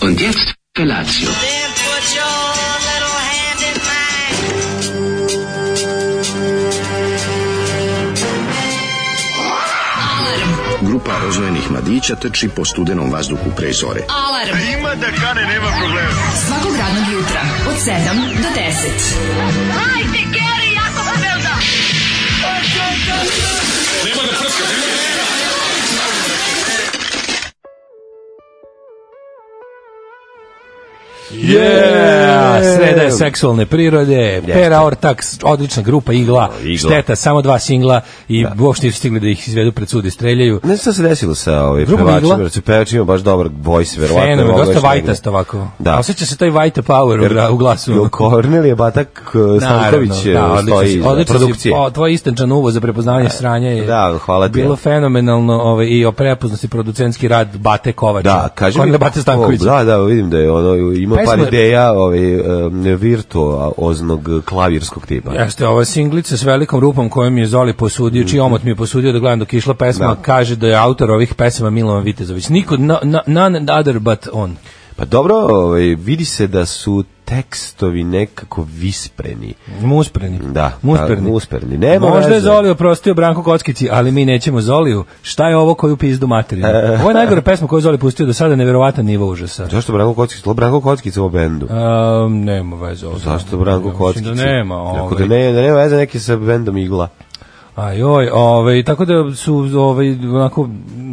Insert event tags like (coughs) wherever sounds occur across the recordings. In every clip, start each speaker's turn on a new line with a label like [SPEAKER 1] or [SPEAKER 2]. [SPEAKER 1] Und jetzt Felatio.
[SPEAKER 2] Then put your little hand in mine.
[SPEAKER 3] Grupa rozvojenih mladića trči po studenom vazduhu pre zore.
[SPEAKER 4] Alarm. Ima da kane, nema problema. Svakog radnog jutra, od 7 do 10.
[SPEAKER 5] Yeah! Sreda je seksualne prirode, Pera Ortak, odlična grupa Igla,
[SPEAKER 6] Igla.
[SPEAKER 5] šteta, samo dva singla i uopšte nisu stigli da ih izvedu pred sud i streljaju.
[SPEAKER 6] Ne znam šta se desilo sa ovaj
[SPEAKER 5] Grupa
[SPEAKER 6] pevačima,
[SPEAKER 5] Igla?
[SPEAKER 6] jer su pevači ima baš dobar voice, verovatno. je
[SPEAKER 5] Fenomen,
[SPEAKER 6] mogao
[SPEAKER 5] dosta
[SPEAKER 6] još negde.
[SPEAKER 5] vajtast ovako.
[SPEAKER 6] Da.
[SPEAKER 5] Osjeća se taj vajta power u, gra- u glasu.
[SPEAKER 6] Jo, Kornelije Batak eh, Stanković eh, stoji
[SPEAKER 5] odlično si-
[SPEAKER 6] iza
[SPEAKER 5] odlično si-
[SPEAKER 6] produkcije. E,
[SPEAKER 5] O, tvoj istančan uvo za prepoznavanje sranja je
[SPEAKER 6] da, hvala ti.
[SPEAKER 5] bilo fenomenalno ovaj, i o prepoznosti producentski rad Bate Kovača.
[SPEAKER 6] Da, kaže
[SPEAKER 5] Kornelija Bate Stanković.
[SPEAKER 6] O, Da, da, vidim da je ono ima par
[SPEAKER 5] Pesma-
[SPEAKER 6] ideja ovaj em, virtuoznog klavirskog tipa.
[SPEAKER 5] Pa. Jeste, ova singlica s velikom rupom kojom je Zoli posudio, čiji omot mi je posudio da gledam dok je išla pesma,
[SPEAKER 6] Da.
[SPEAKER 5] kaže da je autor ovih pesama Milovan Vitezović. Niko, na, na, none other but on.
[SPEAKER 6] Pa dobro, ovaj vidi se da su tekstovi nekako vispreni.
[SPEAKER 5] Muspreni.
[SPEAKER 6] Da,
[SPEAKER 5] Muspreni.
[SPEAKER 6] da, musperni. Nema
[SPEAKER 5] Možda je
[SPEAKER 6] veze.
[SPEAKER 5] Zoli oprostio Branko Kockici, ali mi nećemo Zoliju. Šta je ovo koju pizdu
[SPEAKER 6] (laughs)
[SPEAKER 5] materinu? Ovo je najgore pesma koju je Zoli pustio do sada, neverovatan nivo užasa.
[SPEAKER 6] Zašto Branko Kockić? Lo Branko Kockić u bendu.
[SPEAKER 5] Um, nema veze ovo.
[SPEAKER 6] Zašto Branko Kockić?
[SPEAKER 5] Mislim da nema.
[SPEAKER 6] Rekao
[SPEAKER 5] Ovaj.
[SPEAKER 6] da ne, da nema veze neki sa bendom Igla.
[SPEAKER 5] A joj, ovaj, tako da su ovaj, onako,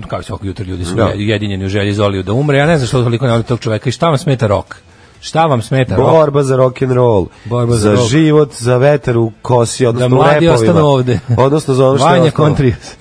[SPEAKER 5] kao se oko jutro ljudi su
[SPEAKER 6] Da.
[SPEAKER 5] jedinjeni u želji Zoliju da umre. Ja ne znam što toliko ne voli tog čoveka i šta vam smeta rok? Šta vam smeta rok?
[SPEAKER 6] Borba za rock and roll.
[SPEAKER 5] Borba za
[SPEAKER 6] za
[SPEAKER 5] rock.
[SPEAKER 6] život, za vetar u kosi, odnosno
[SPEAKER 5] da
[SPEAKER 6] u
[SPEAKER 5] mladi
[SPEAKER 6] repovima.
[SPEAKER 5] ostanu ovde.
[SPEAKER 6] Odnosno za ono što je
[SPEAKER 5] Vanja
[SPEAKER 6] ostalo. (laughs)
[SPEAKER 5] Kontrius.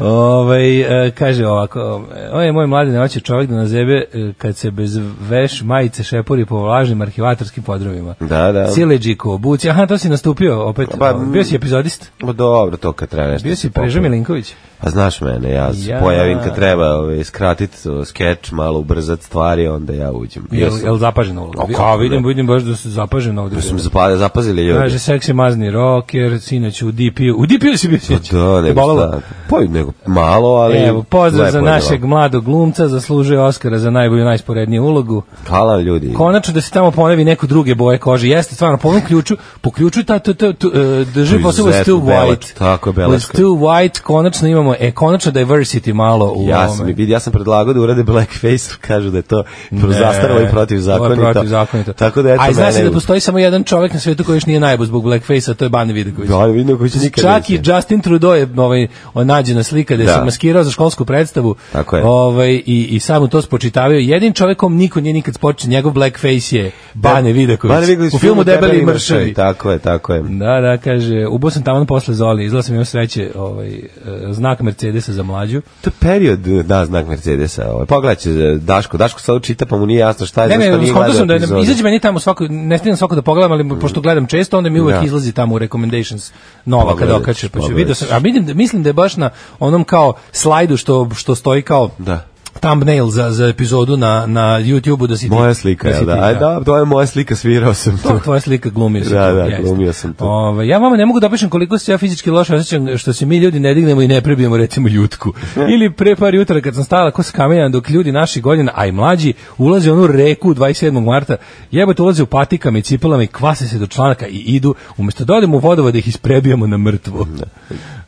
[SPEAKER 5] ovaj, e, kaže ovako, ovaj moj mladi nevaće čovjek da nazebe e, kad se bez veš majice šepuri po vlažnim arhivatorskim podrovima.
[SPEAKER 6] Da, da.
[SPEAKER 5] Sileđiku, obuci, aha, to si nastupio opet,
[SPEAKER 6] Pa,
[SPEAKER 5] ovaj, bio si epizodist,
[SPEAKER 6] Ma dobro, to kad treba nešto.
[SPEAKER 5] bio si
[SPEAKER 6] se popne.
[SPEAKER 5] Preža Milinković.
[SPEAKER 6] A znaš mene, ja se
[SPEAKER 5] Ja.
[SPEAKER 6] pojavim kad treba ovaj, skratiti skeč, malo ubrzati stvari, onda ja uđem.
[SPEAKER 5] Jel,
[SPEAKER 6] Jesam.
[SPEAKER 5] jel zapaženo ovo?
[SPEAKER 6] A kako
[SPEAKER 5] A vidim,
[SPEAKER 6] ne?
[SPEAKER 5] vidim baš da su zapaženo ovdje.
[SPEAKER 6] Smo zapa- zapazili ljudi.
[SPEAKER 5] Kaže, seksi mazni rocker, sinoć u DP-u. U DP-u si bio sinoć?
[SPEAKER 6] Pa Da, ne
[SPEAKER 5] Bolelo?
[SPEAKER 6] bolalo. Pa nego malo, ali
[SPEAKER 5] Evo, pozdrav
[SPEAKER 6] lepo
[SPEAKER 5] za
[SPEAKER 6] je
[SPEAKER 5] našeg
[SPEAKER 6] bilo.
[SPEAKER 5] mladog glumca, zaslužuje Oscara za najbolju, najsporedniju ulogu.
[SPEAKER 6] Hvala ljudi.
[SPEAKER 5] Konačno da se tamo ponavi neko druge boje kože. Jeste, stvarno, po ovom ključu, po ključu ta, ta, ta, ta, e, drži
[SPEAKER 6] To
[SPEAKER 5] posao was
[SPEAKER 6] izuzetno
[SPEAKER 5] too
[SPEAKER 6] Belač,
[SPEAKER 5] white.
[SPEAKER 6] tako je,
[SPEAKER 5] Was
[SPEAKER 6] Belačka.
[SPEAKER 5] too white, konačno imamo, e, konačno diversity malo u
[SPEAKER 6] Ja
[SPEAKER 5] ovome.
[SPEAKER 6] sam, i vid- ja sam predlagao da urade blackface, (laughs) kažu da je to pro- zastaralo i protivzakonito.
[SPEAKER 5] to E, je protivzakonito.
[SPEAKER 6] Tako da eto
[SPEAKER 5] A i zna
[SPEAKER 6] mene-
[SPEAKER 5] se da postoji samo jedan čovjek na svetu koji još nije najbo zbog blackface-a, to je Bane Vidaković.
[SPEAKER 6] Da, vidim koji će nikad
[SPEAKER 5] Čak i
[SPEAKER 6] neće.
[SPEAKER 5] Justin Trudeau je ovaj, on nađena slika da je
[SPEAKER 6] Da.
[SPEAKER 5] se maskirao za školsku predstavu
[SPEAKER 6] Tako je.
[SPEAKER 5] ovaj, i, i samo to spočitavaju. Jedin čovjekom niko nije nikad spočitao, njegov blackface je Bane Vidaković.
[SPEAKER 6] Bane Vidaković
[SPEAKER 5] u filmu Debeli i mršavi. Mm.
[SPEAKER 6] Tako je, tako je.
[SPEAKER 5] Da, da, kaže, ubo sam tamo posle Zoli, izlao sam imao sreće, ovaj, eh, znak Mercedesa za mlađu.
[SPEAKER 6] To je period, da, znak Mercedesa. Ovaj. Pogledat će eh, Daško, Daško sad čita pa mu nije jasno šta je,
[SPEAKER 5] Ne,
[SPEAKER 6] zašto
[SPEAKER 5] ne,
[SPEAKER 6] nije
[SPEAKER 5] skontao
[SPEAKER 6] gledao
[SPEAKER 5] sam da
[SPEAKER 6] epizode.
[SPEAKER 5] ne, izađe meni tamo svako, ne stignem svako da pogledam, ali pošto gledam često, onda mi uvek
[SPEAKER 6] Da.
[SPEAKER 5] izlazi tamo u recommendations nova kada
[SPEAKER 6] Pogledat
[SPEAKER 5] okačeš,
[SPEAKER 6] ćeš,
[SPEAKER 5] pa ću
[SPEAKER 6] pogledat
[SPEAKER 5] vidio sam, a vidim, da- mislim da je baš na onom kao slajdu što, što stoji kao
[SPEAKER 6] Da.
[SPEAKER 5] thumbnail za, za epizodu na, na YouTube-u da si ti.
[SPEAKER 6] Moja slika,
[SPEAKER 5] da si
[SPEAKER 6] je, da.
[SPEAKER 5] ti,
[SPEAKER 6] Aj, da, to je moja slika, svirao sam
[SPEAKER 5] To je
[SPEAKER 6] tu.
[SPEAKER 5] tvoja slika, glumio si
[SPEAKER 6] Da,
[SPEAKER 5] to,
[SPEAKER 6] da,
[SPEAKER 5] jeste.
[SPEAKER 6] glumio sam to.
[SPEAKER 5] Ove, ja vama ne mogu da opišem koliko se ja fizički loše osjećam što se mi ljudi ne dignemo i ne prebijemo recimo
[SPEAKER 6] (laughs)
[SPEAKER 5] jutku. Ili pre par jutra kad sam stala ko sa kamena dok ljudi naših godina, a i mlađi, ulaze u onu reku 27. marta, jebote ulaze u patikama i cipelama i kvase se do članaka i idu, umjesto da odemo u vodova da ih isprebijemo na Ovaj, mrtvo.
[SPEAKER 6] Ne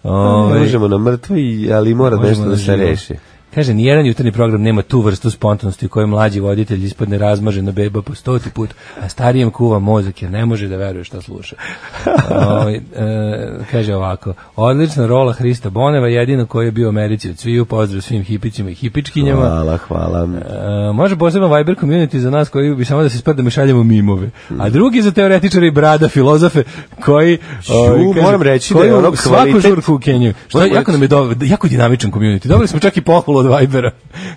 [SPEAKER 5] Ove,
[SPEAKER 6] Ovaj, možemo na mrtvo, i- ali mora
[SPEAKER 5] Možemo
[SPEAKER 6] nešto da se
[SPEAKER 5] živo.
[SPEAKER 6] reši.
[SPEAKER 5] Kaže, nijedan jutarnji program nema tu vrstu spontanosti u kojoj mlađi voditelj ispadne razmažena beba po stoti put, a starijem kuva mozak jer ne može da veruje šta
[SPEAKER 6] (laughs)
[SPEAKER 5] sluša. Ovaj, e, kaže ovako, odlična rola Hrista Boneva, jedino koji je bio u Americi od sviju, pozdrav svim hipićima i hipičkinjama.
[SPEAKER 6] Hvala, hvala.
[SPEAKER 5] E, može poseban Viber community za nas koji bi samo da se sprdamo i šaljemo mimove. A drugi za teoretičare i brada, filozofe koji... ovaj, kaže,
[SPEAKER 6] moram reći da je
[SPEAKER 5] koji
[SPEAKER 6] ono
[SPEAKER 5] u Svaku
[SPEAKER 6] kvalitet-
[SPEAKER 5] žurku u Kenju. Što,
[SPEAKER 6] Moram
[SPEAKER 5] jako nam je dobro, jako dinamičan community. Dobili smo čak i pohvalu od Vibera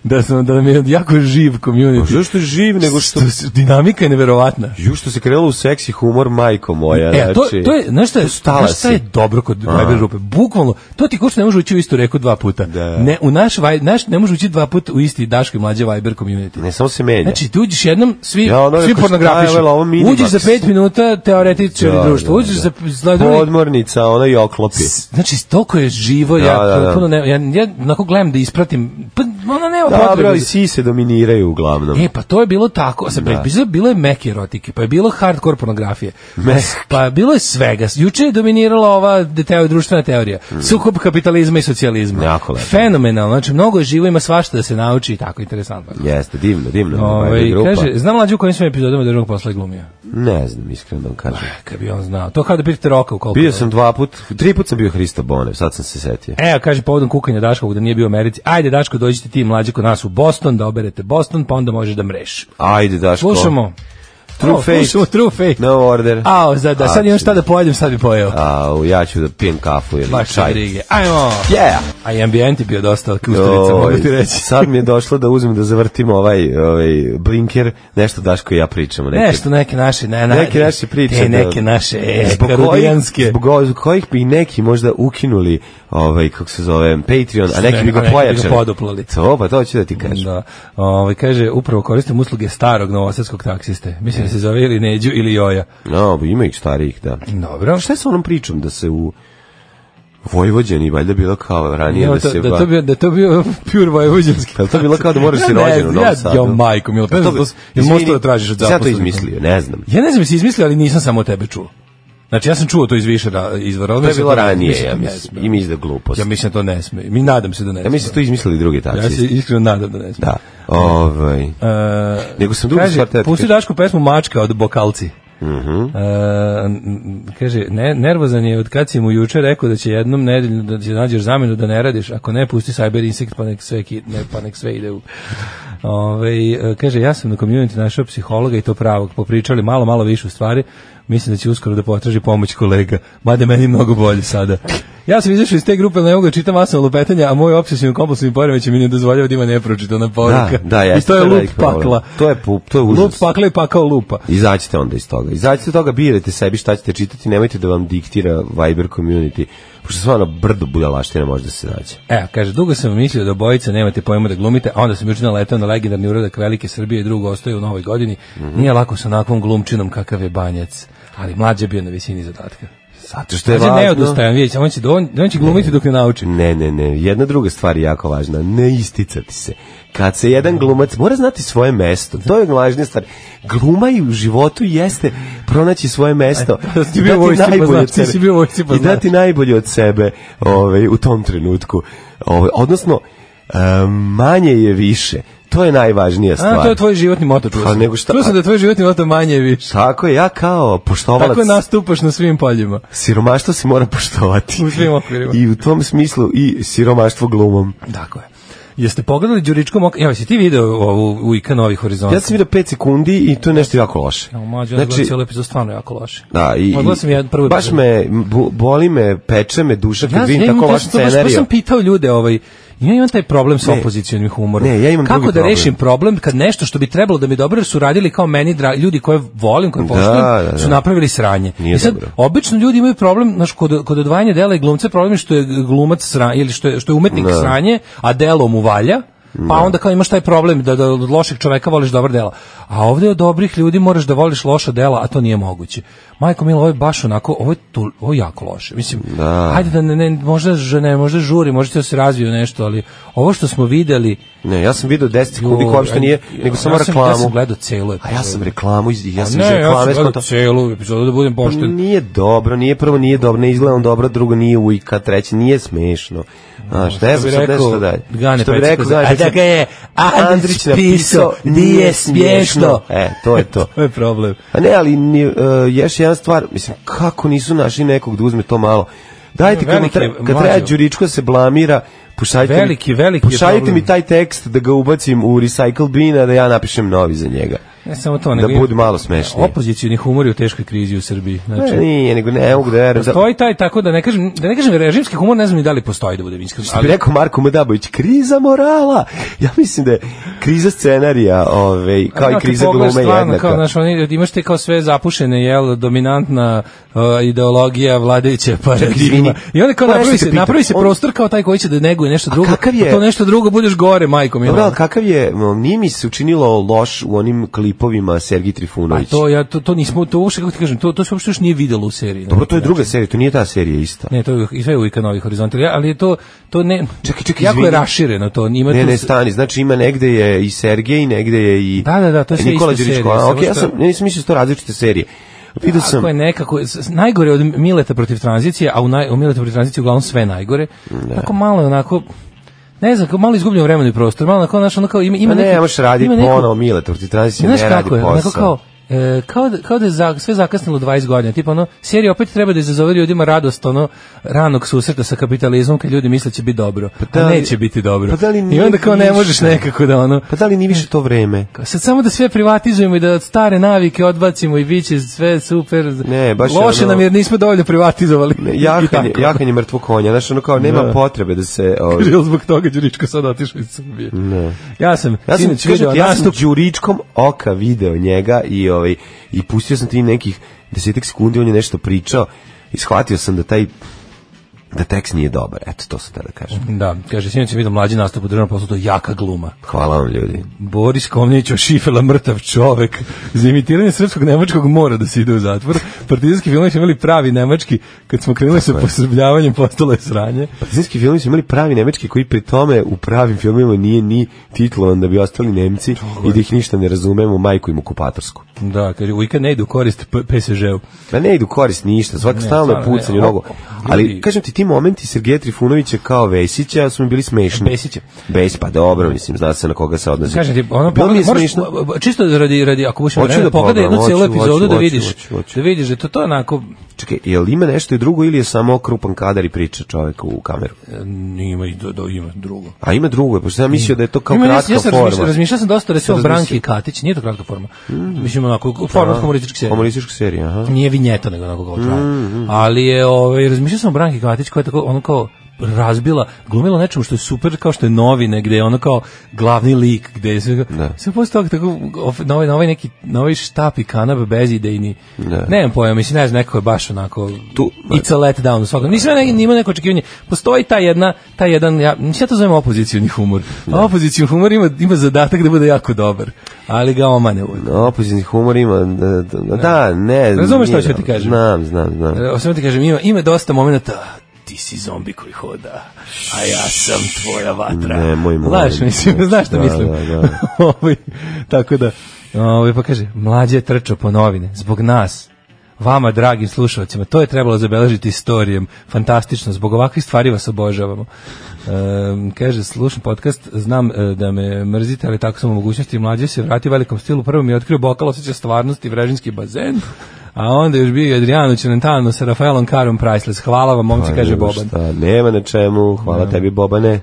[SPEAKER 5] da, smo, da nam je jako živ community.
[SPEAKER 6] Zašto je Pa živ, nego što...
[SPEAKER 5] Dinamika je neverovatna.
[SPEAKER 6] Ju što se krenulo u seksi humor, majko moja.
[SPEAKER 5] E, a to,
[SPEAKER 6] znači,
[SPEAKER 5] to je, znaš šta je,
[SPEAKER 6] stala
[SPEAKER 5] znaš šta je
[SPEAKER 6] si.
[SPEAKER 5] dobro kod Viber grupe? Bukvalno, to ti kuće ne može ući u istu reku dva puta.
[SPEAKER 6] Da.
[SPEAKER 5] Ne, u naš, Vi- naš ne može ući dva puta u isti Daško i mlađe Viber community.
[SPEAKER 6] Ne samo se menja.
[SPEAKER 5] Znači, ti uđeš jednom, svi,
[SPEAKER 6] Ja, ono
[SPEAKER 5] svi
[SPEAKER 6] rekao,
[SPEAKER 5] pornografišu.
[SPEAKER 6] šta je ovo, ovo minimax?
[SPEAKER 5] Uđeš za pet minuta, teoretičari
[SPEAKER 6] Da,
[SPEAKER 5] društvo.
[SPEAKER 6] da,
[SPEAKER 5] Uđeš
[SPEAKER 6] da.
[SPEAKER 5] za... za drugi-
[SPEAKER 6] Podmornica, ona i oklopi.
[SPEAKER 5] Znači, toliko je živo,
[SPEAKER 6] Da,
[SPEAKER 5] ja,
[SPEAKER 6] da, da.
[SPEAKER 5] potpuno ne, ja, ja onako gledam da ispratim, pa ono nema
[SPEAKER 6] Dobro,
[SPEAKER 5] potrebe
[SPEAKER 6] ali
[SPEAKER 5] za-
[SPEAKER 6] sise dominiraju uglavnom.
[SPEAKER 5] E, pa to je bilo tako. Sad, da. Bilo je meke erotike, pa je bilo hardcore pornografije.
[SPEAKER 6] Meke.
[SPEAKER 5] Pa je bilo je svega. Juče je dominirala ova de- teo, društvena teorija. Sukob kapitalizma i socijalizma.
[SPEAKER 6] Mm. Jako lepo.
[SPEAKER 5] Fenomenalno. Znači, mnogo je živo, ima svašta da se nauči i tako interesantno.
[SPEAKER 6] Jeste, divno, divno.
[SPEAKER 5] Ove,
[SPEAKER 6] Ovaj grupa.
[SPEAKER 5] kaže, znam mlađu u kojim svojim epizodama državnog posla je glumio.
[SPEAKER 6] Ne znam, iskreno da vam kažem.
[SPEAKER 5] Kad bi on znao. To kao da pitate roka u koliko.
[SPEAKER 6] Bio sam dva put, tri put sam bio Hristo Bonev, sad sam se setio.
[SPEAKER 5] E, a kaže povodom kukanja Daškovog da nije bio u Americi. Ajde, Daško, dođite ti mlađe kod nas u Boston, da oberete Boston, pa onda možeš da mreš.
[SPEAKER 6] Ajde, Daško.
[SPEAKER 5] Slušamo.
[SPEAKER 6] True
[SPEAKER 5] O,
[SPEAKER 6] Fate.
[SPEAKER 5] Slušamo True Fate.
[SPEAKER 6] No order.
[SPEAKER 5] Ao, za, da, sad imam šta da pojedem, sad bi pojeo.
[SPEAKER 6] Au, ja ću da pijem kafu ili
[SPEAKER 5] Baš
[SPEAKER 6] čaj.
[SPEAKER 5] brige. Ajmo!
[SPEAKER 6] Yeah!
[SPEAKER 5] A i ambijent je bio dosta kusturica, mogu ti
[SPEAKER 6] Oj,
[SPEAKER 5] reći. (laughs)
[SPEAKER 6] sad mi je došlo da uzmem da zavrtim ovaj, ovaj blinker, nešto Daško i ja pričamo. Neke,
[SPEAKER 5] Nešto neke naše, ne, ne,
[SPEAKER 6] neke naše priče.
[SPEAKER 5] Te neke
[SPEAKER 6] da-
[SPEAKER 5] naše, e,
[SPEAKER 6] zbog kojih-
[SPEAKER 5] karudijanske.
[SPEAKER 6] Zbog, o- zbog kojih bi neki možda ukinuli, ovaj, kako se zove, Patreon, a neki bi
[SPEAKER 5] A
[SPEAKER 6] ga
[SPEAKER 5] neki bi ga
[SPEAKER 6] pojačali.
[SPEAKER 5] poduplali.
[SPEAKER 6] To, pa to ću da ti kažem.
[SPEAKER 5] Da. Ovaj kaže upravo koristim usluge starog novosadskog taksiste. Mislim
[SPEAKER 6] E.
[SPEAKER 5] da se zove ili Neđu ili Joja.
[SPEAKER 6] No, ima ih starijih, da.
[SPEAKER 5] Dobro.
[SPEAKER 6] A šta je sa onom pričom da se u Vojvođani valjda bilo kao ranije
[SPEAKER 5] Evo
[SPEAKER 6] da
[SPEAKER 5] to-
[SPEAKER 6] se...
[SPEAKER 5] da to bio da to bio pure vojvođanski.
[SPEAKER 6] Pa jel to bilo kao da moraš si
[SPEAKER 5] Ja ne
[SPEAKER 6] rođen u
[SPEAKER 5] znam,
[SPEAKER 6] Novom
[SPEAKER 5] ja-
[SPEAKER 6] Sadu?
[SPEAKER 5] Jo majko, milo,
[SPEAKER 6] Jel
[SPEAKER 5] pa
[SPEAKER 6] to-
[SPEAKER 5] je možda
[SPEAKER 6] izvini,
[SPEAKER 5] da tražiš od
[SPEAKER 6] sad
[SPEAKER 5] zaposlenih.
[SPEAKER 6] to izmislio, ne znam.
[SPEAKER 5] Ja ne znam jesi izmislio, ali nisam samo od tebe čuo. Znači ja sam čuo to iz više ra- izvora. ali
[SPEAKER 6] To je
[SPEAKER 5] mislim
[SPEAKER 6] bilo
[SPEAKER 5] da-
[SPEAKER 6] ranije,
[SPEAKER 5] da
[SPEAKER 6] ja
[SPEAKER 5] ne
[SPEAKER 6] mislim.
[SPEAKER 5] sme.
[SPEAKER 6] I mislim da je glupost.
[SPEAKER 5] Ja mislim da to ne sme. Mi nadam se da ne sme.
[SPEAKER 6] Ja mislim da su to izmislili drugi
[SPEAKER 5] Ja se
[SPEAKER 6] taksisti.
[SPEAKER 5] iskreno nadam da ne sme.
[SPEAKER 6] Da. Ovaj.
[SPEAKER 5] E,
[SPEAKER 6] Nego sam drugu
[SPEAKER 5] kaže,
[SPEAKER 6] stvar teo ti
[SPEAKER 5] Pusti
[SPEAKER 6] kažem.
[SPEAKER 5] Dašku pesmu Mačka od Bokalci. E, n- n- kaže, ne, nervozan je od kad si mu juče rekao da će jednom nedeljno da će nađeš zamenu da ne radiš, ako ne pusti Cyber Insect pa nek sve, ki- ne, pa nek sve ide u... Ove, e, kaže, ja sam na community našao psihologa i to pravog, popričali malo, malo više u stvari, mislim da će uskoro da potraži pomoć kolega, mada meni mnogo bolje sada. Ja sam izašao iz te grupe, ali ne mogu da čitam masno lupetanja, a moj obsesivni kompulsivni poremeć mi ne dozvoljava da ima nepročitana
[SPEAKER 6] Da,
[SPEAKER 5] poruka.
[SPEAKER 6] da,
[SPEAKER 5] I
[SPEAKER 6] jeste.
[SPEAKER 5] to je lup
[SPEAKER 6] veliki problem.
[SPEAKER 5] pakla.
[SPEAKER 6] To je, pu- to je
[SPEAKER 5] Lup
[SPEAKER 6] užas.
[SPEAKER 5] pakla i pakao lupa.
[SPEAKER 6] Izađite onda iz toga. Izađite od toga, birajte sebi šta ćete čitati, nemojte da vam diktira Viber community, pošto stvarno brdo budalaština može da se nađe.
[SPEAKER 5] E, kaže, dugo sam mislio da obojica nemate pojma da glumite, a onda sam juče naletao na legendarni uradak Velike Srbije i drugo ostaje u novoj godini.
[SPEAKER 6] Mhm.
[SPEAKER 5] Nije lako sa onakvom glumčinom kakav je banjac, ali mlađe je bio na visini zadatka.
[SPEAKER 6] Zato što je
[SPEAKER 5] Znači, ne
[SPEAKER 6] važno...
[SPEAKER 5] odustajem, vidjet ćemo, on će, do- on će glumiti dok ne nauči.
[SPEAKER 6] Znači, Ne, ne, ne. Jedna druga stvar je jako važna. Ne isticati se. Kad se jedan glumac mora znati svoje mesto. To je važna stvar. Gluma i u životu jeste pronaći svoje mesto.
[SPEAKER 5] E, to si
[SPEAKER 6] I
[SPEAKER 5] bio
[SPEAKER 6] dati
[SPEAKER 5] u vojsci pa
[SPEAKER 6] najbolje
[SPEAKER 5] znaš,
[SPEAKER 6] od
[SPEAKER 5] ti
[SPEAKER 6] sebe.
[SPEAKER 5] si bio u vojsci pa
[SPEAKER 6] I
[SPEAKER 5] znaš.
[SPEAKER 6] dati najbolje od sebe ovaj, u tom trenutku. Ovaj, odnosno, em, manje je više. To je najvažnija stvar.
[SPEAKER 5] A, to je tvoj životni moto, čuo
[SPEAKER 6] Pa,
[SPEAKER 5] sam.
[SPEAKER 6] nego šta-
[SPEAKER 5] Čuo sam da je tvoj životni moto manje i više.
[SPEAKER 6] Tako je, ja kao poštovalac
[SPEAKER 5] Tako nastupaš na svim poljima.
[SPEAKER 6] siromaštvo se mora poštovati.
[SPEAKER 5] U svim okvirima.
[SPEAKER 6] I u tom smislu i siromaštvo glumom.
[SPEAKER 5] Tako je. Jeste pogledali Đuričkom oka? Evo, si ti video ovu u IK Novih horizonta?
[SPEAKER 6] Ja sam vidio 5 sekundi i to je nešto jako loše.
[SPEAKER 5] Evo, mlađe, znači, cijelu epizodu stvarno jako loše.
[SPEAKER 6] Da, i,
[SPEAKER 5] Odgledao sam jedan prvu
[SPEAKER 6] baš
[SPEAKER 5] epizodu.
[SPEAKER 6] me, bo- boli me, peče me duša kad vidim
[SPEAKER 5] imam
[SPEAKER 6] tako
[SPEAKER 5] to-
[SPEAKER 6] loš
[SPEAKER 5] to baš- baš
[SPEAKER 6] scenarij.
[SPEAKER 5] sam pitao ljude, ovaj, ja imam taj problem sa
[SPEAKER 6] Ne.
[SPEAKER 5] opozicionim humorom.
[SPEAKER 6] Ne, ja imam
[SPEAKER 5] Kako da
[SPEAKER 6] drugi problem.
[SPEAKER 5] rešim problem kad nešto što bi trebalo da mi je dobro jer su radili kao meni dra, ljudi koje volim, koje
[SPEAKER 6] Da,
[SPEAKER 5] poštujem,
[SPEAKER 6] da, da.
[SPEAKER 5] su napravili sranje.
[SPEAKER 6] Nije
[SPEAKER 5] I sad
[SPEAKER 6] dobro.
[SPEAKER 5] obično ljudi imaju problem, znaš, kod kod odvajanja dela i glumca problem je što je glumac sranje ili što je što je umetnik sranje, a delo mu valja. Pa onda kao imaš taj problem da, da od lošeg čoveka voliš dobra dela. A ovde od dobrih ljudi moraš da voliš loša dela, a to nije moguće. Majko Milo, ovo je baš onako, ovo je, tu, ovo je jako loše. Mislim,
[SPEAKER 6] Da.
[SPEAKER 5] ajde da ne, ne, možda, ž- ne, možda žuri, možda se razviju nešto, ali ovo što smo videli...
[SPEAKER 6] Ne, ja sam vidio 10 sekundi koja uopšte nije, nego samo
[SPEAKER 5] ja sam,
[SPEAKER 6] reklamu.
[SPEAKER 5] Ja sam gledao celu
[SPEAKER 6] A
[SPEAKER 5] epizodu.
[SPEAKER 6] ja sam reklamu, iz- ja sam iz
[SPEAKER 5] ne, ja sam
[SPEAKER 6] reklame
[SPEAKER 5] gledao
[SPEAKER 6] skontao.
[SPEAKER 5] celu epizodu, da budem pošten.
[SPEAKER 6] Nije dobro, nije prvo, nije dobro, ne izgleda on dobro, drugo nije ujka, treće nije smešno. Znaš, ne znam sad nešto dalje.
[SPEAKER 5] Gane
[SPEAKER 6] što bi rekao, znaš,
[SPEAKER 5] a da ga je Andrić napisao, nije smiješno.
[SPEAKER 6] E, to je to.
[SPEAKER 5] to je problem.
[SPEAKER 6] A ne, ali ni, uh, još jedna stvar, mislim, kako nisu našli nekog da uzme to malo. Dajte, kad, mi
[SPEAKER 5] Veliki je,
[SPEAKER 6] tre, kad
[SPEAKER 5] mlađo.
[SPEAKER 6] treba Đuričko da se blamira, pošaljite,
[SPEAKER 5] Veliki,
[SPEAKER 6] mi,
[SPEAKER 5] veliki je
[SPEAKER 6] pošaljite
[SPEAKER 5] problem.
[SPEAKER 6] mi taj tekst da ga ubacim u recycle bin, a da ja napišem novi za njega.
[SPEAKER 5] Ne samo to,
[SPEAKER 6] Da
[SPEAKER 5] nego...
[SPEAKER 6] budu malo smešniji.
[SPEAKER 5] Opozicioni humor je u teškoj krizi u Srbiji. Znači,
[SPEAKER 6] Ne, nije, nego ne mogu da verujem. Zato
[SPEAKER 5] Postoji taj, tako da ne kažem, da ne kažem režimski humor, ne znam ni da li postoji da budem iskren.
[SPEAKER 6] bi rekao Marko Madabović, kriza morala. Ja mislim da je kriza scenarija, ovaj, kao i
[SPEAKER 5] Ono, kad
[SPEAKER 6] kriza
[SPEAKER 5] pogledaš
[SPEAKER 6] glume
[SPEAKER 5] stvarno,
[SPEAKER 6] jednaka.
[SPEAKER 5] Kao, znaš, oni, imaš te kao sve zapušene, jel, dominantna uh, ideologija vladajuća
[SPEAKER 6] izvini.
[SPEAKER 5] paradigma. I onda kao
[SPEAKER 6] Pa
[SPEAKER 5] napravi
[SPEAKER 6] nešto
[SPEAKER 5] se,
[SPEAKER 6] te pitam.
[SPEAKER 5] napravi se
[SPEAKER 6] On-
[SPEAKER 5] prostor kao taj koji će da neguje nešto drugo.
[SPEAKER 6] kakav je-
[SPEAKER 5] To nešto drugo budeš gore, ono, majkom.
[SPEAKER 6] Dobro, ali kakav je, m, nije mi se učinilo loš u onim klipovima Sergij
[SPEAKER 5] Pa
[SPEAKER 6] Trifunović.
[SPEAKER 5] to ja to, to nismo to uopšte kako ti kažem, to to se uopšte još nije videlo u seriji.
[SPEAKER 6] Dobro, to je druga serija, to nije ta serija ista.
[SPEAKER 5] Ne, to je i sve je uvijek novi horizontal, Ja, ali je to to ne
[SPEAKER 6] Čekaj, čekaj,
[SPEAKER 5] jako je
[SPEAKER 6] izvini.
[SPEAKER 5] rašireno to, ima
[SPEAKER 6] Ne,
[SPEAKER 5] tu
[SPEAKER 6] ne,
[SPEAKER 5] s-
[SPEAKER 6] stani, znači ima negde je i Sergej, i negde je i
[SPEAKER 5] Da, da, da, to je sve
[SPEAKER 6] Nikola
[SPEAKER 5] ista
[SPEAKER 6] Đurić
[SPEAKER 5] serija,
[SPEAKER 6] Kola.
[SPEAKER 5] samo
[SPEAKER 6] Okej, ja
[SPEAKER 5] što-
[SPEAKER 6] sam, ja nisam mislio da su to različite serije. Vidio sam,
[SPEAKER 5] Ako je nekako, s- s- najgore od Mileta protiv tranzicije, a u, naj, u Mileta protiv tranzicije uglavnom sve najgore, tako malo je onako, ne znam, kao malo izgubljeno vremenu i prostor, malo onako, znaš, ono kao, ima, ima
[SPEAKER 6] pa ne,
[SPEAKER 5] neki-
[SPEAKER 6] ne možeš raditi
[SPEAKER 5] ima neku-
[SPEAKER 6] ponovo Mile, to ti tranzicija ne
[SPEAKER 5] Znaš
[SPEAKER 6] radi posao.
[SPEAKER 5] kako je, onako kao, E, kao da, kao da je za, sve zakasnilo 20 godina, tipa ono, serija opet treba da izazove ljudima radost ono, ranog susreta sa kapitalizmom kad ljudi misle će biti dobro,
[SPEAKER 6] da
[SPEAKER 5] a
[SPEAKER 6] li-
[SPEAKER 5] neće biti dobro.
[SPEAKER 6] pa da li
[SPEAKER 5] I onda kao ne
[SPEAKER 6] nije
[SPEAKER 5] možeš
[SPEAKER 6] ništa?
[SPEAKER 5] nekako da ono,
[SPEAKER 6] Pa da li ni više to vreme?
[SPEAKER 5] Kao, Sad samo da sve privatizujemo i da od stare navike odbacimo i bit će sve super.
[SPEAKER 6] Ne, baš je
[SPEAKER 5] Loše
[SPEAKER 6] ono-
[SPEAKER 5] nam jer nismo dovoljno privatizovali.
[SPEAKER 6] Ne,
[SPEAKER 5] I
[SPEAKER 6] Jahanje,
[SPEAKER 5] tako. (laughs)
[SPEAKER 6] jahanje mrtvo konja, znaš, ono kao, nema
[SPEAKER 5] Da.
[SPEAKER 6] potrebe da se... ovaj,
[SPEAKER 5] Jel zbog toga Đuričko sad otišao iz Srbije.
[SPEAKER 6] Ne.
[SPEAKER 5] Ja sam,
[SPEAKER 6] Ja sam,
[SPEAKER 5] sinoć
[SPEAKER 6] kažem
[SPEAKER 5] video
[SPEAKER 6] ti, ja sam
[SPEAKER 5] nastup
[SPEAKER 6] đuričkom oka video njega i, ovaj, i pustio sam ti nekih desetak sekundi, on je nešto pričao i shvatio sam da taj da tekst nije dobar, eto to sam tada kažem.
[SPEAKER 5] Da, kaže, sinoć sam vidio mlađi nastup u državnom poslu, to je jaka gluma.
[SPEAKER 6] Hvala vam ljudi.
[SPEAKER 5] Boris Komnjić o šifela mrtav čovek. Za imitiranje srpskog nemačkog mora da se ide u zatvor. Partizanski filmovi su imali pravi nemački, kad smo krenuli sa posrbljavanjem postalo je sranje.
[SPEAKER 6] Partizanski filmi su imali pravi nemečki koji pri tome u pravim filmima nije ni titlovan da bi ostali Nemci i da ih ništa ne razumemo, majku im okupatorsku.
[SPEAKER 5] Da, kaže, uika ne ide u korist P- PSG-u.
[SPEAKER 6] Da ne idu korist ništa, svaka stalno je
[SPEAKER 5] stvarno ne.
[SPEAKER 6] pucanje u nogu. Ali
[SPEAKER 5] Ljudi-
[SPEAKER 6] kažem ti ti momenti Sergeja Trifunovića kao Vesića su mi bili smešni.
[SPEAKER 5] Vesića.
[SPEAKER 6] Bes pa dobro, mislim zna se na koga se odnosi.
[SPEAKER 5] Kažem ti, ono
[SPEAKER 6] Bilo mi
[SPEAKER 5] pogledaj,
[SPEAKER 6] je
[SPEAKER 5] moraš,
[SPEAKER 6] smešno.
[SPEAKER 5] čisto radi, radi, ako budeš
[SPEAKER 6] Hoću
[SPEAKER 5] vremena,
[SPEAKER 6] da
[SPEAKER 5] pogledaj jednu
[SPEAKER 6] pogledam,
[SPEAKER 5] cijelu
[SPEAKER 6] hoću,
[SPEAKER 5] epizodu da
[SPEAKER 6] hoću,
[SPEAKER 5] vidiš,
[SPEAKER 6] hoću, hoću.
[SPEAKER 5] da vidiš da je to, to onako,
[SPEAKER 6] Čekaj, je li ima nešto i drugo ili je samo krupan kadar i priča čovjek u kameru?
[SPEAKER 5] ima i do, do, ima drugo.
[SPEAKER 6] A ima drugo, pošto sam ja mislio da je to kao
[SPEAKER 5] Ima,
[SPEAKER 6] kratka
[SPEAKER 5] ja sam
[SPEAKER 6] forma.
[SPEAKER 5] razmišljao, razmišljao sam dosta, recimo,
[SPEAKER 6] Sam
[SPEAKER 5] Branki
[SPEAKER 6] razmislio.
[SPEAKER 5] i Katić, nije to kratka forma. Mislim, onako, forma
[SPEAKER 6] Da.
[SPEAKER 5] humorističke serije.
[SPEAKER 6] Humoristička serija, aha. Mm,
[SPEAKER 5] Nije vinjeta, nego onako kao traje. Ali je, ovaj, razmišljao sam o Branki Katić koja je tako, ono kao, razbila, glumila nečemu što je super kao što je novine, gde je ono kao glavni lik, gde je sve,
[SPEAKER 6] Da.
[SPEAKER 5] sve posle toga tako, of- na ovaj, na ovaj neki na ovaj štap i kanap bezidejni
[SPEAKER 6] Da.
[SPEAKER 5] nemam pojma, mislim, ne znam, neko je baš onako
[SPEAKER 6] Tu-
[SPEAKER 5] it's a let down u svakom, nisam ne, nima neko očekivanje postoji ta jedna, ta jedan ja, mislim, ja to zovem opozicijni humor a opozicijni humor ima, ima zadatak da bude jako dobar, ali ga omane uvek
[SPEAKER 6] Opozicijni humor ima, da, da, da ne.
[SPEAKER 5] Razumeš šta
[SPEAKER 6] nije
[SPEAKER 5] hoću ti
[SPEAKER 6] dobro.
[SPEAKER 5] kažem?
[SPEAKER 6] Znam, znam, znam.
[SPEAKER 5] E, Samo ti kažem, ima, ima dosta momenta ti si zombi koji hoda, a ja sam tvoja vatra.
[SPEAKER 6] Nemoj, molim
[SPEAKER 5] Znaš,
[SPEAKER 6] te.
[SPEAKER 5] mislim, znaš šta
[SPEAKER 6] Da,
[SPEAKER 5] mislim.
[SPEAKER 6] da, da.
[SPEAKER 5] (laughs) Ovaj, tako da, ovaj, pa kaže, mlađe je trčao po novine, zbog nas, vama, dragim slušalcima, to je trebalo zabeležiti istorijem, fantastično, zbog ovakvih stvari vas obožavamo. Ehm, kaže, slušam podcast, znam e, da me mrzite, ali tako sam u mogućnosti, mlađe se vratio u velikom stilu, prvo mi je otkrio bokal osjeća stvarnosti, vrežinski bazen, a onda je još bio i Adriano Celentano sa Rafaelom Karom Priceless. Hvala vam, momci,
[SPEAKER 6] Pa,
[SPEAKER 5] kaže
[SPEAKER 6] nema
[SPEAKER 5] Boban.
[SPEAKER 6] šta, nema na čemu, hvala tebi Bobane.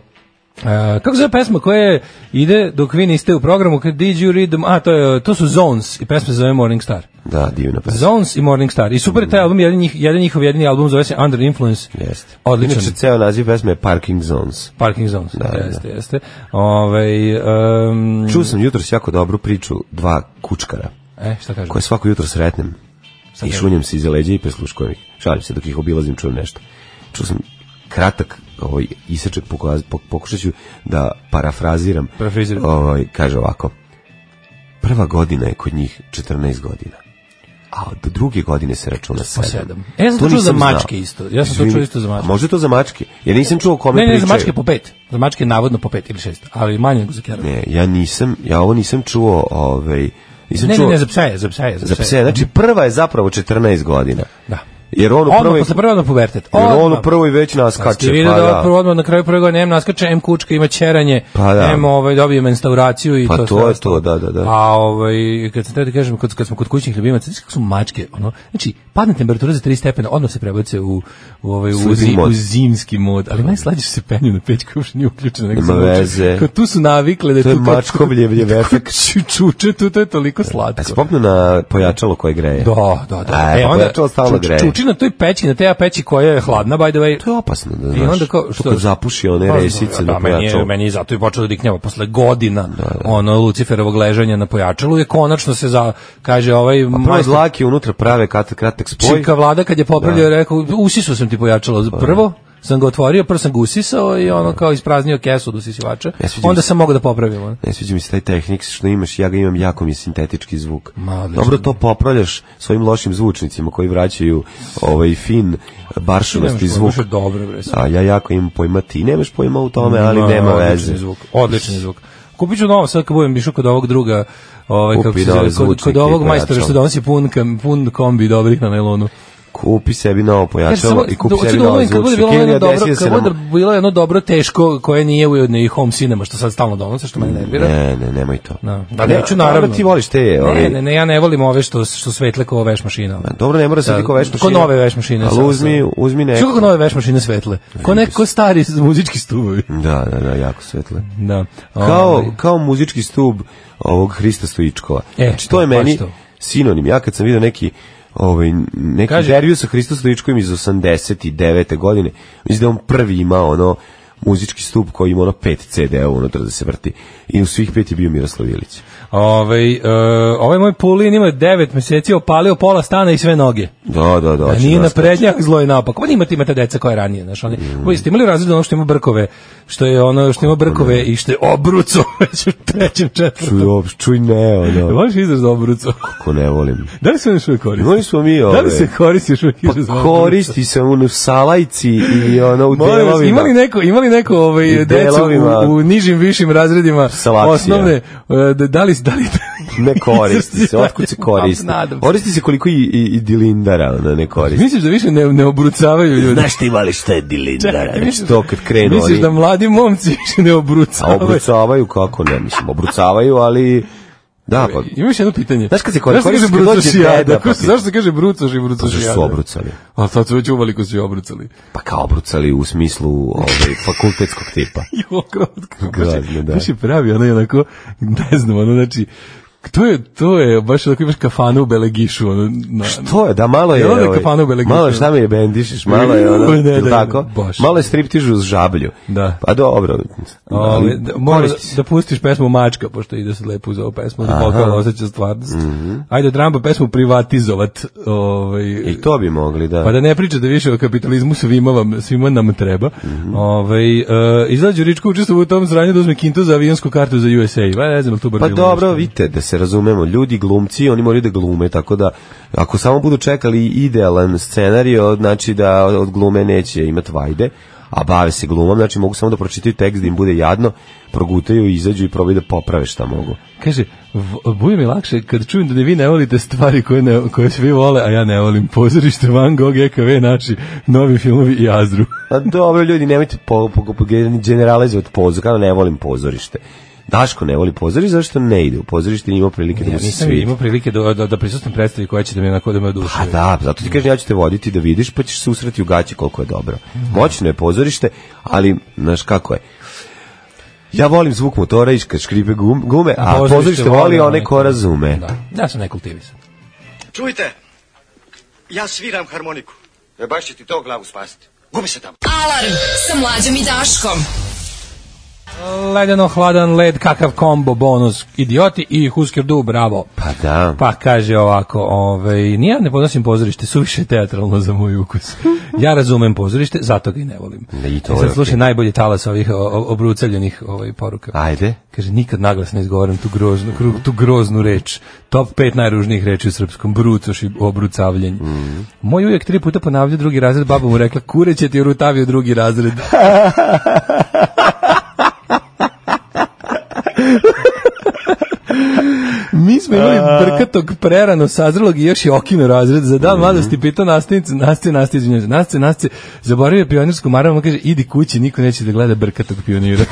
[SPEAKER 5] E, kako se zove pesma koja ide dok vi niste u programu, kad did you read them, a to, je, to su Zones i pesma se zove Morning Star.
[SPEAKER 6] Da, divna pesma.
[SPEAKER 5] Zones i Morning Star. I super je taj album, jedan, njih, jedan njihov jedini album zove se Under Influence.
[SPEAKER 6] Jeste.
[SPEAKER 5] Odličan.
[SPEAKER 6] Inače, ceo naziv pesme je Parking Zones.
[SPEAKER 5] Parking Zones.
[SPEAKER 6] Da, da.
[SPEAKER 5] jeste, jeste. Ovaj um,
[SPEAKER 6] Čuo sam jutros jako dobru priču dva kučkara,
[SPEAKER 5] E, šta kažem?
[SPEAKER 6] koje svako jutro sretnem i šunjem se iza leđa i presluškujem ih. Šalim se dok ih obilazim, čujem nešto. Čuo sam kratak ovaj, isečak, pokaz- pok- pokušat ću da parafraziram.
[SPEAKER 5] Parafraziram.
[SPEAKER 6] Ovaj, kaže ovako, prva godina je kod njih 14 godina a od druge godine se računa sedam.
[SPEAKER 5] sedam. E, ja sam to
[SPEAKER 6] To
[SPEAKER 5] čuo za
[SPEAKER 6] nisam znao.
[SPEAKER 5] mačke isto. Ja sam to
[SPEAKER 6] Izvini,
[SPEAKER 5] čuo isto za mačke.
[SPEAKER 6] a Možda je to za mačke. Ja nisam čuo o kome
[SPEAKER 5] Ne, ne, za
[SPEAKER 6] pričaju.
[SPEAKER 5] mačke po pet. Za mačke navodno po pet ili šest, ali manje nego za kerove.
[SPEAKER 6] Ne, ja nisam, ja ovo nisam čuo, ovaj, nisam
[SPEAKER 5] ne, ne,
[SPEAKER 6] čuo
[SPEAKER 5] ne, za psa je, za psa je.
[SPEAKER 6] za pse. Znači, prva je zapravo 14 godina.
[SPEAKER 5] Da.
[SPEAKER 6] Jer on u
[SPEAKER 5] Odmah,
[SPEAKER 6] prvoj...
[SPEAKER 5] posle prvog na pubertet.
[SPEAKER 6] Ono Jer ono on
[SPEAKER 5] Odmah.
[SPEAKER 6] u prvoj već
[SPEAKER 5] Ste
[SPEAKER 6] naskače,
[SPEAKER 5] vidio
[SPEAKER 6] pa
[SPEAKER 5] da,
[SPEAKER 6] da.
[SPEAKER 5] prvo odmah na kraju prve godine em naskače, em kučka ima ćeranje,
[SPEAKER 6] Pa da.
[SPEAKER 5] em ovaj, dobije menstauraciju i
[SPEAKER 6] Pa
[SPEAKER 5] to,
[SPEAKER 6] to
[SPEAKER 5] sve
[SPEAKER 6] je
[SPEAKER 5] ostalo.
[SPEAKER 6] to, da, da, da.
[SPEAKER 5] A ovaj, kad sam treba da kažem, kad, kad smo kod kućnih ljubimaca, znaš kako su mačke, ono, znači, padne temperatura za 3 stepena, odmah se prebace u, u, ovaj, u,
[SPEAKER 6] Zimski
[SPEAKER 5] zi-
[SPEAKER 6] mod.
[SPEAKER 5] u zimski mod, ali najslađe su se penju na pećku, uopšte nije uključeno. nego
[SPEAKER 6] Nema
[SPEAKER 5] se vuče.
[SPEAKER 6] veze.
[SPEAKER 5] Kao tu su navikle da je (laughs)
[SPEAKER 6] To je
[SPEAKER 5] tu kao-
[SPEAKER 6] mačkov ljevljev efekt.
[SPEAKER 5] Ču- čuče tu, to je toliko
[SPEAKER 6] A
[SPEAKER 5] slatko.
[SPEAKER 6] se popnu na pojačalo koje greje.
[SPEAKER 5] Da, da, da.
[SPEAKER 6] A, pa pojačalo stalno
[SPEAKER 5] ču-
[SPEAKER 6] greje.
[SPEAKER 5] čuči na toj peći, na te ja peći koja je hladna, by the way.
[SPEAKER 6] To je opasno, Pa da
[SPEAKER 5] I
[SPEAKER 6] znaš.
[SPEAKER 5] onda kao,
[SPEAKER 6] To
[SPEAKER 5] što-
[SPEAKER 6] kad zapuši one
[SPEAKER 5] Pa,
[SPEAKER 6] resice
[SPEAKER 5] da,
[SPEAKER 6] na
[SPEAKER 5] meni je,
[SPEAKER 6] pojačalo.
[SPEAKER 5] meni je zato i počelo da diknjava posle godina ono Luciferovog ležanja na pojačalu je konačno se za kaže ovaj
[SPEAKER 6] Prvo
[SPEAKER 5] majstor
[SPEAKER 6] dlake unutra prave krat- kratak spoj. Pa.
[SPEAKER 5] Čika vlada kad je popravljao rekao usisu sam ti pojačalo prvo sam ga otvorio, prvo sam ga usisao i ono kao ispraznio kesu od usisivača.
[SPEAKER 6] Ja sviđa mi
[SPEAKER 5] Onda
[SPEAKER 6] se.
[SPEAKER 5] sam mogao da popravim. ono.
[SPEAKER 6] Ne sviđa mi se taj tehnik što imaš, ja ga imam jako mi je sintetički zvuk.
[SPEAKER 5] Ma, odlično.
[SPEAKER 6] Dobro to popravljaš svojim lošim zvučnicima koji vraćaju ovaj fin baršunosti
[SPEAKER 5] Nemaš pojma,
[SPEAKER 6] zvuk.
[SPEAKER 5] baš je Dobro, bre.
[SPEAKER 6] A ja jako imam pojma, ti nemaš pojma u tome, ali nema
[SPEAKER 5] odličan
[SPEAKER 6] veze.
[SPEAKER 5] je Zvuk, odličan je zvuk. Kupit ću novo, sad kad budem išao kod ovog druga, ovaj,
[SPEAKER 6] Kupi
[SPEAKER 5] kako se
[SPEAKER 6] nove
[SPEAKER 5] zove, kod, kod
[SPEAKER 6] zvučnike i
[SPEAKER 5] ovog
[SPEAKER 6] pojačalo.
[SPEAKER 5] majstora što donosi pun, kam- pun kombi dobrih na nailonu.
[SPEAKER 6] Kupi sebi novo
[SPEAKER 5] Ja
[SPEAKER 6] pojačalo ono, i kupi
[SPEAKER 5] hoću
[SPEAKER 6] sebi
[SPEAKER 5] da
[SPEAKER 6] novo
[SPEAKER 5] ulovim kad bude
[SPEAKER 6] zvučnik.
[SPEAKER 5] bilo
[SPEAKER 6] Ili
[SPEAKER 5] ono
[SPEAKER 6] ga
[SPEAKER 5] dobro,
[SPEAKER 6] desi da se
[SPEAKER 5] kad
[SPEAKER 6] nam-
[SPEAKER 5] bude bilo jedno dobro teško koje nije ujedno i home cinema što sad stalno donose, što mene nervira.
[SPEAKER 6] Ne, ne, nemoj to.
[SPEAKER 5] Da, da
[SPEAKER 6] Ne,
[SPEAKER 5] neću, naravno.
[SPEAKER 6] dobro, ti voliš te, ovaj-
[SPEAKER 5] Ne, ne, ne, ja ne volim ove što, što svetle kao veš mašina.
[SPEAKER 6] Ma, dobro, ne mora se
[SPEAKER 5] Da,
[SPEAKER 6] ti ko veš mašina.
[SPEAKER 5] Ko nove veš mašine.
[SPEAKER 6] Ali
[SPEAKER 5] sa-
[SPEAKER 6] uzmi,
[SPEAKER 5] sa-
[SPEAKER 6] uzmi
[SPEAKER 5] Što kako
[SPEAKER 6] neko.
[SPEAKER 5] nove veš mašine svetle? Ko neko stari muzički stubovi.
[SPEAKER 6] Da, da, da, jako svetle.
[SPEAKER 5] Da.
[SPEAKER 6] kao,
[SPEAKER 5] Ovaj.
[SPEAKER 6] kao muzički stub ovog Hrista Stojičkova.
[SPEAKER 5] E,
[SPEAKER 6] znači, to je
[SPEAKER 5] to,
[SPEAKER 6] meni
[SPEAKER 5] baš to.
[SPEAKER 6] sinonim. Ja kad sam vidio neki ovaj, neki
[SPEAKER 5] Kaži.
[SPEAKER 6] intervju sa Hristom Stojičkovim iz 89. godine, mislim da je on prvi imao ono muzički stup koji ima ono pet CD-a unutra da se vrti. I u svih pet je bio Miroslav Ilić.
[SPEAKER 5] Ovaj, e, ovaj moj pulin ima 9 meseci, opalio pola stana i sve noge.
[SPEAKER 6] Da, da, da.
[SPEAKER 5] A
[SPEAKER 6] hoće
[SPEAKER 5] Pa nije
[SPEAKER 6] da
[SPEAKER 5] na
[SPEAKER 6] ostaje.
[SPEAKER 5] prednjak, zlo je naopako. Pa imate, imate deca koja je ranije, znaš, oni. Mm. Vi ste imali razred ono što ima brkove, što je ono što ima brkove i što je obruco (laughs) već u trećem četvrtom.
[SPEAKER 6] Čuj, op- čuj
[SPEAKER 5] (laughs)
[SPEAKER 6] ne, ono,
[SPEAKER 5] Voliš izraz za obruco? (laughs)
[SPEAKER 6] ko ne volim.
[SPEAKER 5] Da li se on još uvijek koristi?
[SPEAKER 6] Imali smo mi ove.
[SPEAKER 5] Da li se koristi još uvijek (laughs)
[SPEAKER 6] Pa
[SPEAKER 5] izraz za obruco?
[SPEAKER 6] koristi se on u salajci i ono u
[SPEAKER 5] Molim vas,
[SPEAKER 6] delovima.
[SPEAKER 5] imali neko, imali neko ovaj,
[SPEAKER 6] I
[SPEAKER 5] decu
[SPEAKER 6] delovima.
[SPEAKER 5] u, u nižim, višim razredima
[SPEAKER 6] Salaksija.
[SPEAKER 5] osnovne, e, da da li, da li, (laughs)
[SPEAKER 6] Ne koristi se, otkud se koristi?
[SPEAKER 5] Nadam se.
[SPEAKER 6] Koristi se koliko i, i, i dilindara, ono, ne koristi.
[SPEAKER 5] misliš da više ne, ne obrucavaju (laughs) ljudi?
[SPEAKER 6] Znaš ti mali šta je dilindara?
[SPEAKER 5] Čekaj,
[SPEAKER 6] Već
[SPEAKER 5] misliš-
[SPEAKER 6] to kad krenu
[SPEAKER 5] Misliš
[SPEAKER 6] oni,
[SPEAKER 5] da mladi momci više ne
[SPEAKER 6] a
[SPEAKER 5] obrucavaju?
[SPEAKER 6] obrucavaju kako ne, mislim, obrucavaju, ali da, pa,
[SPEAKER 5] Imaš jedno pitanje.
[SPEAKER 6] Znaš kad se koristi-
[SPEAKER 5] Zašto se
[SPEAKER 6] koristi
[SPEAKER 5] kaže
[SPEAKER 6] kad dođe
[SPEAKER 5] brucošijada?
[SPEAKER 6] deda, pa
[SPEAKER 5] Ko se-
[SPEAKER 6] ti-
[SPEAKER 5] Zašto se kaže brucoš i
[SPEAKER 6] pa
[SPEAKER 5] brucošijada?
[SPEAKER 6] zašto su obrucali?
[SPEAKER 5] A sad su već uveliko su i (laughs) obrucali.
[SPEAKER 6] Pa kao obrucali u smislu ovaj, fakultetskog tipa.
[SPEAKER 5] Jo, grotko.
[SPEAKER 6] Grozno, da.
[SPEAKER 5] Baš je pravi, ono je onako, ne znam, ono, znači, to je, to je, baš onako imaš kafanu u Belegišu, ono, na,
[SPEAKER 6] To je, da malo je,
[SPEAKER 5] Jel onda
[SPEAKER 6] ovaj,
[SPEAKER 5] kafana u Belegišu?
[SPEAKER 6] malo je šta mi je bendišiš, malo je ono,
[SPEAKER 5] Uj, (laughs) ne,
[SPEAKER 6] jel
[SPEAKER 5] da,
[SPEAKER 6] tako?
[SPEAKER 5] baš.
[SPEAKER 6] Malo je striptižu uz žablju.
[SPEAKER 5] Da.
[SPEAKER 6] Pa dobro, ali
[SPEAKER 5] Ove, da, mora da,
[SPEAKER 6] koristi se.
[SPEAKER 5] da pustiš pesmu Mačka, pošto ide se lepo uz ovu pesmu, da pokala osjeća stvarnost.
[SPEAKER 6] Mhm.
[SPEAKER 5] Ajde od Ramba pesmu privatizovat. Ovaj,
[SPEAKER 6] I to bi mogli, da.
[SPEAKER 5] Pa da ne pričate više o kapitalizmu, svima, vam, svima nam treba. Ovaj e, izađu Ričko učestvo u tom zranju da uzme kintu za avionsku kartu za USA. Pa ne znam, jel tu bar
[SPEAKER 6] Pa
[SPEAKER 5] bilo
[SPEAKER 6] dobro,
[SPEAKER 5] nešto?
[SPEAKER 6] vidite, da se razumemo, ljudi glumci, oni moraju da glume, tako da ako samo budu čekali idealan scenario, znači da od glume neće imati vajde, a bave se glumom, znači mogu samo da pročitaju tekst da im bude jadno, progutaju, izađu i probaju da poprave šta mogu.
[SPEAKER 5] Kaže, v- bude mi lakše kad čujem da ni vi ne volite stvari koje, ne, koje svi vole, a ja ne volim. Pozorište Van Gogh, EKV, naši novi filmovi i Azru.
[SPEAKER 6] A Pa dobro, ljudi, nemojte po, po, po, generalizovati pozor, kao ne volim pozorište. Daško ne voli pozorište, zašto ne ide u pozorište, nije imao prilike da
[SPEAKER 5] Ja
[SPEAKER 6] mu se
[SPEAKER 5] nisam
[SPEAKER 6] svidi.
[SPEAKER 5] imao prilike da, da, da prisustujem predstavi koja će da mi onako da me
[SPEAKER 6] A
[SPEAKER 5] odušuje.
[SPEAKER 6] Pa da, zato ti kažem ja ću te voditi da vidiš pa ćeš se usreti u gaći koliko je dobro. Moćno je pozorište, ali znaš kako je. Ja volim zvuk motora i kad škripe gum- gume, a pozorište voli one ko razume.
[SPEAKER 5] Da, ja sam nekultivisan.
[SPEAKER 1] Čujte, ja sviram harmoniku. E baš će ti to glavu spasiti. Gubi se tamo.
[SPEAKER 4] Alarm sa mlađom i Daškom.
[SPEAKER 5] Ledeno hladan led, kakav kombo bonus, idioti i Husker Du, bravo.
[SPEAKER 6] Pa da.
[SPEAKER 5] Pa kaže ovako, ovaj, nije ja ne podnosim pozorište, suviše je teatralno za moj
[SPEAKER 6] (laughs)
[SPEAKER 5] ukus. Ja razumem pozorište, zato ga i ne volim.
[SPEAKER 6] I to
[SPEAKER 5] E
[SPEAKER 6] je
[SPEAKER 5] sad slušaj najbolji talas ovih o- o- obrucaljenih ovaj, poruka.
[SPEAKER 6] Ajde.
[SPEAKER 5] Kaže, nikad naglas ne izgovaram tu groznu, kru- tu groznu reč. Top 5 najružnijih reči u srpskom. Brucoš i obrucavljenje. Moj ujak tri puta ponavlja drugi razred, baba mu rekla, kure će ti orutavio drugi razred. Mi smo imali brkatog prerano sazrelog i još je okino razred. Za dan mladosti pitao nastavnicu, nastavnice, nastavnice, izvinjavam se, nastavnice, nastavnice, zaboravio je pionirsku maramu, on kaže, idi kući, niko neće da gleda brkatog pionira.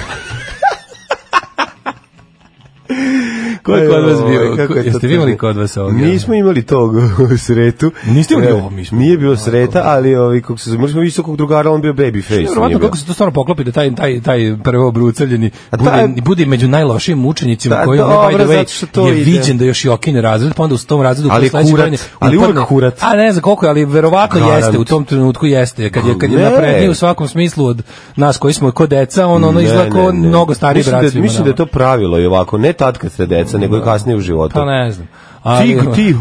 [SPEAKER 5] Ko je kod vas bio?
[SPEAKER 6] Oj, kako
[SPEAKER 5] Ko-
[SPEAKER 6] je to
[SPEAKER 5] Jeste vi imali
[SPEAKER 6] tužno.
[SPEAKER 5] kod vas ovog?
[SPEAKER 6] Nismo imali tog sretu.
[SPEAKER 5] Niste imali
[SPEAKER 6] E,
[SPEAKER 5] ovo, mi smo.
[SPEAKER 6] Nije bilo sreta, ali ovi, kako se zove, visokog drugara, on bio baby face.
[SPEAKER 5] Verovatno kako se to stvarno poklopi da taj taj taj prvo obrucavljeni
[SPEAKER 6] taj-
[SPEAKER 5] bude, bude među najlošijim učenicima
[SPEAKER 6] Da,
[SPEAKER 5] koji ono by
[SPEAKER 6] dobro,
[SPEAKER 5] the
[SPEAKER 6] zato što to
[SPEAKER 5] way je
[SPEAKER 6] ide.
[SPEAKER 5] viđen da još i okine razred, pa onda u tom razredu
[SPEAKER 6] Ali
[SPEAKER 5] koji sledeće
[SPEAKER 6] kurat,
[SPEAKER 5] godine
[SPEAKER 6] ali uvek
[SPEAKER 5] upadne-
[SPEAKER 6] kurat.
[SPEAKER 5] A ne znam koliko je, ali verovatno
[SPEAKER 6] Garant.
[SPEAKER 5] jeste u tom trenutku jeste kad je kad je
[SPEAKER 6] Ne.
[SPEAKER 5] napredniji u svakom smislu od nas koji smo ko deca, on ono izgleda kao mnogo stariji
[SPEAKER 6] mislim
[SPEAKER 5] brat
[SPEAKER 6] Da,
[SPEAKER 5] svima
[SPEAKER 6] mislim da je
[SPEAKER 5] nama.
[SPEAKER 6] to pravilo i ovako, ne tad kad ste deca, nego i kasnije u životu.
[SPEAKER 5] Pa ne znam. ali-
[SPEAKER 6] Ti, ti,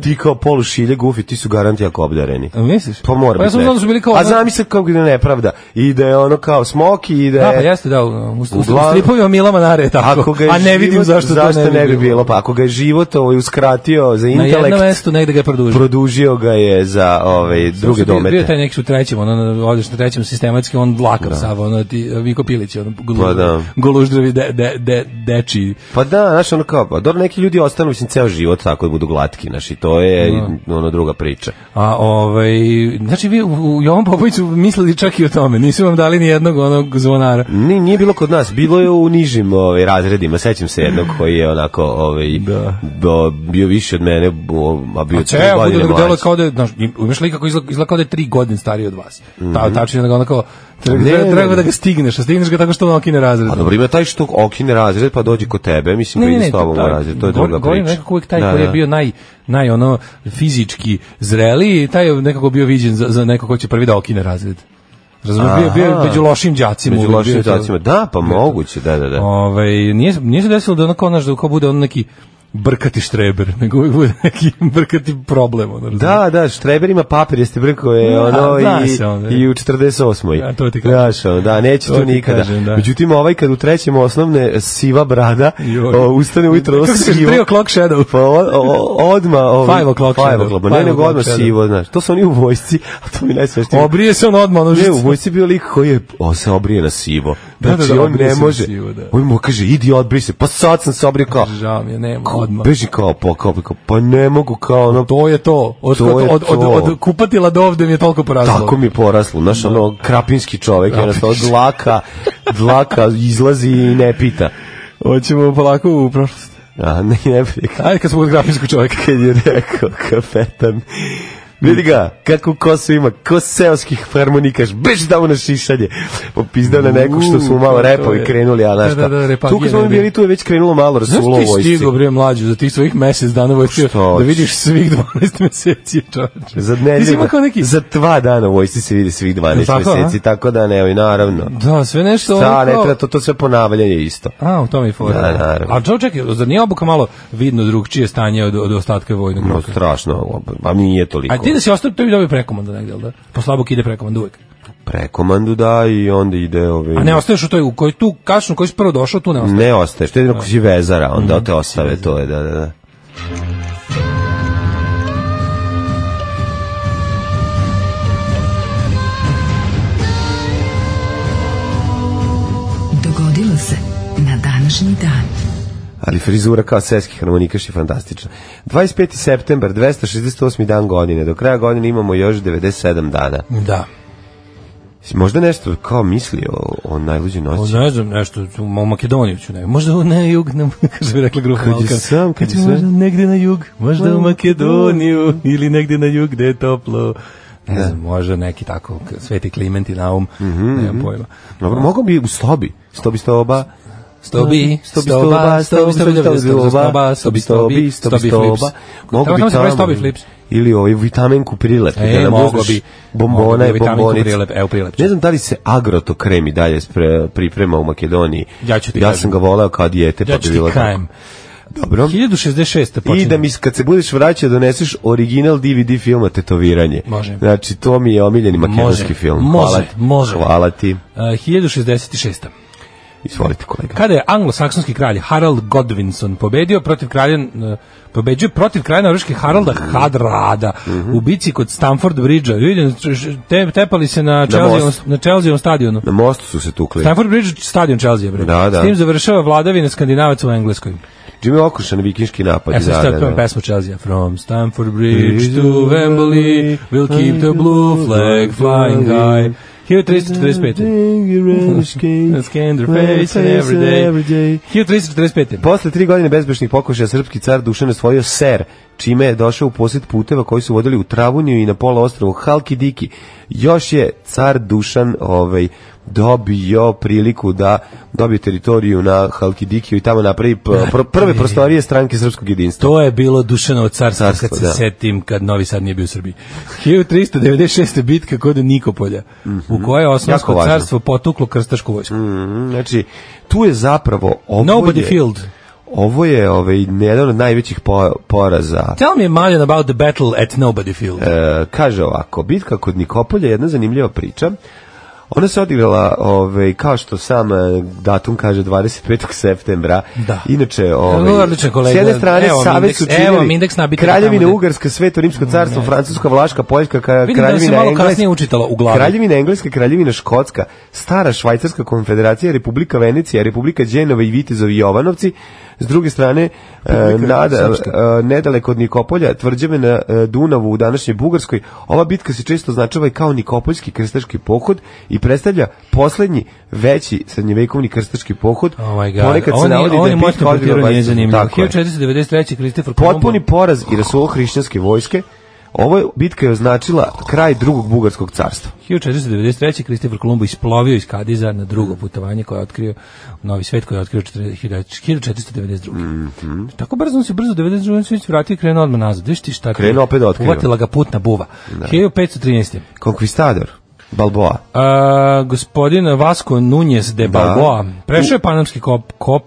[SPEAKER 6] ti kao polušilje gufi, ti su garanti jako obdareni.
[SPEAKER 5] A Misliš?
[SPEAKER 6] Pa mora
[SPEAKER 5] pa ja
[SPEAKER 6] biti
[SPEAKER 5] sam znao da su bili kao...
[SPEAKER 6] A zamisli kao gde nepravda. I da je ono kao smoki i da
[SPEAKER 5] Da,
[SPEAKER 6] je...
[SPEAKER 5] pa jeste, da, u, u, u
[SPEAKER 6] Uglavnom-
[SPEAKER 5] stripovima Mila Manara je tako.
[SPEAKER 6] Ako ga je
[SPEAKER 5] a ne vidim
[SPEAKER 6] život-
[SPEAKER 5] zašto, to ne,
[SPEAKER 6] bi bilo. Pa ako ga je život ovaj uskratio za
[SPEAKER 5] Na jednom
[SPEAKER 6] intelekt,
[SPEAKER 5] mestu negde ga je produžio.
[SPEAKER 6] produžio ga je za ovaj, druge
[SPEAKER 5] Bio- Bio je
[SPEAKER 6] domete.
[SPEAKER 5] taj neki u trećem, ono, ono, odeš na trećem sistematski, on dlakav da. sav, ono, ti, Viko Pilić, ono, goluždravi,
[SPEAKER 6] Pa da.
[SPEAKER 5] goluždravi de, de, de, deči.
[SPEAKER 6] Pa da, znaš, ono kao, pa dobro, neki ljudi ostanu, mislim, ceo život tako da budu glatki, znaš, i to je ono druga priča.
[SPEAKER 5] A, ovaj, znači, vi u, u Jovan Popoviću mislili čak i o tome, nisu vam dali ni jednog onog zvonara.
[SPEAKER 6] Ni, nije bilo kod nas, bilo je u nižim ovaj, razredima, sećam se jednog koji je onako ovaj,
[SPEAKER 5] Da.
[SPEAKER 6] bo- bio više od mene, bo- a bio tri
[SPEAKER 5] Ceo
[SPEAKER 6] godine
[SPEAKER 5] E, bude da delo
[SPEAKER 6] mlađi.
[SPEAKER 5] kao da je, znaš, im- imaš lika koji izgleda, izgleda kao da je tri godine stariji od vas. Ta, tačno da ga onako, treba,
[SPEAKER 6] Mhm. Ne, ne,
[SPEAKER 5] treba, treba
[SPEAKER 6] ne.
[SPEAKER 5] da ga stigneš, a stigneš ga tako što on okine razred.
[SPEAKER 6] A Pa dobro, ima taj što okine razred pa dođe kod tebe, mislim, ne, ide s tobom u
[SPEAKER 5] taj-
[SPEAKER 6] razred, to je
[SPEAKER 5] govorim-
[SPEAKER 6] druga
[SPEAKER 5] Govorim
[SPEAKER 6] priča.
[SPEAKER 5] nekako uvijek taj
[SPEAKER 6] Da,
[SPEAKER 5] koji je
[SPEAKER 6] da.
[SPEAKER 5] bio naj, naj ono fizički zreliji, i taj je nekako bio viđen za, za neko ko će prvi da okine razred. Razumeš, bio, bio je
[SPEAKER 6] Aha.
[SPEAKER 5] među lošim đacima.
[SPEAKER 6] Među
[SPEAKER 5] uvijek
[SPEAKER 6] lošim
[SPEAKER 5] bio to.
[SPEAKER 6] dacima. Da, pa moguće, da, da, da.
[SPEAKER 5] Ovaj, nije, nije se desilo da ono kao, znaš, da kao bude on neki brkati štreber, (laughs) nego uvijek bude neki brkati problem. Ono, razumeš?
[SPEAKER 6] (laughs) Da, da, Štreber ima papir, jeste brko je
[SPEAKER 5] Da,
[SPEAKER 6] ono
[SPEAKER 5] zna
[SPEAKER 6] i,
[SPEAKER 5] se onda.
[SPEAKER 6] i u 48.
[SPEAKER 5] Ja, to ti kažem.
[SPEAKER 6] Znaš, ono, da, neće
[SPEAKER 5] To
[SPEAKER 6] to
[SPEAKER 5] ti
[SPEAKER 6] nikada.
[SPEAKER 5] kažem, da.
[SPEAKER 6] Međutim, ovaj kad u trećem osnovne siva brada,
[SPEAKER 5] Joj.
[SPEAKER 6] o, ustane ujutro, ono
[SPEAKER 5] Kako se
[SPEAKER 6] sivo.
[SPEAKER 5] 3 o'clock shadow?
[SPEAKER 6] Pa o- o- odma ovaj,
[SPEAKER 5] Five o'clock
[SPEAKER 6] five
[SPEAKER 5] shadow.
[SPEAKER 6] o'clock,
[SPEAKER 5] Five
[SPEAKER 6] ne nego
[SPEAKER 5] o'clock
[SPEAKER 6] odma
[SPEAKER 5] shadow.
[SPEAKER 6] sivo, znaš. To su oni u vojsci, (laughs) a to mi najsmešnije.
[SPEAKER 5] Obrije se on odmah, ono,
[SPEAKER 6] Ne, u vojsci je bio lik koji je o, se obrije na sivo.
[SPEAKER 5] Da, da,
[SPEAKER 6] Znači,
[SPEAKER 5] da,
[SPEAKER 6] on
[SPEAKER 5] obrije
[SPEAKER 6] ne
[SPEAKER 5] se na
[SPEAKER 6] može.
[SPEAKER 5] sivo, da.
[SPEAKER 6] On mu kaže, idi odbrij se. Pa sad sam se obrio kao,
[SPEAKER 5] žao mi je, nema, odmah.
[SPEAKER 6] beži kao, pa, kao, pa, kao, pa ne mogu kao ono,
[SPEAKER 5] To je to. Od,
[SPEAKER 6] To je
[SPEAKER 5] od, od,
[SPEAKER 6] to.
[SPEAKER 5] od, od kupatila do ovde mi je toliko porazilo.
[SPEAKER 6] Tako mi je poraslo, znaš, ono, krapinski čovek, jednostavno, dlaka, dlaka izlazi i ne pita.
[SPEAKER 5] Hoćemo polako u prošlost.
[SPEAKER 6] A, ne, ne pita.
[SPEAKER 5] Ajde kad smo kod grafijskog čovjeka.
[SPEAKER 6] Kad je rekao kafetan, vidi ga, kako kosu ima, ko seoskih harmonikaš, bež da mu na šišanje. Popizdao na neku što su mu malo
[SPEAKER 5] U, to
[SPEAKER 6] repovi
[SPEAKER 5] je.
[SPEAKER 6] krenuli, a znaš
[SPEAKER 5] Da, da, da,
[SPEAKER 6] šta. Tu
[SPEAKER 5] repagije,
[SPEAKER 6] kad smo
[SPEAKER 5] ne,
[SPEAKER 6] mi bili,
[SPEAKER 5] ne.
[SPEAKER 6] tu je već krenulo malo
[SPEAKER 5] Znaš
[SPEAKER 6] rasulo u
[SPEAKER 5] ti
[SPEAKER 6] vojsci.
[SPEAKER 5] stigo bre mlađu za tih svojih mjesec dana vojske
[SPEAKER 6] Šta
[SPEAKER 5] da
[SPEAKER 6] hoćeš?
[SPEAKER 5] vidiš svih 12 mjeseci čoveče.
[SPEAKER 6] Za
[SPEAKER 5] Ti si
[SPEAKER 6] nedelju,
[SPEAKER 5] imao kao neki
[SPEAKER 6] za dva dana u vojsci se vidi svih 12
[SPEAKER 5] Tako, a?
[SPEAKER 6] meseci, tako da ne, i naravno.
[SPEAKER 5] Da, sve nešto
[SPEAKER 6] Sa,
[SPEAKER 5] ono
[SPEAKER 6] ne
[SPEAKER 5] kao-
[SPEAKER 6] treba, to, to sve ponavljanje je isto.
[SPEAKER 5] A, u tome je fora.
[SPEAKER 6] Da, naravno.
[SPEAKER 5] A čov, čekaj, zar nije obuka malo vidno drugčije stanje od, od ostatka vojnog
[SPEAKER 6] No,
[SPEAKER 5] roka?
[SPEAKER 6] strašno, pa nije toliko.
[SPEAKER 5] A ti da si ostao, to bi dobio prekomanda negdje, jel da? Po slabog ide prekomanda uvek.
[SPEAKER 6] Prekomandu da i onda ide ovi...
[SPEAKER 5] A ne ostaješ u toj, u kojoj tu kašnu koji si prvo došao, tu ne ostaješ. Mhm.
[SPEAKER 6] Ne ostaješ, to je jedino ako si vezara, onda te ostave, to je, da, da, da.
[SPEAKER 4] Dogodilo se na današnji dan.
[SPEAKER 6] Ali frizura kao seski harmonikaš je fantastična. 25. september, 268. dan godine, do kraja godine imamo još 97 dana.
[SPEAKER 5] Da.
[SPEAKER 6] Si Možda nešto kao misli o, o najluđoj
[SPEAKER 5] O,
[SPEAKER 6] noći.
[SPEAKER 5] ne znam, Pa nešto, u Ma- Makedoniju ću, ne, možda u- na jug, ne, (laughs) kako bi rekla grupa
[SPEAKER 6] Kad je
[SPEAKER 5] Balkan.
[SPEAKER 6] sam, kad
[SPEAKER 5] ću
[SPEAKER 6] je sve.
[SPEAKER 5] Možda negde na jug, možda u Makedoniju, ili negde na jug gde je toplo. Ne znam, možda neki tako, k- sveti Klimenti na um,
[SPEAKER 6] Mhm,
[SPEAKER 5] nemam pojma.
[SPEAKER 6] Dobro, mogu bi u stobi, stobi stoba,
[SPEAKER 5] Stobi,
[SPEAKER 6] Stobi, stoba, stobi, stobi, stobi, stoba, stobi, stobi, stobi, stoba. Mogu
[SPEAKER 5] Tamo
[SPEAKER 6] bi
[SPEAKER 5] se pravi
[SPEAKER 6] tamo.
[SPEAKER 5] stobi flips.
[SPEAKER 6] Ili ovaj vitaminku prilep.
[SPEAKER 5] E,
[SPEAKER 6] da nam
[SPEAKER 5] moglo
[SPEAKER 6] uzmeš
[SPEAKER 5] bi. Moglo
[SPEAKER 6] Bombona
[SPEAKER 5] bi
[SPEAKER 6] je
[SPEAKER 5] vitaminku
[SPEAKER 6] bombonica.
[SPEAKER 5] prilep, evo prilep.
[SPEAKER 6] Ne znam da li se agroto krem i dalje spre- priprema u Makedoniji.
[SPEAKER 5] Ja ću ti
[SPEAKER 6] Ja
[SPEAKER 5] kažem.
[SPEAKER 6] sam ga voleo kao dijete, pa
[SPEAKER 5] Ja ću
[SPEAKER 6] bi
[SPEAKER 5] ti
[SPEAKER 6] bilo tako.
[SPEAKER 5] kajem.
[SPEAKER 6] Dobro.
[SPEAKER 5] 1066.
[SPEAKER 6] I
[SPEAKER 5] počinje.
[SPEAKER 6] da mi, s- kad se budeš vraćao, doneseš original DVD filma Tetoviranje.
[SPEAKER 5] Može.
[SPEAKER 6] Znači, to mi je omiljeni makedonski film.
[SPEAKER 5] može,
[SPEAKER 6] Hvala ti.
[SPEAKER 5] može.
[SPEAKER 6] Hvala ti.
[SPEAKER 5] Uh, 1066.
[SPEAKER 6] Izvolite, kolega.
[SPEAKER 5] Kada je anglosaksonski kralj Harald Godwinson pobedio protiv kralja eh, pobeđuje protiv kralja norveške Haralda Hadrada u bici kod Stamford Bridge-a. Vidim, te, tepali se na Chelsea
[SPEAKER 6] mostu.
[SPEAKER 5] na Chelsea stadionu.
[SPEAKER 6] Na mostu su se tukli.
[SPEAKER 5] Stamford Bridge stadion Chelsea bre.
[SPEAKER 6] Da, da.
[SPEAKER 5] S tim završava vladavina skandinavaca u Engleskoj.
[SPEAKER 6] Jimmy Okušan, vikinški napad.
[SPEAKER 5] E sad
[SPEAKER 6] da,
[SPEAKER 5] stavio
[SPEAKER 6] da,
[SPEAKER 5] prema
[SPEAKER 6] da.
[SPEAKER 5] pesmu Chelsea. From Stamford Bridge to Wembley, we'll keep the blue flag flying high. 1345.
[SPEAKER 6] (laughs)
[SPEAKER 5] Scan their face and every day. 1345.
[SPEAKER 6] Posle tri godine bezbešnih pokušaja srpski car Dušan osvojio Ser, čime je došao u posjed puteva koji su vodili u Travunju i na pola ostrovu Halki Diki. Još je car Dušan ovaj, dobio priliku da dobije teritoriju na Halkidikiju i tamo napravi p- pr- prve prostorije stranke srpskog jedinstva.
[SPEAKER 5] To je bilo Dušanovo carstvo,
[SPEAKER 6] Carstvo,
[SPEAKER 5] kad se
[SPEAKER 6] da.
[SPEAKER 5] setim kad Novi Sad nije bio u Srbiji. 1396. bitka kod Nikopolja, u kojoj je Osmansko
[SPEAKER 6] Mhm. Jako važno.
[SPEAKER 5] carstvo potuklo krstašku vojsku.
[SPEAKER 6] Mhm, Znači, tu je zapravo ovo
[SPEAKER 5] Nobody
[SPEAKER 6] je,
[SPEAKER 5] Field.
[SPEAKER 6] Ovo je ovaj, jedan od najvećih po- poraza.
[SPEAKER 5] Tell me Marion about the battle at Nobody Field.
[SPEAKER 6] E, kaže ovako, bitka kod Nikopolja je jedna zanimljiva priča. Ona se odigrala, ovaj, kao što sam e, datum kaže, 25. septembra.
[SPEAKER 5] Da.
[SPEAKER 6] Inače, ovaj,
[SPEAKER 5] Evo, odličan kolega.
[SPEAKER 6] s jedne strane,
[SPEAKER 5] Evo vam
[SPEAKER 6] Savez
[SPEAKER 5] indeks-
[SPEAKER 6] su
[SPEAKER 5] evo vam
[SPEAKER 6] činili
[SPEAKER 5] indeks nabitaka
[SPEAKER 6] Kraljevina
[SPEAKER 5] tamo gde-
[SPEAKER 6] Ugarska, Sveto Rimsko carstvo, Francuska, Vlaška, Poljska, ka,
[SPEAKER 5] Vidim da se
[SPEAKER 6] Kraljevina
[SPEAKER 5] malo
[SPEAKER 6] Engleska.
[SPEAKER 5] kasnije učitala u glavi.
[SPEAKER 6] Kraljevina Engleska, Kraljevina Škotska, Stara Švajcarska konfederacija, Republika Venecija, Republika Đenova i Vitezovi Jovanovci, s druge strane, e, nada, e, nedaleko od Nikopolja, tvrđave na e, Dunavu u današnjoj Bugarskoj, ova bitka se često označava i kao Nikopoljski krstaški pohod i predstavlja poslednji veći srednjevekovni krstaški pohod.
[SPEAKER 5] Oh my god.
[SPEAKER 6] Ponekad se
[SPEAKER 5] on je,
[SPEAKER 6] navodi da
[SPEAKER 5] on
[SPEAKER 6] je
[SPEAKER 5] je moćno
[SPEAKER 6] bitka odbila
[SPEAKER 5] protirao, nije
[SPEAKER 6] 20.
[SPEAKER 5] zanimljivo.
[SPEAKER 6] Tako je.
[SPEAKER 5] 1493. Christopher Columbus.
[SPEAKER 6] Potpuni poraz i rasulo hrišćanske vojske, Ovo bitka je označila kraj drugog bugarskog carstva.
[SPEAKER 5] 1493. Kristofer Kolumbo isplovio iz Kadiza na drugo putovanje koje je otkrio u Novi svet koji je otkrio 1492.
[SPEAKER 6] Mhm.
[SPEAKER 5] Tako brzo on se brzo 92. on se već vratio i krenuo odmah nazad. Viš ti šta? ti je?
[SPEAKER 6] Krenuo opet da otkriva.
[SPEAKER 5] Uhvatila ga putna buva. 1513.
[SPEAKER 6] Konkvistador, Balboa.
[SPEAKER 5] A, gospodin Vasco Nunez de Balboa prešao je panamski kop, kop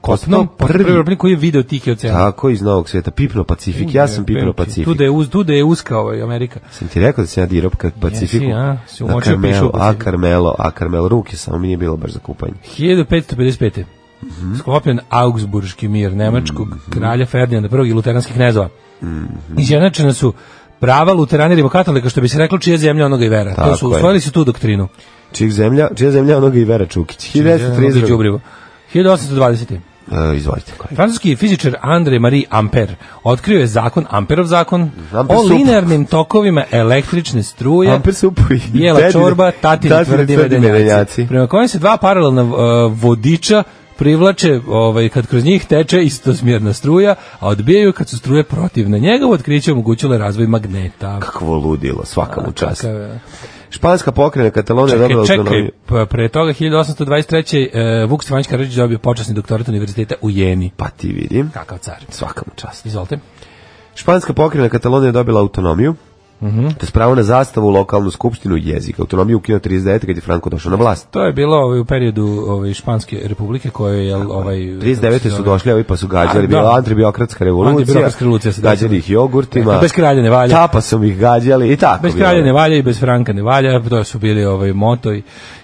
[SPEAKER 5] kopnom,
[SPEAKER 6] Postao prvi.
[SPEAKER 5] prvi robnik koji je video tike oceana.
[SPEAKER 6] Tako, iz Novog sveta. Pipno Pacifik. Ja sam
[SPEAKER 5] Tu
[SPEAKER 6] pipno Pacifik.
[SPEAKER 5] da je, uz, tu da je uska ovaj Amerika.
[SPEAKER 6] Sam ti rekao da sam ja dirao ka Pacifiku.
[SPEAKER 5] Jesi, a? Si
[SPEAKER 6] Na
[SPEAKER 5] umočio pišu u
[SPEAKER 6] Karmelu, a
[SPEAKER 5] Pacifiku.
[SPEAKER 6] Karmelo, a Karmelo ruke samo mi nije bilo baš za kupanje.
[SPEAKER 5] 1555.
[SPEAKER 6] Mhm.
[SPEAKER 5] Sklopljen Augsburški mir Nemačkog kralja Ferdinanda I i luteranskih knezova.
[SPEAKER 6] Mhm.
[SPEAKER 5] Izjednačena su prava luterana i rimokatolika, što bi se reklo čija je zemlja onoga i vera.
[SPEAKER 6] Tako
[SPEAKER 5] to su
[SPEAKER 6] je.
[SPEAKER 5] usvojili su tu doktrinu.
[SPEAKER 6] Čija zemlja, čija zemlja onoga i Vera Čukić. 1932.
[SPEAKER 5] Đubrivo. 1820.
[SPEAKER 6] E, izvolite.
[SPEAKER 5] Francuski fizičar André Marie Ampère otkrio je zakon, Amperov zakon,
[SPEAKER 6] Ampere
[SPEAKER 5] o
[SPEAKER 6] sup.
[SPEAKER 5] linearnim tokovima električne struje.
[SPEAKER 6] Amper supu i
[SPEAKER 5] Bijela
[SPEAKER 6] dedine-
[SPEAKER 5] čorba, tatini
[SPEAKER 6] tatini
[SPEAKER 5] tvrdi
[SPEAKER 6] tvrdi
[SPEAKER 5] medenjaci.
[SPEAKER 6] medenjaci.
[SPEAKER 5] Prema kojem se dva paralelna uh, vodiča privlače ovaj, kad kroz njih teče istosmjerna struja, a odbijaju kad su struje protivne. Njegovo otkriće omogućilo je razvoj magneta.
[SPEAKER 6] Kakvo ludilo, svaka mu čast.
[SPEAKER 5] Kakav je?
[SPEAKER 6] Španska pokrena Katalonija je
[SPEAKER 5] Čekaj,
[SPEAKER 6] dobila
[SPEAKER 5] čekaj,
[SPEAKER 6] autonomiju.
[SPEAKER 5] pa pre toga 1823. Uh, Vuk Stefanić Karadžić dobio počasni doktorat univerziteta u Jeni.
[SPEAKER 6] Pa ti vidim.
[SPEAKER 5] Kakav car.
[SPEAKER 6] Svaka mu čast.
[SPEAKER 5] Izvolite.
[SPEAKER 6] Španska pokrena Katalonija je dobila autonomiju. Mhm. Mm to je pravo na zastavu, lokalnu skupštinu i jezik. Autonomiju ukinuo 39 kad je Franco došao na vlast.
[SPEAKER 5] To je bilo ovaj, u periodu ovaj, Španske republike koja je jel, ovaj
[SPEAKER 6] 39. su došli, ovi pa su
[SPEAKER 5] A,
[SPEAKER 6] gađali,
[SPEAKER 5] da.
[SPEAKER 6] bila antibiokratska revolucija.
[SPEAKER 5] Antibiokratska revolucija se
[SPEAKER 6] gađali
[SPEAKER 5] desila. E, pa
[SPEAKER 6] ih jogurtima.
[SPEAKER 5] Bez kralja ne valja.
[SPEAKER 6] Tapa su ih gađali i tako.
[SPEAKER 5] Bez
[SPEAKER 6] bilo.
[SPEAKER 5] kralja ne valja i bez Franka ne valja, to su bili ovaj moto i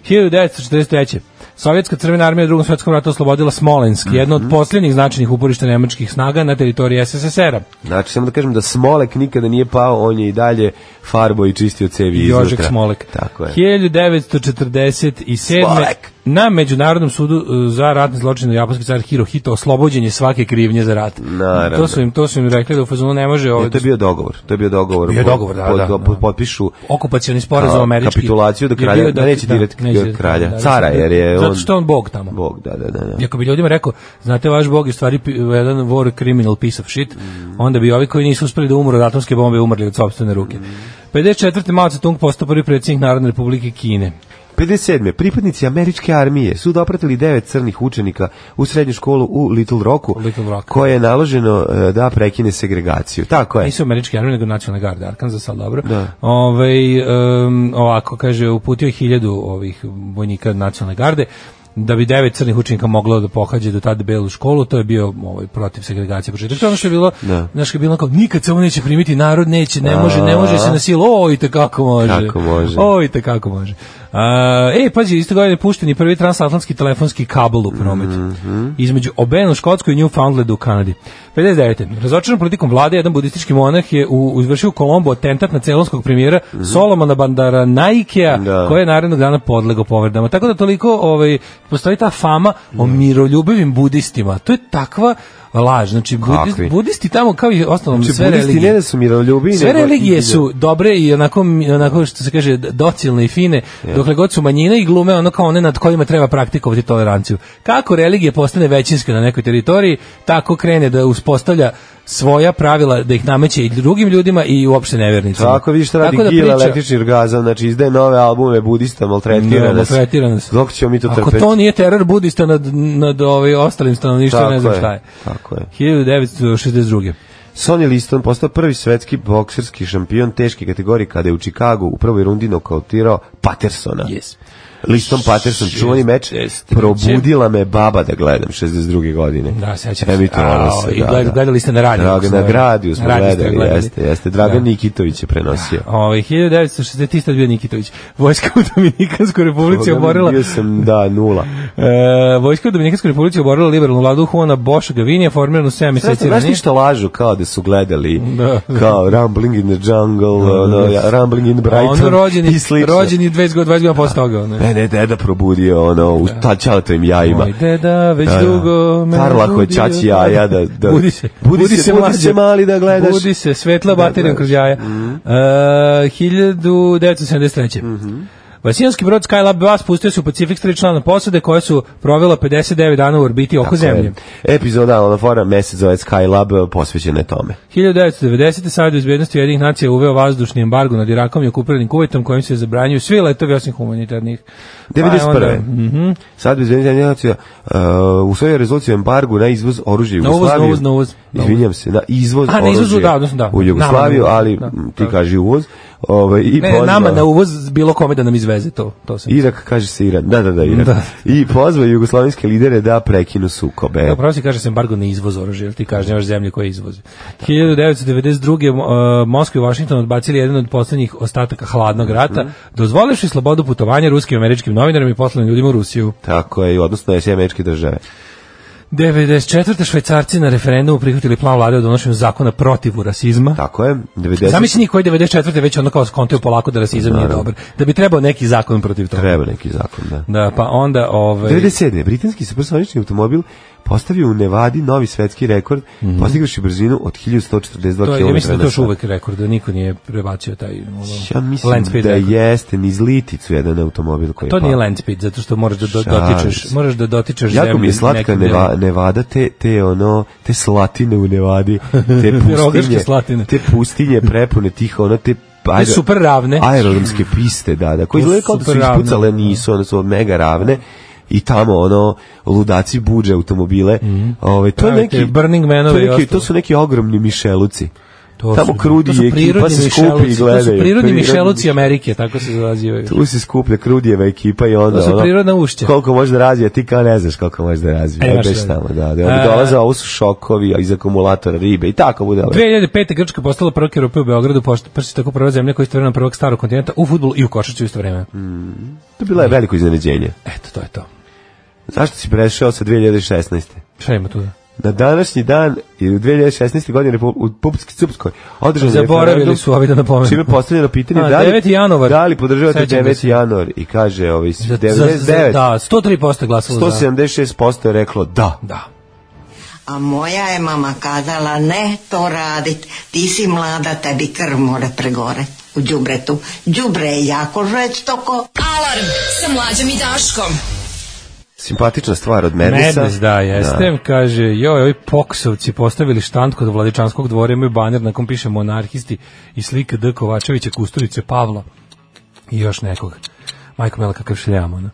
[SPEAKER 5] 1943. Sovjetska crvena armija u Drugom svetskom ratu oslobodila Smolensk,
[SPEAKER 6] Mhm.
[SPEAKER 5] jedno od posljednjih značajnih uporišta nemačkih snaga na teritoriji SSSR-a.
[SPEAKER 6] Znači, samo da kažem da Smolek nikada nije pao, on je i dalje farbo i čistio cevi iznutra.
[SPEAKER 5] Jožek Smolek.
[SPEAKER 6] Tako je.
[SPEAKER 5] 1947.
[SPEAKER 6] Smolek.
[SPEAKER 5] Na Međunarodnom sudu uh, za ratne zločine japanski car Hirohito oslobođen je svake krivnje za rat.
[SPEAKER 6] Naravno.
[SPEAKER 5] To su im, to su im rekli da u fazonu ne može ovaj,
[SPEAKER 6] Ne, E, to je bio dogovor. To je bio dogovor.
[SPEAKER 5] Bio je
[SPEAKER 6] Po-
[SPEAKER 5] dogovor, da,
[SPEAKER 6] po-
[SPEAKER 5] da, da.
[SPEAKER 6] po- Potpišu
[SPEAKER 5] okupacioni sporazum
[SPEAKER 6] a,
[SPEAKER 5] američki.
[SPEAKER 6] kapitulaciju do
[SPEAKER 5] je bio
[SPEAKER 6] kralja, da, neće
[SPEAKER 5] da,
[SPEAKER 6] direkt
[SPEAKER 5] neće-
[SPEAKER 6] kralja,
[SPEAKER 5] da, da,
[SPEAKER 6] cara, jer je
[SPEAKER 5] Zato
[SPEAKER 6] on...
[SPEAKER 5] što je on bog tamo.
[SPEAKER 6] Bog, da, da, da. da.
[SPEAKER 5] I ako bi ljudima rekao, znate vaš bog je u stvari pi- jedan war criminal piece of shit, onda bi ovi koji nisu uspeli da umru od atomske bombe umrli od sobstvene
[SPEAKER 6] Mm.
[SPEAKER 5] ruke. 54. Mao Tse-tung postao prvi predsjednik Narodne republike Kine.
[SPEAKER 6] 57. Pripadnici američke armije su dopratili devet crnih učenika u srednju školu u Little Rocku,
[SPEAKER 5] Little Rock.
[SPEAKER 6] koje je naloženo e, da prekine segregaciju. Tako je.
[SPEAKER 5] Nisu američke armije, nego nacionalne garde Arkansas, ali dobro.
[SPEAKER 6] Da.
[SPEAKER 5] Ovaj, em, ovako, kaže, uputio je hiljadu ovih vojnika nacionalne garde da bi devet crnih učenika moglo da pohađe do tada belu školu, to je bio ovaj, protiv segregacije početak. To je ono što je bilo,
[SPEAKER 6] Da.
[SPEAKER 5] znaš, kad je bilo kao, nikad se ovo neće primiti, narod neće, ne može, ne može se na silu, oj, te kako može.
[SPEAKER 6] Kako može.
[SPEAKER 5] Oj, te kako može. A, e, pađi, isto godine je pušten i prvi transatlantski telefonski kabel u promet.
[SPEAKER 6] Mhm.
[SPEAKER 5] Između Obena u Škotskoj i Newfoundlandu u Kanadi. 59. Razočaran politikom vlade, jedan budistički monah je u, izvršio u Kolombo atentat na celonskog premijera Solomona Bandara Naikea,
[SPEAKER 6] Mhm. Da.
[SPEAKER 5] koji je narednog dana podlegao povredama. Tako da toliko ovaj, postoji ta fama o miroljubivim budistima. To je takva laž. Znači, budist-
[SPEAKER 6] Kakvi?
[SPEAKER 5] budisti tamo, kao i ostalom
[SPEAKER 6] Znači,
[SPEAKER 5] sve
[SPEAKER 6] budisti
[SPEAKER 5] religije.
[SPEAKER 6] ne da su miroljubi,
[SPEAKER 5] Sve
[SPEAKER 6] nego-
[SPEAKER 5] religije su dobre i onako, onako što se kaže docilne i fine, dokle god su manjine i glume ono kao one nad kojima treba praktikovati toleranciju. Kako religija postane većinska na nekoj teritoriji, tako krene da uspostavlja svoja pravila da ih nameće i drugim ljudima i uopšte nevernicima.
[SPEAKER 6] Tako vidiš šta radi
[SPEAKER 5] Tako da
[SPEAKER 6] Gila,
[SPEAKER 5] priča-
[SPEAKER 6] električni orgazam, znači izdaje nove albume budista, maltretira
[SPEAKER 5] Da,
[SPEAKER 6] nas.
[SPEAKER 5] maltretira nas.
[SPEAKER 6] Dok ćemo mi to
[SPEAKER 5] Ako
[SPEAKER 6] trpeti.
[SPEAKER 5] to nije teror budista nad, nad ovaj ostalim stanovništvom,
[SPEAKER 6] Tako
[SPEAKER 5] ne znam
[SPEAKER 6] je,
[SPEAKER 5] šta je.
[SPEAKER 6] tako je.
[SPEAKER 5] 1962.
[SPEAKER 6] Sonny Liston postao prvi svetski bokserski šampion teške kategorije kada je u Čikagu u prvoj rundi nokautirao Patersona.
[SPEAKER 5] Yes.
[SPEAKER 6] listom Patterson, čuvani meč,
[SPEAKER 5] 63.
[SPEAKER 6] probudila me baba da gledam, 62. godine.
[SPEAKER 5] Da, sećam se.
[SPEAKER 6] Emitovalo
[SPEAKER 5] Ao,
[SPEAKER 6] se,
[SPEAKER 5] i gled- gledali ste na radiju,
[SPEAKER 6] Dragan,
[SPEAKER 5] ako se
[SPEAKER 6] na
[SPEAKER 5] ne varam.
[SPEAKER 6] gradiju smo
[SPEAKER 5] Na radiju ste
[SPEAKER 6] gledali,
[SPEAKER 5] gledali.
[SPEAKER 6] jeste, jeste. Dragan
[SPEAKER 5] Da.
[SPEAKER 6] Nikitović je prenosio.
[SPEAKER 5] Ovaj 1960 isto je bio Nikitović. Vojska u Dominikanskoj republici
[SPEAKER 6] Boga mi,
[SPEAKER 5] oborila
[SPEAKER 6] Bio sam, da, nula.
[SPEAKER 5] e, vojska u Dominikanskoj republici oborila liberalnu vladu Juana Boša Gavinija formiranu 7
[SPEAKER 6] Sve
[SPEAKER 5] meseci
[SPEAKER 6] znaš
[SPEAKER 5] ranije.
[SPEAKER 6] ti što lažu kao da su gledali
[SPEAKER 5] Da.
[SPEAKER 6] kao Rumbling in the Jungle, ono, ja, Rumbling in
[SPEAKER 5] A
[SPEAKER 6] Brighton
[SPEAKER 5] Ono rođeni,
[SPEAKER 6] i slično.
[SPEAKER 5] rođeni 20 godina 20 godina posle toga. ono. Ne.
[SPEAKER 6] Mene je deda probudio, ono, u ta čalatovim jajima.
[SPEAKER 5] Moj deda već
[SPEAKER 6] Da, da.
[SPEAKER 5] dugo me
[SPEAKER 6] Tarlako je
[SPEAKER 5] budio.
[SPEAKER 6] čači jaja da- da-
[SPEAKER 5] budi se,
[SPEAKER 6] Budi se, budi
[SPEAKER 5] mlađe.
[SPEAKER 6] se mali da gledaš.
[SPEAKER 5] Budi se, svetla
[SPEAKER 6] Da,
[SPEAKER 5] baterijom
[SPEAKER 6] da. Mhm.
[SPEAKER 5] kroz jaja. Mm. Uh, 1973.
[SPEAKER 6] Mhm.
[SPEAKER 5] Vasijanski brod Skylab 2 spustio se u Pacifik s tri člana posade koja su provela 59 dana u orbiti oko Zemlje.
[SPEAKER 6] Je, epizoda, ona fora, mesec zove Skylab, e, posvećena je tome.
[SPEAKER 5] Pa 1990. Savjet bezbednosti Ujedinih nacija uveo vazdušni embargo nad Irakom i okupiranim Kuvajtom kojim se zabranjuju svi letovi osim humanitarnih. Pa je onda-
[SPEAKER 6] 91.
[SPEAKER 5] Mhm.
[SPEAKER 6] Sad bez izvinjenja nacija uh, u svojoj rezoluciji o embargu na izvoz oružja u
[SPEAKER 5] Na uvoz, na
[SPEAKER 6] Jugoslaviju.
[SPEAKER 5] uvoz, na uvoz, na uvoz.
[SPEAKER 6] Izvinjam se, na izvoz
[SPEAKER 5] A, na izvozu,
[SPEAKER 6] oružja
[SPEAKER 5] da, odnosno da.
[SPEAKER 6] u Jugoslaviju,
[SPEAKER 5] Nama na
[SPEAKER 6] ali
[SPEAKER 5] uvoz, da.
[SPEAKER 6] m, ti kaži uvoz. Ovaj, i
[SPEAKER 5] Ne, ne,
[SPEAKER 6] pozvao-
[SPEAKER 5] nama na uvoz bilo kome da nam izveze to. to sam.
[SPEAKER 6] Irak kaže se Iran. Da, da, da, Irak.
[SPEAKER 5] Da.
[SPEAKER 6] I pozvao jugoslovenske lidere da prekinu sukobe.
[SPEAKER 5] Pravo se kaže se embargo na izvoz oružja, jer ti kažnjavaš zemlje koje izvoze. 1992. mo- e, Moskva i Washington odbacili jedan od poslednjih ostataka hladnog
[SPEAKER 6] Mhm.
[SPEAKER 5] rata, dozvolivši slobodu putovanja ruskim i američkim novinarima i poslanim ljudima u Rusiju.
[SPEAKER 6] Tako je, i odnosno SAD američke države.
[SPEAKER 5] 94. švajcarci na referendumu prihvatili plan vlade o donošenju zakona protiv rasizma.
[SPEAKER 6] Tako je, 90...
[SPEAKER 5] Zamisli njih koji 94. već ono kao skontaju polako da rasizam nije dobar. Da bi trebao neki zakon protiv toga.
[SPEAKER 6] Treba neki zakon, da.
[SPEAKER 5] Da, pa onda... Ovaj,
[SPEAKER 6] 97. Britanski supersonični automobil postavio u Nevadi novi svetski rekord, mm -hmm. postigavši brzinu od 1142 km.
[SPEAKER 5] Mhm. to je, ja mislim da je to još
[SPEAKER 6] na sat.
[SPEAKER 5] uvek rekord, da niko nije prebacio taj ono,
[SPEAKER 6] Ja mislim
[SPEAKER 5] land speed
[SPEAKER 6] da
[SPEAKER 5] rekord.
[SPEAKER 6] jeste niz liticu jedan automobil koji je
[SPEAKER 5] To
[SPEAKER 6] pao.
[SPEAKER 5] nije land speed, zato što moraš da do,
[SPEAKER 6] Pa. Šalim
[SPEAKER 5] dotičeš,
[SPEAKER 6] se.
[SPEAKER 5] moraš da dotičeš
[SPEAKER 6] Jako mi je
[SPEAKER 5] zemlju
[SPEAKER 6] slatka
[SPEAKER 5] nekim
[SPEAKER 6] neva,
[SPEAKER 5] delom.
[SPEAKER 6] Nevada, te, te ono, te slatine u Nevadi,
[SPEAKER 5] (laughs)
[SPEAKER 6] te
[SPEAKER 5] Rogaške
[SPEAKER 6] pustinje,
[SPEAKER 5] slatine.
[SPEAKER 6] te pustinje prepune tih, ono, te
[SPEAKER 5] Te super ravne.
[SPEAKER 6] aerodromske piste, da, da, koje
[SPEAKER 5] To su
[SPEAKER 6] izgledaju kao da su
[SPEAKER 5] super ravne.
[SPEAKER 6] ispucale, nisu, one su mega ravne i tamo ono ludaci buđe automobile. Ovaj to je
[SPEAKER 5] Pravite
[SPEAKER 6] neki
[SPEAKER 5] Mhm. Burning Manove
[SPEAKER 6] to, je
[SPEAKER 5] i
[SPEAKER 6] neki,
[SPEAKER 5] ostalo.
[SPEAKER 6] to su neki ogromni mišeluci.
[SPEAKER 5] To
[SPEAKER 6] Tamo
[SPEAKER 5] su-
[SPEAKER 6] krudi
[SPEAKER 5] to su
[SPEAKER 6] i ekipa pa
[SPEAKER 5] prirodni
[SPEAKER 6] se skupi i
[SPEAKER 5] mišeluci, To
[SPEAKER 6] gledaju.
[SPEAKER 5] su prirodni
[SPEAKER 6] Prirodni
[SPEAKER 5] mišeluci
[SPEAKER 6] mišeluci.
[SPEAKER 5] Amerike, tako se zazivaju.
[SPEAKER 6] Tu se skuplja krudijeva ekipa i onda
[SPEAKER 5] To su
[SPEAKER 6] ono,
[SPEAKER 5] prirodna ušća.
[SPEAKER 6] Koliko može da razvije, ti kao ne znaš koliko može da razvije.
[SPEAKER 5] E,
[SPEAKER 6] E,
[SPEAKER 5] baš
[SPEAKER 6] baš
[SPEAKER 5] da.
[SPEAKER 6] tamo, da. da. Onda
[SPEAKER 5] A-
[SPEAKER 6] dolaze, ovo su šokovi iz akumulatora ribe i tako bude. Dve...
[SPEAKER 5] 2005. Grčka postala prvak Europe u Beogradu, pošto prsi tako prva zemlja koja je istovremeno prvak starog kontinenta u futbolu i u košarci u isto vreme.
[SPEAKER 6] Mm. To bilo je veliko iznenađenje.
[SPEAKER 5] Eto, to je to.
[SPEAKER 6] Zašto si prešao sa 2016.
[SPEAKER 5] Šta ima tu? da?
[SPEAKER 6] Na današnji dan i u 2016. godine Repu- u Pupski Cupskoj održan je
[SPEAKER 5] Zaboravili
[SPEAKER 6] referendum,
[SPEAKER 5] su ovi da napomenu.
[SPEAKER 6] Čime je postavljeno pitanje
[SPEAKER 5] A,
[SPEAKER 6] da li,
[SPEAKER 5] 9. januar.
[SPEAKER 6] da li podržavate
[SPEAKER 5] Sećam ga
[SPEAKER 6] 9.
[SPEAKER 5] se.
[SPEAKER 6] januar i kaže ovaj,
[SPEAKER 5] Za- za- za-
[SPEAKER 6] 99,
[SPEAKER 5] Da, 103% glasalo za.
[SPEAKER 6] 176% je reklo da.
[SPEAKER 5] Da.
[SPEAKER 2] A moja je mama kazala, ne to radit, ti si mlada, tebi krv mora pregore u džubretu. Džubre je jako žestoko.
[SPEAKER 4] Alarm sa mlađom i Daškom.
[SPEAKER 6] Simpatična stvar od Mednisa.
[SPEAKER 5] Mednes, da, jeste. Kaže, joj, ovi poksovci postavili štand kod Vladičanskog dvora, imaju baner na kom piše monarhisti i slika D. Kovačevića, Kusturice, Pavla i još nekog. Majko Mela, kakav šljam, ono.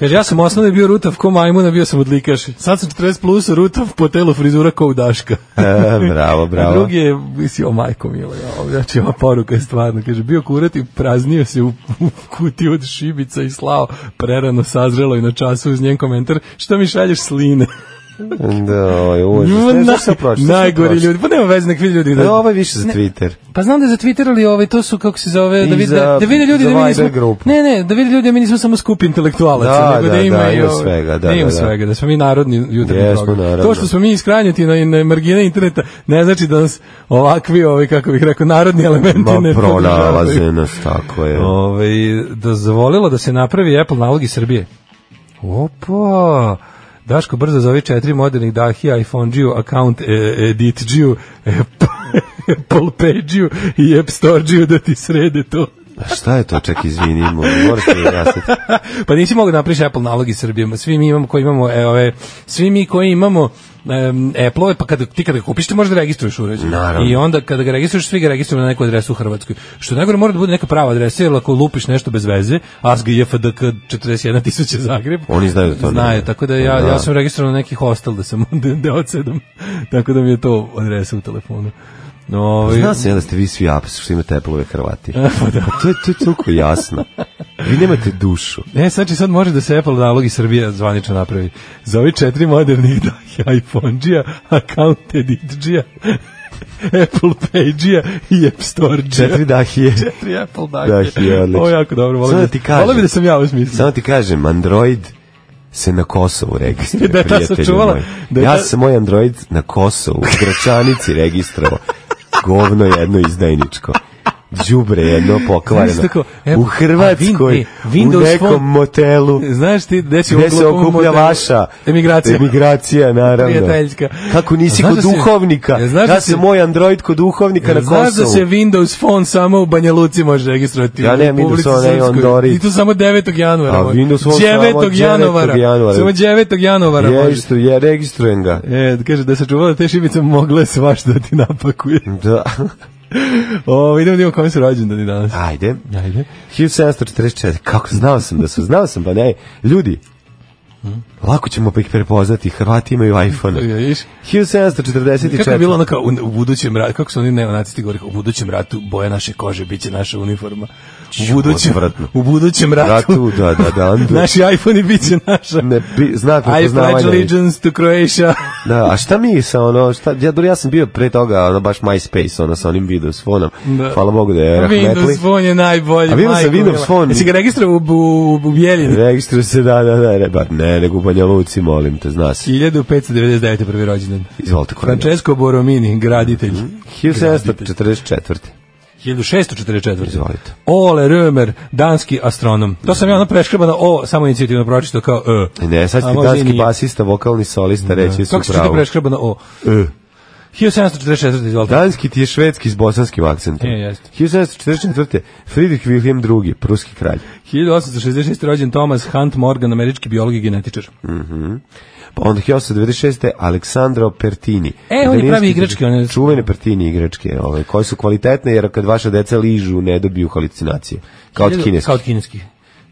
[SPEAKER 5] Kaže, ja sam osnovno bio rutav ko majmuna, bio sam odlikaš. Sad sam 40 plus, rutav po telu frizura ko u Daška.
[SPEAKER 6] E, bravo,
[SPEAKER 5] (laughs) A
[SPEAKER 6] bravo.
[SPEAKER 5] drugi je, mislim, o majko milo, ja, ovo, znači ova poruka je stvarno, kaže, bio kurat i praznio se u, (laughs) u kutiju od šibica i slao, prerano sazrelo i na času uz njen komentar, što mi šalješ sline?
[SPEAKER 6] Da, oj,
[SPEAKER 5] (laughs)
[SPEAKER 6] užas. Ne,
[SPEAKER 5] Naj-
[SPEAKER 6] šta sam pročito? šta sam
[SPEAKER 5] najgori
[SPEAKER 6] pročitao?
[SPEAKER 5] ljudi, pa nema veze, nek vidi ljudi.
[SPEAKER 6] E,
[SPEAKER 5] Da,
[SPEAKER 6] ovo je više za Twitter.
[SPEAKER 5] Pa znam da je za Twitter, ali ovaj, to su, kako se zove, da
[SPEAKER 6] I
[SPEAKER 5] vide,
[SPEAKER 6] za-
[SPEAKER 5] da, da vide ljudi
[SPEAKER 6] za
[SPEAKER 5] da mi
[SPEAKER 6] Viber
[SPEAKER 5] nismo,
[SPEAKER 6] grupu.
[SPEAKER 5] ne, ne, da vide ljudi da mi nismo samo skup intelektualaca,
[SPEAKER 6] Da,
[SPEAKER 5] nego da,
[SPEAKER 6] da,
[SPEAKER 5] ima,
[SPEAKER 6] da,
[SPEAKER 5] i
[SPEAKER 6] ima
[SPEAKER 5] ovaj-
[SPEAKER 6] svega, da,
[SPEAKER 5] ima
[SPEAKER 6] da, da.
[SPEAKER 5] svega, da smo mi narodni jutarnji
[SPEAKER 6] Jesmo,
[SPEAKER 5] program.
[SPEAKER 6] naravno.
[SPEAKER 5] To što smo mi iskranjuti na, na margine interneta, ne znači da nas ovakvi, ovaj, kako bih rekao, narodni elementi ne podržavaju.
[SPEAKER 6] Ma, pronalaze nas, tako je.
[SPEAKER 5] Ove, Ovaj, dozvolilo da se napravi Apple nalog iz Srbije. Opa! Daško, brzo zove četiri modernih Dahi, iPhone G, account e, Edit G, Apple (laughs) Pay G i App Store G da ti srede to.
[SPEAKER 6] A Šta je to? Ček, izvinimo. Morate mi jasniti.
[SPEAKER 5] (laughs) pa nisi mogao da napriš Apple nalog iz Srbije. Svi mi imamo koji imamo, e, ove, svi mi koji imamo em, Apple-ove, pa kada, ti kada ga kupiš, ti možeš da registruješ uređaj.
[SPEAKER 6] Naravno.
[SPEAKER 5] I onda kada ga registruješ, svi ga registruju na neku adresu u Hrvatskoj. Što najgore mora da bude neka prava adresa, jer ako lupiš nešto bez veze, ASG, JFDK, 41000 Zagreb.
[SPEAKER 6] Oni znaju da to ne
[SPEAKER 5] Znaju,
[SPEAKER 6] ide.
[SPEAKER 5] tako da ja,
[SPEAKER 6] Da.
[SPEAKER 5] ja (laughs) sam registrovan na neki hostel da sam da, da odsedam. tako da mi je to adresa u telefonu. Ovaj,
[SPEAKER 6] Zna se ja da ste vi svi apsi što imate teplove
[SPEAKER 5] (laughs)
[SPEAKER 6] Hrvati. Pa da. To je, to je toliko jasno. Vi nemate dušu.
[SPEAKER 5] E, znači sad može da se Apple nalog iz Srbije zvanično napravi. Za ovi četiri modernih (laughs) da, iPhone-đija, Accounted it-đija, (laughs) Apple Page-đija i App Store-đija.
[SPEAKER 6] Četiri dahije.
[SPEAKER 5] Četiri Apple
[SPEAKER 6] Dahije,
[SPEAKER 5] dahije.
[SPEAKER 6] odlično.
[SPEAKER 5] Ovo je jako dobro. Volim
[SPEAKER 6] Samo
[SPEAKER 5] da,
[SPEAKER 6] da ti kažem.
[SPEAKER 5] Volim da sam ja ovo smislio.
[SPEAKER 6] Samo ti kažem, Android se na Kosovu
[SPEAKER 5] (laughs)
[SPEAKER 6] registruje,
[SPEAKER 5] Da je ta
[SPEAKER 6] prijatelju
[SPEAKER 5] sačuvala,
[SPEAKER 6] moj.
[SPEAKER 5] da je
[SPEAKER 6] ja
[SPEAKER 5] ta-
[SPEAKER 6] sam moj Android na Kosovu, u Gračanici registrovao. Govno jedno izdajničko. Đubre jedno pokvareno.
[SPEAKER 5] Znaš tako, evo,
[SPEAKER 6] u
[SPEAKER 5] a
[SPEAKER 6] Hrvatskoj,
[SPEAKER 5] Win- e, Windows
[SPEAKER 6] u nekom
[SPEAKER 5] Phone-
[SPEAKER 6] motelu,
[SPEAKER 5] Znaš ti, gde si
[SPEAKER 6] gde
[SPEAKER 5] ovom
[SPEAKER 6] se
[SPEAKER 5] glupom
[SPEAKER 6] okuplja
[SPEAKER 5] modelu?
[SPEAKER 6] vaša
[SPEAKER 5] emigracija.
[SPEAKER 6] emigracija naravno.
[SPEAKER 5] Prijateljska.
[SPEAKER 6] Kako nisi
[SPEAKER 5] A znaš
[SPEAKER 6] kod
[SPEAKER 5] da si-
[SPEAKER 6] duhovnika?
[SPEAKER 5] E, znaš da
[SPEAKER 6] ja
[SPEAKER 5] si- E,
[SPEAKER 6] sam moj Android kod duhovnika na Kosovu.
[SPEAKER 5] Znaš da se Windows Phone samo u Banja Luci može registrovati.
[SPEAKER 6] Ja
[SPEAKER 5] u
[SPEAKER 6] nemam Windows
[SPEAKER 5] Republici
[SPEAKER 6] Phone, ja imam
[SPEAKER 5] Srpskoj.
[SPEAKER 6] Android.
[SPEAKER 5] I to samo 9. januara.
[SPEAKER 6] A
[SPEAKER 5] moj.
[SPEAKER 6] Windows Phone samo
[SPEAKER 5] 9.
[SPEAKER 6] 9. januara.
[SPEAKER 5] Samo 9. januara.
[SPEAKER 6] Ja,
[SPEAKER 5] može.
[SPEAKER 6] isto, ja registrujem ga.
[SPEAKER 5] E, kaže da se čuvala te šibice mogle svašta da ti napakuje. (laughs)
[SPEAKER 6] Da.
[SPEAKER 5] O, idemo da imamo kome su rođendani danas.
[SPEAKER 6] Ajde.
[SPEAKER 5] Ajde.
[SPEAKER 6] 1744. Kako znao sam da su, znao sam pa ne. Ljudi, lako ćemo pa ih prepoznati. Hrvati imaju iPhone.
[SPEAKER 5] Ja, vidiš? Kako je
[SPEAKER 6] 1744.
[SPEAKER 5] bilo ono kao u, u budućem ratu, kako su oni neonacisti govorili, u budućem ratu boja naše kože biće naša uniforma. U budućem,
[SPEAKER 6] odvratno.
[SPEAKER 5] u budućem ratu,
[SPEAKER 6] Ratu, da, da,
[SPEAKER 5] (laughs)
[SPEAKER 6] da, andu.
[SPEAKER 5] naši iPhone biće naša.
[SPEAKER 6] Ne, bi,
[SPEAKER 5] I
[SPEAKER 6] znak
[SPEAKER 5] pledge
[SPEAKER 6] prepoznavanja.
[SPEAKER 5] allegiance to Croatia.
[SPEAKER 6] Da, a šta mi sa ono, šta, ja, dobro, ja sam bio pre toga ono, baš MySpace, ono, sa onim Windows fonom.
[SPEAKER 5] Da.
[SPEAKER 6] Hvala Bogu da je rahmetli.
[SPEAKER 5] Windows Phone je najbolji.
[SPEAKER 6] A vidio sam
[SPEAKER 5] majko
[SPEAKER 6] Windows
[SPEAKER 5] mila.
[SPEAKER 6] Phone.
[SPEAKER 5] Jesi ga registrovao u, u, u Bijeljini?
[SPEAKER 6] Registruje se, da, da, da, ne, ba, ne, nego u Banja Luci, molim te, zna se.
[SPEAKER 5] 1599. prvi rođendan.
[SPEAKER 6] Izvolite, kolega.
[SPEAKER 5] Francesco Boromini, graditelj.
[SPEAKER 6] Mhm. 1744.
[SPEAKER 5] 1644.
[SPEAKER 6] Izvolite.
[SPEAKER 5] Ole Römer, danski astronom. To sam ja ono preškrbano O, samo inicijativno pročito kao E.
[SPEAKER 6] Ne, sad
[SPEAKER 5] A
[SPEAKER 6] ti
[SPEAKER 5] možda i
[SPEAKER 6] danski
[SPEAKER 5] nije.
[SPEAKER 6] basista, vokalni solista, reći su
[SPEAKER 5] Kako se čita
[SPEAKER 6] pravo.
[SPEAKER 5] preškrbano O?
[SPEAKER 6] E.
[SPEAKER 5] 1744, izvolite.
[SPEAKER 6] Danski ti je švedski s bosanskim akcentom.
[SPEAKER 5] E, jeste.
[SPEAKER 6] 1744. Friedrich Wilhelm II, pruski kralj.
[SPEAKER 5] 1866. rođen Thomas Hunt Morgan, američki biolog i genetičar.
[SPEAKER 6] Pa onda 1896. Aleksandro Pertini.
[SPEAKER 5] E, on je
[SPEAKER 6] Italijanski
[SPEAKER 5] pravi igračke, on je-
[SPEAKER 6] Čuvene Pertini igračke, ove, koje su kvalitetne, jer kad vaša deca ližu, ne dobiju halucinacije. Kao od
[SPEAKER 5] Hiljadu-
[SPEAKER 6] kineskih.
[SPEAKER 5] Kao od kineskih.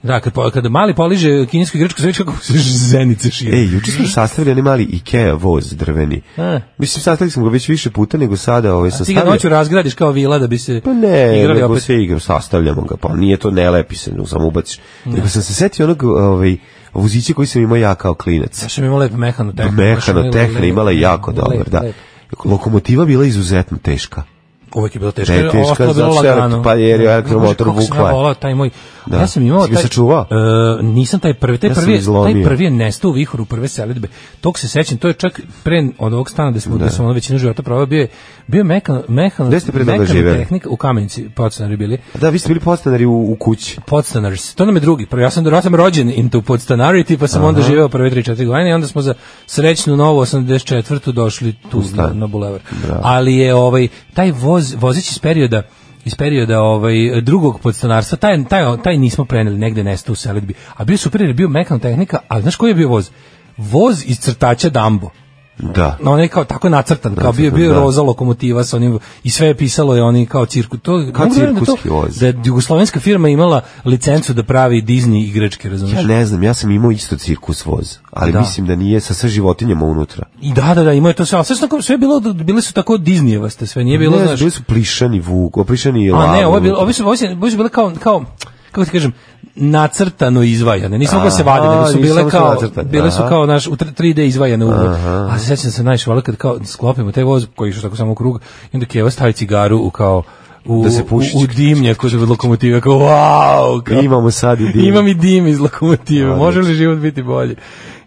[SPEAKER 5] Da, kad, po- kada mali poliže kinesku igračku, sve kako se zenice šire.
[SPEAKER 6] E, juče smo sastavili onaj mali Ikea voz drveni.
[SPEAKER 5] A.
[SPEAKER 6] Mislim, sastavili smo ga već više puta nego sada. Ovaj, sam
[SPEAKER 5] Ti ga
[SPEAKER 6] stavio-
[SPEAKER 5] noću razgradiš kao vila da bi se
[SPEAKER 6] Pa ne,
[SPEAKER 5] igrali
[SPEAKER 6] nego
[SPEAKER 5] opet.
[SPEAKER 6] se igram, sastavljamo ga, pa nije to ne lepi se, no, samo ubaciš. Nego sam se setio onog ovaj, vozića koji sam imao ja kao klinac.
[SPEAKER 5] Znaš, imamo lepo mehanu tehnu.
[SPEAKER 6] Mehano, tehna, imala je jako dobar, da. Lokomotiva bila izuzetno teška.
[SPEAKER 5] Uvek je bilo teško.
[SPEAKER 6] Da je
[SPEAKER 5] jer
[SPEAKER 6] teška,
[SPEAKER 5] ostalo je bilo
[SPEAKER 6] zato što je
[SPEAKER 5] lagano.
[SPEAKER 6] pa jer je
[SPEAKER 5] Da,
[SPEAKER 6] elektromotor
[SPEAKER 5] Bože, kako sam ja
[SPEAKER 6] vukla.
[SPEAKER 5] volao taj moj.
[SPEAKER 6] Da.
[SPEAKER 5] Ja sam imao
[SPEAKER 6] Si ga
[SPEAKER 5] taj.
[SPEAKER 6] sačuvao?
[SPEAKER 5] E, nisam taj prvi, taj
[SPEAKER 6] Ja sam
[SPEAKER 5] prvi, taj
[SPEAKER 6] izlomio.
[SPEAKER 5] prvi je nestao u vihoru prve selidbe. Tog se sećam, to je čak pre od ovog stana gde smo da. smo ono većinu života proveo, bio je bio mekan mekan
[SPEAKER 6] Gde ste pre toga
[SPEAKER 5] mehano
[SPEAKER 6] živeli?
[SPEAKER 5] tehnik u Kamenici, podstanari bili.
[SPEAKER 6] Da, vi ste bili postanari u, u kući.
[SPEAKER 5] Podstanars. To nam je drugi. Prvo, ja sam, ja sam rođen into podstanarity, pa sam onda živeo prve 3-4 godine i onda smo za srećnu novu 84. došli tu na,
[SPEAKER 6] stan.
[SPEAKER 5] na bulevar. Ali je ovaj, taj voz, vozić iz perioda iz perioda ovaj drugog podstanarstva taj taj taj nismo preneli negde nestao u selidbi a bio je super jer je bio mekan tehnika a znaš koji je bio voz voz iz crtača Dambo
[SPEAKER 6] Da.
[SPEAKER 5] no on je kao tako nacrtan, kao bio bio
[SPEAKER 6] da.
[SPEAKER 5] roza lokomotiva sa onim i sve je pisalo je oni kao cirku to
[SPEAKER 6] Kao
[SPEAKER 5] mogu da verujem
[SPEAKER 6] cirkuski
[SPEAKER 5] da, to,
[SPEAKER 6] voz.
[SPEAKER 5] da je jugoslovenska firma imala licencu da pravi Disney igračke, razumiješ?
[SPEAKER 6] Ja ne znam, ja sam imao isto cirkus voz, ali
[SPEAKER 5] Da.
[SPEAKER 6] mislim da nije sa sve životinjama unutra.
[SPEAKER 5] I da, da, da, imao je to sve, ali sve, su tako- sve je bilo, bile su tako Disneyevaste, sve nije bilo,
[SPEAKER 6] ne,
[SPEAKER 5] znaš.
[SPEAKER 6] bili su plišani vuk, o, plišani lav.
[SPEAKER 5] A ne, ovo je bilo, ovi su, ovi su, ovi su bile kao, kao, kako ti kažem, nacrtano izvajane. Nisu mogle se vaditi,
[SPEAKER 6] Aha,
[SPEAKER 5] nego su
[SPEAKER 6] nisu
[SPEAKER 5] bile
[SPEAKER 6] samo su
[SPEAKER 5] kao
[SPEAKER 6] nacrtane,
[SPEAKER 5] bile su
[SPEAKER 6] aha.
[SPEAKER 5] kao naš u tr- 3D izvajane u. A se sećam se najviše volio kad kao sklopimo taj voz koji je išao tako samo u krug i onda Keva stavi cigaru u kao u,
[SPEAKER 6] Da se puši.
[SPEAKER 5] u, u dimnjak kod lokomotive kao wow kao,
[SPEAKER 6] Imamo sad i dim.
[SPEAKER 5] imam i dim iz lokomotive može li život biti bolji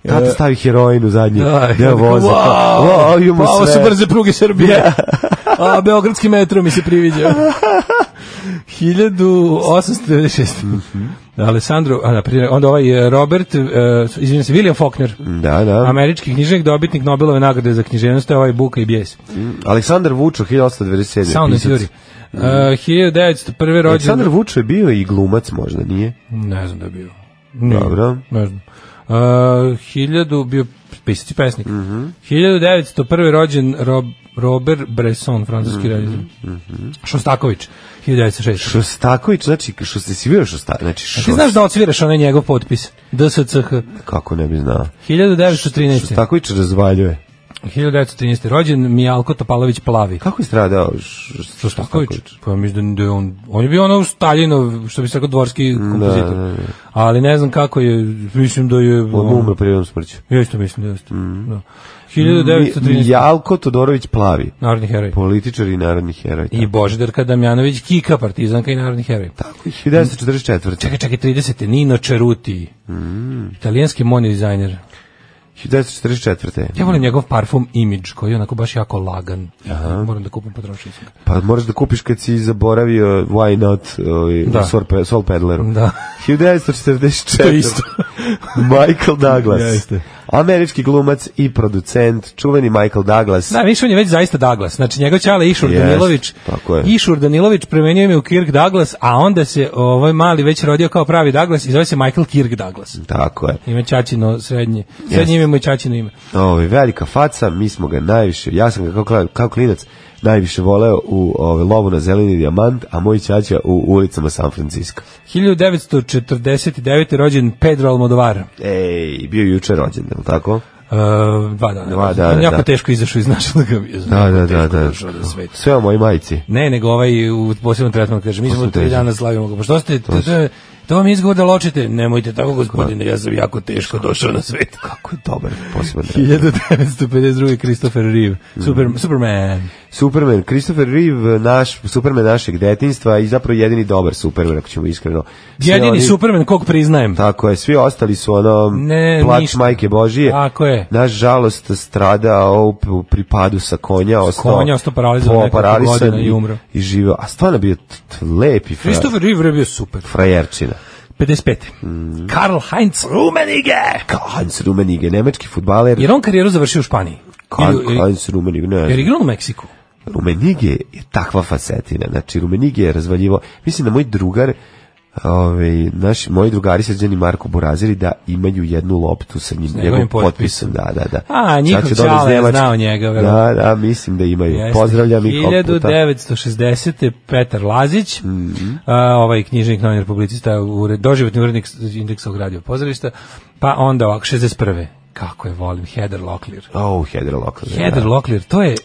[SPEAKER 6] Tata stavi heroin u zadnji.
[SPEAKER 5] da,
[SPEAKER 6] deo voza. kao,
[SPEAKER 5] (laughs) Wow,
[SPEAKER 6] wow, imamo
[SPEAKER 5] pa ovo su
[SPEAKER 6] sve.
[SPEAKER 5] brze pruge Srbije. A beogradski metro mi se priviđa. 1896. Alessandro, a, naprimjer, onda ovaj e, Robert, e, izvinjam se, William Faulkner,
[SPEAKER 6] Da, da.
[SPEAKER 5] američki književnik, dobitnik Nobelove nagrade za književnost, to je ovaj Buka i Bijes.
[SPEAKER 6] Aleksandar Vučo, 1897.
[SPEAKER 5] Sound and
[SPEAKER 6] pisac.
[SPEAKER 5] Fury. Uh, 1901. rođen...
[SPEAKER 6] Aleksandar Vučo je bio i glumac možda, nije?
[SPEAKER 5] Ne znam da je bio. Nije,
[SPEAKER 6] Dobro.
[SPEAKER 5] Ne znam. Uh, 1000 bio pisac i pesnik.
[SPEAKER 6] Mhm.
[SPEAKER 5] Mm -hmm. 1901. rođen Rob, Robert Bresson, francuski mm -hmm. realizam. Šostaković, 1906.
[SPEAKER 6] Mhm, Šostaković, znači, što se si bio Šostaković, znači
[SPEAKER 5] A Ti
[SPEAKER 6] Šostaković,
[SPEAKER 5] znaš da odsviraš onaj njegov potpis? DSCH.
[SPEAKER 6] kako ne bi znao.
[SPEAKER 5] 1913.
[SPEAKER 6] Šostaković razvaljuje.
[SPEAKER 5] 1913. rođen Mijalko Topalović Plavi.
[SPEAKER 6] Kako je stradao
[SPEAKER 5] Šostaković? Pa mislim da je on, on je bio ono Staljinov, što bi se rekao, dvorski kompozitor.
[SPEAKER 6] da, da.
[SPEAKER 5] Ali ne znam kako je, mislim da je...
[SPEAKER 6] On mu umro prirodnom smrću.
[SPEAKER 5] Ja isto mislim da jeste.
[SPEAKER 6] Mhm.
[SPEAKER 5] Da. 1913.
[SPEAKER 6] Jalko Todorović Plavi.
[SPEAKER 5] Narodni heroj.
[SPEAKER 6] Političar i narodni heroj.
[SPEAKER 5] I Božidarka Damjanović Kika, partizanka i narodni heroj.
[SPEAKER 6] Tako, 1944.
[SPEAKER 5] Čekaj, čekaj, 30. Nino Čeruti.
[SPEAKER 6] Mm.
[SPEAKER 5] Italijanski modni dizajner.
[SPEAKER 6] 1944.
[SPEAKER 5] Ja volim njegov parfum Image, koji je onako baš jako lagan. Moram da kupim potrošiti.
[SPEAKER 6] Pa moraš da kupiš kad si zaboravio Why Not ovaj,
[SPEAKER 5] Da.
[SPEAKER 6] da. Sol, Pe- Sol Pedleru.
[SPEAKER 5] Da.
[SPEAKER 6] 1944.
[SPEAKER 5] To je isto.
[SPEAKER 6] (laughs) Michael Douglas.
[SPEAKER 5] Jeste.
[SPEAKER 6] Američki glumac i producent, čuveni Michael Douglas.
[SPEAKER 5] Da, viš on je već zaista Douglas. Znači, njegov ćale Išur
[SPEAKER 6] Jest,
[SPEAKER 5] Danilović.
[SPEAKER 6] tako je.
[SPEAKER 5] Išur Danilović premenio ime u Kirk Douglas, a onda se ovaj mali već rodio kao pravi Douglas i zove se Michael Kirk Douglas.
[SPEAKER 6] Tako je.
[SPEAKER 5] Ime Čačino srednje. Srednje
[SPEAKER 6] Jeste.
[SPEAKER 5] ime mu je Čačino ime.
[SPEAKER 6] Ove, velika faca, mi smo ga najviše, ja sam ga kao, kla- kao klinac najviše voleo u ove, lovu na zeleni dijamant, a moj ćaća u ulicama San Francisco.
[SPEAKER 5] 1949. je rođen Pedro Almodovar. E,
[SPEAKER 6] Ej, bio je juče rođen, je li tako?
[SPEAKER 5] Uh, dva dana.
[SPEAKER 6] Dva
[SPEAKER 5] On
[SPEAKER 6] dana,
[SPEAKER 5] jako
[SPEAKER 6] da.
[SPEAKER 5] teško izašao (laughs) iz našega
[SPEAKER 6] Da, da, da, da.
[SPEAKER 5] da.
[SPEAKER 6] Sve o mojoj majici.
[SPEAKER 5] Ne, nego ovaj u posebnom tretmanu kaže, mi smo
[SPEAKER 6] Posebno
[SPEAKER 5] tri
[SPEAKER 6] teže.
[SPEAKER 5] dana slavimo ga. Pa što ste, to, to, to vam je izgovor da ločite. Nemojte tako, gospodine, ja sam jako teško došao na svet. (laughs)
[SPEAKER 6] Kako je dobar (laughs) poseban tretman.
[SPEAKER 5] 1952. Christopher Reeve,
[SPEAKER 6] Mm.
[SPEAKER 5] Super, Superman.
[SPEAKER 6] Superman, Christopher Reeve, naš, Superman našeg detinjstva i zapravo jedini dobar Superman, ako ćemo iskreno. Svi
[SPEAKER 5] Jedini
[SPEAKER 6] oni-
[SPEAKER 5] Superman kog priznajem.
[SPEAKER 6] Tako je, svi ostali su ono
[SPEAKER 5] Ne,
[SPEAKER 6] plać
[SPEAKER 5] ništa.
[SPEAKER 6] majke Božije.
[SPEAKER 5] Tako je.
[SPEAKER 6] Naš žalost stradao u- u pripadu sa konja, ostao,
[SPEAKER 5] konja, ostao paralizovan
[SPEAKER 6] po-
[SPEAKER 5] nekoliko
[SPEAKER 6] paralisan
[SPEAKER 5] godina i
[SPEAKER 6] i
[SPEAKER 5] umro.
[SPEAKER 6] I živio, a stvarno bio t- t- lepi fra,
[SPEAKER 5] Christopher Reeve je bio super.
[SPEAKER 6] frajerčina.
[SPEAKER 5] 55.
[SPEAKER 6] Mhm.
[SPEAKER 5] Karl Heinz Rummenigge.
[SPEAKER 6] Kao Hans Rummenigge, nemački futbaler.
[SPEAKER 5] Jer on karijeru završio u Španiji.
[SPEAKER 6] Kan-
[SPEAKER 5] Ili- ili-
[SPEAKER 6] Hans Rummenigge, ne.
[SPEAKER 5] Jer je igrao u Meksiku.
[SPEAKER 6] Rumenige je takva facetina. Znači, Rumenige je razvaljivo. Mislim da moj drugar, ovaj, naš, moji drugari srđan i Marko Buraziri, da imaju jednu loptu sa njim,
[SPEAKER 5] njegovim
[SPEAKER 6] njegovim potpisom.
[SPEAKER 5] potpisom.
[SPEAKER 6] Da, da, da.
[SPEAKER 5] A, njihov
[SPEAKER 6] Sad će donet
[SPEAKER 5] ćala je
[SPEAKER 6] Nemačke.
[SPEAKER 5] znao njega,
[SPEAKER 6] Da,
[SPEAKER 5] verovatno.
[SPEAKER 6] da, mislim da imaju.
[SPEAKER 5] Jeste.
[SPEAKER 6] Pozdravljam ih ovog puta.
[SPEAKER 5] 1960. Petar Lazić,
[SPEAKER 6] Mhm.
[SPEAKER 5] a, ovaj knjižnik, novinar, publicista, ured, doživotni urednik indeksa radio pozorišta, pa onda ovako, 61. Kako je volim, Heather Locklear.
[SPEAKER 6] Oh, Heather Locklear.
[SPEAKER 5] Heather
[SPEAKER 6] da.
[SPEAKER 5] Locklear, to je,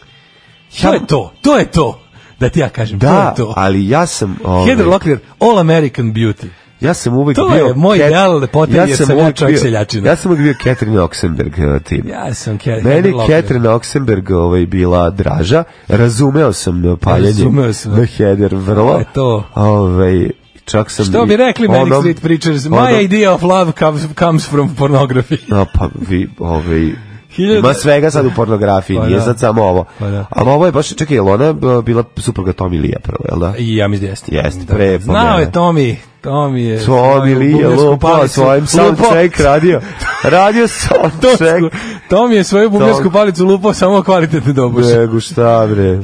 [SPEAKER 5] to je to, to je to, da ti ja kažem,
[SPEAKER 6] Da,
[SPEAKER 5] to je to.
[SPEAKER 6] ali ja sam... Ovaj,
[SPEAKER 5] Heather Locklear, All American Beauty.
[SPEAKER 6] Ja sam uvek
[SPEAKER 5] To
[SPEAKER 6] bio...
[SPEAKER 5] je moj
[SPEAKER 6] Cat-
[SPEAKER 5] ideal lepote, jer sam ja
[SPEAKER 6] uvek
[SPEAKER 5] čovjek
[SPEAKER 6] bio-
[SPEAKER 5] seljačina.
[SPEAKER 6] Ja sam uvek bio Catherine Oxenberg eh, tip.
[SPEAKER 5] Ja sam (laughs) Ke- Heather
[SPEAKER 6] Meni
[SPEAKER 5] Locklear.
[SPEAKER 6] Catherine Oxenberg ovaj, bila draža, razumeo sam eh, paljenje
[SPEAKER 5] Razumeo sam.
[SPEAKER 6] na Heather vrlo.
[SPEAKER 5] To je to.
[SPEAKER 6] Ovaj, čak sam
[SPEAKER 5] Što
[SPEAKER 6] i
[SPEAKER 5] bi rekli Manic
[SPEAKER 6] onom-
[SPEAKER 5] Street Preachers, my
[SPEAKER 6] onom-
[SPEAKER 5] idea of love comes, comes from pornography.
[SPEAKER 6] No, pa vi, ovaj,
[SPEAKER 5] Hiljada-
[SPEAKER 6] Ima svega sad u pornografiji,
[SPEAKER 5] Pa
[SPEAKER 6] nije
[SPEAKER 5] da.
[SPEAKER 6] sad samo ovo.
[SPEAKER 5] Pa da.
[SPEAKER 6] Ali ovo je baš, čekaj, je li ona eh, bila supruga Tommy Lija prvo, jel da?
[SPEAKER 5] I ja mislim da jeste.
[SPEAKER 6] Jeste, pre
[SPEAKER 5] Znao je
[SPEAKER 6] pomene.
[SPEAKER 5] Tomi, Tomi je...
[SPEAKER 6] Tommy Lija
[SPEAKER 5] bugarsku
[SPEAKER 6] lupao
[SPEAKER 5] palicu-
[SPEAKER 6] svojim
[SPEAKER 5] lupao-
[SPEAKER 6] soundcheck radio.
[SPEAKER 5] (laughs)
[SPEAKER 6] Radio soundcheck.
[SPEAKER 5] Tomi je svoju bugarsku
[SPEAKER 6] Tom-
[SPEAKER 5] palicu lupao samo kvalitetne doboše.
[SPEAKER 6] Nego šta bre.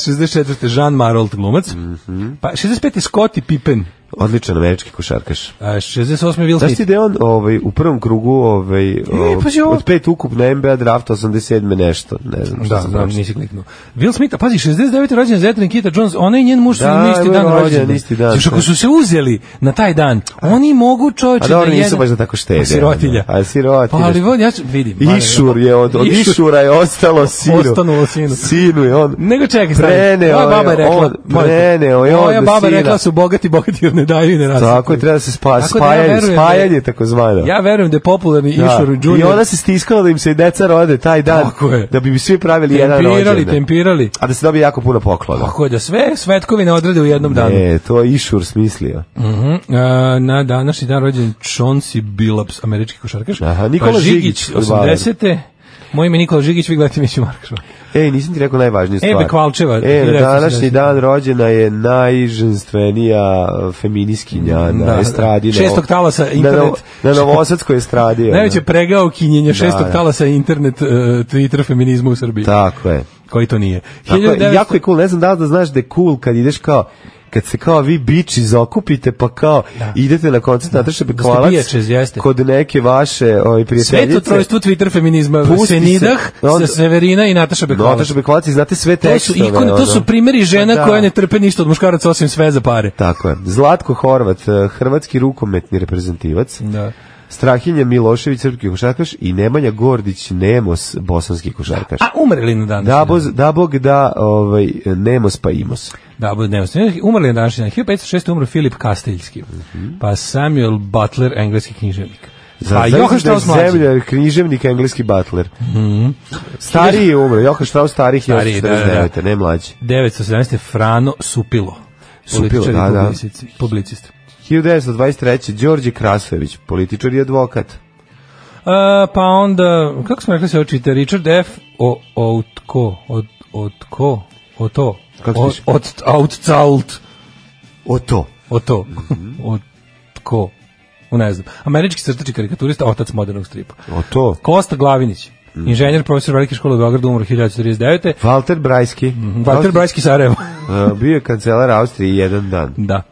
[SPEAKER 5] 1964. Jean Marold glumac.
[SPEAKER 6] Mhm.
[SPEAKER 5] Pa 65. Scottie Pippen.
[SPEAKER 6] Odličan američki košarkaš.
[SPEAKER 5] A, 68. Will
[SPEAKER 6] Znaš ti
[SPEAKER 5] Smith.
[SPEAKER 6] da je on ovaj, u prvom krugu ovaj,
[SPEAKER 5] E,
[SPEAKER 6] o-
[SPEAKER 5] pazi ovo.
[SPEAKER 6] od pet ukupna NBA drafta 87. nešto, ne znam šta
[SPEAKER 5] Da,
[SPEAKER 6] sam
[SPEAKER 5] znam,
[SPEAKER 6] pročitao.
[SPEAKER 5] nisi kliknuo. Will Smith, a pazi, 69. rođen Zetrin Kita Jones, ona i njen muž su
[SPEAKER 6] Da,
[SPEAKER 5] na isti
[SPEAKER 6] je
[SPEAKER 5] dan
[SPEAKER 6] rođen,
[SPEAKER 5] rođeni.
[SPEAKER 6] isti dan,
[SPEAKER 5] Još ako
[SPEAKER 6] da.
[SPEAKER 5] su se uzeli na taj dan, oni mogu
[SPEAKER 6] A
[SPEAKER 5] čovječe
[SPEAKER 6] dobro,
[SPEAKER 5] da
[SPEAKER 6] nisu
[SPEAKER 5] jedan-
[SPEAKER 6] baš da tako štede.
[SPEAKER 5] A Sirotilja.
[SPEAKER 6] ono. A sirotilja.
[SPEAKER 5] Pa ali vodi, ja ću- vidim. mada-
[SPEAKER 6] Išur je od, od
[SPEAKER 5] Išur.
[SPEAKER 6] Išura je ostalo sinu.
[SPEAKER 5] Ostanulo sinu.
[SPEAKER 6] Sinu je on.
[SPEAKER 5] Nego čekaj, stani.
[SPEAKER 6] Preneo
[SPEAKER 5] Moja baba je rekla,
[SPEAKER 6] on,
[SPEAKER 5] moja-
[SPEAKER 6] preneo je on
[SPEAKER 5] moja
[SPEAKER 6] do
[SPEAKER 5] baba je
[SPEAKER 6] sina.
[SPEAKER 5] rekla su bogati, bogati jer ne daju i ne rasuju.
[SPEAKER 6] Tako je, treba da se spa,
[SPEAKER 5] Tako da ja
[SPEAKER 6] spajanje,
[SPEAKER 5] verujem da-
[SPEAKER 6] spajanje takozvano.
[SPEAKER 5] Ja verujem da je popularni
[SPEAKER 6] Da.
[SPEAKER 5] Išor Junior.
[SPEAKER 6] I ona se stiskala da im se i deca rode taj dan,
[SPEAKER 5] Tako je.
[SPEAKER 6] da bi bi svi pravili jedan rođendan.
[SPEAKER 5] tempirali, tempirali.
[SPEAKER 6] A da se dobije jako puno poklona.
[SPEAKER 5] Tako je da sve svetkovine odrede u jednom danu.
[SPEAKER 6] E, to je Išur smislio.
[SPEAKER 5] Mhm. E, na današnji dan rođen Chauncey Billups, američki košarkaš.
[SPEAKER 6] Aha, Nikola
[SPEAKER 5] pa
[SPEAKER 6] Žigić,
[SPEAKER 5] Žigić, 80. Moje ime je Nikola Žigić, vi gledate Miću Markašova.
[SPEAKER 6] Ej, nisam ti rekao najvažniju stvar.
[SPEAKER 5] Ebe Kvalčeva,
[SPEAKER 6] E, na
[SPEAKER 5] 1970.
[SPEAKER 6] današnji dan rođena je najženstvenija e, feminiskinja na
[SPEAKER 5] Mm, Da,
[SPEAKER 6] estradi. na-
[SPEAKER 5] šestog talasa,
[SPEAKER 6] na
[SPEAKER 5] internet.
[SPEAKER 6] Novo- Na, Novosadskoj estradi. ono.
[SPEAKER 5] Najveće pregao kinjenje šestog
[SPEAKER 6] da.
[SPEAKER 5] talasa internet e, Twitter feminizma u Srbiji.
[SPEAKER 6] Tako je.
[SPEAKER 5] Koji to nije.
[SPEAKER 6] Tako je,
[SPEAKER 5] 1900
[SPEAKER 6] Jako je cool, ne znam da li da znaš da je cool kad ideš kao kad se kao vi biči zakupite pa kao idete na koncert da. Nataše
[SPEAKER 5] ste
[SPEAKER 6] Bekvalac
[SPEAKER 5] bijačez, jeste.
[SPEAKER 6] kod neke vaše ovaj,
[SPEAKER 5] Sveto
[SPEAKER 6] prijateljice
[SPEAKER 5] trojstvo Twitter feminizma
[SPEAKER 6] Pusti
[SPEAKER 5] Senidah,
[SPEAKER 6] se, onda-
[SPEAKER 5] sa Severina i Nataša Bekvalaš.
[SPEAKER 6] Nataša Bekvalac i znate sve
[SPEAKER 5] To su,
[SPEAKER 6] tekstove.
[SPEAKER 5] ikone, to
[SPEAKER 6] ono.
[SPEAKER 5] su primjeri žena
[SPEAKER 6] Da.
[SPEAKER 5] koje ne trpe ništa od muškaraca osim sve za pare.
[SPEAKER 6] Tako je. Zlatko Horvat, eh, hrvatski rukometni e, reprezentativac.
[SPEAKER 5] Da.
[SPEAKER 6] Strahinja Milošević, srpski košarkaš i Nemanja Gordić, Nemos, bosanski košarkaš.
[SPEAKER 5] A umrli na danas.
[SPEAKER 6] Da, boz, da bog da ovaj, Nemos pa Imos.
[SPEAKER 5] Da, bude neustavljeno. Umrli je današnji dan. 1506. umro Filip Kasteljski, pa Samuel Butler, engleski književnik.
[SPEAKER 6] Mhm. Za,
[SPEAKER 5] pa
[SPEAKER 6] za-
[SPEAKER 5] Johan
[SPEAKER 6] da je
[SPEAKER 5] Strauss mlađi. Mhm.
[SPEAKER 6] Zemlja, književnik, engleski butler. Stariji je umro, Johan Strauss starih
[SPEAKER 5] Stariji,
[SPEAKER 6] stariji,
[SPEAKER 5] da, da, da.
[SPEAKER 6] 49. ne mlađi.
[SPEAKER 5] 917. Frano Supilo.
[SPEAKER 6] Supilo,
[SPEAKER 5] Političar i
[SPEAKER 6] da, da.
[SPEAKER 5] publicist. publicist.
[SPEAKER 6] 1923. Đorđe Krasojević, političar i advokat.
[SPEAKER 5] E, pa onda, kako smo rekli se očite, Richard F. O, Outko, od, Otko, Oto,
[SPEAKER 6] Kako
[SPEAKER 5] O-
[SPEAKER 6] piše?
[SPEAKER 5] Ot- Outcalt,
[SPEAKER 6] O to.
[SPEAKER 5] Oto,
[SPEAKER 6] Mhm.
[SPEAKER 5] Otko, u ne znam, američki crtač i karikaturista, otac modernog stripa.
[SPEAKER 6] O to.
[SPEAKER 5] Kosta Glavinić,
[SPEAKER 6] Mhm.
[SPEAKER 5] inženjer, profesor velike škole u Beogradu, umro 1949.
[SPEAKER 6] Walter Brajski.
[SPEAKER 5] Walter Brajski Sarajevo.
[SPEAKER 6] (laughs) Brajski. Bio je kancelar Austrije jedan dan.
[SPEAKER 5] da.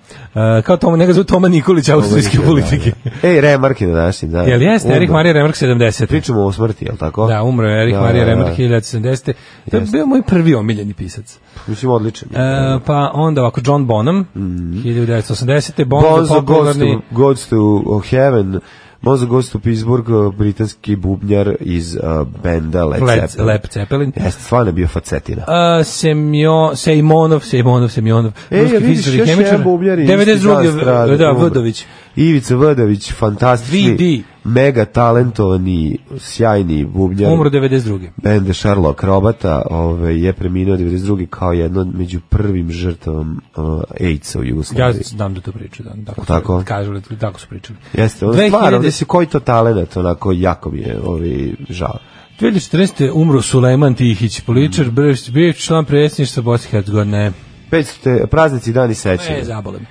[SPEAKER 5] E, kao Toma, njega zove Toma Nikolić, austrijske politike.
[SPEAKER 6] Ej, E, Remark je na našim dan.
[SPEAKER 5] Jel jeste, Erik
[SPEAKER 6] Umro.
[SPEAKER 5] Marija Remark 70.
[SPEAKER 6] Pričamo o smrti, jel tako?
[SPEAKER 5] Da, um- umro je Erik
[SPEAKER 6] Da,
[SPEAKER 5] Marija
[SPEAKER 6] da, da.
[SPEAKER 5] Remark 1970. To je bio moj prvi omiljeni pisac.
[SPEAKER 6] Mislim, odličan. je.
[SPEAKER 5] E, pa onda ovako John Bonham
[SPEAKER 6] Mhm.
[SPEAKER 5] 1980. Bonzo,
[SPEAKER 6] Bonzo Goes
[SPEAKER 5] popularni
[SPEAKER 6] to, goes to Heaven. Bonzo Goes to Pittsburgh, uh, britanski bubnjar iz uh, benda Led
[SPEAKER 5] Led,
[SPEAKER 6] Zeppelin.
[SPEAKER 5] Led Zeppelin.
[SPEAKER 6] Jeste, stvarno je bio facetina.
[SPEAKER 5] Uh, Semjo, Sejmonov, Sejmonov, Sejmonov.
[SPEAKER 6] E,
[SPEAKER 5] ruski
[SPEAKER 6] ja vidiš,
[SPEAKER 5] fizičar i
[SPEAKER 6] još
[SPEAKER 5] hemičar.
[SPEAKER 6] jedan bubnjar je isti dan
[SPEAKER 5] 92.
[SPEAKER 6] strada,
[SPEAKER 5] Da,
[SPEAKER 6] umro.
[SPEAKER 5] Vodović.
[SPEAKER 6] Ivica Vodović, fantastični,
[SPEAKER 5] VD.
[SPEAKER 6] mega talentovani, sjajni bubnjar.
[SPEAKER 5] Umro 92.
[SPEAKER 6] Bende Sherlock Robata ovaj, je preminuo 92. kao jedno među prvim žrtvom uh, AIDS-a u
[SPEAKER 5] Ja
[SPEAKER 6] Jugoslaviji.
[SPEAKER 5] znam da to priču, da. Tako,
[SPEAKER 6] Tako?
[SPEAKER 5] Su, kažu, da- tako su pričali.
[SPEAKER 6] Jeste, ono
[SPEAKER 5] 2000
[SPEAKER 6] stvarno, ovdje si koji to talent, onako, jako mi je ovi, žao.
[SPEAKER 5] 2014. umro Sulejman Tihić, političar,
[SPEAKER 6] Mhm.
[SPEAKER 5] mm. bio je član predsjedništva Bosne i Hercegovine.
[SPEAKER 6] 500. praznici dani sećanja.
[SPEAKER 5] E, zabolim.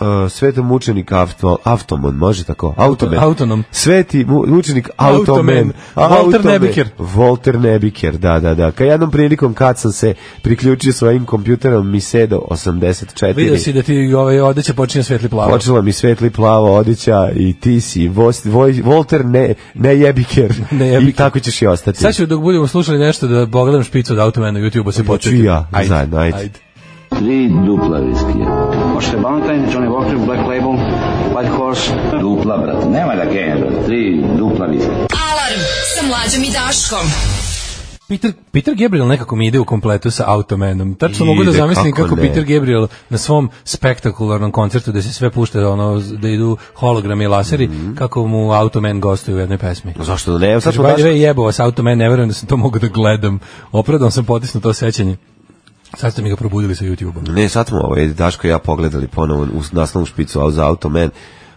[SPEAKER 6] Uh, svetom mučenik Avto, Avtomon, može tako? Automen.
[SPEAKER 5] autonom.
[SPEAKER 6] Sveti mu, mučenik Automen.
[SPEAKER 5] Automen. Walter
[SPEAKER 6] Automen.
[SPEAKER 5] Nebiker.
[SPEAKER 6] Walter Nebiker, da, da, da. Ka jednom prilikom kad sam se priključio svojim kompjuterom Misedo 84.
[SPEAKER 5] Vidio si da ti ovaj, odeća počinje svetli plavo.
[SPEAKER 6] Počela mi svetli plava odjeća i ti si Vos, Voj, Volter ne, ne jebiker.
[SPEAKER 5] Ne jebiker.
[SPEAKER 6] I tako ćeš i ostati.
[SPEAKER 5] Sad ću dok budemo slušali nešto da pogledam špicu od Automena na YouTube-u se
[SPEAKER 6] Hoću
[SPEAKER 5] početi.
[SPEAKER 6] i ja, zajedno, ajde.
[SPEAKER 7] Tri dupla viskija.
[SPEAKER 8] Možete Valentine, Johnny Walker, Black Label, White Horse.
[SPEAKER 7] Dupla, brate. Nema da genja, brate. Tri dupla viskija.
[SPEAKER 4] Alarm sa mlađom i Daškom.
[SPEAKER 5] Peter, Peter Gabriel nekako mi ide u kompletu sa Automenom. Tačno mogu da
[SPEAKER 6] Ide,
[SPEAKER 5] zamislim kako,
[SPEAKER 6] kako ne.
[SPEAKER 5] Peter Gabriel na svom spektakularnom koncertu da se sve pušta ono da idu hologrami i laseri
[SPEAKER 6] Mhm.
[SPEAKER 5] kako mu Automan gostuje u jednoj pesmi.
[SPEAKER 6] Zašto da ne? Evo, Sad
[SPEAKER 5] Kaže,
[SPEAKER 6] smo
[SPEAKER 5] by
[SPEAKER 6] baš...
[SPEAKER 5] the way, jebo vas, Automan, ne verujem da sam to mogu da gledam. Opravdao sam potisno to sećanje. Sad ste mi ga probudili sa YouTube-om.
[SPEAKER 6] Ne, sad smo ovaj, Daško i ja pogledali ponovo u naslovnu špicu au- za Automen.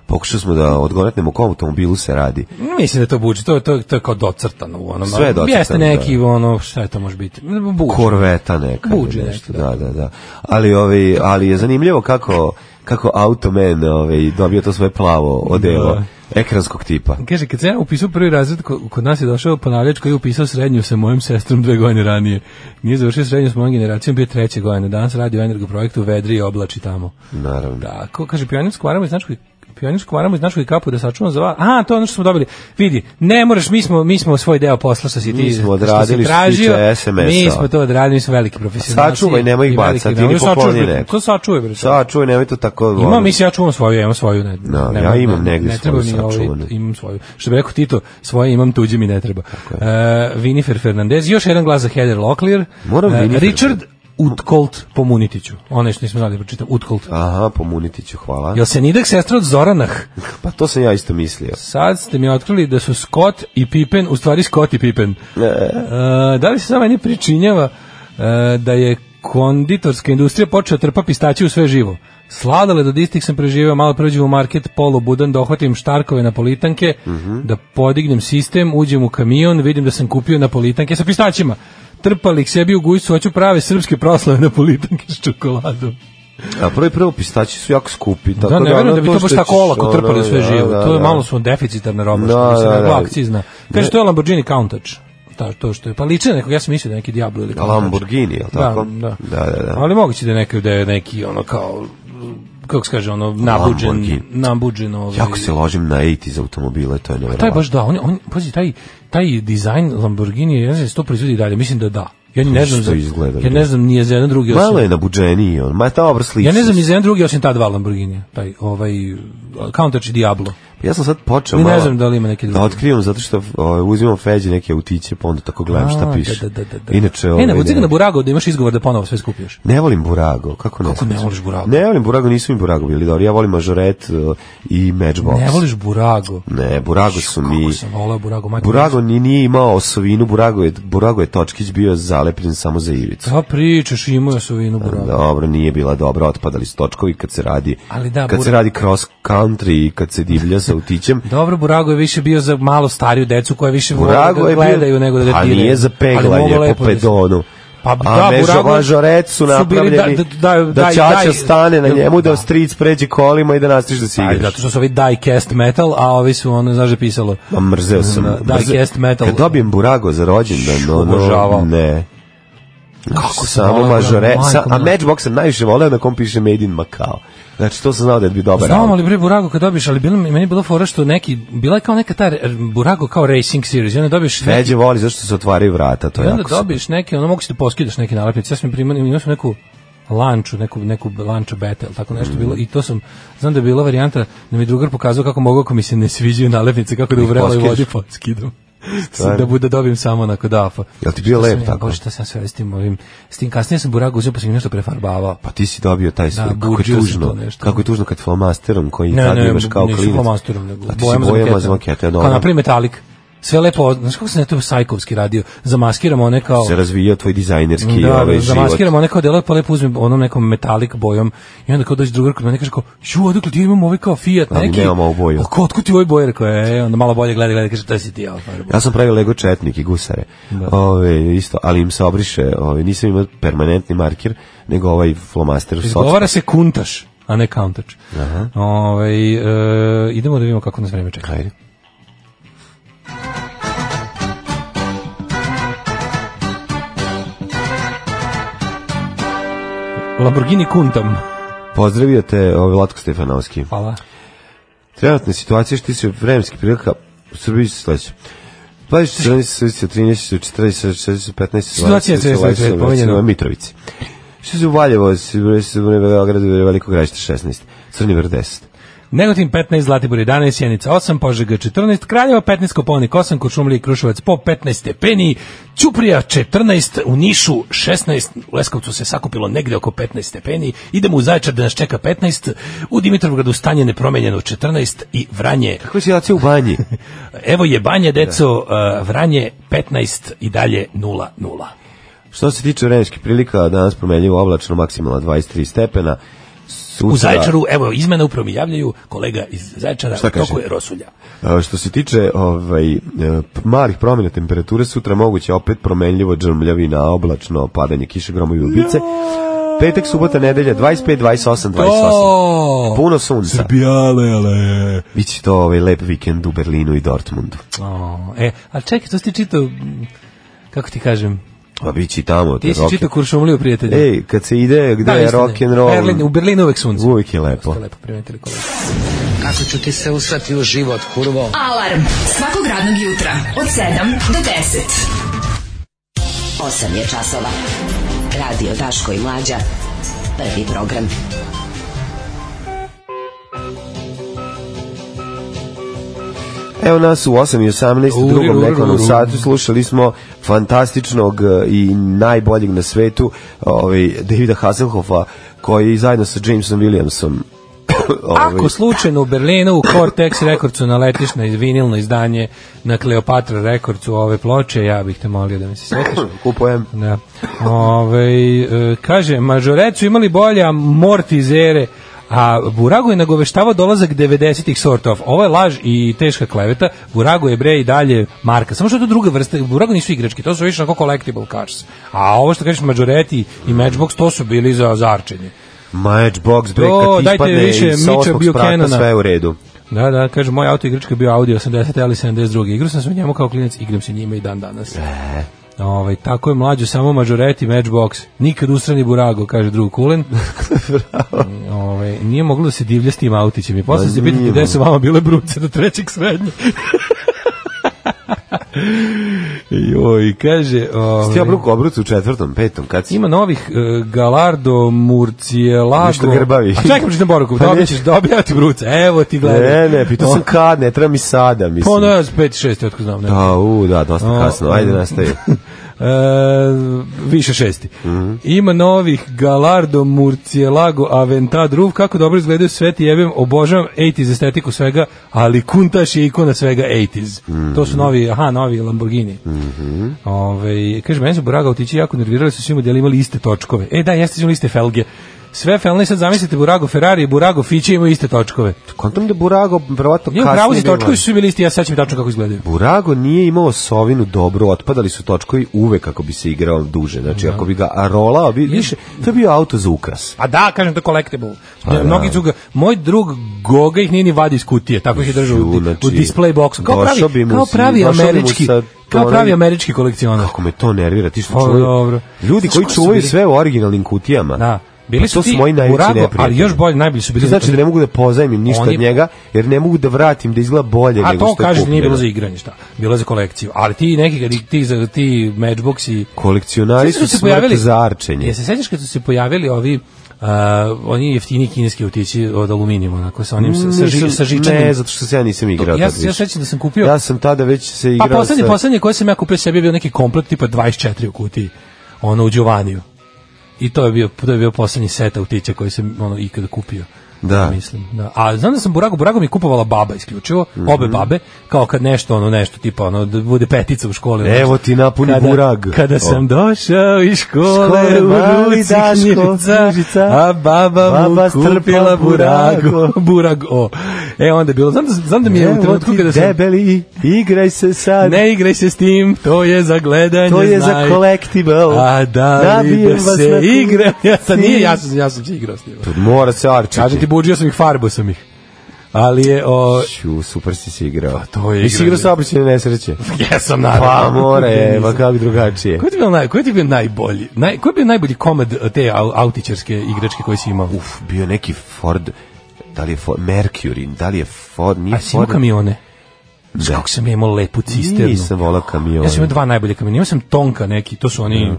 [SPEAKER 6] Pokušali smo da odgonetnemo o kom automobilu se radi.
[SPEAKER 5] Mislim da je to buči, to, to, to je kao docrtano u onom.
[SPEAKER 6] Sve je docrtano,
[SPEAKER 5] Jeste neki, ono, šta je to može biti? Buči.
[SPEAKER 6] Korveta neka. ili
[SPEAKER 5] Buđe nešto,
[SPEAKER 6] nešto, da, da, da. Ali, ovaj, ali je zanimljivo kako, kako Automan ovaj, dobio to svoje plavo odelo ekranskog tipa.
[SPEAKER 5] Kaže, kad sam ja upisao prvi razred, ko- kod nas je došao ponavljač koji je upisao srednju sa mojom sestrom dve godine ranije. Nije završio srednju s mojom generacijom, bio je treće godine. Danas radi o energoprojektu, vedri i oblači tamo.
[SPEAKER 6] Naravno.
[SPEAKER 5] Da, ko, kaže, pionirsku aramu iz Značkoj pionirsku aramu iz Značkoj kapu da sačuvam za vas. A, to je ono što smo dobili. Vidi, ne moraš, mi smo, mi smo svoj deo posla što si ti
[SPEAKER 6] Mi smo
[SPEAKER 5] što si
[SPEAKER 6] odradili što se
[SPEAKER 5] tražio.
[SPEAKER 6] tiče SMS-a.
[SPEAKER 5] Mi smo to odradili, mi smo veliki profesionalci.
[SPEAKER 6] Sačuvaj, nemoj ih
[SPEAKER 5] i veliki-
[SPEAKER 6] bacati ili
[SPEAKER 5] Nemoj, sačuvaj,
[SPEAKER 6] pokloni
[SPEAKER 5] bre,
[SPEAKER 6] neko.
[SPEAKER 5] To sačuvaj, bre.
[SPEAKER 6] Sad čuj, nemoj to tako... ono,
[SPEAKER 5] Imam, mislim, ja čuvam svoju, ja imam svoju. Ne,
[SPEAKER 6] Da,
[SPEAKER 5] ne
[SPEAKER 6] ja
[SPEAKER 5] moram,
[SPEAKER 6] imam negde
[SPEAKER 5] ne treba
[SPEAKER 6] svoju
[SPEAKER 5] mi ovaj,
[SPEAKER 6] sačuvanu.
[SPEAKER 5] imam svoju. Što bi rekao Tito, svoje imam, tuđe mi ne treba. Uh, Vinifer Fernandez, još jedan glas za Heather Locklear. E,
[SPEAKER 6] Moram Vinifer-
[SPEAKER 5] Richard Utkolt po Munitiću. Onaj što nismo znali da pročitam, Utkolt.
[SPEAKER 6] Aha, pomuniti ću, hvala.
[SPEAKER 5] Jel se Nidak sestra od Zoranah?
[SPEAKER 6] Pa to sam ja isto mislio.
[SPEAKER 5] Sad ste mi otkrili da su Scott i Pippen, u stvari Scott i Pippen. E, da li se samo meni pričinjava e, da je konditorska industrija počela trpa pistaće u sve živo? Sladale do distih sam preživeo, malo prođem u market, polu budan, dohvatim štarkove napolitanke, da podignem sistem, uđem u kamion, vidim da sam kupio napolitanke sa pistaćima. Trpali ih sebi u gujcu, hoću prave srpske proslave napolitanke s čokoladom.
[SPEAKER 6] A prvo i prvo pistači su jako skupi. Tako
[SPEAKER 5] Da, ne
[SPEAKER 6] ono,
[SPEAKER 5] verujem da bi to
[SPEAKER 6] što
[SPEAKER 5] baš
[SPEAKER 6] ćeš,
[SPEAKER 5] tako olako
[SPEAKER 6] ono,
[SPEAKER 5] trpali u sve
[SPEAKER 6] da,
[SPEAKER 5] živo.
[SPEAKER 6] da,
[SPEAKER 5] To je
[SPEAKER 6] da.
[SPEAKER 5] malo su deficitarna roba,
[SPEAKER 6] Da,
[SPEAKER 5] što bi se
[SPEAKER 6] da,
[SPEAKER 5] rekla
[SPEAKER 6] da.
[SPEAKER 5] akcizna. Kaže,
[SPEAKER 6] Ne.
[SPEAKER 5] to je Lamborghini Countach. Ta, to što je. Pa liče na nekog, ja sam mislio da je neki Diablo ili Countach.
[SPEAKER 6] Lamborghini, jel tako?
[SPEAKER 5] Da, da.
[SPEAKER 6] Da, da, da.
[SPEAKER 5] Ali moguće da je neki, da je neki ono kao kako se kaže, ono, nabuđen,
[SPEAKER 6] Lamborghini.
[SPEAKER 5] nabuđen ovaj...
[SPEAKER 6] Jako se ložim na 80s automobile, to je nevjerovatno.
[SPEAKER 5] Taj baš da, on, on, pazi, taj, taj dizajn Lamborghini, ja ne znam, da se to proizvodi i dalje, mislim da da. Ja ni ne znam,
[SPEAKER 6] što
[SPEAKER 5] za,
[SPEAKER 6] izgleda,
[SPEAKER 5] ja ne
[SPEAKER 6] da.
[SPEAKER 5] znam, nije za jedan drugi osim-
[SPEAKER 6] Malo je nabuđeniji on, ma ta obra sličnost.
[SPEAKER 5] Ja ne znam ni za jedan drugi osim ta dva Lamborghini, taj ovaj Countach i Diablo.
[SPEAKER 6] Ja sam sad počeo
[SPEAKER 5] Ni ne
[SPEAKER 6] malo...
[SPEAKER 5] znam da li ima neki
[SPEAKER 6] Da
[SPEAKER 5] drugi.
[SPEAKER 6] otkrivam zato što o, uzimam feđe neke utiće, pa onda tako gledam šta
[SPEAKER 5] A, Da,
[SPEAKER 6] piše.
[SPEAKER 5] da, da, da.
[SPEAKER 6] Inače,
[SPEAKER 5] e,
[SPEAKER 6] ovaj,
[SPEAKER 5] ne, buci ga na burago da imaš izgovor da ponovo sve skupljaš.
[SPEAKER 6] Ne volim Burago, kako ne?
[SPEAKER 5] Kako ne voliš Burago?
[SPEAKER 6] Ne volim Burago, nisu mi Burago bili dobri. Ja volim Majoret uh, i Matchbox.
[SPEAKER 5] Ne voliš burago.
[SPEAKER 6] Ne, Burago su mi...
[SPEAKER 5] Kako sam volao burago, majko.
[SPEAKER 6] Burago ni nije imao osovinu, Burago je, Burago je Točkić bio zalepljen samo za ivicu.
[SPEAKER 5] Da pričaš, imao su vinu burago.
[SPEAKER 6] Dobro, nije bila dobra, otpadali su točkovi kad se radi,
[SPEAKER 5] Ali da,
[SPEAKER 6] kad se
[SPEAKER 5] Bura-
[SPEAKER 6] radi cross country i kad se divlja sa
[SPEAKER 5] (laughs)
[SPEAKER 6] utićem.
[SPEAKER 5] Dobro, burago je više bio za malo stariju decu koja više vole
[SPEAKER 6] Burago
[SPEAKER 5] da
[SPEAKER 6] je bio-
[SPEAKER 5] gledaju nego da
[SPEAKER 6] Pa
[SPEAKER 5] detiraju.
[SPEAKER 6] nije za
[SPEAKER 5] Ali mogu
[SPEAKER 6] peglanje
[SPEAKER 5] lepo
[SPEAKER 6] po
[SPEAKER 5] da se-
[SPEAKER 6] pedonu.
[SPEAKER 5] Pa
[SPEAKER 6] A
[SPEAKER 5] da,
[SPEAKER 6] Mežo
[SPEAKER 5] Burago
[SPEAKER 6] Mažoret su
[SPEAKER 5] su bili
[SPEAKER 6] napravljeni da,
[SPEAKER 5] da- da- da- daj-
[SPEAKER 6] Čača
[SPEAKER 5] daj-
[SPEAKER 6] stane na
[SPEAKER 5] da-
[SPEAKER 6] njemu, da,
[SPEAKER 5] da.
[SPEAKER 6] stric pređe kolima i da nastiš da se
[SPEAKER 5] Pa,
[SPEAKER 6] igraš.
[SPEAKER 5] zato što su ovi diecast metal, a ovi su ono, znaš da je pisalo.
[SPEAKER 6] Ma mrzeo sam.
[SPEAKER 5] Na
[SPEAKER 6] mrzeo-
[SPEAKER 5] diecast metal.
[SPEAKER 6] Kad dobijem Burago za rođendan, no, no,
[SPEAKER 5] obožavao.
[SPEAKER 6] ne.
[SPEAKER 5] Kako sam
[SPEAKER 6] Samo
[SPEAKER 5] voleo Burago,
[SPEAKER 6] Mažoret, sa,
[SPEAKER 5] majko
[SPEAKER 6] a
[SPEAKER 5] moja.
[SPEAKER 6] Matchbox sam najviše voleo na kom piše Made in Macau. Znači, to sam znao da je bi dobar.
[SPEAKER 5] Znam,
[SPEAKER 6] album.
[SPEAKER 5] ali bre Burago kad dobiješ, ali bilo, meni je bilo fora što neki, bila je kao neka ta re- Burago kao racing series, i onda dobiješ neki
[SPEAKER 6] Feđe voli zašto se otvaraju vrata, to
[SPEAKER 5] I
[SPEAKER 6] je
[SPEAKER 5] onda
[SPEAKER 6] jako super.
[SPEAKER 5] dobiješ neke, ono mogu si da poskidaš neke nalepnice. Ja sam primio, imao sam neku lanču, neku, neku lanču beta, ili tako
[SPEAKER 6] Mm.
[SPEAKER 5] nešto bilo, i to sam, znam da je bila varijanta da mi je drugar pokazao kako mogu ako mi se ne sviđaju nalepnice, kako da u vreloj
[SPEAKER 6] poskidaš?
[SPEAKER 5] vodi poskidam. (laughs)
[SPEAKER 6] Stvarno?
[SPEAKER 5] da bude dobijem samo onako dafa.
[SPEAKER 6] Jel ti bio
[SPEAKER 5] Šta sam
[SPEAKER 6] lep
[SPEAKER 5] ja,
[SPEAKER 6] tako?
[SPEAKER 5] Bože, šta sam sve s tim ovim, s tim kasnije sam buragu uzeo pa sam im nešto prefarbavao.
[SPEAKER 6] Pa ti si dobio taj svoj, kako je
[SPEAKER 5] buđio sam
[SPEAKER 6] tužno,
[SPEAKER 5] to nešto.
[SPEAKER 6] kako je tužno kad flomasterom koji
[SPEAKER 5] Ne,
[SPEAKER 6] tad
[SPEAKER 5] ne,
[SPEAKER 6] imaš kao klinac.
[SPEAKER 5] nisu flomasterom, nego
[SPEAKER 6] A ti si
[SPEAKER 5] bojama,
[SPEAKER 6] bojama
[SPEAKER 5] za
[SPEAKER 6] za makete, ono,
[SPEAKER 5] makete.
[SPEAKER 6] dobro.
[SPEAKER 5] Kao napravi metalik. Sve lepo, znaš kako sam ja to sajkovski radio, zamaskiramo one kao...
[SPEAKER 6] se razvijao tvoj dizajnerski
[SPEAKER 5] da,
[SPEAKER 6] ovaj
[SPEAKER 5] da,
[SPEAKER 6] život.
[SPEAKER 5] zamaskiram one kao delove, pa lepo uzmem onom nekom metalik bojom i onda kao dođe drugar kod mene i kaže kao, ju, odakle ti imam ovaj kao Fiat
[SPEAKER 6] Ali
[SPEAKER 5] neki?
[SPEAKER 6] nemam ovu boju.
[SPEAKER 5] Pa kao, otkud ti ovaj bojer? Rekao, e, onda malo bolje gleda, gleda, kaže, to si ti, ja,
[SPEAKER 6] Ja sam pravio Lego četnik i gusare. Ove, isto, ali im se obriše, ove, nisam imao permanentni markir, nego ovaj flomaster u socu.
[SPEAKER 5] Izgovara se kuntaš, a ne kauntač. Ovaj, e, idemo da vidimo kako nas vreme čeka.
[SPEAKER 6] Ajde.
[SPEAKER 5] Lamborghini kuntam.
[SPEAKER 6] Pozdravio te ovaj, Vlatko Stefanovski.
[SPEAKER 5] Hvala.
[SPEAKER 6] Trenutna situacija što se vremenski prilika u Srbiji se sledeće. 20, 14, 13, 14, 15, 15,
[SPEAKER 5] Situacija je sledeća, sledeća, pomenjeno.
[SPEAKER 6] Mitrovici. Što se u Valjevo, se se u Beogradu, Veliko gražište 16, Crni vrh 10.
[SPEAKER 5] Negotin 15, Zlatibor 11, Sjenica 8, Požega 14, Kraljevo 15, Koponik 8, Kočumlija i Kruševac po 15 stepeni, Ćuprija 14, u Nišu 16, u Leskovcu se sakupilo negde oko 15 stepeni, idemo u Zaječar da nas čeka 15, u Dimitrovgradu stanje nepromenjeno 14 i Vranje,
[SPEAKER 6] Kako je situacija u
[SPEAKER 5] (laughs)
[SPEAKER 6] banji?
[SPEAKER 5] evo je Banje, deco, eh, Vranje 15 i dalje 0-0.
[SPEAKER 6] Što se tiče vremenskih prilika, danas promenljivo oblačno, maksimalno 23 stepena. Sutra,
[SPEAKER 5] U Zaječaru, evo, izmene upravo mi javljaju kolega iz Zaječara,
[SPEAKER 6] Šta
[SPEAKER 5] u
[SPEAKER 6] kaže?
[SPEAKER 5] toku je Rosulja.
[SPEAKER 6] A, Što se tiče ovaj, e, p- malih promjena temperature, sutra moguće opet promenljivo džrmljavina, oblačno, padanje kiše, gromovi i ubice. Petak, subota, nedelja, 25, 28, 28.
[SPEAKER 5] O,
[SPEAKER 6] Puno sunca.
[SPEAKER 5] Srbijale, ale.
[SPEAKER 6] Biće to ovaj lep vikend u Berlinu i Dortmundu.
[SPEAKER 5] O, e, ali čekaj, to si ti čitao, m, kako ti kažem,
[SPEAKER 6] A Pa biće i tamo.
[SPEAKER 5] ti si
[SPEAKER 6] rock-
[SPEAKER 5] čitao Kuršumliju, prijatelja.
[SPEAKER 6] Ej, kad se ide gde je
[SPEAKER 5] istina
[SPEAKER 6] rock and roll,
[SPEAKER 5] Berlin, u Berlinu uvek sunce.
[SPEAKER 6] uvijek je lepo.
[SPEAKER 5] Ste lepo primetili kolega.
[SPEAKER 9] Kako ću ti se usrati u život, kurvo?
[SPEAKER 4] Alarm svakog radnog jutra od 7 do 10.
[SPEAKER 9] 8 je časova. Radio Daško i Mlađa. Prvi program.
[SPEAKER 6] Evo nas u 8 i 18, u
[SPEAKER 5] Uri,
[SPEAKER 6] drugom
[SPEAKER 5] uri,
[SPEAKER 6] nekom
[SPEAKER 5] uri.
[SPEAKER 6] satu slušali smo fantastičnog e, i najboljeg na svetu ovaj, Davida Hasselhoffa koji zajedno sa Jamesom Williamsom (coughs) ovaj,
[SPEAKER 5] Ako slučajno u Berlinu u Cortex rekordcu naletiš na vinilno izdanje na Kleopatra rekordcu ove ploče, ja bih te molio da mi se svetiš.
[SPEAKER 6] kupujem
[SPEAKER 5] Da. Ove, e, kaže, mažoret su imali bolje amortizere, a Burago je nagoveštavao dolazak 90-ih sort of. Ovo je laž i teška kleveta. Burago je bre i dalje marka. Samo što je to druga vrsta. Burago nisu igrački, to su više onako collectible cars. A ovo što kažeš Mažoreti i Matchbox, to su bili za zarčenje.
[SPEAKER 6] Matchbox break
[SPEAKER 5] To,
[SPEAKER 6] kad
[SPEAKER 5] dajte
[SPEAKER 6] ispadne
[SPEAKER 5] više
[SPEAKER 6] iz
[SPEAKER 5] Mitcha
[SPEAKER 6] osmog sprata
[SPEAKER 5] Buchanana.
[SPEAKER 6] sve je u redu
[SPEAKER 5] Da, da, kaže, moj auto igračka je bio Audi 80, ali 72. Igrao sam se u njemu kao klinac, igram se njime i dan danas.
[SPEAKER 6] E.
[SPEAKER 5] Ovaj, tako je mlađo, samo mažoreti, matchbox. Nikad usrani burago, kaže drug
[SPEAKER 6] (laughs)
[SPEAKER 5] Kulen. ovaj, nije moglo da se divlja s tim autićem. I posle
[SPEAKER 6] Ma
[SPEAKER 5] se pitati
[SPEAKER 6] nije (laughs)
[SPEAKER 5] gde su vama bile bruce do trećeg srednje. Joj, kaže... Ovaj,
[SPEAKER 6] Ti obruk obruc u četvrtom, petom, kad si...
[SPEAKER 5] Ima novih uh, Galardo, Murcielago.
[SPEAKER 6] Ništa grbavi.
[SPEAKER 5] A čekam čitam poruku,
[SPEAKER 6] Pa
[SPEAKER 5] dobit
[SPEAKER 6] ništa.
[SPEAKER 5] ćeš, dobija ti bruca. Evo ti gledaj.
[SPEAKER 6] Ne, ne, pitao sam kad, ne treba mi sada, mislim.
[SPEAKER 5] Pa onda 5-6, otko znam. Ne.
[SPEAKER 6] Da, u, da, dosta
[SPEAKER 5] O,
[SPEAKER 6] kasno. Ajde, nastavi.
[SPEAKER 5] (laughs) E, više šesti.
[SPEAKER 6] Mhm.
[SPEAKER 5] Ima novih Galardo, Murcielago, Aventadruv, kako dobro izgledaju sve ti jebem, obožavam 80s estetiku svega, ali Kuntaš je ikona svega 80s. To
[SPEAKER 6] Mhm.
[SPEAKER 5] su novi, aha, novi Lamborghini. Ove, kaže, meni su Buraga otići jako nervirali su svi modeli imali iste točkove. E da, jeste su imali iste felge. Sve felne, sad zamislite Burago Ferrari i Burago Fiće imaju iste točkove.
[SPEAKER 6] Kontam da Burago, verovatno
[SPEAKER 5] Ja,
[SPEAKER 6] kasnije...
[SPEAKER 5] pravo si
[SPEAKER 6] bio
[SPEAKER 5] točkovi su bili isti, ja sećam tačno kako izgledaju.
[SPEAKER 6] Burago nije imao sovinu dobro, otpadali su točkovi uvek ako bi se igrao duže. Znači, ako bi ga a, rolao, bi, više, to je bio auto za ukras.
[SPEAKER 5] A Pa da, kažem to je collectible.
[SPEAKER 6] Pa
[SPEAKER 5] Mnogi su ga, moj drug Goga ih nije ni vadi iz kutije, tako ih je držao u,
[SPEAKER 6] Ju,
[SPEAKER 5] di-
[SPEAKER 6] znači,
[SPEAKER 5] u display boxu. Kao
[SPEAKER 6] došao
[SPEAKER 5] pravi,
[SPEAKER 6] bi mu
[SPEAKER 5] kao
[SPEAKER 6] si-
[SPEAKER 5] pravi
[SPEAKER 6] došao bi mu
[SPEAKER 5] američki,
[SPEAKER 6] sa
[SPEAKER 5] kao pravi
[SPEAKER 6] onaj-
[SPEAKER 5] američki kolekcionar.
[SPEAKER 6] Kako me to nervira, ti što
[SPEAKER 5] O,
[SPEAKER 6] čuvaju...
[SPEAKER 5] Pa, dobro.
[SPEAKER 6] Ljudi
[SPEAKER 5] Znaš
[SPEAKER 6] koji
[SPEAKER 5] ko su
[SPEAKER 6] čuvaju
[SPEAKER 5] bili?
[SPEAKER 6] sve u originalnim kutijama.
[SPEAKER 5] Da.
[SPEAKER 6] Pa
[SPEAKER 5] Bili
[SPEAKER 6] to
[SPEAKER 5] su ti
[SPEAKER 6] moji najveći
[SPEAKER 5] Burago, ali
[SPEAKER 6] neprijatelji.
[SPEAKER 5] još bolji, najbolji su bili.
[SPEAKER 6] To znači da ne mogu da pozajmim ništa
[SPEAKER 5] Oni-
[SPEAKER 6] od njega, jer ne mogu da vratim da izgleda bolje
[SPEAKER 5] A
[SPEAKER 6] nego
[SPEAKER 5] to
[SPEAKER 6] što je
[SPEAKER 5] kaže nije
[SPEAKER 6] kupljeno.
[SPEAKER 5] bilo za igranje, šta? Bilo je za kolekciju. Ali ti neki kad ih- ti za ti matchboxi
[SPEAKER 6] Kolekcionari
[SPEAKER 5] Sjećaš
[SPEAKER 6] su
[SPEAKER 5] kad
[SPEAKER 6] smrt za arčenje.
[SPEAKER 5] Jel se sećaš kad su se pojavili ovi Uh, oni jeftini kineski utići od aluminijuma, onako sa onim sa, sa, ži,
[SPEAKER 6] Nisam-
[SPEAKER 5] sa žičanim.
[SPEAKER 6] Mm, Ne, zato što se ja nisam igrao.
[SPEAKER 5] ja,
[SPEAKER 6] tad
[SPEAKER 5] ja
[SPEAKER 6] više.
[SPEAKER 5] sećam da sam kupio
[SPEAKER 6] Ja sam tada već se
[SPEAKER 5] Pa
[SPEAKER 6] igrao
[SPEAKER 5] poslednje,
[SPEAKER 6] sa...
[SPEAKER 5] poslednje koje sam ja kupio sebi je bio neki komplet tipa 24 u kutiji, ono u Giovaniju. I to je bio, to je bio poslednji set autića koji sam ono ikada kupio.
[SPEAKER 6] Da.
[SPEAKER 5] Mislim, da. A znam da sam Burago, Burago mi kupovala baba isključivo,
[SPEAKER 6] Mhm.
[SPEAKER 5] obe babe, kao kad nešto, ono nešto, tipa ono, da bude petica u školi. ono,
[SPEAKER 6] Evo ti napuni
[SPEAKER 5] kada,
[SPEAKER 6] burag.
[SPEAKER 5] Kada
[SPEAKER 6] O.
[SPEAKER 5] sam došle iz škole,
[SPEAKER 6] Škole,
[SPEAKER 5] u
[SPEAKER 6] mali
[SPEAKER 5] ruci
[SPEAKER 6] Daško,
[SPEAKER 5] knjižica,
[SPEAKER 6] knjižica,
[SPEAKER 5] a baba,
[SPEAKER 6] baba
[SPEAKER 5] mu kupila
[SPEAKER 6] strpala
[SPEAKER 5] burago.
[SPEAKER 6] burago.
[SPEAKER 5] (laughs) burago. E, onda je bilo, znam da, znam da mi je u
[SPEAKER 6] Evo
[SPEAKER 5] trenutku
[SPEAKER 6] ti
[SPEAKER 5] kada sam...
[SPEAKER 6] debeli, igraj se sad.
[SPEAKER 5] Ne igraj se s tim, to je za gledanje,
[SPEAKER 6] To je
[SPEAKER 5] znaj.
[SPEAKER 6] za collectible.
[SPEAKER 5] A da li
[SPEAKER 6] Nabijem
[SPEAKER 5] da
[SPEAKER 6] vas na
[SPEAKER 5] se
[SPEAKER 6] tu-
[SPEAKER 5] igra? Ja sam, nije, ja sam, ja sam se igrao s njima.
[SPEAKER 6] Mora se arčiti.
[SPEAKER 5] Kažem ti, buđio sam ih, farbo sam ih. Ali je, o,
[SPEAKER 6] Ću, super si se igrao.
[SPEAKER 5] to je
[SPEAKER 6] Nisi
[SPEAKER 5] igranje.
[SPEAKER 6] igrao saobraćene nesreće.
[SPEAKER 5] jesam naravno.
[SPEAKER 6] Pa more,
[SPEAKER 5] Nisam.
[SPEAKER 6] evo kako drugačije.
[SPEAKER 5] Ko je ti bio, naj, ko je ti bio najbolji? Naj, ko je bio najbolji komad e, te au- autičarske igračke koje si imao? Uf,
[SPEAKER 6] Uf, bio neki Ford, da li je Ford, Mercury, da li je Ford, nije
[SPEAKER 5] A si imao
[SPEAKER 6] Ford.
[SPEAKER 5] kamione?
[SPEAKER 6] Da.
[SPEAKER 5] Kako sam ja imao lepu cisternu?
[SPEAKER 6] Nisam volao kamion.
[SPEAKER 5] Ja sam imao dva najbolje kamione. Imao sam Tonka neki, to su oni...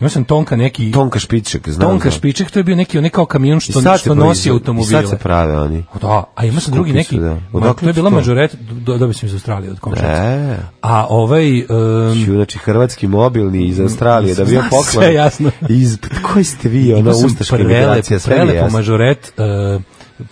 [SPEAKER 5] Imao sam Tonka neki...
[SPEAKER 6] Tonka špiček, znam.
[SPEAKER 5] Tonka
[SPEAKER 6] znam.
[SPEAKER 5] špiček, to je bio neki onaj kao kamion
[SPEAKER 6] I
[SPEAKER 5] što,
[SPEAKER 6] sad se
[SPEAKER 5] što nosi
[SPEAKER 6] proizvode,
[SPEAKER 5] automobile.
[SPEAKER 6] I sad se prave oni.
[SPEAKER 5] Pa Da, a ima sam drugi
[SPEAKER 6] Skupi
[SPEAKER 5] neki.
[SPEAKER 6] su, da.
[SPEAKER 5] ma,
[SPEAKER 6] Odakle
[SPEAKER 5] to je
[SPEAKER 6] ti
[SPEAKER 5] bila
[SPEAKER 6] to?
[SPEAKER 5] mažoret, do, dobio sam iz Australije od komšaca.
[SPEAKER 6] E,
[SPEAKER 5] A ovaj... Um,
[SPEAKER 6] ću, znači hrvatski mobilni iz Australije, da bio
[SPEAKER 5] Zna
[SPEAKER 6] poklon.
[SPEAKER 5] sve, jasno.
[SPEAKER 6] Iz, koji ste vi, ona
[SPEAKER 5] imao sam
[SPEAKER 6] ustaška
[SPEAKER 5] prelep-
[SPEAKER 6] generacija, sve mi je
[SPEAKER 5] prelepu
[SPEAKER 6] jasno.
[SPEAKER 5] mažoret, uh,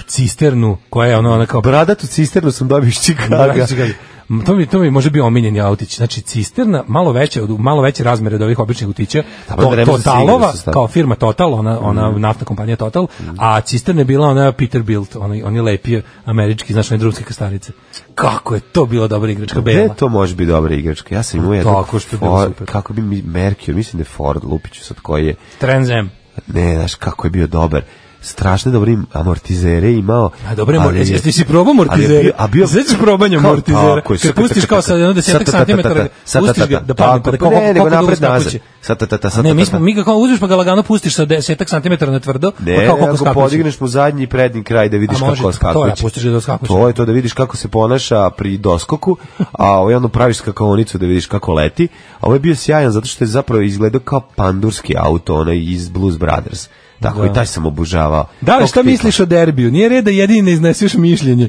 [SPEAKER 5] cisternu, koja je ono, ona kao... (laughs)
[SPEAKER 6] Bradatu cisternu sam dobio iz Čikaga.
[SPEAKER 5] Znači, kaže, m, To mi, to mi može bio omiljeni autić. Znači, cisterna, malo veće, od, malo veće razmere od ovih običnih autića.
[SPEAKER 6] Da,
[SPEAKER 5] To,
[SPEAKER 6] pa vreme za
[SPEAKER 5] Totalova,
[SPEAKER 6] sigurno su Mm. stavili.
[SPEAKER 5] kao firma Total, ona, ona naftna kompanija Total, a cisterna je bila ona Peterbilt, oni, oni lepije američki, znači one drumske kastarice. Kako je to bila dobra igračka
[SPEAKER 6] Gde
[SPEAKER 5] bela.
[SPEAKER 6] to može biti dobra igračka? Ja sam imao jednu
[SPEAKER 5] Pa Tako što je bilo
[SPEAKER 6] Ford-
[SPEAKER 5] super.
[SPEAKER 6] kako bi mi Merkio, mislim da je Ford, lupiću sad koji je,
[SPEAKER 5] Trans Am.
[SPEAKER 6] ne, znaš kako je bio dobar. Strašno dobre amortizere je imao.
[SPEAKER 5] A dobro, mor,
[SPEAKER 6] ali je-
[SPEAKER 5] jesi si probao
[SPEAKER 6] ali je
[SPEAKER 5] amortizere?
[SPEAKER 6] bio- A bio
[SPEAKER 5] Znači probanje
[SPEAKER 6] Kao
[SPEAKER 5] amortizera.
[SPEAKER 6] tako je,
[SPEAKER 5] Kad
[SPEAKER 6] sa-
[SPEAKER 5] pustiš
[SPEAKER 6] ta-
[SPEAKER 5] kao
[SPEAKER 6] ta- ta-
[SPEAKER 5] sa jedno desetak
[SPEAKER 6] ta- ta- ta-
[SPEAKER 5] santimetara,
[SPEAKER 6] sa- ta- ta-
[SPEAKER 5] pustiš ga
[SPEAKER 6] ta-
[SPEAKER 5] da padne, pa
[SPEAKER 6] tako
[SPEAKER 5] da
[SPEAKER 6] je.
[SPEAKER 5] kako-
[SPEAKER 6] Ne, nego
[SPEAKER 5] kako dugo
[SPEAKER 6] napred
[SPEAKER 5] skakuće.
[SPEAKER 6] nazad. Sa- ta- ta- ta- sa-
[SPEAKER 5] Ne,
[SPEAKER 6] ta-
[SPEAKER 5] mi
[SPEAKER 6] ta-
[SPEAKER 5] smo,
[SPEAKER 6] ta.
[SPEAKER 5] mi ga kao uzmeš pa ga lagano pustiš sa desetak santimetara na tvrdo, pa
[SPEAKER 6] Ne,
[SPEAKER 5] kao koliko
[SPEAKER 6] ako
[SPEAKER 5] skakuće.
[SPEAKER 6] podigneš mu zadnji i prednji kraj da vidiš
[SPEAKER 5] A može, pa
[SPEAKER 6] kako
[SPEAKER 5] to je,
[SPEAKER 6] skakuće.
[SPEAKER 5] pustiš ga da skakuće.
[SPEAKER 6] To je to da vidiš kako se ponaša pri doskoku, a ovaj ono praviš skakavonicu da vidiš kako leti. A ovo je bio sjajan zato što je zapravo izgledao kao pandurski auto, onaj iz Blues Brothers. Tako i taj sam obužavao.
[SPEAKER 5] Da li
[SPEAKER 6] Tog
[SPEAKER 5] šta
[SPEAKER 6] tipa.
[SPEAKER 5] misliš o derbiju? Nije red da jedini ne izneseš mišljenje.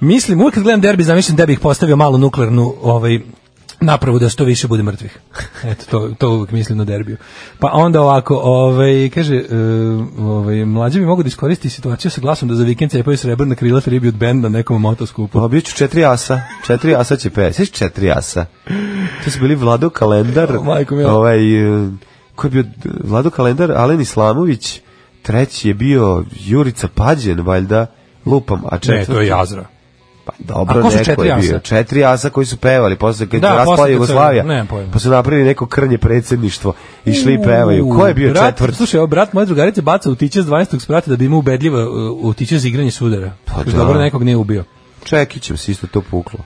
[SPEAKER 5] Mislim, uvijek kad gledam derbi, zamišljam da bih postavio malu nuklearnu ovaj, napravu da što više bude mrtvih. (laughs) Eto, to, to uvijek mislim o derbiju. Pa onda ovako, ovaj, kaže, e, ovaj, mlađe bi mogu da iskoristi situaciju sa glasom da za vikend cepaju srebrna krila tribute band na nekom motoskupu.
[SPEAKER 6] Pa bit ću četiri asa. Četiri asa će pevati. Sviš četiri asa? To su bili Vlado Kalendar.
[SPEAKER 5] O, (laughs) majko mila.
[SPEAKER 6] Ovaj, eh, ko je bio? Vlado Kalendar, Alen Islamović. Treći je bio Jurica Pađen, valjda. Lupam, a
[SPEAKER 5] Ne,
[SPEAKER 6] četvrti...
[SPEAKER 5] to je jazra.
[SPEAKER 6] Pa dobro,
[SPEAKER 5] A ko su
[SPEAKER 6] neko
[SPEAKER 5] četiri
[SPEAKER 6] je bio.
[SPEAKER 5] asa?
[SPEAKER 6] Četiri asa koji su pevali posle kad
[SPEAKER 5] Da,
[SPEAKER 6] je
[SPEAKER 5] posle
[SPEAKER 6] raspala
[SPEAKER 5] kad se-
[SPEAKER 6] Jugoslavija.
[SPEAKER 5] nemam pojma.
[SPEAKER 6] Pa su napravili neko krnje predsedništvo. Išli i pevaju. Ko je bio
[SPEAKER 5] brat,
[SPEAKER 6] četvrti?
[SPEAKER 5] Slušaj, evo, brat moje drugarice baca utiče s 12. sprata da bi ima ubedljivo uh, utiče za igranje sudara.
[SPEAKER 6] Pa
[SPEAKER 5] Kaže,
[SPEAKER 6] da. (laughs)
[SPEAKER 5] Dobro, nekog nije ubio.
[SPEAKER 6] Čekićem se isto to puklo.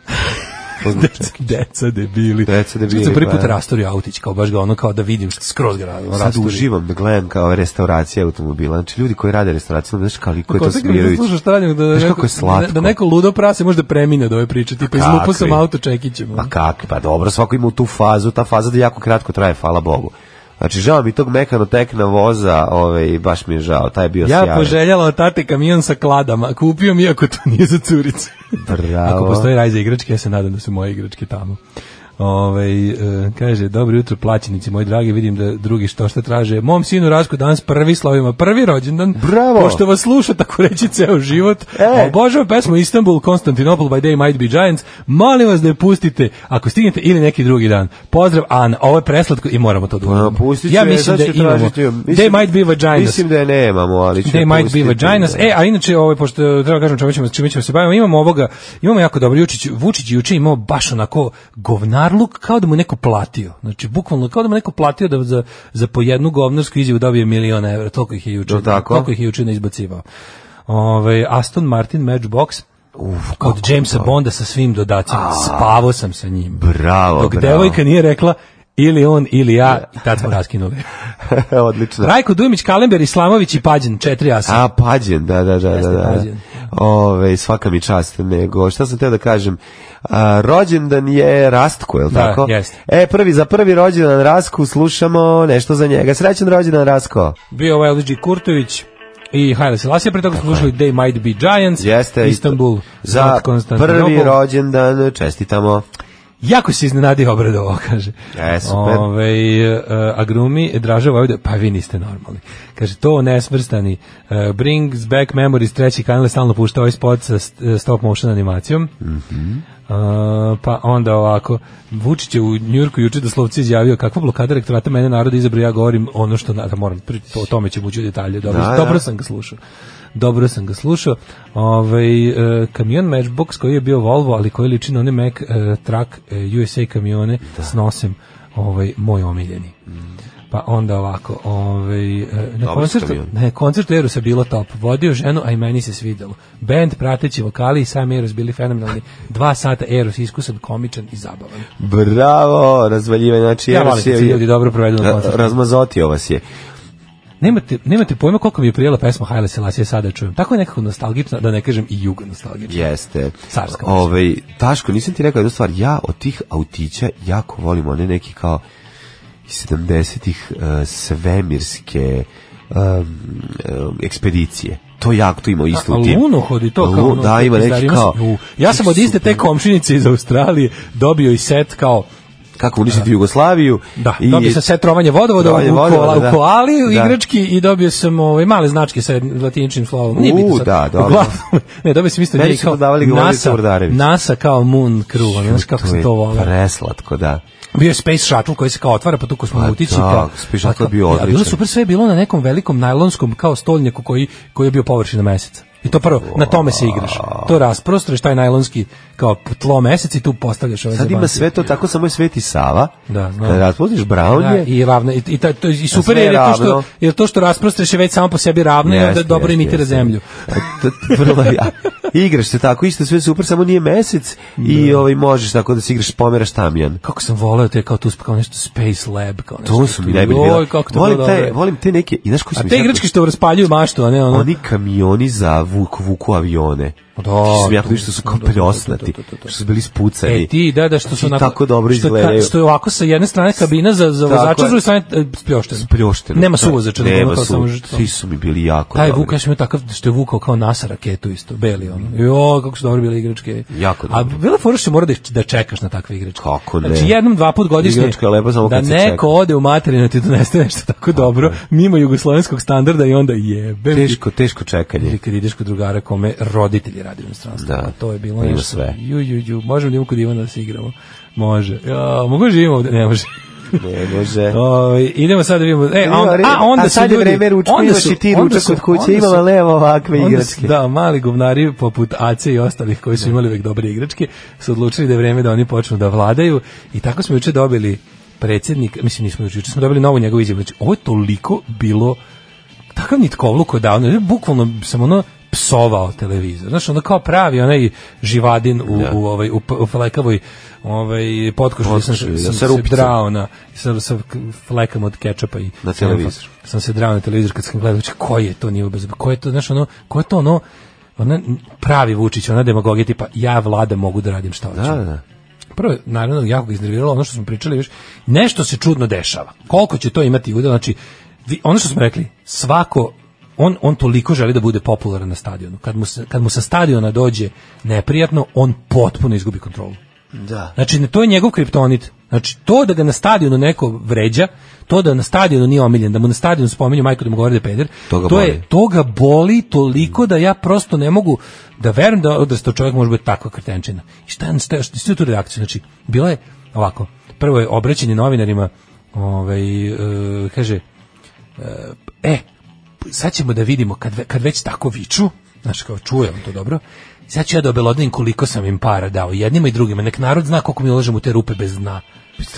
[SPEAKER 6] Pozvučak.
[SPEAKER 5] Deca debili.
[SPEAKER 6] Deca debili,
[SPEAKER 5] Sad sam prvi put
[SPEAKER 6] pa.
[SPEAKER 5] rastorio autić, kao baš ga ono kao da vidim skroz ga ono,
[SPEAKER 6] Sad
[SPEAKER 5] rastorio.
[SPEAKER 6] uživam da gledam kao restauracija automobila. Znači, ljudi koji rade restauraciju, znaš kako je to
[SPEAKER 5] Kao sad kad
[SPEAKER 6] smirujuće.
[SPEAKER 5] slušaš Tanjug, da, da,
[SPEAKER 6] Znaš
[SPEAKER 5] neko,
[SPEAKER 6] kako
[SPEAKER 5] da,
[SPEAKER 6] je slatko.
[SPEAKER 5] da neko ludo prase možda premine od ove priče, tipa izlupao sam
[SPEAKER 6] Kakvi?
[SPEAKER 5] auto čekićem. ono.
[SPEAKER 6] Ma kak, pa dobro, svako ima tu fazu, ta faza da jako kratko traje, hvala Bogu. Znači, žao mi tog mekanotekna voza, ovaj, baš mi je žao, taj je bio
[SPEAKER 5] Ja
[SPEAKER 6] sjajan.
[SPEAKER 5] poželjela od tate kamion sa kladama, kupio mi je, ako to nije za curice.
[SPEAKER 6] Bravo.
[SPEAKER 5] Ako postoji raj za igračke, ja se nadam da su moje igračke tamo. Ove, kaže, dobro jutro plaćenici, moji dragi, vidim da drugi što šta traže. Mom sinu Rašku danas prvi slovima, prvi rođendan.
[SPEAKER 6] Bravo.
[SPEAKER 5] Pošto vas sluša, tako reći, ceo život.
[SPEAKER 6] E.
[SPEAKER 5] Obožavam pesmu Istanbul, Constantinople by day might be giants. Molim vas da je pustite, ako stignete, ili neki drugi dan. Pozdrav, Ana. Ovo je preslatko i moramo to da
[SPEAKER 6] Pa,
[SPEAKER 5] uzmemo.
[SPEAKER 6] pustit ću
[SPEAKER 5] Ja
[SPEAKER 6] je,
[SPEAKER 5] mislim
[SPEAKER 6] sad
[SPEAKER 5] da
[SPEAKER 6] ću
[SPEAKER 5] imamo.
[SPEAKER 6] tražiti ju.
[SPEAKER 5] They might be vaginas.
[SPEAKER 6] Mislim da je nemamo, ali ću
[SPEAKER 5] They
[SPEAKER 6] je
[SPEAKER 5] might be
[SPEAKER 6] pustiti.
[SPEAKER 5] vaginas. E, a inače, ovaj, pošto treba kažem čemu ćemo, čime ćemo se bavimo, imamo ovoga, imamo jako dobro, Jučić, Vučić je juče imao baš onako govnarluk, kao da mu je neko platio. Znači, bukvalno, kao da mu je neko platio da za, za po jednu govnarsku izjavu dobije milion evra, toliko ih je juče,
[SPEAKER 6] Jel tako?
[SPEAKER 5] toliko ih je juče ne izbacivao. Ove, Aston Martin Matchbox,
[SPEAKER 6] Uf, kako
[SPEAKER 5] od Jamesa Bonda sa svim dodacima. Spavao sam sa njim.
[SPEAKER 6] Bravo,
[SPEAKER 5] Dok
[SPEAKER 6] bravo.
[SPEAKER 5] devojka nije rekla ili on ili ja, i tad smo raskinuli.
[SPEAKER 6] (laughs) Odlično.
[SPEAKER 5] Rajko Dumić, Kalember, Islamović i Pađen, četiri asa.
[SPEAKER 6] A, pađen, da, da, da, da,
[SPEAKER 5] Jeste
[SPEAKER 6] da.
[SPEAKER 5] pađen.
[SPEAKER 6] Ove, svaka mi čast, nego, šta sam teo da kažem, a, rođendan je Rastko, je li
[SPEAKER 5] Da,
[SPEAKER 6] tako?
[SPEAKER 5] jeste.
[SPEAKER 6] E, prvi, za prvi rođendan Rastku slušamo nešto za njega. Srećan rođendan Rastko.
[SPEAKER 5] Bio ovaj LG Kurtović i Haile Selassie, pre toga smo slušali They Might Be Giants,
[SPEAKER 6] Jeste.
[SPEAKER 5] Istanbul,
[SPEAKER 6] za
[SPEAKER 5] za Konstantinopol.
[SPEAKER 6] prvi rođendan, čestitamo.
[SPEAKER 5] Jako se iznenadio obradovao, kaže.
[SPEAKER 6] E, super.
[SPEAKER 5] Ovaj, e, Agrumi, Draža Vojvoda, pa vi niste normalni. Kaže, to nesvrstani. e, brings back memories, treći kanal je stalno pušta ovaj spot sa st- stop motion animacijom. E, pa onda ovako, Vučić je u Njurku juče doslovce izjavio kakva blokada rektorata mene naroda izabra, ja govorim ono što na- da moram, pri- to, o tome ćemo ući u detalje, dobro,
[SPEAKER 6] Da, da.
[SPEAKER 5] dobro sam ga slušao. Dobro sam ga slušao. Ovaj e, kamion Matchbox koji je bio Volvo, ali koji liči na one Mac e, Truck e, USA kamione s nosem, ovaj moj omiljeni.
[SPEAKER 6] Mm.
[SPEAKER 5] Pa onda ovako, ovaj e, na
[SPEAKER 6] Dobar
[SPEAKER 5] koncertu,
[SPEAKER 6] kamion.
[SPEAKER 5] na koncertu Erusa bilo top. Vodio ženu, a i meni se svidelo. Band, prateći vokali i sam Erus bili fenomenalni. Dva sata Erus iskusan, komičan i zabavan.
[SPEAKER 6] Bravo, razvaljivanje, znači
[SPEAKER 5] Ja
[SPEAKER 6] Eros
[SPEAKER 5] volim kad
[SPEAKER 6] je-
[SPEAKER 5] se ljudi dobro provedu na
[SPEAKER 6] Ra-
[SPEAKER 5] koncertu.
[SPEAKER 6] Razmazotio vas je.
[SPEAKER 5] Nemate, nemate pojma koliko mi je prijela pesma Haile Selassie sada čujem. Tako je nekako nostalgična, da ne kažem i jugo nostalgična.
[SPEAKER 6] Jeste.
[SPEAKER 5] Carska moć.
[SPEAKER 6] Ovaj Taško, nisam ti rekao jednu stvar, ja od tih autića jako volim one neki kao iz 70-ih eh, svemirske em, em, ekspedicije. To jako to ima isto
[SPEAKER 5] A,
[SPEAKER 6] u tim.
[SPEAKER 5] lunohod i to kao
[SPEAKER 6] Lu-
[SPEAKER 5] ono,
[SPEAKER 6] da, ima neki
[SPEAKER 5] pizdarima se-
[SPEAKER 6] kao...
[SPEAKER 5] Ju, ja sam od iste te komšinice iz Australije dobio i set kao
[SPEAKER 6] Kako uništiti Jugoslaviju.
[SPEAKER 5] Da, dobio sam set trovanje vodovoda
[SPEAKER 6] Trovanje
[SPEAKER 5] u, koala,
[SPEAKER 6] vodovoda, da.
[SPEAKER 5] u koali, u
[SPEAKER 6] Da.
[SPEAKER 5] igrački i dobio sam ove male značke sa latiničnim slovom. Nije
[SPEAKER 6] U,
[SPEAKER 5] bitno sad.
[SPEAKER 6] da, dobro.
[SPEAKER 5] Uglavnom, (laughs) ne, dobio sam isto
[SPEAKER 6] Meni
[SPEAKER 5] njih
[SPEAKER 6] su prodavali govornice Urdarević. Pa
[SPEAKER 5] NASA kao Moon Crew, ono, znaš kako se to vole.
[SPEAKER 6] Preslatko, da.
[SPEAKER 5] Bio je Space Shuttle koji se kao otvara, pa tu ko smo
[SPEAKER 6] Pa
[SPEAKER 5] mutići.
[SPEAKER 6] da,
[SPEAKER 5] pa,
[SPEAKER 6] Space Shuttle
[SPEAKER 5] pa kao-
[SPEAKER 6] je bio
[SPEAKER 5] a Bilo
[SPEAKER 6] odličan.
[SPEAKER 5] super, sve je bilo na nekom velikom najlonskom kao stolnjaku koji, koji je bio površina meseca. I to prvo, na tome se igraš. To rasprostreš, taj najlonski kao tlo mesec i tu postavljaš ove
[SPEAKER 6] Sad ima
[SPEAKER 5] zebancije.
[SPEAKER 6] sve to, tako samo je Sveti Sava.
[SPEAKER 5] Da, znam.
[SPEAKER 6] Kada razvoziš Brown
[SPEAKER 5] Da,
[SPEAKER 6] je,
[SPEAKER 5] i ravno i, i, taj- to- i super
[SPEAKER 6] sve
[SPEAKER 5] je, jer je to
[SPEAKER 6] ravno.
[SPEAKER 5] što jer to što rasprostreš je već samo po sebi ravno i onda
[SPEAKER 6] Jeste,
[SPEAKER 5] dobro
[SPEAKER 6] jeste,
[SPEAKER 5] imitira
[SPEAKER 6] jeste.
[SPEAKER 5] zemlju.
[SPEAKER 6] To- to- Vrlo, ja. Igraš se tako, isto sve super, samo nije mesec i ovaj, možeš tako da se igraš, pomeraš tamjan.
[SPEAKER 5] Kako sam voleo te kao tu sp- kao nešto Space Lab kao nešto.
[SPEAKER 6] To su mi
[SPEAKER 5] tu.
[SPEAKER 6] najbolji
[SPEAKER 5] Oj,
[SPEAKER 6] bila.
[SPEAKER 5] kako to
[SPEAKER 6] Volim
[SPEAKER 5] bilo
[SPEAKER 6] te,
[SPEAKER 5] dobro.
[SPEAKER 6] volim te neke, i znaš koji su
[SPEAKER 5] A
[SPEAKER 6] mi
[SPEAKER 5] te
[SPEAKER 6] sad-
[SPEAKER 5] igračke što raspaljuju maštu, a ne ono.
[SPEAKER 6] Oni kamioni za vuku, vuku avione.
[SPEAKER 5] Pa Da,
[SPEAKER 6] Ti su mi jako
[SPEAKER 5] to-
[SPEAKER 6] vidiš što su kao
[SPEAKER 5] to- to- to-
[SPEAKER 6] pljosnati,
[SPEAKER 5] to- to- to- to.
[SPEAKER 6] što su bili spucani.
[SPEAKER 5] E ti da da što su
[SPEAKER 6] Ti tako dobro
[SPEAKER 5] što, ka-
[SPEAKER 6] izgledaju.
[SPEAKER 5] što je ovako sa jedne strane kabina za za
[SPEAKER 6] Tako
[SPEAKER 5] vozača,
[SPEAKER 6] je.
[SPEAKER 5] s druge strane e, spljošteno.
[SPEAKER 6] Pljošteno.
[SPEAKER 5] Nema suvozača, nego ono
[SPEAKER 6] nema
[SPEAKER 5] kao
[SPEAKER 6] su,
[SPEAKER 5] samo
[SPEAKER 6] samo
[SPEAKER 5] žrtva.
[SPEAKER 6] Svi su mi bili jako
[SPEAKER 5] Taj
[SPEAKER 6] dobri.
[SPEAKER 5] Vuk, ja sam imao takav što je vukao kao NASA raketu isto, beli ono. Jo, kako su dobro bile igračke.
[SPEAKER 6] Jako
[SPEAKER 5] A
[SPEAKER 6] dobro.
[SPEAKER 5] bila fora što mora da, da čekaš na takve igračke.
[SPEAKER 6] Kako ne?
[SPEAKER 5] Znači jednom, dva put godišnje.
[SPEAKER 6] Igračka je lepa samo
[SPEAKER 5] da
[SPEAKER 6] kad se
[SPEAKER 5] neko
[SPEAKER 6] čeka.
[SPEAKER 5] ode u materinu i ti donese nešto tako dobro, mimo jugoslovenskog standarda i onda jebe.
[SPEAKER 6] Teško, teško čekanje.
[SPEAKER 5] Ili kad ideš kod drugara kome roditelji rade u inostranstvu.
[SPEAKER 6] Da.
[SPEAKER 5] Pa to je bilo
[SPEAKER 6] Ima
[SPEAKER 5] nešto.
[SPEAKER 6] sve.
[SPEAKER 5] Ju, ju, ju. Možemo da idemo kod Ivana da se igramo. Može. Ja, mogu da živimo ovde? Ne
[SPEAKER 6] (laughs)
[SPEAKER 5] može.
[SPEAKER 6] Ne može.
[SPEAKER 5] O, idemo sad da vidimo. E, a, on,
[SPEAKER 6] Ima,
[SPEAKER 5] a onda
[SPEAKER 6] a
[SPEAKER 5] su
[SPEAKER 6] sad je
[SPEAKER 5] ljudi-
[SPEAKER 6] vreme ručka,
[SPEAKER 5] onda
[SPEAKER 6] imaš
[SPEAKER 5] su-
[SPEAKER 6] i ti
[SPEAKER 5] onda
[SPEAKER 6] ručak
[SPEAKER 5] su-
[SPEAKER 6] kod kuće,
[SPEAKER 5] onda su-
[SPEAKER 6] imamo levo ovakve
[SPEAKER 5] onda
[SPEAKER 6] igračke.
[SPEAKER 5] su- Da, mali govnari poput Ace i ostalih koji su imali uvek dobre igračke su odlučili da je vreme da oni počnu da vladaju i tako smo juče dobili predsjednik, mislim nismo juče, juče smo dobili novu njegovu izjavu. Znači, ovo je toliko bilo takav nitkovluk odavno, bukvalno sam ono psovao televizor. Znaš, onda kao pravi onaj živadin u, u, ovaj, u, p- u flekavoj ovaj, potkošlji. Sam,
[SPEAKER 6] Potkošlji, da,
[SPEAKER 5] sam
[SPEAKER 6] sa
[SPEAKER 5] se
[SPEAKER 6] rupicom.
[SPEAKER 5] drao na, sa, sa flekama od kečapa i
[SPEAKER 6] Na televizor.
[SPEAKER 5] sam se drao na televizor kad sam gledao, znači, ko je to nivo bez... Ko je to, znaš, ono, ko je to ono, ona pravi Vučić, ona demagogija tipa ja vlada mogu da radim šta hoću.
[SPEAKER 6] Da, da, da.
[SPEAKER 5] Prvo, naravno, jako ga iznerviralo ono što smo pričali, viš, nešto se čudno dešava. Koliko će to imati udjel? Znači, vi, ono što smo rekli, svako, on, on toliko želi da bude popularan na stadionu. Kad mu, se- kad mu sa stadiona dođe neprijatno, on potpuno izgubi kontrolu.
[SPEAKER 6] Da.
[SPEAKER 5] Znači, ne- to je njegov kriptonit. Znači, to da ga na stadionu neko vređa, to da na stadionu nije omiljen, da mu na stadionu spominju majku da mu govori da je peder,
[SPEAKER 6] To ga
[SPEAKER 5] to, je,
[SPEAKER 6] boli.
[SPEAKER 5] to ga boli toliko da ja prosto ne mogu da verujem da odrastao čovjek može biti takva kretenčina. I šta je šta, je- šta je tu reakciju? Znači, bila je ovako, prvo je obraćanje novinarima, ovaj, e, kaže, e, sad ćemo da vidimo kad, ve- kad već tako viču, znaš kao čujem to dobro, sad ću ja da obelodnim koliko sam im para dao, jednima i drugima, nek narod zna koliko mi ulažem u te rupe bez dna.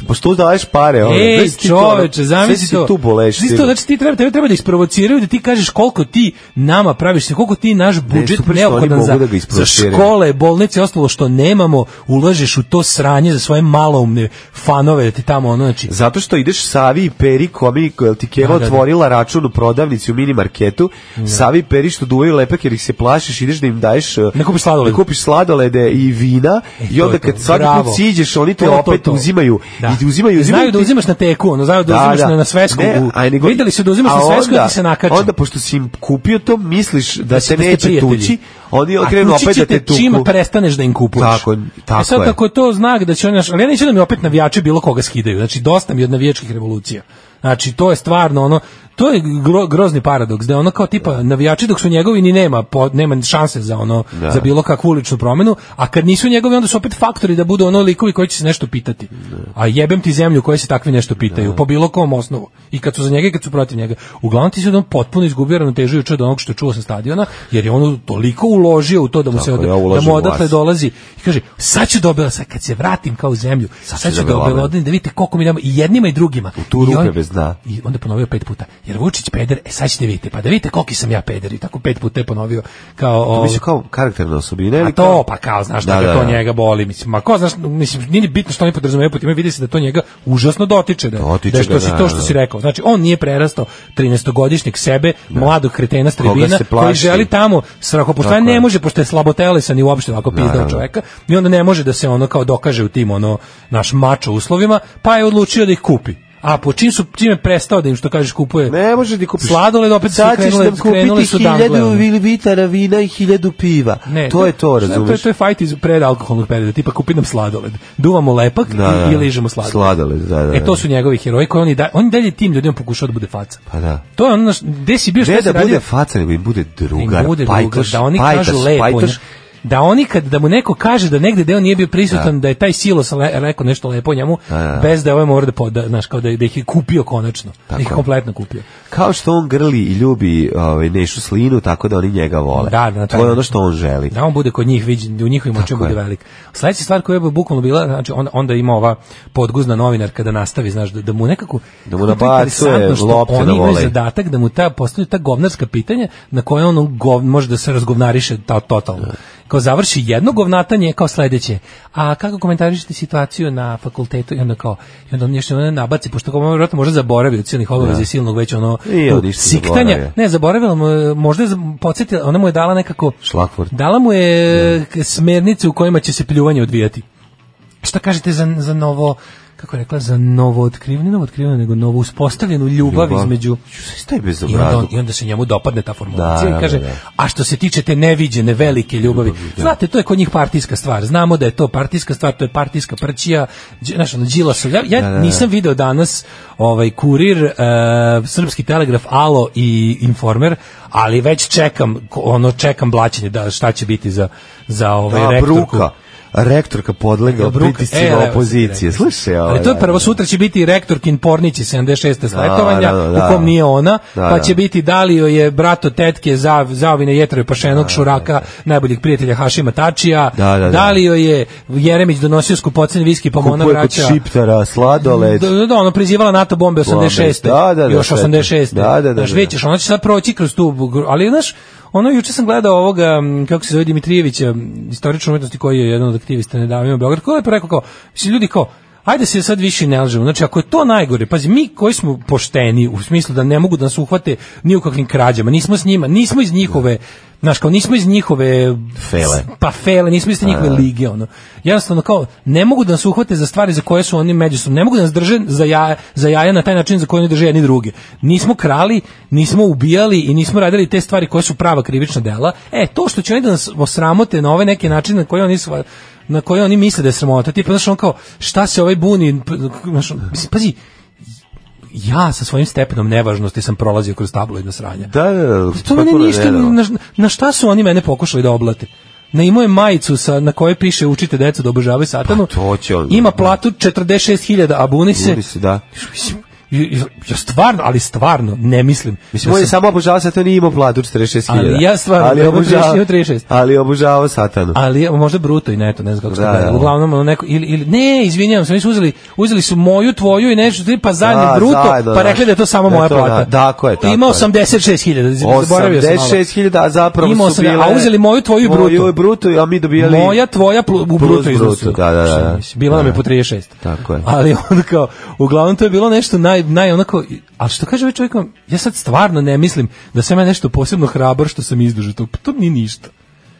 [SPEAKER 6] Pošto daješ pare, ono.
[SPEAKER 5] Ej,
[SPEAKER 6] znaš ti to, ono,
[SPEAKER 5] čoveče,
[SPEAKER 6] sve
[SPEAKER 5] zamisli
[SPEAKER 6] si
[SPEAKER 5] to.
[SPEAKER 6] ti tu boleš.
[SPEAKER 5] Zamisli to,
[SPEAKER 6] sigurno.
[SPEAKER 5] znači ti treba, tebe treba da isprovociraju, da ti kažeš koliko ti nama praviš se, koliko ti naš budžet
[SPEAKER 6] super pa što oni
[SPEAKER 5] neophodan
[SPEAKER 6] mogu
[SPEAKER 5] za,
[SPEAKER 6] da ga
[SPEAKER 5] za
[SPEAKER 6] isprovociraju.
[SPEAKER 5] škole, bolnice, i ostalo što nemamo, ulažeš u to sranje za svoje maloumne fanove, da ti tamo ono, znači,
[SPEAKER 6] Zato što ideš Savi i Peri, komi, jel ti Keva
[SPEAKER 5] Da, da, da.
[SPEAKER 6] otvorila račun u prodavnici u mini marketu, Savi i Peri što duvaju lepak jer ih se plašiš, ideš da im daješ... eh,
[SPEAKER 5] Ne kupiš sladoled.
[SPEAKER 6] Ne kupiš sladolede i vina
[SPEAKER 5] E,
[SPEAKER 6] i
[SPEAKER 5] to
[SPEAKER 6] onda
[SPEAKER 5] je to.
[SPEAKER 6] kad svaki
[SPEAKER 5] Bravo.
[SPEAKER 6] put siđeš, oni te
[SPEAKER 5] To, to,
[SPEAKER 6] opet
[SPEAKER 5] to.
[SPEAKER 6] uzimaju.
[SPEAKER 5] Da.
[SPEAKER 6] I uzimaju,
[SPEAKER 5] Znaju
[SPEAKER 6] uzimaju.
[SPEAKER 5] da
[SPEAKER 6] ti-
[SPEAKER 5] uzimaš na teku, ono, znaju da uzimaš na- na svesku u-
[SPEAKER 6] a nego-
[SPEAKER 5] videli su da uzimaš
[SPEAKER 6] a
[SPEAKER 5] na svesku i
[SPEAKER 6] onda-
[SPEAKER 5] ti se nakače.
[SPEAKER 6] Onda, pošto si im kupio to, misliš da,
[SPEAKER 5] da
[SPEAKER 6] se
[SPEAKER 5] ste
[SPEAKER 6] neće
[SPEAKER 5] prijatelji.
[SPEAKER 6] tući, oni
[SPEAKER 5] A
[SPEAKER 6] krenu
[SPEAKER 5] tući
[SPEAKER 6] opet da
[SPEAKER 5] će
[SPEAKER 6] te tuku.
[SPEAKER 5] Čim prestaneš da im kupuješ.
[SPEAKER 6] Tako- tako
[SPEAKER 5] e sad,
[SPEAKER 6] je.
[SPEAKER 5] kako je to znak da će oni, naš- ali ja neću da mi opet navijači bilo koga skidaju. Znači, dosta mi od navijačkih revolucija. Znači, to je stvarno ono, to je gro- grozni paradoks, da je ono kao tipa navijači dok su njegovi ni nema, po- nema šanse za ono, za bilo kakvu uličnu promenu, a kad nisu njegovi onda su opet faktori da budu ono likovi koji će se nešto pitati. A jebem ti zemlju koji se takvi nešto pitaju, po bilo kom osnovu. I kad su za njega i kad su protiv njega. Uglavnom ti se on potpuno izgubio ravnotežu juče od onog što je čuo sa stadiona, jer je on toliko uložio u to da mu se
[SPEAKER 6] Tako
[SPEAKER 5] od,
[SPEAKER 6] je, ja
[SPEAKER 5] da
[SPEAKER 6] ulažem
[SPEAKER 5] mu
[SPEAKER 6] u
[SPEAKER 5] odatle
[SPEAKER 6] vas.
[SPEAKER 5] dolazi i kaže sad ću dobila sad kad se vratim kao u zemlju sad,
[SPEAKER 6] ću
[SPEAKER 5] ću
[SPEAKER 6] da
[SPEAKER 5] dobila
[SPEAKER 6] belodem.
[SPEAKER 5] odin da vidite koliko mi damo i jednima i drugima u
[SPEAKER 6] tu rupe bez dna.
[SPEAKER 5] i onda je ponovio pet puta jer Vučić peder e sad ćete vidite pa da vidite koliki sam ja peder i tako pet puta je ponovio kao
[SPEAKER 6] To
[SPEAKER 5] ovaj,
[SPEAKER 6] Pa mislim kao karakterna osobina.
[SPEAKER 5] a
[SPEAKER 6] ili
[SPEAKER 5] to
[SPEAKER 6] kao-
[SPEAKER 5] pa kao znaš
[SPEAKER 6] Da,
[SPEAKER 5] da,
[SPEAKER 6] da,
[SPEAKER 5] to
[SPEAKER 6] da.
[SPEAKER 5] njega boli mislim ma ko znaš mislim nije ni bitno što oni podrazumevaju pod time vidi se da to njega užasno dotiče da
[SPEAKER 6] Dotiče
[SPEAKER 5] da je što
[SPEAKER 6] ga,
[SPEAKER 5] si
[SPEAKER 6] da,
[SPEAKER 5] to što
[SPEAKER 6] da.
[SPEAKER 5] si rekao znači on nije prerastao 13-godišnjeg sebe mladog kretena s
[SPEAKER 6] Koga
[SPEAKER 5] tribina
[SPEAKER 6] se
[SPEAKER 5] koji
[SPEAKER 6] plaši.
[SPEAKER 5] želi tamo strahopoštovanje
[SPEAKER 6] Tako je.
[SPEAKER 5] ne može pošto je slabotelesan i uopšte ovako pizdao
[SPEAKER 6] Naravno.
[SPEAKER 5] čoveka i onda ne može da se ono kao dokaže u tim ono naš mačo uslovima pa je odlučio da ih kupi a po čim su čim je prestao da im što kažeš kupuje
[SPEAKER 6] Ne može ti kupiš.
[SPEAKER 5] sladoled opet su
[SPEAKER 6] Sad ćeš
[SPEAKER 5] krenule,
[SPEAKER 6] nam
[SPEAKER 5] krenule
[SPEAKER 6] kupiti
[SPEAKER 5] su dangle,
[SPEAKER 6] hiljadu
[SPEAKER 5] ono.
[SPEAKER 6] litara vina i hiljadu piva.
[SPEAKER 5] Ne,
[SPEAKER 6] to je to,
[SPEAKER 5] šta
[SPEAKER 6] razumiješ?
[SPEAKER 5] To je, to je fight iz predalkoholnog perioda, tipa kupi nam sladoled. Duvamo lepak
[SPEAKER 6] Da,
[SPEAKER 5] i, i
[SPEAKER 6] da.
[SPEAKER 5] ližemo sladoled.
[SPEAKER 6] Sladoled, da, da,
[SPEAKER 5] E to
[SPEAKER 6] da.
[SPEAKER 5] su njegovi heroji koji oni da, on i dalje tim ljudima pokušao da bude faca.
[SPEAKER 6] Pa da.
[SPEAKER 5] To je ono naš- gde si bio
[SPEAKER 6] Ne
[SPEAKER 5] šta
[SPEAKER 6] da
[SPEAKER 5] se
[SPEAKER 6] bude
[SPEAKER 5] radio?
[SPEAKER 6] faca, nego im bude drugar,
[SPEAKER 5] Im bude drugar,
[SPEAKER 6] pajtaš,
[SPEAKER 5] da oni
[SPEAKER 6] pajtaš,
[SPEAKER 5] kažu lepo.
[SPEAKER 6] pajtaš.
[SPEAKER 5] nje- Da oni kad da mu neko kaže da negde deo nije bio prisutan da, je taj silos le, rekao nešto lepo o njemu bez da je ovaj mora da poda, znaš, kao da, da ih je kupio konačno. da ih je
[SPEAKER 6] je.
[SPEAKER 5] kompletno kupio.
[SPEAKER 6] Kao što on grli i ljubi ovaj, Nešu slinu, tako da oni njega vole.
[SPEAKER 5] Da, da, na taj
[SPEAKER 6] to je ono
[SPEAKER 5] način.
[SPEAKER 6] što on želi.
[SPEAKER 5] Da on bude kod njih viđen, u njihovim očima
[SPEAKER 6] Tako
[SPEAKER 5] bude
[SPEAKER 6] je.
[SPEAKER 5] velik. Sledeća stvar koja je bukvalno bila, znači on, onda ima ova podguzna novinar kada nastavi, znaš, da, da mu nekako
[SPEAKER 6] Da mu
[SPEAKER 5] kako je to
[SPEAKER 6] nabacuje
[SPEAKER 5] interesantno što
[SPEAKER 6] lopte
[SPEAKER 5] oni
[SPEAKER 6] na
[SPEAKER 5] imaju
[SPEAKER 6] volej.
[SPEAKER 5] zadatak da mu ta postavljaju ta govnarska pitanja na koje on gov- može da se razgovnariše ta, totalno. Kao završi jedno govnatanje kao sledeće. A kako komentarišete situaciju na fakultetu i onda kao i onda on još ono nabaci pošto kao on verovatno može zaboravio od silnih obaveza i silnog već ono
[SPEAKER 6] I on ništa
[SPEAKER 5] siktanja.
[SPEAKER 6] zaboravio.
[SPEAKER 5] Ne, zaboravila mu, je, možda je zab- podsjetila, ona mu je dala nekako
[SPEAKER 6] Šlagvort.
[SPEAKER 5] Dala mu je k- smernice u kojima će se pljuvanje odvijati. Šta kažete za, za novo kako je rekla, za novo otkrivanje, novo otkrivanje, nego novo uspostavljenu ljubav, između...
[SPEAKER 6] Staj bez
[SPEAKER 5] I onda, on- I onda se njemu dopadne ta formulacija
[SPEAKER 6] Da, da,
[SPEAKER 5] i kaže,
[SPEAKER 6] da, da.
[SPEAKER 5] a što se tiče te neviđene velike ljubavi, znate, to je kod njih partijska stvar, znamo da je to partijska stvar, to je partijska prćija, Đ- znaš, ono, Đilasov, ja, ja nisam video danas ovaj kurir, e, Srpski telegraf, Alo i Informer, ali već čekam, ko- ono, čekam blaćenje, da, šta će biti za, za ovaj
[SPEAKER 6] Da,
[SPEAKER 5] rektorku.
[SPEAKER 6] bruka. Rektorka podlega
[SPEAKER 5] Bruka- E,
[SPEAKER 6] pritiscima
[SPEAKER 5] evo,
[SPEAKER 6] opozicije.
[SPEAKER 5] sad si rekao.
[SPEAKER 6] Slušaj, ovaj,
[SPEAKER 5] Ali to je
[SPEAKER 6] da,
[SPEAKER 5] prvo, sutra će biti rektorkin pornići 76. sletovanja,
[SPEAKER 6] da, da,
[SPEAKER 5] u kom
[SPEAKER 6] da.
[SPEAKER 5] nije ona,
[SPEAKER 6] Da,
[SPEAKER 5] pa
[SPEAKER 6] da.
[SPEAKER 5] će biti Dalio je brato tetke za, zaovine jetrove pašenog šuraka, najboljeg prijatelja Hašima Tačija,
[SPEAKER 6] Da, da, da.
[SPEAKER 5] Dalio je Jeremić donosio skupocen viski, pa mu ona
[SPEAKER 6] Kupuje kod
[SPEAKER 5] vraća...
[SPEAKER 6] šiptara, sladoled.
[SPEAKER 5] Da, da, da, ono prizivala NATO bombe 86.
[SPEAKER 6] Ovaj, Da, da, da,
[SPEAKER 5] još
[SPEAKER 6] sve to.
[SPEAKER 5] 86.
[SPEAKER 6] Da, da, da,
[SPEAKER 5] Znaš,
[SPEAKER 6] da.
[SPEAKER 5] vidjet ćeš, ona će sad proći kroz tu, gru- ali znaš, Ono, juče sam gledao ovoga, m, kako se zove Dimitrijevića, m, istoričar umetnosti koji je jedan od aktivista nedavima u Beogradu, koji je lepo rekao kao, mislim, ljudi kao, ajde se sad više ne lažemo. Znači, ako je to najgore, pazi, mi koji smo pošteni, u smislu da ne mogu da nas uhvate ni u kakvim krađama, nismo s njima, nismo iz njihove, znaš, kao nismo iz njihove...
[SPEAKER 6] Fele.
[SPEAKER 5] Pa fele, nismo iz te njihove lige, ono. Jednostavno, kao, ne mogu da nas uhvate za stvari za koje su oni međusobno, ne mogu da nas drže za jaja, za jaja na taj način za koje oni drže jedni druge. Nismo krali, nismo ubijali i nismo radili te stvari koje su prava krivična dela. E, to što će oni da nas osramote na ovaj neki način na koji oni sva- na koje oni misle da je sramota. Tipa, znaš, on kao, šta se ovaj buni, p- znaš, on- mislim, pazi, ja sa svojim stepenom nevažnosti sam prolazio kroz tabloidno sranje.
[SPEAKER 6] Da, da, da.
[SPEAKER 5] To mene
[SPEAKER 6] potpuno
[SPEAKER 5] ništa,
[SPEAKER 6] nerealno.
[SPEAKER 5] na, na šta su oni mene pokušali da oblate? Na imao je majicu sa, na kojoj piše učite decu da obožavaju satanu.
[SPEAKER 6] Pa to će on-
[SPEAKER 5] Ima platu 46.000, a buni se.
[SPEAKER 6] Buni se, da.
[SPEAKER 5] Mislim, Ja, ja stvarno, ali stvarno, ne mislim.
[SPEAKER 6] Mislim,
[SPEAKER 5] da
[SPEAKER 6] on je
[SPEAKER 5] sam-
[SPEAKER 6] samo obožavao satanu, nije imao platu 46.000.
[SPEAKER 5] Ali ja stvarno,
[SPEAKER 6] ali
[SPEAKER 5] imam
[SPEAKER 6] obožavao,
[SPEAKER 5] 36, imam 36.
[SPEAKER 6] Ali obožavao satanu.
[SPEAKER 5] Ali je možda bruto i neto, ne znam kako se
[SPEAKER 6] Da,
[SPEAKER 5] to gleda.
[SPEAKER 6] da.
[SPEAKER 5] Uglavnom ono neko ili ili ne, izvinjavam se, oni su uzeli uzeli su moju, tvoju i nešto pa zajedno
[SPEAKER 6] Da,
[SPEAKER 5] bruto,
[SPEAKER 6] zajedno,
[SPEAKER 5] pa
[SPEAKER 6] da.
[SPEAKER 5] rekli da je to samo
[SPEAKER 6] Da je
[SPEAKER 5] moja
[SPEAKER 6] to,
[SPEAKER 5] plata.
[SPEAKER 6] da, tako je, tako
[SPEAKER 5] Ima
[SPEAKER 6] je.
[SPEAKER 5] 86.000, zaboravio sam. malo.
[SPEAKER 6] 86.000, a zapravo
[SPEAKER 5] Imao
[SPEAKER 6] su
[SPEAKER 5] sam,
[SPEAKER 6] bile...
[SPEAKER 5] a uzeli moju, tvoju i bruto.
[SPEAKER 6] Moju i bruto, a mi dobijali...
[SPEAKER 5] Moja, tvoja plu- u
[SPEAKER 6] Plus
[SPEAKER 5] bruto iznosu.
[SPEAKER 6] bruto, da, da, da.
[SPEAKER 5] Šta mislim, Bila nam je
[SPEAKER 6] Da.
[SPEAKER 5] po 36.
[SPEAKER 6] Tako je.
[SPEAKER 5] Ali on kao, uglavnom to je bilo nešto naj, naj onako, a što kaže ovaj čovjek, vam, ja sad stvarno ne mislim da sam ja nešto posebno hrabar što sam izdržao to, Pa to ni ništa.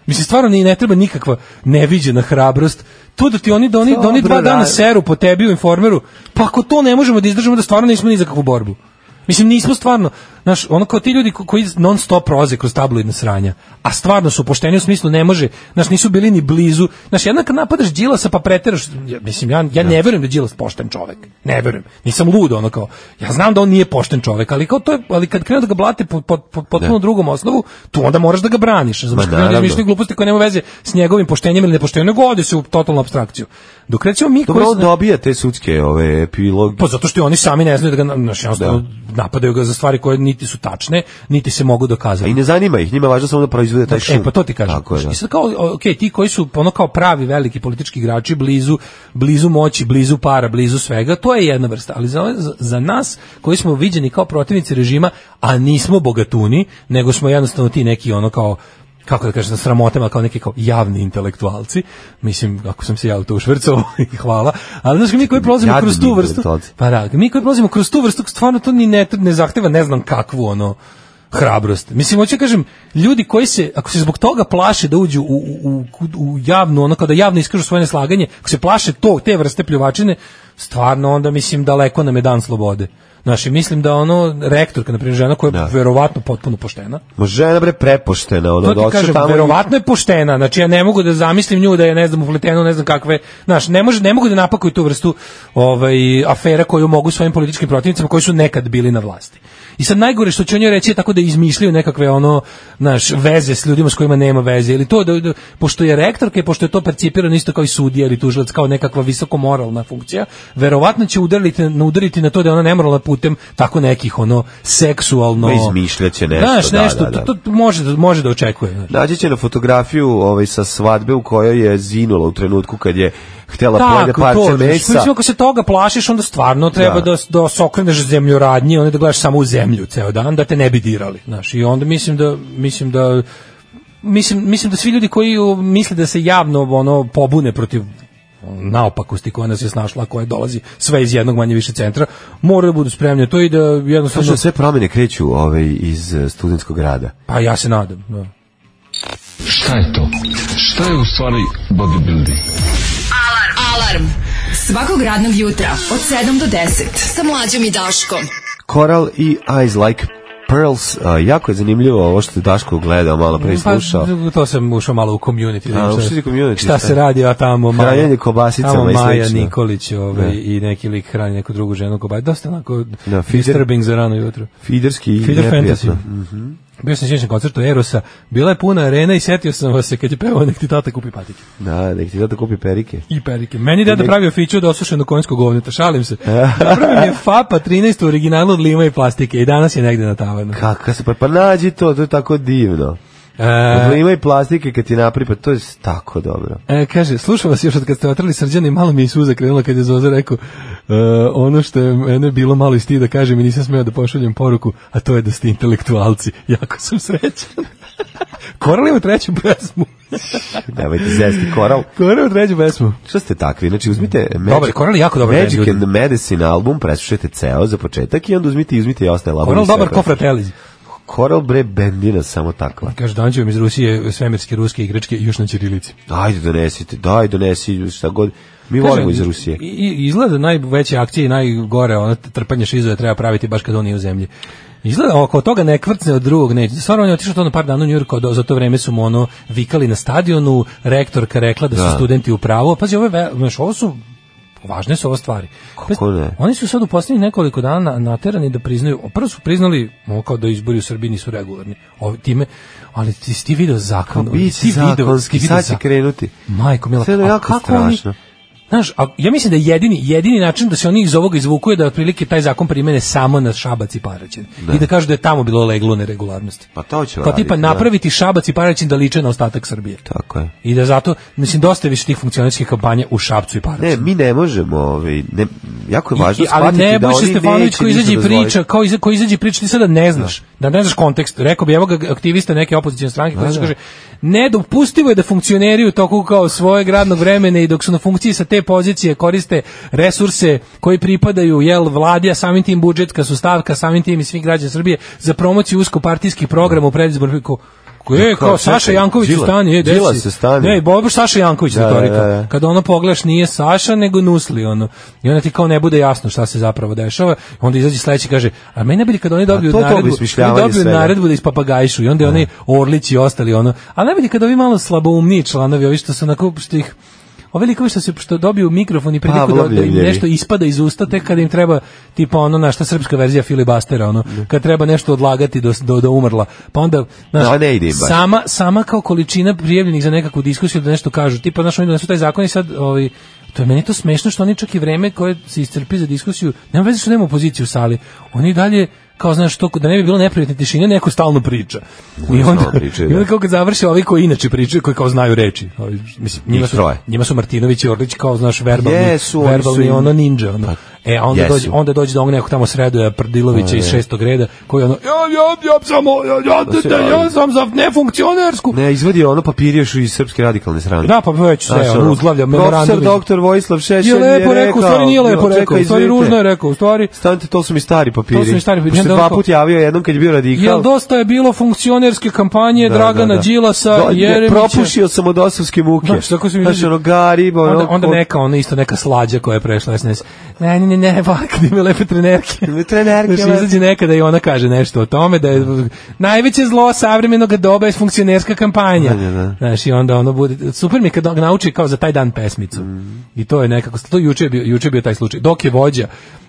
[SPEAKER 5] Mislim, stvarno ni ne treba nikakva neviđena hrabrost. To da ti oni, da oni, da oni
[SPEAKER 6] Dobro,
[SPEAKER 5] dva dana
[SPEAKER 6] da.
[SPEAKER 5] seru po tebi u informeru, pa ako to ne možemo da izdržimo, da stvarno nismo ni za kakvu borbu. Mislim, nismo stvarno, znaš, ono kao ti ljudi ko- koji non stop prolaze kroz tabloidne sranja, a stvarno su pošteni u smislu ne može, znaš, nisu bili ni blizu, znaš, jedna kad napadaš Đilasa pa preteraš, ja, mislim, ja, ja ne verujem da je Đilas pošten čovek, ne verujem, nisam lud, ono kao, ja znam da on nije pošten čovek, ali kao to je, ali kad krenu da ga blate po, po, po potpuno drugom osnovu, tu onda moraš da ga braniš, razumeš, kad krenu da
[SPEAKER 6] naravno.
[SPEAKER 5] izmišljaju gluposti koje nema veze s njegovim poštenjem ili nepoštenjem, nego ode se u totalnu abstrakciju. Dok recimo mi
[SPEAKER 6] Dobro,
[SPEAKER 5] koji
[SPEAKER 6] on dobija te sudske ove epilog.
[SPEAKER 5] pa zato što oni sami ne znaju da ga znaš, jednostavno napadaju ga za stvari koje niti su tačne, niti se mogu
[SPEAKER 6] I
[SPEAKER 5] dokazati.
[SPEAKER 6] ne zanima ih, njima je važno samo da proizvode taj šum.
[SPEAKER 5] E, pa to ti kažem.
[SPEAKER 6] Tako je, da.
[SPEAKER 5] I sad kao, ok, ti koji su ono kao pravi veliki politički igrači, blizu, blizu moći, blizu para, blizu svega, to je jedna vrsta. Ali za, ove- za- za nas, koji smo viđeni kao protivnici režima, a nismo bogatuni, nego smo jednostavno ti neki ono kao kako da kažem, sa sramotama kao neki kao javni intelektualci, mislim, ako sam se ja u to ušvrcao, (laughs) hvala, ali znaš, mi koji prolazimo
[SPEAKER 6] Jadni
[SPEAKER 5] kroz tu vrstu,
[SPEAKER 6] intelektualci.
[SPEAKER 5] pa da, mi koji prolazimo kroz tu vrstu, stvarno to ni ne, ne zahteva, ne znam kakvu ono hrabrost. Mislim, hoću da kažem, ljudi koji se, ako se zbog toga plaše da uđu u, u, u, u javnu, ono kada javno iskažu svoje neslaganje, ako se plaše to, te vrste pljuvačine, stvarno onda, mislim, daleko nam je dan slobode. Znaš, i mislim da ono, rektorka, na primjer, žena koja je
[SPEAKER 6] Da.
[SPEAKER 5] verovatno potpuno poštena,
[SPEAKER 6] Ma žena bre prepoštena, ono,
[SPEAKER 5] to
[SPEAKER 6] došla
[SPEAKER 5] ti Pa, kažem,
[SPEAKER 6] tamo i-
[SPEAKER 5] verovatno je poštena, znači ja ne mogu da zamislim nju da je, ne znam, upletena, u ne znam kakve, znaš, ne, može, ne mogu da napakuju tu vrstu ovaj, afera koju mogu svojim političkim protivnicima koji su nekad bili na vlasti. I sad najgore što će on joj reći je tako da izmišljaju nekakve ono, znaš, veze s ljudima s kojima nema veze, ili to da, da pošto je rektorka i pošto je to percipirano isto kao i sudija ili tužilac, kao nekakva visoko moralna funkcija, verovatno će udariti, udariti na to da je ona nemoralna putem tako nekih ono seksualno...
[SPEAKER 6] Ma, izmišljaće nešto,
[SPEAKER 5] Znaš,
[SPEAKER 6] da,
[SPEAKER 5] nešto,
[SPEAKER 6] da, da.
[SPEAKER 5] to- to može, da- može da očekuje. znaš.
[SPEAKER 6] Naći će na fotografiju ovaj, sa svadbe u kojoj je zinula u trenutku kad je htela pojede
[SPEAKER 5] to,
[SPEAKER 6] parče
[SPEAKER 5] znači,
[SPEAKER 6] pa mesa.
[SPEAKER 5] Mislim, ako se toga plašiš, onda stvarno treba da,
[SPEAKER 6] Da.
[SPEAKER 5] da, se okreneš zemljoradnji, onda da gledaš samo u zemlju ceo dan, da te ne bi dirali. Znaš, I onda mislim da, mislim da Mislim, mislim da svi ljudi koji u, misle da se javno ono pobune protiv ono, naopakosti koja nas je snašla, a koja dolazi sve iz jednog manje više centra, moraju da budu spremni na to i da jednostavno...
[SPEAKER 6] Slušaj, sve promene kreću ovaj, iz eh, studentskog rada.
[SPEAKER 5] Pa ja se nadam. Da.
[SPEAKER 10] Šta je to? Šta je u stvari bodybuilding?
[SPEAKER 4] Alarm. Svakog radnog jutra od 7 do 10 sa mlađom i Daškom.
[SPEAKER 6] Coral i Eyes Like Pearls. A, jako je zanimljivo ovo što je Daško gledao, malo pre i slušao.
[SPEAKER 5] Pa, to sam ušao malo u community. da
[SPEAKER 6] A,
[SPEAKER 5] im se-
[SPEAKER 6] ušao si u community,
[SPEAKER 5] Šta
[SPEAKER 6] šta?
[SPEAKER 5] se radi, a tamo Maja.
[SPEAKER 6] Hranjenje kobasicama
[SPEAKER 5] tamo
[SPEAKER 6] i
[SPEAKER 5] Maja
[SPEAKER 6] slično.
[SPEAKER 5] Nikolić ovaj, i neki lik hrani neku drugu ženu kobasicu. Dosta onako
[SPEAKER 6] Da, feeder-
[SPEAKER 5] disturbing za rano jutro.
[SPEAKER 6] Fiderski i
[SPEAKER 5] Feeder fantasy.
[SPEAKER 6] neprijatno.
[SPEAKER 5] Bio sam sjećan na koncertu Erosa, bila je puna arena i setio sam vas se kad je pevao nek ti tata kupi patike
[SPEAKER 6] Da, nek ti tata kupi perike.
[SPEAKER 5] i perike. Meni je deda
[SPEAKER 6] Nek-
[SPEAKER 5] pravio fiću od osušenog konjskog govneta, šalim
[SPEAKER 6] (laughs)
[SPEAKER 5] se. Napravio mi je Fapa 13 u originalu od lima i plastike i danas je negde na tavanu.
[SPEAKER 6] Kaka se, pa, pa nađi to, to je tako divno.
[SPEAKER 5] E,
[SPEAKER 6] Odlima i plastike kad ti napripa, to je tako dobro.
[SPEAKER 5] E, kaže, slušam vas još od kad ste otrali srđana i malo mi je suza krenula kad je Zoza rekao, ono što je mene bilo malo i stida, kažem i nisam smeo da pošaljem poruku, a to je da ste intelektualci. (laughs) Jako sam srećan. (laughs) Koral ima treću pesmu.
[SPEAKER 6] Nemojte zesti koral.
[SPEAKER 5] Koral ima treću pesmu.
[SPEAKER 6] Što ste takvi? Znači, uzmite Magic,
[SPEAKER 5] Dobar, Koral je jako dobar bend,
[SPEAKER 6] Magic
[SPEAKER 5] ljudi.
[SPEAKER 6] and Medicine album, preslušajte ceo za početak i onda uzmite i uzmite i ostale album.
[SPEAKER 5] Koral dobar ko Fratelli.
[SPEAKER 6] Koral bre bendina samo takva.
[SPEAKER 5] Kaže, danđu vam iz Rusije svemirske, ruske i grčke i još na Čirilici.
[SPEAKER 6] Ajde donesite, daj donesi šta god. Mi volimo iz Rusije.
[SPEAKER 5] I, i- izgleda najveće akcije i najgore, ono trpanje šizove treba praviti baš kad on nije u zemlji. Izgleda oko toga ne kvrcne od drugog neće. Stvarno on je otišao to na par dana u Njurko, do, za to vreme su mu ono vikali na stadionu, rektorka rekla da su studenti u pravu. Pazi, ovo, je ve- znaš, ovo su važne su ovo stvari.
[SPEAKER 6] Kako ne?
[SPEAKER 5] Oni su sad u poslednjih nekoliko dana naterani da priznaju, prvo su priznali ono, kao da izbori u Srbiji nisu regularni. Ovi, time, ali ti, si ti video zakon.
[SPEAKER 6] Biće
[SPEAKER 5] ono, ti video-
[SPEAKER 6] Pa zakonski,
[SPEAKER 5] ti video
[SPEAKER 6] sad će
[SPEAKER 5] zakon.
[SPEAKER 6] krenuti.
[SPEAKER 5] Majko Mila,
[SPEAKER 6] Sve je
[SPEAKER 5] a
[SPEAKER 6] jako
[SPEAKER 5] kako oni-
[SPEAKER 6] strašno.
[SPEAKER 5] Znaš, a ja mislim da je jedini, jedini način da se oni iz ovoga izvuku je da otprilike taj zakon primene samo na Šabac i Paraćin. I da kažu da je tamo bilo leglo neregularnosti.
[SPEAKER 6] Pa to će
[SPEAKER 5] Kao tipa
[SPEAKER 6] raditi, da.
[SPEAKER 5] napraviti Šabac i Paraćin da liče na ostatak Srbije.
[SPEAKER 6] Tako je.
[SPEAKER 5] I da zato, mislim, dosta je više tih funkcionarskih kampanja u Šabcu i Paraćinu.
[SPEAKER 6] Ne, mi ne možemo, ovaj, ne, jako je važno
[SPEAKER 5] I, ali ne
[SPEAKER 6] da
[SPEAKER 5] boj se
[SPEAKER 6] oni
[SPEAKER 5] Stefanović
[SPEAKER 6] neće
[SPEAKER 5] koji izađe i
[SPEAKER 6] ništa dozvoliti.
[SPEAKER 5] priča, kao iza, koji izađe i priča ti sada ne znaš, da ne znaš kontekst. Rekao bi evo ga aktivista neke opozicijne stranke koji kaže nedopustivo je da funkcioneri u toku kao svojeg radnog vremena i dok su na funkciji sa te pozicije koriste resurse koji pripadaju jel vladi, a samim tim budžetska su stavka, samim tim i svih građana Srbije za promociju usko partijskih programa u predizbornoj ko- ko- E,
[SPEAKER 6] Kao,
[SPEAKER 5] kao Saša
[SPEAKER 6] čekaj,
[SPEAKER 5] Janković u
[SPEAKER 6] Đilas-
[SPEAKER 5] stanju, e,
[SPEAKER 6] Đilas
[SPEAKER 5] desi.
[SPEAKER 6] u stanju.
[SPEAKER 5] Ne, Bobo Saša Janković
[SPEAKER 6] Da,
[SPEAKER 5] retorika.
[SPEAKER 6] da, da.
[SPEAKER 5] Kada ono pogledaš nije Saša nego Nusli ono. I onda ti kao ne bude jasno šta se zapravo dešava. Onda izađe sledeći i kaže: "A meni najbolje kad oni dobiju
[SPEAKER 6] Pa to je to
[SPEAKER 5] naredbu,
[SPEAKER 6] obesmišljavanje
[SPEAKER 5] oni dobiju
[SPEAKER 6] svega.
[SPEAKER 5] naredbu da ispapagajšu i onda je onaj Orlić i ostali ono. A najbolje kad ovi malo slaboumni članovi, ovi što su onako što ih Ovi likovi što se što dobiju mikrofon i
[SPEAKER 6] Pa,
[SPEAKER 5] priliku da, da im
[SPEAKER 6] Pavlovljevi.
[SPEAKER 5] nešto ispada iz usta tek kada im treba tipa ono naša srpska verzija filibastera ono kad treba nešto odlagati do do, do umrla pa onda znaš,
[SPEAKER 6] Da, ne ide im baš.
[SPEAKER 5] sama, sama kao količina prijavljenih za nekakvu diskusiju da nešto kažu. Tipa, znaš, oni donesu taj zakon i sad, ovaj, to je meni to smešno što oni čak i vreme koje se iscrpi za diskusiju, nema veze što nema opozicije u sali, oni i dalje kao znaš to da ne bi bilo neprijatne tišine neko stalno priča. I onda,
[SPEAKER 6] stalno pričaju,
[SPEAKER 5] i onda
[SPEAKER 6] da.
[SPEAKER 5] kao kad završi ovi koji inače pričaju, koji kao znaju reči. Ovi, mislim, njima,
[SPEAKER 6] Njih
[SPEAKER 5] su,
[SPEAKER 6] troje.
[SPEAKER 5] njima su Martinović i Orlić kao znaš verbalni,
[SPEAKER 6] Jesu, oni su
[SPEAKER 5] verbalni
[SPEAKER 6] im-
[SPEAKER 5] ono ninja. Ono. E, a onda
[SPEAKER 6] Pa, jesu.
[SPEAKER 5] dođe, onda dođe do onog nekog tamo sredoja Prdilovića iz šestog reda koji ono, ja, ja, ja, samo, ja, ja,
[SPEAKER 6] se
[SPEAKER 5] ja, ja,
[SPEAKER 6] javi.
[SPEAKER 5] sam za nefunkcionersku.
[SPEAKER 6] Ne, izvadi ono papir još iz srpske radikalne strane.
[SPEAKER 5] Da, pa već sve, ono, uzglavlja memorandum.
[SPEAKER 6] Profesor doktor Vojislav Šešelj
[SPEAKER 5] Nije lepo rekao, u stvari nije lepo
[SPEAKER 6] "Jo, čekaj,
[SPEAKER 5] rekao, u stvari
[SPEAKER 6] izvinite,
[SPEAKER 5] ružno je rekao, u stvari...
[SPEAKER 6] Stanite, to su mi stari papiri.
[SPEAKER 5] To su mi stari papiri,
[SPEAKER 6] Pošto
[SPEAKER 5] onda
[SPEAKER 6] je dva
[SPEAKER 5] ovako-
[SPEAKER 6] put javio jednom kad je bio radikal.
[SPEAKER 5] Jel dosta je bilo funkcionerske kampanje Dragana Đilasa,
[SPEAKER 6] Do-
[SPEAKER 5] Jeremića...
[SPEAKER 6] Propušio sam od osovske muke.
[SPEAKER 5] Da, što ako su mi
[SPEAKER 6] Znaš,
[SPEAKER 5] ljudi-
[SPEAKER 6] ono, garib, ono...
[SPEAKER 5] Onda, onda neka, ona isto neka slađa koja je prešla SNS. Ne, ne, ne, ne, (laughs) bak, ima lepe
[SPEAKER 6] (laughs)
[SPEAKER 5] trenerke.
[SPEAKER 6] Trenerke, ono.
[SPEAKER 5] Znaš, izađe nekada i ona kaže nešto o tome da je najveće zlo savremenog doba je funkcionerska kampanja.
[SPEAKER 6] Da, da, da.
[SPEAKER 5] Znaš, i onda ono bude, super mi je kad on nauči kao za taj dan pesmicu.
[SPEAKER 6] Mm.
[SPEAKER 5] I to je nekako, to juče je bio, juče je bio taj slučaj. Dok je vođa,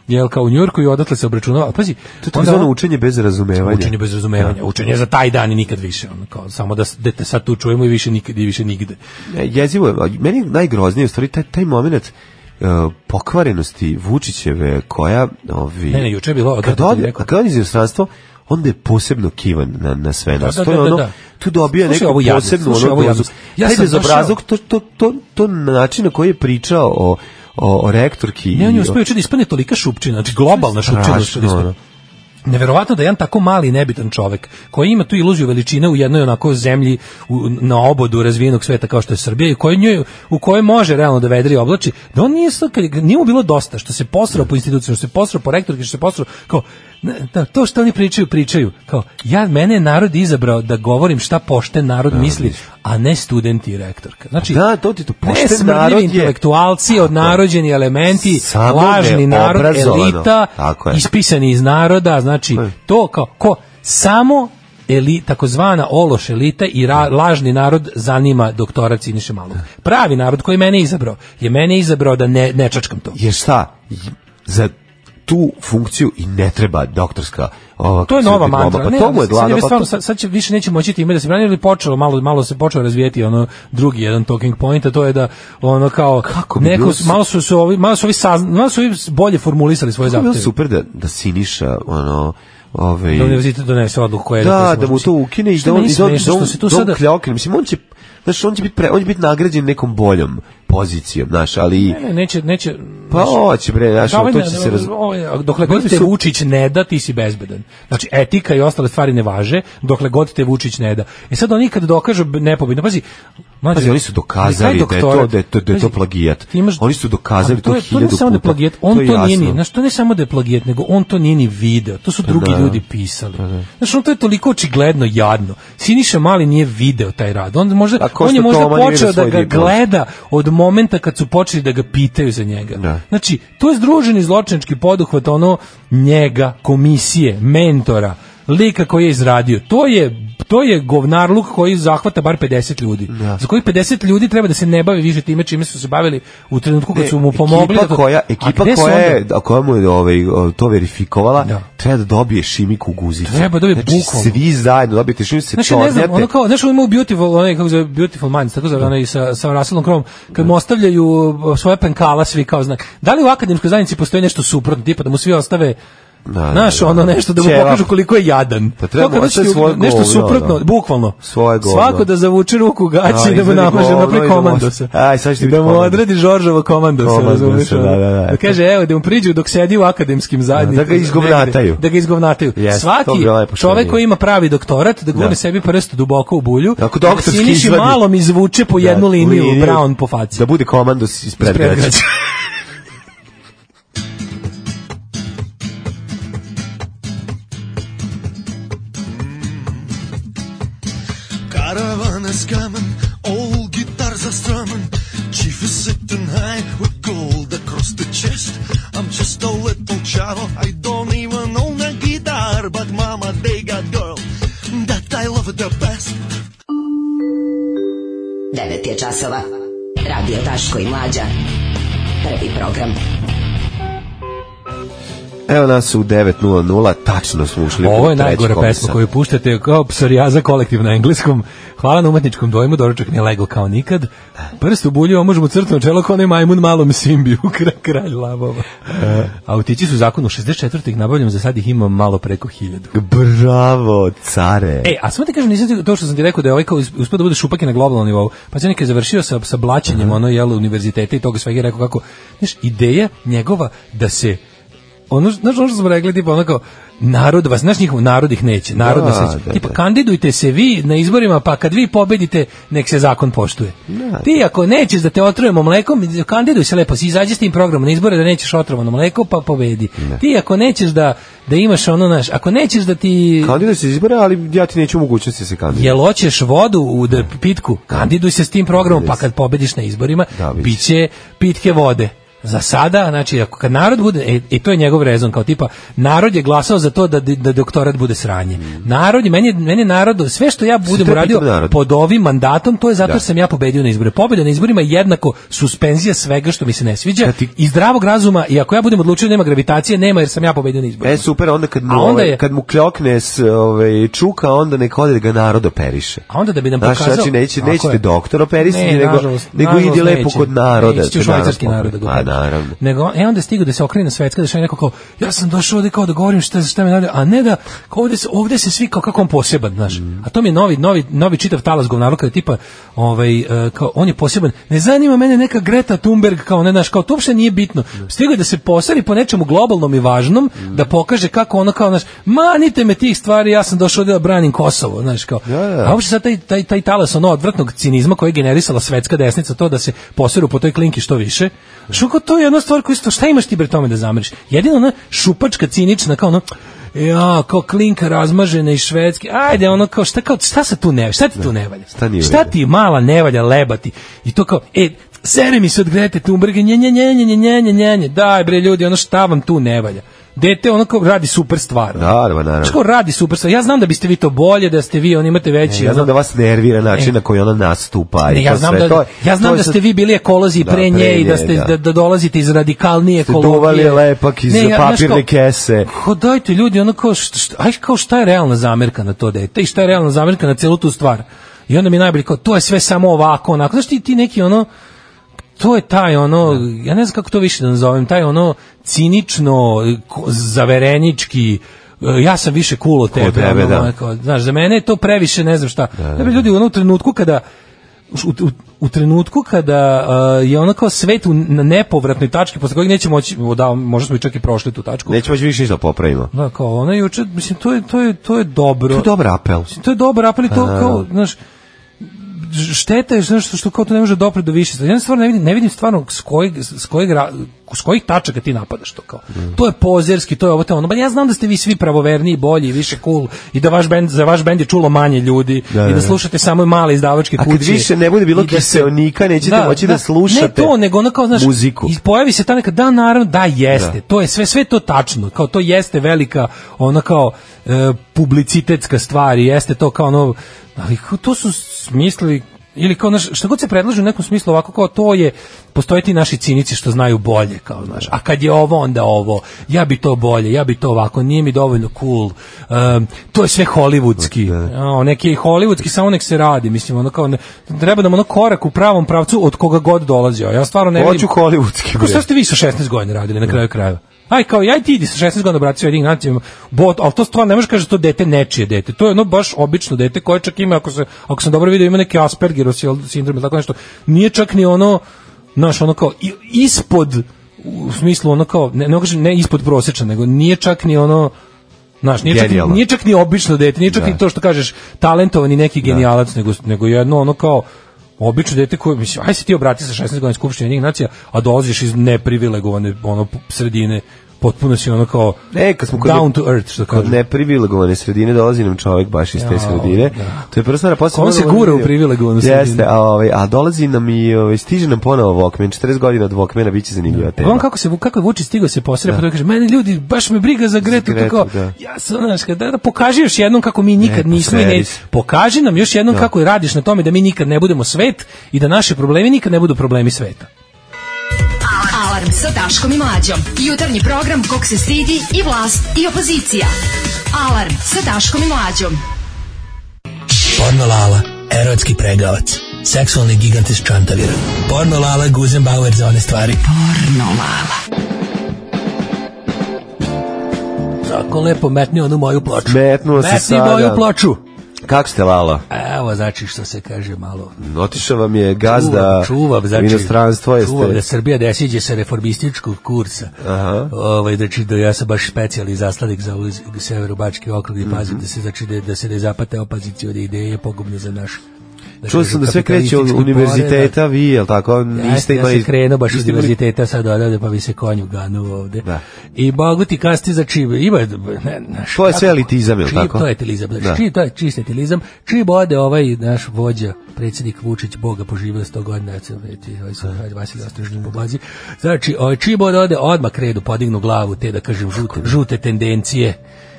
[SPEAKER 5] jel kao u Njurku i odatle se obračunava. Pazi,
[SPEAKER 6] To je
[SPEAKER 5] onda
[SPEAKER 6] takozvano
[SPEAKER 5] on-
[SPEAKER 6] učenje bez razumevanja.
[SPEAKER 5] Učenje bez razumevanja, učenje za taj dan i nikad više, ono kao samo da s- da te sad tu čujemo i više nikad i više nigde.
[SPEAKER 6] E, jezivo je, a meni je najgroznije u stvari taj, taj moment e, pokvarenosti Vučićeve koja ovi
[SPEAKER 5] Ne, ne, juče je bilo
[SPEAKER 6] kad
[SPEAKER 5] odatle ti
[SPEAKER 6] ode
[SPEAKER 5] rekao.
[SPEAKER 6] kad ode iz inostranstva onda je posebno kivan na, na sve nas.
[SPEAKER 5] da,
[SPEAKER 6] to je
[SPEAKER 5] da, da,
[SPEAKER 6] ono,
[SPEAKER 5] da.
[SPEAKER 6] tu dobija
[SPEAKER 5] Slušaj
[SPEAKER 6] neku
[SPEAKER 5] ovu jadnost,
[SPEAKER 6] posebnu
[SPEAKER 5] slušaj
[SPEAKER 6] ono
[SPEAKER 5] ovu
[SPEAKER 6] dozu.
[SPEAKER 5] jadnost. Ja
[SPEAKER 6] Taj
[SPEAKER 5] sam
[SPEAKER 6] bezobrazluk, to, to, to, to način na koji je pričao o, o, o rektorki.
[SPEAKER 5] Ne, on
[SPEAKER 6] i
[SPEAKER 5] je
[SPEAKER 6] o-
[SPEAKER 5] uspeo juče da ispane tolika šupčina, znači globalna šupčina. što je
[SPEAKER 6] Strašno, ono.
[SPEAKER 5] ispane. Neverovatno da jedan tako mali i nebitan čovek koji ima tu iluziju veličine u jednoj onako zemlji u, na obodu razvijenog sveta kao što je Srbija i koji njoj, u kojoj može realno da vedri i oblači, da on nije, sad- kad- nije mu bilo dosta što se posrao po instituciju, što se posrao po rektorki, što se posrao kao ne, da, to što oni pričaju, pričaju. Kao, ja, mene je narod izabrao da govorim šta pošten narod misli, a ne studenti i rektorka. Znači,
[SPEAKER 6] Da, to ti to, pošten
[SPEAKER 5] ne smrdljivi
[SPEAKER 6] narod je-
[SPEAKER 5] intelektualci, odnarođeni elementi,
[SPEAKER 6] Samo
[SPEAKER 5] lažni narod,
[SPEAKER 6] neobrazovano.
[SPEAKER 5] elita,
[SPEAKER 6] Tako je.
[SPEAKER 5] iz ispisani iz naroda, znači
[SPEAKER 6] Mm.
[SPEAKER 5] to kao ko samo eli, takozvana ološ elita i ra- lažni narod zanima doktorat Siniše Malog. Pravi narod koji mene izabrao je mene izabrao da ne, ne čačkam to.
[SPEAKER 6] jer šta za tu funkciju i ne treba doktorska ova
[SPEAKER 5] To je nova
[SPEAKER 6] diploma,
[SPEAKER 5] mantra.
[SPEAKER 6] pa
[SPEAKER 5] Ne,
[SPEAKER 6] to mu je
[SPEAKER 5] sad
[SPEAKER 6] glavno
[SPEAKER 5] već
[SPEAKER 6] pa
[SPEAKER 5] stvarno,
[SPEAKER 6] to,
[SPEAKER 5] sad, sad će više neće moći time da se brani, ali počelo malo malo se počeo razvijeti ono drugi jedan talking point, a to je da ono kao
[SPEAKER 6] Kako bi
[SPEAKER 5] neko
[SPEAKER 6] bilo
[SPEAKER 5] s- malo su, su ovi malo su ovi sazn- malo su ovi bolje formulisali svoje
[SPEAKER 6] To bi bilo
[SPEAKER 5] zahteve.
[SPEAKER 6] super da, da Siniša, ono, ovaj...
[SPEAKER 5] Da univerzitet donese odluku koja je koja
[SPEAKER 6] Da,
[SPEAKER 5] se
[SPEAKER 6] da mu
[SPEAKER 5] može-
[SPEAKER 6] to ukine i
[SPEAKER 5] Što
[SPEAKER 6] da on,
[SPEAKER 5] meni
[SPEAKER 6] i da on,
[SPEAKER 5] smešno
[SPEAKER 6] da on,
[SPEAKER 5] što se tu
[SPEAKER 6] da on
[SPEAKER 5] sada-
[SPEAKER 6] kljokne. Mislim, on će, znaš, on će biti, pre, on će biti nagrađen nekom boljom pozicijom, znaš, ali...
[SPEAKER 5] Ne, neće, neće...
[SPEAKER 6] Pa hoće bre, znaš,
[SPEAKER 5] Kao ovaj
[SPEAKER 6] to
[SPEAKER 5] ne-
[SPEAKER 6] će se raz...
[SPEAKER 5] ovaj, Dokle
[SPEAKER 6] Ljudi
[SPEAKER 5] god te
[SPEAKER 6] su-
[SPEAKER 5] Vučić ne da, ti si bezbedan. Znači, etika i ostale stvari ne važe, dokle god te Vučić ne da. E sad oni kad dokažu nepobitno, pazi, mlađe,
[SPEAKER 6] Pazi, oni su dokazali
[SPEAKER 5] taj
[SPEAKER 6] da je
[SPEAKER 5] doktorat-
[SPEAKER 6] to- da je to- da je to
[SPEAKER 5] pazi,
[SPEAKER 6] plagijat.
[SPEAKER 5] ti imaš-
[SPEAKER 6] Oni su dokazali
[SPEAKER 5] Ali
[SPEAKER 6] to
[SPEAKER 5] je- To
[SPEAKER 6] hiljadu
[SPEAKER 5] ne samo da je
[SPEAKER 6] puta.
[SPEAKER 5] plagijat,
[SPEAKER 6] To je
[SPEAKER 5] on to nije
[SPEAKER 6] jasno. Pa
[SPEAKER 5] ni, znaš, to ne samo da je plagijat, nego on to nije ni video. To su drugi
[SPEAKER 6] da.
[SPEAKER 5] ljudi pisali. Znaš, on to je toliko očigledno jadno. Siniša Mali nije video taj rad. On možda
[SPEAKER 6] A ko
[SPEAKER 5] on
[SPEAKER 6] što
[SPEAKER 5] je možda
[SPEAKER 6] Toma nije
[SPEAKER 5] počeo
[SPEAKER 6] video
[SPEAKER 5] da
[SPEAKER 6] svoj
[SPEAKER 5] ga
[SPEAKER 6] diplom.
[SPEAKER 5] gleda od momenta kad su počeli da ga pitaju za njega.
[SPEAKER 6] Da.
[SPEAKER 5] Znači, to je združeni zločinački poduhvat ono njega, komisije, mentora, lika koji je izradio. To je to je govnarluk koji zahvata bar 50 ljudi. Za koji 50 ljudi treba da se ne bavi više time čime su se bavili u trenutku kad su mu pomogli.
[SPEAKER 6] E, Ekipa
[SPEAKER 5] da to-
[SPEAKER 6] koja,
[SPEAKER 5] A
[SPEAKER 6] ekipa
[SPEAKER 5] gde su
[SPEAKER 6] koja, je,
[SPEAKER 5] onda?
[SPEAKER 6] a koja mu je ovaj, o, to verifikovala,
[SPEAKER 5] Da.
[SPEAKER 6] treba da dobije šimiku guzicu. Znači,
[SPEAKER 5] Treba da dobije bukvalno.
[SPEAKER 6] Svi zajedno dobijete šimiku, se
[SPEAKER 5] Znači, ne znam,
[SPEAKER 6] čornjate.
[SPEAKER 5] ono kao, znaš, on ima u Beautiful, onaj, kako se zove, Beautiful Minds, tako zove, onaj sa, sa Russellom Crowe, kad mu ostavljaju uh, svoje penkala, svi kao znak. Da li u akademskoj zajednici postoji nešto suprotno, tipa da mu svi ostave
[SPEAKER 6] da,
[SPEAKER 5] Znaš,
[SPEAKER 6] da.
[SPEAKER 5] ono nešto da mu
[SPEAKER 6] Ćevap.
[SPEAKER 5] pokažu koliko je jadan.
[SPEAKER 6] Pa treba
[SPEAKER 5] To kad hoćete
[SPEAKER 6] ostaviti svoje
[SPEAKER 5] Nešto
[SPEAKER 6] govno,
[SPEAKER 5] suprotno,
[SPEAKER 6] da.
[SPEAKER 5] bukvalno.
[SPEAKER 6] Svoje govno.
[SPEAKER 5] Svako da zavuče ruku u gaći
[SPEAKER 6] Da,
[SPEAKER 5] i da mu
[SPEAKER 6] izvadi
[SPEAKER 5] namaže
[SPEAKER 6] govno i da
[SPEAKER 5] napre
[SPEAKER 6] mu
[SPEAKER 5] komando
[SPEAKER 6] ostavi-
[SPEAKER 5] se.
[SPEAKER 6] Aj, sad će ti
[SPEAKER 5] I
[SPEAKER 6] biti
[SPEAKER 5] da mu
[SPEAKER 6] komando.
[SPEAKER 5] odredi Žoržovo komando se,
[SPEAKER 6] Komando se,
[SPEAKER 5] razumeš?
[SPEAKER 6] da,
[SPEAKER 5] ono.
[SPEAKER 6] da, da.
[SPEAKER 5] kaže, evo, da mu priđu dok sedi u akademskim zajednicama.
[SPEAKER 6] Da ga izgovnataju.
[SPEAKER 5] negde, Da ga izgovnataju.
[SPEAKER 6] Jeste, to bi
[SPEAKER 5] Svaki
[SPEAKER 6] bilo lepo što
[SPEAKER 5] čovek
[SPEAKER 6] je.
[SPEAKER 5] koji ima pravi doktorat, da gurne
[SPEAKER 6] Da.
[SPEAKER 5] sebi prst duboko u bulju,
[SPEAKER 6] Ako
[SPEAKER 5] da
[SPEAKER 6] doktorski
[SPEAKER 5] Siniši
[SPEAKER 6] izvadi-
[SPEAKER 5] malo mi izvuče po jednu
[SPEAKER 6] Da,
[SPEAKER 5] liniju, Brown po faci.
[SPEAKER 6] Da bude komando ispred
[SPEAKER 5] Ispred
[SPEAKER 6] građa.
[SPEAKER 5] građa.
[SPEAKER 11] Caravan is coming, all guitars are strumming. Chief is sitting high with gold across the chest. I'm just a little child, I don't even own a guitar, but mama, they got girl that I love the best.
[SPEAKER 9] 9 je časova. Radio Daško i Mlađa. Prvi program.
[SPEAKER 6] Evo nas u 9.00, tačno smo ušli. u
[SPEAKER 5] Ovo je
[SPEAKER 6] treći
[SPEAKER 5] najgora
[SPEAKER 6] komisar.
[SPEAKER 5] pesma koju puštate kao psorijaza kolektiv na engleskom. Hvala na umetničkom dojmu, doručak nije lego kao nikad. Prst u bulju, a možemo crtno čelo kao onaj majmun malom simbiju, (laughs) kra, kralj lavova. A utići su zakon u 64. ih nabavljam, za sad ih imam malo preko hiljadu.
[SPEAKER 6] Bravo, care.
[SPEAKER 5] E, a samo ti kažem, nisam ti, to što sam ti rekao da je ovaj kao us- uspeo da bude šupak i na globalnom nivou. Pa Zenek je završio sa, sa blaćenjem ono, jel, univerziteta i toga svega i rekao kako, znaš, ideja njegova da se ono, znaš ono što smo rekli, tipa ono kao, narod vas, znaš njihov, narod ih neće, narod
[SPEAKER 6] Da,
[SPEAKER 5] nas neće.
[SPEAKER 6] da,
[SPEAKER 5] tipa,
[SPEAKER 6] da.
[SPEAKER 5] kandidujte se vi na izborima, pa kad vi pobedite, nek se zakon poštuje.
[SPEAKER 6] Da,
[SPEAKER 5] Ti ako nećeš da te otrujemo mlekom, kandiduj se lepo, si izađi s tim programom na izbore da nećeš otrovano mleko, pa pobedi. Ti ako nećeš da, da imaš ono, naš, ako nećeš da ti...
[SPEAKER 6] Kandiduj se izbore, ali ja ti neću mogućnosti da se kandidujem.
[SPEAKER 5] Jel hoćeš vodu u da pitku? Kandiduj se s tim programom, pa kad pobediš na izborima,
[SPEAKER 6] Da, biće.
[SPEAKER 5] biće pitke vode. Za sada, znači, ako kad narod bude, e, e, to je njegov rezon, kao tipa, narod je glasao za to da, da doktorat bude sranje.
[SPEAKER 6] Mm.
[SPEAKER 5] Narod je, meni, je- meni je narod, sve što ja budem
[SPEAKER 6] treba
[SPEAKER 5] uradio
[SPEAKER 6] pitam narod.
[SPEAKER 5] pod ovim mandatom, to je zato
[SPEAKER 6] Da.
[SPEAKER 5] jer sam ja pobedio na izbore. Pobeda na izborima je jednako suspenzija svega što mi se ne sviđa
[SPEAKER 6] Kad ti-
[SPEAKER 5] i zdravog razuma, i ako ja budem odlučio nema gravitacije, nema jer sam ja pobedio na izborima.
[SPEAKER 6] E, super, onda kad mu,
[SPEAKER 5] A onda
[SPEAKER 6] ovaj,
[SPEAKER 5] je-
[SPEAKER 6] kad mu kljokne s, ovaj, čuka, onda nek ode da ga narod operiše.
[SPEAKER 5] A onda da bi nam
[SPEAKER 6] Znaš,
[SPEAKER 5] pokazao...
[SPEAKER 6] znači, neće,
[SPEAKER 5] Tako
[SPEAKER 6] nećete
[SPEAKER 5] je.
[SPEAKER 6] doktor operisati,
[SPEAKER 5] Ne,
[SPEAKER 6] nego,
[SPEAKER 5] nažalost-
[SPEAKER 6] nego
[SPEAKER 5] nažalost
[SPEAKER 6] idi lepo
[SPEAKER 5] neće.
[SPEAKER 6] kod naroda.
[SPEAKER 5] Neće
[SPEAKER 6] te
[SPEAKER 5] u švajcarski
[SPEAKER 6] narod
[SPEAKER 5] narod da ga
[SPEAKER 6] Pa,
[SPEAKER 5] pobedi.
[SPEAKER 6] naravno.
[SPEAKER 5] Nego, e onda stigu da se okrene svetska, da što je neko kao, ja sam došao ovde kao da govorim šta, šta me narod, a ne da, kao ovde, se, ovde se svi kao kako on poseban, znaš.
[SPEAKER 6] Mm.
[SPEAKER 5] A to mi je novi, novi, novi čitav talas govnaruka, je tipa, ovaj, e, kao, on je poseban, ne zanima mene neka Greta Thunberg, kao ne, znaš, kao to uopšte nije bitno. Stigo je da se posari po nečemu globalnom i važnom,
[SPEAKER 6] Mm.
[SPEAKER 5] da pokaže kako ono kao, znaš, manite me tih stvari, ja sam došao ovde da branim Kosovo, znaš, kao.
[SPEAKER 6] Da, da.
[SPEAKER 5] A uopšte sad taj, taj, taj talas ono odvratnog cinizma koji je generisala svetska desnica, to da se poseru po toj klinki što više, šuko to je jedna stvar koju isto, šta imaš ti bre tome da zameriš? Jedino ona šupačka, cinična, kao ono, ja, kao klinka razmažena iz švedske, ajde, ono, kao, šta, kao, šta se tu ne, šta ti tu ne valja?
[SPEAKER 6] šta nije u
[SPEAKER 5] šta
[SPEAKER 6] redu?
[SPEAKER 5] ti mala ne valja lebati? I to kao, e, sere mi se od Grete Thunberg, nje, nje, nje, nje, nje, nje, nje, nje, nje, daj bre ljudi, ono šta vam tu ne valja? Dete ono kao radi super stvar.
[SPEAKER 6] Da, pa,
[SPEAKER 5] Znaš
[SPEAKER 6] naravno.
[SPEAKER 5] kao radi super stvar. Ja znam da biste vi to bolje, da ste vi, on imate veći... ono-
[SPEAKER 6] Ja
[SPEAKER 5] E.
[SPEAKER 6] znam da vas nervira način na koji ona nastupa. i
[SPEAKER 5] Ne, ja
[SPEAKER 6] to
[SPEAKER 5] znam
[SPEAKER 6] sve.
[SPEAKER 5] da
[SPEAKER 6] To je-
[SPEAKER 5] ja znam
[SPEAKER 6] to je
[SPEAKER 5] da
[SPEAKER 6] sad-
[SPEAKER 5] ste vi bili ekolozi i
[SPEAKER 6] Da,
[SPEAKER 5] pre nje i da
[SPEAKER 6] nje,
[SPEAKER 5] ste da, da dolazite iz radikalnije
[SPEAKER 6] Ste
[SPEAKER 5] ekologije.
[SPEAKER 6] duvali lepak iz
[SPEAKER 5] znaš
[SPEAKER 6] papirne kese.
[SPEAKER 5] Ko dajte ljudi ono kao šta, šta, aj kao šta je realna zamerka na to dete i šta je realna zamerka na celu tu stvar. I onda mi je najbolje kao to je sve samo ovako onako. Znaš ti, ti neki ono to je taj ono, ja ne znam kako to više da nazovem, taj ono cinično, ko- zaverenički, e, ja sam više cool od tebe.
[SPEAKER 6] tebe,
[SPEAKER 5] ono,
[SPEAKER 6] da.
[SPEAKER 5] ono, kao, znaš, za mene je to previše, ne znam šta. Da, bi ljudi u onom trenutku kada u, u, u trenutku kada uh, je ono kao svet u na nepovratnoj tački posle kojeg neće moći, o, da, možda smo i čak i prošli tu tačku.
[SPEAKER 6] Nećemo moći više ništa da popravimo.
[SPEAKER 5] Da, kao ono juče, mislim, to je, to je, to je dobro.
[SPEAKER 6] To je dobar apel.
[SPEAKER 5] Mislim, to je dobar apel i to
[SPEAKER 6] A.
[SPEAKER 5] kao, znaš, šteta je znaš, što, što kao to ne može dopre do više. stvari. Ja stvarno ne vidim, ne vidim stvarno s kojeg, s kojeg, ra- s kojih tačaka ti napadaš to kao.
[SPEAKER 6] Mhm.
[SPEAKER 5] To je pozerski, to je ovo, to je ono. Ba ja znam da ste vi svi pravoverniji, bolji, više cool i da vaš bend, za vaš bend je čulo manje ljudi
[SPEAKER 6] Da,
[SPEAKER 5] i
[SPEAKER 6] da,
[SPEAKER 5] da
[SPEAKER 6] da.
[SPEAKER 5] slušate samo male izdavačke
[SPEAKER 6] A
[SPEAKER 5] kuće.
[SPEAKER 6] kad više ne bude bilo
[SPEAKER 5] i da se-
[SPEAKER 6] kiseonika, nećete moći da
[SPEAKER 5] Ne
[SPEAKER 6] slušate
[SPEAKER 5] to, nego ono kao, znaš,
[SPEAKER 6] muziku.
[SPEAKER 5] i pojavi se ta neka, da, naravno, da, jeste.
[SPEAKER 6] Da.
[SPEAKER 5] To je sve, sve je to tačno. Kao to jeste velika, ona kao, e, publicitetska stvar i jeste to kao ono, ali kao to su smisli, ili kao, znaš, šta god se predlaže u nekom smislu ovako kao to je, postoje ti naši cinici što znaju bolje, kao, znaš, a kad je ovo, onda ovo, ja bi to bolje, ja bi to ovako, nije mi dovoljno cool, em, to je sve hollywoodski, a, neki hollywoodski, samo nek se radi, mislim, ono kao, ne, treba nam ono korak u pravom pravcu od koga god dolazio, ja stvarno ne
[SPEAKER 6] Hoću
[SPEAKER 5] vidim-
[SPEAKER 6] hollywoodski.
[SPEAKER 5] Kako
[SPEAKER 6] bre.
[SPEAKER 5] šta ste vi sa 16 godina radili na kraju krajeva? Aj kao ja i ti idi sa 16 godina brati sa jednim nacijama, bot, ali to stvarno ne možeš kažeš da to dete nečije dete. To je ono baš obično dete koje čak ima ako se ako sam dobro video ima neki Aspergerov sindrom ili tako nešto. Nije čak ni ono naš ono kao i- ispod u smislu ono kao ne ne, kažem, ne ispod prosečna, nego nije čak ni ono Znaš, nije čak, ni-
[SPEAKER 6] Genijalno.
[SPEAKER 5] nije čak ni obično dete, nije čak ni to što kažeš talentovani neki genijalac, nego, nego jedno ono kao obično dete koje, mislim, aj se ti obrati sa 16 godina skupštine njih nacija, a dolaziš iz neprivilegovane ono, sredine, potpuno si ono kao
[SPEAKER 6] E, kad smo kod-
[SPEAKER 5] down to earth, što
[SPEAKER 6] Kod
[SPEAKER 5] kažu.
[SPEAKER 6] neprivilegovane sredine dolazi nam čovjek baš iz te
[SPEAKER 5] Jao,
[SPEAKER 6] sredine.
[SPEAKER 5] da.
[SPEAKER 6] To je prva stvar, a posle...
[SPEAKER 5] On se
[SPEAKER 6] moramo-
[SPEAKER 5] gura u privilegovanu sredinu.
[SPEAKER 6] Jeste, a, ovaj, a dolazi nam i ovaj, stiže nam ponovo Walkman, 40 godina od Walkmana, bit će zanimljiva tema.
[SPEAKER 5] On kako se kako je Vučić stigao se posreda, pa to kaže, mene ljudi, baš me briga za Gretu,
[SPEAKER 6] Gretu,
[SPEAKER 5] tako,
[SPEAKER 6] da.
[SPEAKER 5] ja sam, znaš, kad- da, da, pokaži još jednom kako mi nikad
[SPEAKER 6] Ne,
[SPEAKER 5] nismo i ne,
[SPEAKER 6] posredi se.
[SPEAKER 5] pokaži nam još jednom kako radiš na tome da mi nikad ne budemo svet i da naši problemi nikad ne budu problemi sveta.
[SPEAKER 4] Alarm sa Daškom i Mlađom. Jutarnji program kog se stidi i vlast i opozicija. Alarm sa Daškom i Mlađom.
[SPEAKER 12] Porno Lala, erotski pregavac. Seksualni gigant iz Čantavira. Porno Lala, Guzenbauer za one stvari. Porno Lala.
[SPEAKER 5] Tako lepo metni onu moju ploču.
[SPEAKER 6] Metnuo se
[SPEAKER 5] Metni
[SPEAKER 6] sada.
[SPEAKER 5] moju ploču.
[SPEAKER 6] Kako ste, Lala?
[SPEAKER 5] Evo, znači što se kaže malo.
[SPEAKER 6] Otišao vam je gazda
[SPEAKER 5] čuvav,
[SPEAKER 6] u inostranstvo. Jeste,
[SPEAKER 5] čuvav znači, da Srbija ne siđe sa reformističkog kursa.
[SPEAKER 6] Aha.
[SPEAKER 5] Ovaj znači da ja sam baš specijalni zaslanik za uz, severobački okrug i
[SPEAKER 6] Mhm.
[SPEAKER 5] pazim da se znači da, da se ne zapate opozicione ideje pogubne za naš. znači, da
[SPEAKER 6] Čuo
[SPEAKER 5] kažem,
[SPEAKER 6] sam da sve kreće od
[SPEAKER 5] kapitalistički poredak.
[SPEAKER 6] univerziteta, vi, jel tako?
[SPEAKER 5] Jeste,
[SPEAKER 6] Niste
[SPEAKER 5] ja
[SPEAKER 6] imali...
[SPEAKER 5] sam krenuo baš iz
[SPEAKER 6] niste imali-
[SPEAKER 5] univerziteta sad odavde, pa mi se konju ganu ovde. I mogu ti kasti za čive. Ima, ne, naš,
[SPEAKER 6] To je sve elitizam, jel
[SPEAKER 5] Čiji-
[SPEAKER 6] tako?
[SPEAKER 5] To je elitizam, znači,
[SPEAKER 6] Da.
[SPEAKER 5] čiji- to je čist elitizam. Čim ode ovaj naš vođa, predsjednik Vučić, Boga poživio 100 godina, ja sam već, ovaj se ovaj Vasilij Ostrožnji poblazi. Znači, ovaj, čim ode, ode, odmah kredu, podignu glavu, te da kažem žute, žute tendencije.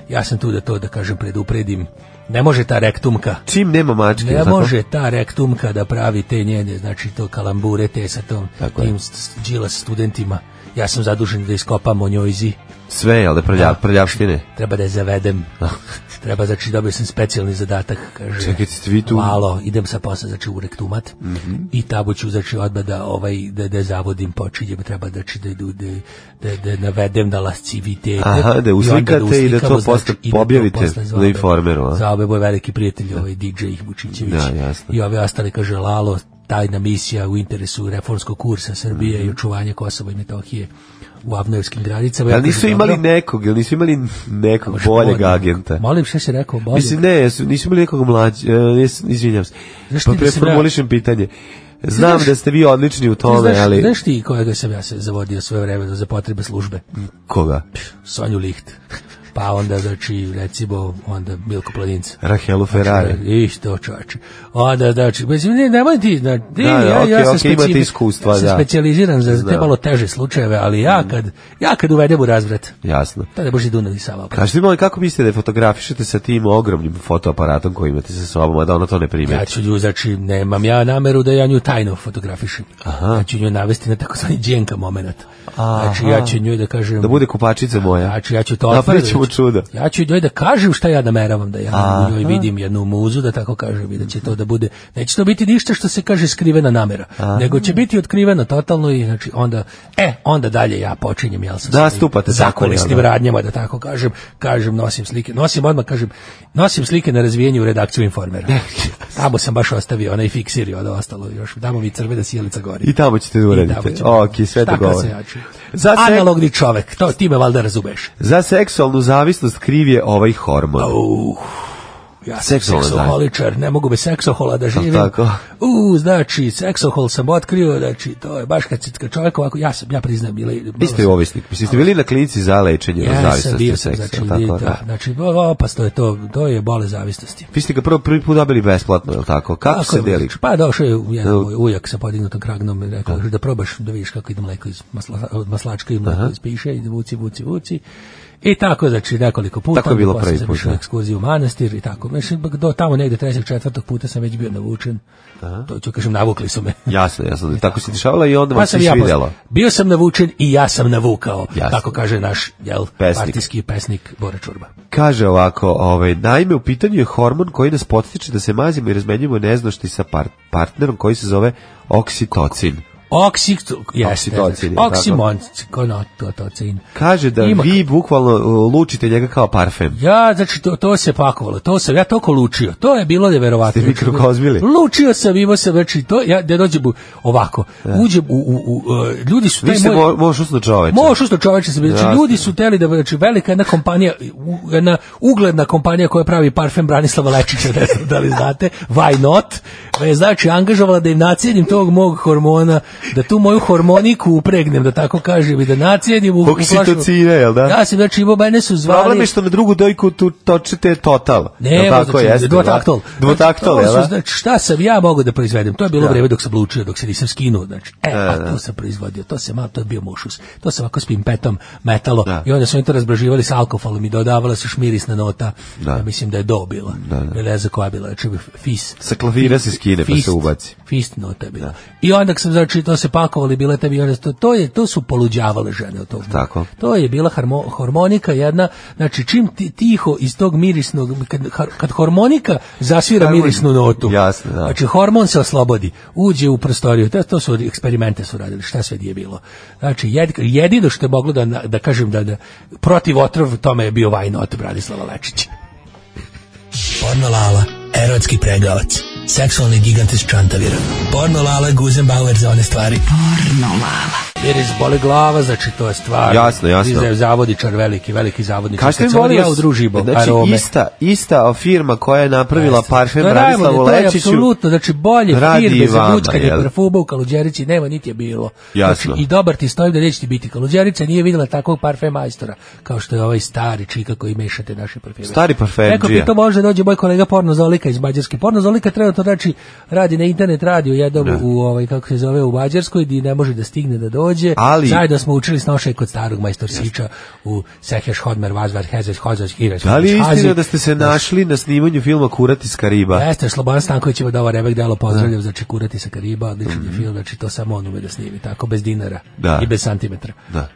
[SPEAKER 5] Ja sam tu da to, da kažem, predupredim. Ne može ta rektumka.
[SPEAKER 6] Čim nema mačke, jel
[SPEAKER 5] Ne
[SPEAKER 6] tako?
[SPEAKER 5] može ta rektumka da pravi te njene, znači to kalambure te sa tom tim s- s- džilas studentima. Ja sam zadužen da iskopam o njoj zi.
[SPEAKER 6] Sve, jel da prlja, prljavštine?
[SPEAKER 5] Treba da je zavedem. (laughs) Treba, znači, dobio sam specijalni zadatak. Kaže,
[SPEAKER 6] Čekajte, ste vi tu? Mhm.
[SPEAKER 5] Malo, idem sa posla, znači, u rektumat. I tamo ću, znači, odmah da, ovaj, da, da zavodim, počinjem. Treba, znači, da, idu, da, da, da navedem na lascivitete.
[SPEAKER 6] Aha, da
[SPEAKER 5] I onda
[SPEAKER 6] uslikate i da to
[SPEAKER 5] uslikamo, znači,
[SPEAKER 6] posle
[SPEAKER 5] i da to
[SPEAKER 6] objavite
[SPEAKER 5] posle
[SPEAKER 6] na
[SPEAKER 5] zaobem.
[SPEAKER 6] Informeru, a?
[SPEAKER 5] Zaobem je veliki prijatelj, ovaj DJ Vučićević.
[SPEAKER 6] Da, jasno.
[SPEAKER 5] I ove ostale, kaže, Lalo, tajna misija u interesu reformskog kursa Srbije
[SPEAKER 6] Mhm.
[SPEAKER 5] i očuvanja Kosova i Metohije u avnojevskim granicama. Ja
[SPEAKER 6] Ali nisu
[SPEAKER 5] kažem,
[SPEAKER 6] imali
[SPEAKER 5] dobro.
[SPEAKER 6] nekog, jel nisu imali nekog
[SPEAKER 5] Možda
[SPEAKER 6] boljeg
[SPEAKER 5] boljeg.
[SPEAKER 6] agenta?
[SPEAKER 5] Molim, šta si rekao, boljeg?
[SPEAKER 6] Mislim, ne, jesu- nisu imali nekog mlađeg, izvinjam se.
[SPEAKER 5] Znaš
[SPEAKER 6] Pa
[SPEAKER 5] ti da sam
[SPEAKER 6] preformulišem pitanje. Znam
[SPEAKER 5] znaš-
[SPEAKER 6] da ste vi odlični u tome,
[SPEAKER 5] znaš,
[SPEAKER 6] ali...
[SPEAKER 5] Znaš ti kojega sam ja se zavodio svoje vremena za potrebe službe?
[SPEAKER 6] Koga?
[SPEAKER 5] Sonju Licht. Pa onda, znači, recimo, onda Milko Planinca.
[SPEAKER 6] Rahelu Ferrari.
[SPEAKER 5] Isto, čovječe. Onda, znači, mislim, ne, nemoj ti, znači,
[SPEAKER 6] Da, da,
[SPEAKER 5] ja, ja
[SPEAKER 6] okej,
[SPEAKER 5] sam
[SPEAKER 6] okej, imate
[SPEAKER 5] specifi-
[SPEAKER 6] iskustva,
[SPEAKER 5] ja sam
[SPEAKER 6] da. Mm.
[SPEAKER 5] specijaliziran za te
[SPEAKER 6] Znam.
[SPEAKER 5] malo teže slučajeve, ali ja kad, ja kad uvedem u razvrat,
[SPEAKER 6] Jasno.
[SPEAKER 5] tada boži Dunav i Sava.
[SPEAKER 6] Kažete mi, molim, kako mislite da je fotografišete sa tim ogromnim fotoaparatom koji imate sa sobom, a da ona to ne primeti?
[SPEAKER 5] Ja ću nju, znači, nemam ja nameru da ja nju tajno fotografišem. Ja ću nju navesti na takozvani djenka moment. Znači, ja ću nju da kažem...
[SPEAKER 6] Da bude kupačica moja.
[SPEAKER 5] Znači, ja ću to
[SPEAKER 6] Napravit
[SPEAKER 5] otvoriti.
[SPEAKER 6] ćemo čudo.
[SPEAKER 5] Ja ću njoj da kažem šta ja nameravam da ja u njoj vidim jednu muzu, da tako kažem, i da će to da bude, neće to biti ništa što se kaže skrivena namera, nego će biti otkriveno totalno i znači onda, e, onda dalje ja počinjem, jel sam
[SPEAKER 6] Da,
[SPEAKER 5] sa tim
[SPEAKER 6] stupate tako,
[SPEAKER 5] zakulisnim
[SPEAKER 6] jel da?
[SPEAKER 5] radnjama, da tako kažem, kažem, nosim slike, nosim odmah, kažem, nosim slike na razvijenju u redakciju informera.
[SPEAKER 6] (laughs)
[SPEAKER 5] Tamo sam baš ostavio onaj fiksir i ono ostalo još, damo mi crvena sjelica gori.
[SPEAKER 6] I tamo ćete da uradite. Ok, sve to govori. Za
[SPEAKER 5] Za
[SPEAKER 6] se-
[SPEAKER 5] Analogni čovek, to ti me valjda razumeš.
[SPEAKER 6] Za seksualnu zavisnost kriv je ovaj hormon.
[SPEAKER 5] Ja sam
[SPEAKER 6] Seksualna
[SPEAKER 5] seksoholičar, ne mogu bez seksohola da živim.
[SPEAKER 6] tako?
[SPEAKER 5] U, znači, seksohol sam otkrio, znači, to je baš kad si kad čovjek ovako, ja sam, ja priznam, bila,
[SPEAKER 6] Vi ste ovisnik. Mislim, ste bili na klinici za lečenje od
[SPEAKER 5] ja sam
[SPEAKER 6] zavisnosti
[SPEAKER 5] bio
[SPEAKER 6] od
[SPEAKER 5] sam,
[SPEAKER 6] seksa.
[SPEAKER 5] znači,
[SPEAKER 6] tako,
[SPEAKER 5] da,
[SPEAKER 6] da.
[SPEAKER 5] znači, o, opasno je to, to je bole zavisnosti.
[SPEAKER 6] Vi ste ga prvo prvi put dobili besplatno, je li tako? Kako se deli?
[SPEAKER 5] Pa došao je jedan
[SPEAKER 6] Da.
[SPEAKER 5] moj ujak sa podignutom kragnom i rekao da probaš da vidiš kako ide mleko iz masla, od maslačka i mleko iz piše i vuci, vuci, vuci. I tako, znači, nekoliko puta.
[SPEAKER 6] Tako je bilo
[SPEAKER 5] Posle
[SPEAKER 6] prvi
[SPEAKER 5] sam
[SPEAKER 6] put,
[SPEAKER 5] išao
[SPEAKER 6] da.
[SPEAKER 5] na ekskurziju u manastir i tako. Znači, do tamo negde trećeg, četvrtog puta sam već bio navučen. To ću kažem, navukli su me. Pa
[SPEAKER 6] Jasno, jasno. Tako se dešavalo
[SPEAKER 5] (laughs)
[SPEAKER 6] i onda vam se
[SPEAKER 5] sam ja posle-
[SPEAKER 6] svidelo.
[SPEAKER 5] Bio sam navučen i ja sam navukao,
[SPEAKER 6] Jasno.
[SPEAKER 5] tako kaže naš jel,
[SPEAKER 6] Pesnik.
[SPEAKER 5] partijski pesnik Bore Čurba.
[SPEAKER 6] Kaže ovako, ovaj, naime, u pitanju je hormon koji nas potiče da se mazimo i razmenjujemo neznošti sa par- partnerom koji se zove oksitocin.
[SPEAKER 5] Oksik, jeste,
[SPEAKER 6] Oksitocin, je tako?
[SPEAKER 5] ono, oksimoncin,
[SPEAKER 6] Kaže da
[SPEAKER 5] Ima-
[SPEAKER 6] vi bukvalno uh, lučite njega kao parfem.
[SPEAKER 5] Ja, znači, to, to se pakovalo, to sam ja toliko lučio, to je bilo neverovatno.
[SPEAKER 6] Ste mikrokozmili?
[SPEAKER 5] Lučio sam, imao sam, znači, to, ja, da dođem u, ovako, uđem u, u, u, e, ljudi su,
[SPEAKER 6] Vi
[SPEAKER 5] taj
[SPEAKER 6] ste
[SPEAKER 5] moj,
[SPEAKER 6] mo, možeš usno čoveče.
[SPEAKER 5] Moš usto čoveče se znači
[SPEAKER 6] Jasno.
[SPEAKER 5] ljudi su teli da znači velika jedna kompanija, u- jedna ugledna kompanija koja pravi parfem Branislava Lečića, ne znam da li znate, why not? Me je, znači angažovala da im nacijedim tog mog hormona, da tu moju hormoniku upregnem, da tako kažem, i da nacijedim u, u flašu.
[SPEAKER 6] Oksitocine, jel da?
[SPEAKER 5] Ja sam znači imao, mene su zvali...
[SPEAKER 6] Problem je što na drugu dojku tu točite total.
[SPEAKER 5] Ne,
[SPEAKER 6] Jel
[SPEAKER 5] tako znači,
[SPEAKER 6] jeste, da?
[SPEAKER 5] dvotaktol.
[SPEAKER 6] Dvotaktol,
[SPEAKER 5] Znači, to
[SPEAKER 6] jel
[SPEAKER 5] su,
[SPEAKER 6] da?
[SPEAKER 5] Znači, šta sam ja mogao da proizvedem? To je bilo
[SPEAKER 6] Da.
[SPEAKER 5] vreme dok sam lučio, dok se nisam skinuo. Znači, e,
[SPEAKER 6] Da,
[SPEAKER 5] a
[SPEAKER 6] da.
[SPEAKER 5] to sam proizvodio, to se malo, to je bio mušus. To sam ovako s pimpetom metalo
[SPEAKER 6] Da.
[SPEAKER 5] i onda su oni to razbraživali s alkoholom i dodavala se još mirisna nota.
[SPEAKER 6] Da.
[SPEAKER 5] Ja mislim da je do bila.
[SPEAKER 6] Da, da.
[SPEAKER 5] Ili Ne znam koja je bila, znači fis.
[SPEAKER 6] Sa klavira se skine pa
[SPEAKER 5] Fist.
[SPEAKER 6] se ubaci.
[SPEAKER 5] Fist nota je bila. I onda sam znači to se pakovali bile tebi i onda to to je to su poluđavale žene od toga.
[SPEAKER 6] Tako.
[SPEAKER 5] To je bila harmo, harmonika jedna, znači čim ti, tiho iz tog mirisnog kad, har- kad harmonika zasvira
[SPEAKER 6] Harmon-
[SPEAKER 5] mirisnu notu.
[SPEAKER 6] Jasno, da.
[SPEAKER 5] Znači hormon se oslobodi, uđe u prostoriju. To, to su eksperimente su radili, šta sve nije bilo. Znači jed, jedino što je moglo da na- da kažem da, da protiv otrov tome je bio Vajnot Bradislava Lečić.
[SPEAKER 12] Pornolala, erotski pregavac. Seksualni gigant iz Čantavira. Pornolala, Guzenbauer za one stvari. Pornolala.
[SPEAKER 5] Jer izboli glava, znači to je stvar.
[SPEAKER 6] Jasno, jasno.
[SPEAKER 5] Izde- zavodičar veliki, veliki zavodičar.
[SPEAKER 6] Kažete
[SPEAKER 5] Znači, Kad sam
[SPEAKER 6] mi, molim
[SPEAKER 5] ja
[SPEAKER 6] vas,
[SPEAKER 5] u družibo,
[SPEAKER 6] znači,
[SPEAKER 5] arome.
[SPEAKER 6] ista, ista firma koja je napravila parfem
[SPEAKER 5] To je
[SPEAKER 6] Branislavu
[SPEAKER 5] najbolje, to je
[SPEAKER 6] Lečiću.
[SPEAKER 5] apsolutno, znači bolje
[SPEAKER 6] radi i
[SPEAKER 5] firme za
[SPEAKER 6] vama,
[SPEAKER 5] buckanje
[SPEAKER 6] jel?
[SPEAKER 5] parfuma u Kaluđerici nema niti je bilo.
[SPEAKER 6] Jasno.
[SPEAKER 5] Znači, I dobar ti stojim da neće ti biti. Kaluđerica nije vidjela takvog parfem majstora kao što je ovaj stari čika koji mešate naše parfeme.
[SPEAKER 6] Stari parfemdžija.
[SPEAKER 5] Neko bi to može dođe moj kolega Porno Zolika iz Mađarske. Porno Zolika trenutno znači radi na internet radiju jednom u ovaj kako se zove u Mađarskoj gdje ne može da stigne da dođe.
[SPEAKER 6] Ali-
[SPEAKER 5] Zajedno smo učili snošaj kod starog majstor Siča u Seheš Hodmer Vazvar Hezes Hozas Hiraš.
[SPEAKER 6] Da li je
[SPEAKER 5] Hazi.
[SPEAKER 6] istina da ste se našli na snimanju filma Kurat iz Kariba?
[SPEAKER 5] Jeste, Slobodan Stanković ima dobar rebek delo, pozdravljam, znači kurati sa Kariba, odličan je film, znači to samo on ume da snimi, tako, bez dinara
[SPEAKER 6] Mhm. Da.
[SPEAKER 5] i bez santimetra.
[SPEAKER 6] Da.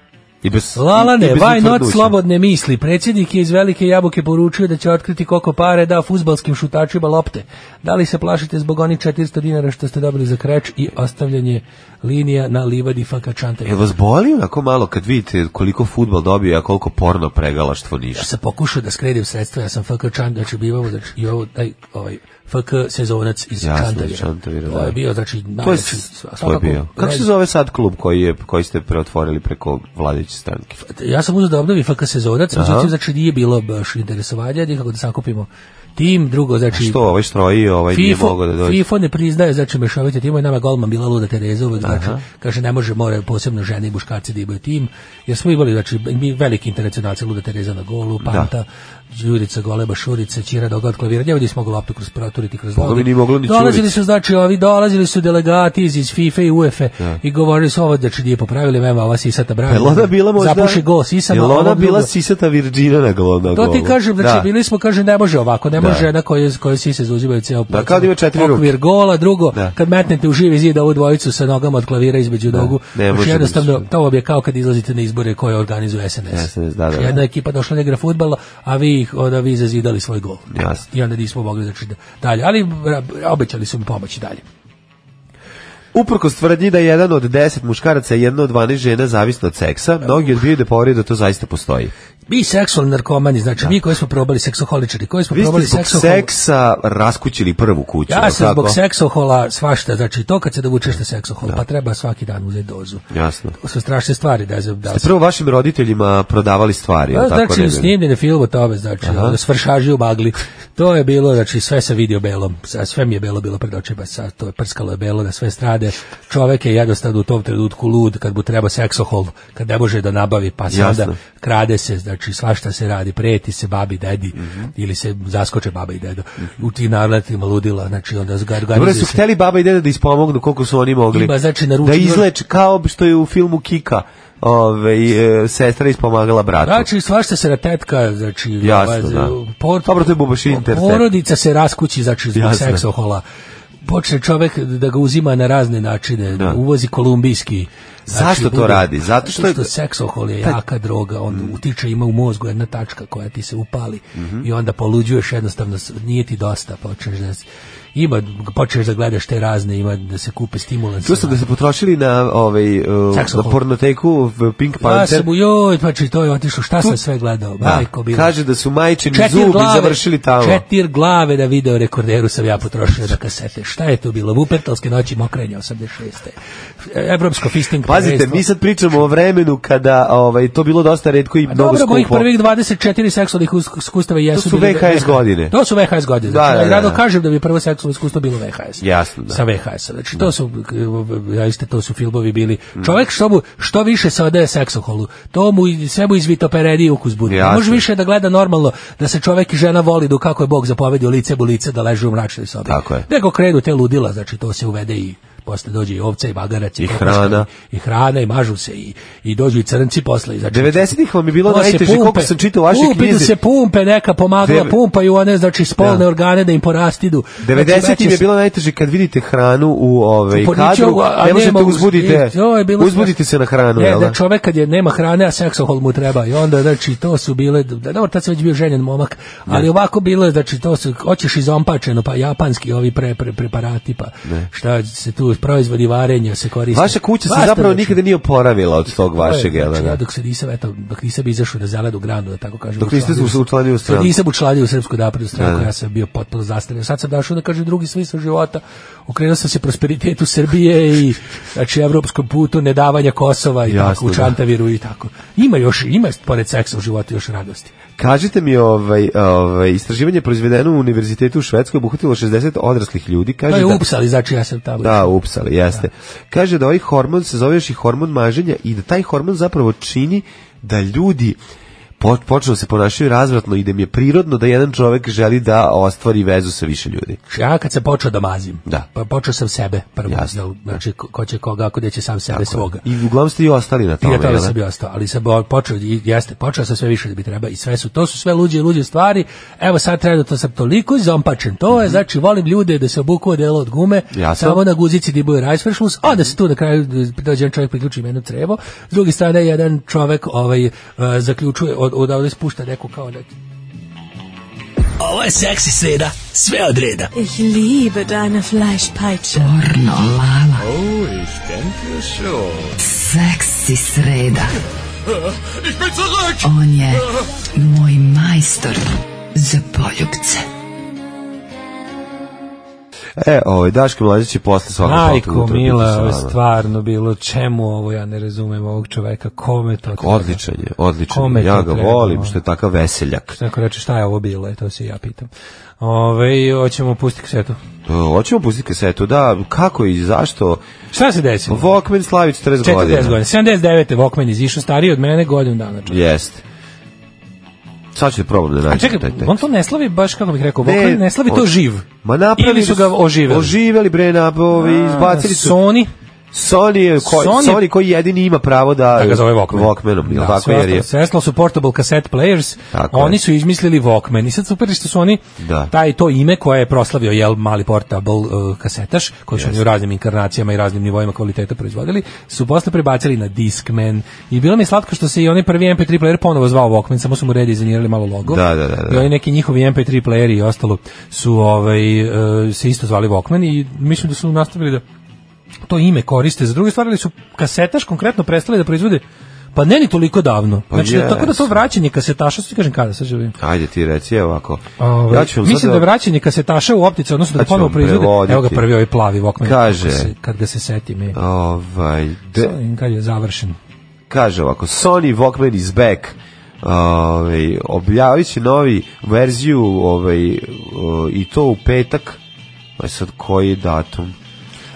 [SPEAKER 6] I bez, i
[SPEAKER 5] Lalane,
[SPEAKER 6] bez
[SPEAKER 5] why
[SPEAKER 6] utvrdnuća.
[SPEAKER 5] not slobodne misli? Predsjednik je iz Velike Jabuke poručio da će otkriti koliko pare da fuzbalskim šutačima lopte. Da li se plašite zbog onih 400 dinara što ste dobili za kreč i ostavljanje linija na livadi fakačante?
[SPEAKER 6] Jel vas boli onako malo kad vidite koliko futbal dobio, a koliko porno pregalaštvo
[SPEAKER 5] ja
[SPEAKER 6] ništa?
[SPEAKER 5] sam pokušao da skredim sredstva, ja sam FK Čan, znači bivamo, znači i ovo, taj, ovaj, FK sezonac iz
[SPEAKER 6] Jasno,
[SPEAKER 5] Čantavira.
[SPEAKER 6] iz Čantavira,
[SPEAKER 5] To
[SPEAKER 6] da.
[SPEAKER 5] je bio, znači,
[SPEAKER 6] To je,
[SPEAKER 5] najveći,
[SPEAKER 6] s- to je
[SPEAKER 5] svakako,
[SPEAKER 6] bio. Kako se
[SPEAKER 5] red-
[SPEAKER 6] zove sad klub koji, je, koji ste preotvorili preko vladajuće stranke?
[SPEAKER 5] ja sam uzeo da obnovi FK sezonac, međutim, znači nije bilo baš interesovanja, nikako da sakupimo tim, drugo, znači...
[SPEAKER 6] Što, ovaj štroji, ovaj nije
[SPEAKER 5] FIFO,
[SPEAKER 6] mogao da dođe?
[SPEAKER 5] FIFO ne priznaje, znači mešovite timove, nama je golman bila luda Tereza uvek, znači, kaže ne može, moraju posebno žene i muškarci da imaju tim, jer smo imali, znači, mi veliki internacionalci, luda Tereza na golu, Panta, Zurica, Goleba, Šurica, Ćira, Doga od klavira, ne vidi smo ga loptu kroz proturiti kroz
[SPEAKER 6] Pa bi
[SPEAKER 5] noge.
[SPEAKER 6] ni moglo ni
[SPEAKER 5] dolazili
[SPEAKER 6] Ćurica.
[SPEAKER 5] su, znači, ovi, dolazili su delegati iz, iz FIFA i UEFA i govorili su ovo da će nije popravili, mema, ova sisata brana.
[SPEAKER 6] Jel ona bila možda...
[SPEAKER 5] Zapuši go, sisama.
[SPEAKER 6] Jel ona
[SPEAKER 5] ovog
[SPEAKER 6] bila
[SPEAKER 5] drugog.
[SPEAKER 6] sisata Virđina na golu? na
[SPEAKER 5] To ti
[SPEAKER 6] golu?
[SPEAKER 5] kažem, znači
[SPEAKER 6] Da.
[SPEAKER 5] bili smo, kaže, ne može ovako, ne
[SPEAKER 6] Da.
[SPEAKER 5] može žena koja, koja sise zauzimaju ceo
[SPEAKER 6] Da, kao da ima četiri
[SPEAKER 5] okvir
[SPEAKER 6] ruke.
[SPEAKER 5] gola, drugo,
[SPEAKER 6] Da.
[SPEAKER 5] kad metnete u živi zid ovu dvojicu sa nogama od klavira između nogu,
[SPEAKER 6] ne
[SPEAKER 5] još
[SPEAKER 6] može da
[SPEAKER 5] jednostavno, to vam je kao kad izlazite na izbore koje organizuje SNS.
[SPEAKER 6] SNS, da, da, da.
[SPEAKER 5] Jedna ekipa došla da igra fudbala, a vi, ih- onda vi zazidali svoj gol.
[SPEAKER 6] Jasno.
[SPEAKER 5] I onda nismo mogli znači da dalje, ali ra- obećali su mi pomoći dalje.
[SPEAKER 6] Uprkos tvrdnji da je jedan od 10 muškaraca i jedna od 12 žena zavisno od seksa, mnogi odbijaju da poveruje da to zaista postoji.
[SPEAKER 5] Mi seksualni narkomani, znači mi koji smo probali seksoholičari, koji smo
[SPEAKER 6] Vi ste
[SPEAKER 5] Pa probali
[SPEAKER 6] zbog
[SPEAKER 5] seksohol-
[SPEAKER 6] seksa raskućili prvu kuću.
[SPEAKER 5] Ja
[SPEAKER 6] jel
[SPEAKER 5] sam zbog
[SPEAKER 6] tako?
[SPEAKER 5] seksohola svašta, znači to kad se dovučeš na seksohol, pa treba svaki dan uzeti dozu.
[SPEAKER 6] Jasno.
[SPEAKER 5] To su strašne stvari da se da
[SPEAKER 6] Ste prvo vašim roditeljima prodavali stvari, jel
[SPEAKER 5] Da,
[SPEAKER 6] tako? ne
[SPEAKER 5] znači,
[SPEAKER 6] znam.
[SPEAKER 5] snimljen je film o tome, znači, ono, svršaži u bagli. To je bilo, znači, sve sam vidio belom. sa- Sve mi je belo bilo pred očima, sa- to je prskalo je belo na sve strade. Čovek je jednostavno u tom trenutku lud kad mu treba seksohol, kad ne može da nabavi, pa se
[SPEAKER 6] Jasno.
[SPEAKER 5] onda krade se, znači, svašta se radi, preti se babi, dedi,
[SPEAKER 6] Mhm.
[SPEAKER 5] ili se zaskoče baba i dedo. U tim naletima ludila, znači, onda
[SPEAKER 6] Dobro
[SPEAKER 5] zgargarizu
[SPEAKER 6] su hteli baba i deda da ispomognu koliko su oni mogli.
[SPEAKER 5] Ima, znači, naručio-
[SPEAKER 6] da izleč kao što je u filmu Kika. Ove, e, sestra ispomagala bratu.
[SPEAKER 5] Znači, svašta se ratetka, znači...
[SPEAKER 6] Jasno,
[SPEAKER 5] ovaj,
[SPEAKER 6] da.
[SPEAKER 5] por-
[SPEAKER 6] Dobro, to je Bubaš Intercept.
[SPEAKER 5] Porodica se raskući, znači, zbog
[SPEAKER 6] Jasno.
[SPEAKER 5] seksohola. Počne čovek da ga uzima na razne načine,
[SPEAKER 6] Da.
[SPEAKER 5] uvozi kolumbijski. znači,
[SPEAKER 6] Zašto to radi? Zato što je- Mm.
[SPEAKER 5] je... seksohol je
[SPEAKER 6] Pa-
[SPEAKER 5] jaka droga, on utiče, ima u mozgu jedna tačka koja ti se upali
[SPEAKER 6] Mhm.
[SPEAKER 5] i onda poluđuješ jednostavno, s- nije ti dosta, počneš da... s- Ima, počneš da gledaš te razne, ima da se kupe stimulanse.
[SPEAKER 6] Čuo sam da se potrošili na, ovaj, e, na
[SPEAKER 5] Seksohol.
[SPEAKER 6] pornoteku e, Pink
[SPEAKER 5] Ja Pa
[SPEAKER 6] Panther.
[SPEAKER 5] sam mu, joj, znači to je otišlo, šta sam sve gledao,
[SPEAKER 6] Da.
[SPEAKER 5] majko bila.
[SPEAKER 6] Kaže da su majčini zubi završili tamo.
[SPEAKER 5] Četiri glave na video rekorderu sam ja potrošio na kasete. Šta je to bilo? Vupertalske noći mokrenja 86. Evropsko fisting
[SPEAKER 6] Pazite, mi sad pričamo o vremenu kada ovaj, to bilo dosta redko i mnogo
[SPEAKER 5] Pa Dobro,
[SPEAKER 6] skupo.
[SPEAKER 5] mojih prvih 24 seksualnih us- iskustava jesu...
[SPEAKER 6] To su
[SPEAKER 5] bili-
[SPEAKER 6] VHS godine.
[SPEAKER 5] To su VHS godine.
[SPEAKER 6] Da,
[SPEAKER 5] Znači,
[SPEAKER 6] da, da,
[SPEAKER 5] rado
[SPEAKER 6] da.
[SPEAKER 5] kažem da bi prvo seksualno iskustvo bilo VHS.
[SPEAKER 6] Jasno, da.
[SPEAKER 5] Sa VHS. -a. Znači, to su, zaiste, to su filmovi bili. Čovek što, mu, što više se odaje seksoholu, to mu, i- sve mu izvitoperedi ukus bude. Ne
[SPEAKER 6] Jasno.
[SPEAKER 5] Može više da gleda normalno da se čovek i žena voli do kako je Bog zapovedio lice bu lice da leže u mračnoj sobi.
[SPEAKER 6] Tako je.
[SPEAKER 5] Nego krenu te ludila, znači to se uvede i posle dođe i ovca i magarac i,
[SPEAKER 6] I
[SPEAKER 5] kokoška,
[SPEAKER 6] hrana.
[SPEAKER 5] i hrana i mažu se i, i dođu i crnci posle i znači
[SPEAKER 6] 90-ih vam je bilo
[SPEAKER 5] to se
[SPEAKER 6] najteže,
[SPEAKER 5] pumpe.
[SPEAKER 6] koliko sam čitao u vašoj
[SPEAKER 5] Pumpe
[SPEAKER 6] knjizi.
[SPEAKER 5] da se pumpe neka pomagala,
[SPEAKER 6] Deve-
[SPEAKER 5] pumpaju one, znači spolne
[SPEAKER 6] Da.
[SPEAKER 5] organe da im porastidu. Znači,
[SPEAKER 6] 90 im je
[SPEAKER 5] veće se-
[SPEAKER 6] bilo najteže kad vidite hranu u ovaj
[SPEAKER 5] Po
[SPEAKER 6] kadru,
[SPEAKER 5] ničemu, a
[SPEAKER 6] ne možete
[SPEAKER 5] nema uz-
[SPEAKER 6] uzbudite,
[SPEAKER 5] i to je bilo
[SPEAKER 6] uzbudite
[SPEAKER 5] strašno.
[SPEAKER 6] se na hranu,
[SPEAKER 5] Ne,
[SPEAKER 6] jel
[SPEAKER 5] da
[SPEAKER 6] da?
[SPEAKER 5] čovek kad je nema hrane, a seksohol mu treba i onda znači to su bile da dobro tad sam već bio ženjen momak, ali ovako bilo je znači to su hoćeš izompačeno pa japanski ovi pre, pre preparati pa šta se tu proizvodi varenja se koriste.
[SPEAKER 6] Vaša kuća se
[SPEAKER 5] Basta,
[SPEAKER 6] zapravo
[SPEAKER 5] znači,
[SPEAKER 6] nikada nije oporavila od tog
[SPEAKER 5] to je,
[SPEAKER 6] vašeg, jel
[SPEAKER 5] znači, ja
[SPEAKER 6] da?
[SPEAKER 5] dok se nisam, eto, dok nisam izašao na zelenu granu, da tako kažem.
[SPEAKER 6] Dok niste
[SPEAKER 5] učlanio
[SPEAKER 6] se učlanio u
[SPEAKER 5] se-
[SPEAKER 6] stranku.
[SPEAKER 5] Nisam učlanio u srpsku naprednu stranku,
[SPEAKER 6] Da.
[SPEAKER 5] ja sam bio potpuno zastavljen. Sad sam došao da kažem drugi smisao života. Okrenuo sam se prosperitetu Srbije i znači evropskom putu, nedavanja Kosova i
[SPEAKER 6] Jasno,
[SPEAKER 5] tako, u
[SPEAKER 6] da.
[SPEAKER 5] Čantaviru i tako. Ima još, ima pored seksa u životu još radosti.
[SPEAKER 6] Kažite mi, ovaj, ovaj, istraživanje proizvedeno u univerzitetu u Švedskoj obuhvatilo 60 odraslih ljudi. Kaže
[SPEAKER 5] To je
[SPEAKER 6] E, da-
[SPEAKER 5] ups, ali znači ja sam tamo.
[SPEAKER 6] Da, upsali, jeste. Kaže da ovaj hormon se zove još i hormon maženja i da taj hormon zapravo čini da ljudi po- počnu da se ponašaju razvratno i da im je prirodno da jedan čovek želi da ostvari vezu sa više ljudi.
[SPEAKER 5] Ja kad sam počeo da mazim,
[SPEAKER 6] Da.
[SPEAKER 5] pa počeo sam sebe prvo,
[SPEAKER 6] Jasno.
[SPEAKER 5] jel, znači ko ko će koga, ako neće sam sebe svoga.
[SPEAKER 6] I uglavnom ste i ostali na tome.
[SPEAKER 5] Ja tada
[SPEAKER 6] jel da?
[SPEAKER 5] sam bio ostao, ali sam bo- počeo, i jeste, počeo sam sve više da bi treba i sve su, to su sve luđe i luđe stvari, evo sad trenutno sam toliko izompačen, to
[SPEAKER 13] Mhm.
[SPEAKER 5] je, znači volim ljude da se obuku od delo od gume,
[SPEAKER 6] Jasno.
[SPEAKER 5] samo na guzici dibuje rajsvršlus, a da se tu na kraju dođe jedan čovjek priključi im jedno crevo, s druge strane jedan čovjek ovaj, eh, zaključuje, od, odavde spušta neku kao neki. Ovo je seksi sreda, sve od reda.
[SPEAKER 14] Ich liebe deine Fleischpeitsche.
[SPEAKER 4] Pornolala.
[SPEAKER 14] Oh, ich denke schon.
[SPEAKER 4] Seksi sreda.
[SPEAKER 14] Ich bin zurück!
[SPEAKER 4] On je moj majstor za poljubce.
[SPEAKER 6] E, ovaj, Daško Mlađić je posle svakog
[SPEAKER 13] Majko
[SPEAKER 6] pokutra biti
[SPEAKER 13] Mila,
[SPEAKER 6] sa
[SPEAKER 13] ovo Pa, je
[SPEAKER 6] vama.
[SPEAKER 13] stvarno bilo čemu ovo, ja ne razumem ovog čoveka, kome to treba?
[SPEAKER 6] Odličan je, odličan.
[SPEAKER 13] Kome
[SPEAKER 6] je. Ja
[SPEAKER 13] to
[SPEAKER 6] ga
[SPEAKER 13] treba,
[SPEAKER 6] volim
[SPEAKER 13] ono?
[SPEAKER 6] što je takav veseljak.
[SPEAKER 13] Neko reče šta je ovo bilo, e, to se i ja pitam. Ove, hoćemo pustiti kasetu.
[SPEAKER 6] E, Hoćemo pustiti kasetu, da, kako i zašto?
[SPEAKER 13] Šta se desilo?
[SPEAKER 6] Walkman slavi 40
[SPEAKER 13] 40
[SPEAKER 6] godina.
[SPEAKER 13] godina. 79. Walkman izišao, stariji od mene godinu dana. čovječe.
[SPEAKER 6] Jeste. Sad ću probam da
[SPEAKER 5] A
[SPEAKER 6] nađem
[SPEAKER 5] čekaj,
[SPEAKER 6] taj tekst.
[SPEAKER 5] on to ne slavi baš, kako bih rekao, ne, ne slavi to
[SPEAKER 6] on-
[SPEAKER 5] živ.
[SPEAKER 6] Ma napravili
[SPEAKER 5] Ili su ga oživeli.
[SPEAKER 6] Oživeli bre, nabovi,
[SPEAKER 5] A,
[SPEAKER 6] izbacili su.
[SPEAKER 5] Sony?
[SPEAKER 6] Sony, je koji,
[SPEAKER 5] Sony-
[SPEAKER 6] Sony, koji jedini ima pravo da,
[SPEAKER 5] Da ga zove Walkman.
[SPEAKER 6] Walkmanom, jel
[SPEAKER 5] Da,
[SPEAKER 6] tako
[SPEAKER 5] sve
[SPEAKER 6] jer je.
[SPEAKER 5] ostalo- sve ostalo su portable cassette players,
[SPEAKER 6] Tako
[SPEAKER 5] oni
[SPEAKER 6] je.
[SPEAKER 5] su izmislili Walkman. I sad super je što su oni
[SPEAKER 6] Da.
[SPEAKER 5] taj to ime koje je proslavio jel mali portable uh, kasetaš, koji su oni u raznim inkarnacijama i raznim nivoima kvaliteta proizvodili, su posle prebacili na Discman. I bilo mi je slatko što se i onaj prvi MP3 player ponovo zvao Walkman, samo su mu redizajnirali malo logo.
[SPEAKER 6] Da, da, da, da.
[SPEAKER 5] I oni neki njihovi MP3 playeri i ostalo su ovaj uh, se isto zvali Walkman i mislim da su nastavili da to ime koriste za druge stvari, ali su kasetaš konkretno prestali da proizvode pa ne ni toliko davno.
[SPEAKER 6] Pa
[SPEAKER 5] znači, da- tako da to
[SPEAKER 6] jesu.
[SPEAKER 5] vraćanje kasetaša, sad ti kažem kada sad želim.
[SPEAKER 6] Ajde ti reci, evo ovako.
[SPEAKER 5] Ovaj,
[SPEAKER 6] ja ću vam
[SPEAKER 5] mislim
[SPEAKER 6] sad
[SPEAKER 5] da je vraćanje kasetaša u optici, odnosno da
[SPEAKER 6] Sad
[SPEAKER 5] ga
[SPEAKER 6] ću vam
[SPEAKER 5] ponovo proizvode.
[SPEAKER 6] prevoditi.
[SPEAKER 5] Evo ga prvi ovaj plavi Walkman.
[SPEAKER 6] Kaže.
[SPEAKER 5] Kad, se, kad ga se setim. Je.
[SPEAKER 6] Ovaj, de,
[SPEAKER 5] Kad je završen.
[SPEAKER 6] kaže ovako, Sony Walkman is back. Ovaj objavit će novi verziju ovaj, o, i to u petak. Aj sad koji je datum?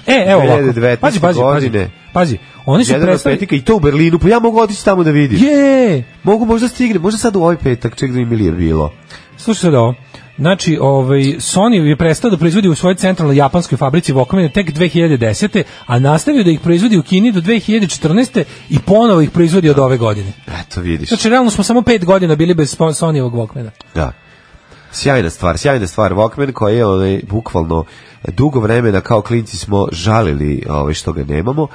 [SPEAKER 5] E, evo ovako.
[SPEAKER 6] 2019.
[SPEAKER 5] Pazi, pazi, pazi.
[SPEAKER 6] godine.
[SPEAKER 5] Pazi, oni su
[SPEAKER 6] Jedan od
[SPEAKER 5] prestali...
[SPEAKER 6] petika i to u Berlinu, pa ja mogu otići tamo da vidim.
[SPEAKER 5] Je!
[SPEAKER 6] Mogu možda stigne, možda sad u ovaj petak, ček da mi Milije bilo.
[SPEAKER 5] Slušaj sad ovo. Znači, ovaj, Sony je prestao da proizvodi u svojoj centralnoj japanskoj fabrici Walkmane tek 2010. a nastavio da ih proizvodi u Kini do 2014. i ponovo ih proizvodi od ove godine.
[SPEAKER 6] Eto vidiš.
[SPEAKER 5] Znači, realno smo samo pet godina bili bez spo- Sonyevog Walkmana.
[SPEAKER 6] Da. Sjajna stvar, sjajna stvar Walkman koji je onaj, bukvalno dugo vremena kao klinci smo žalili ovaj, što ga nemamo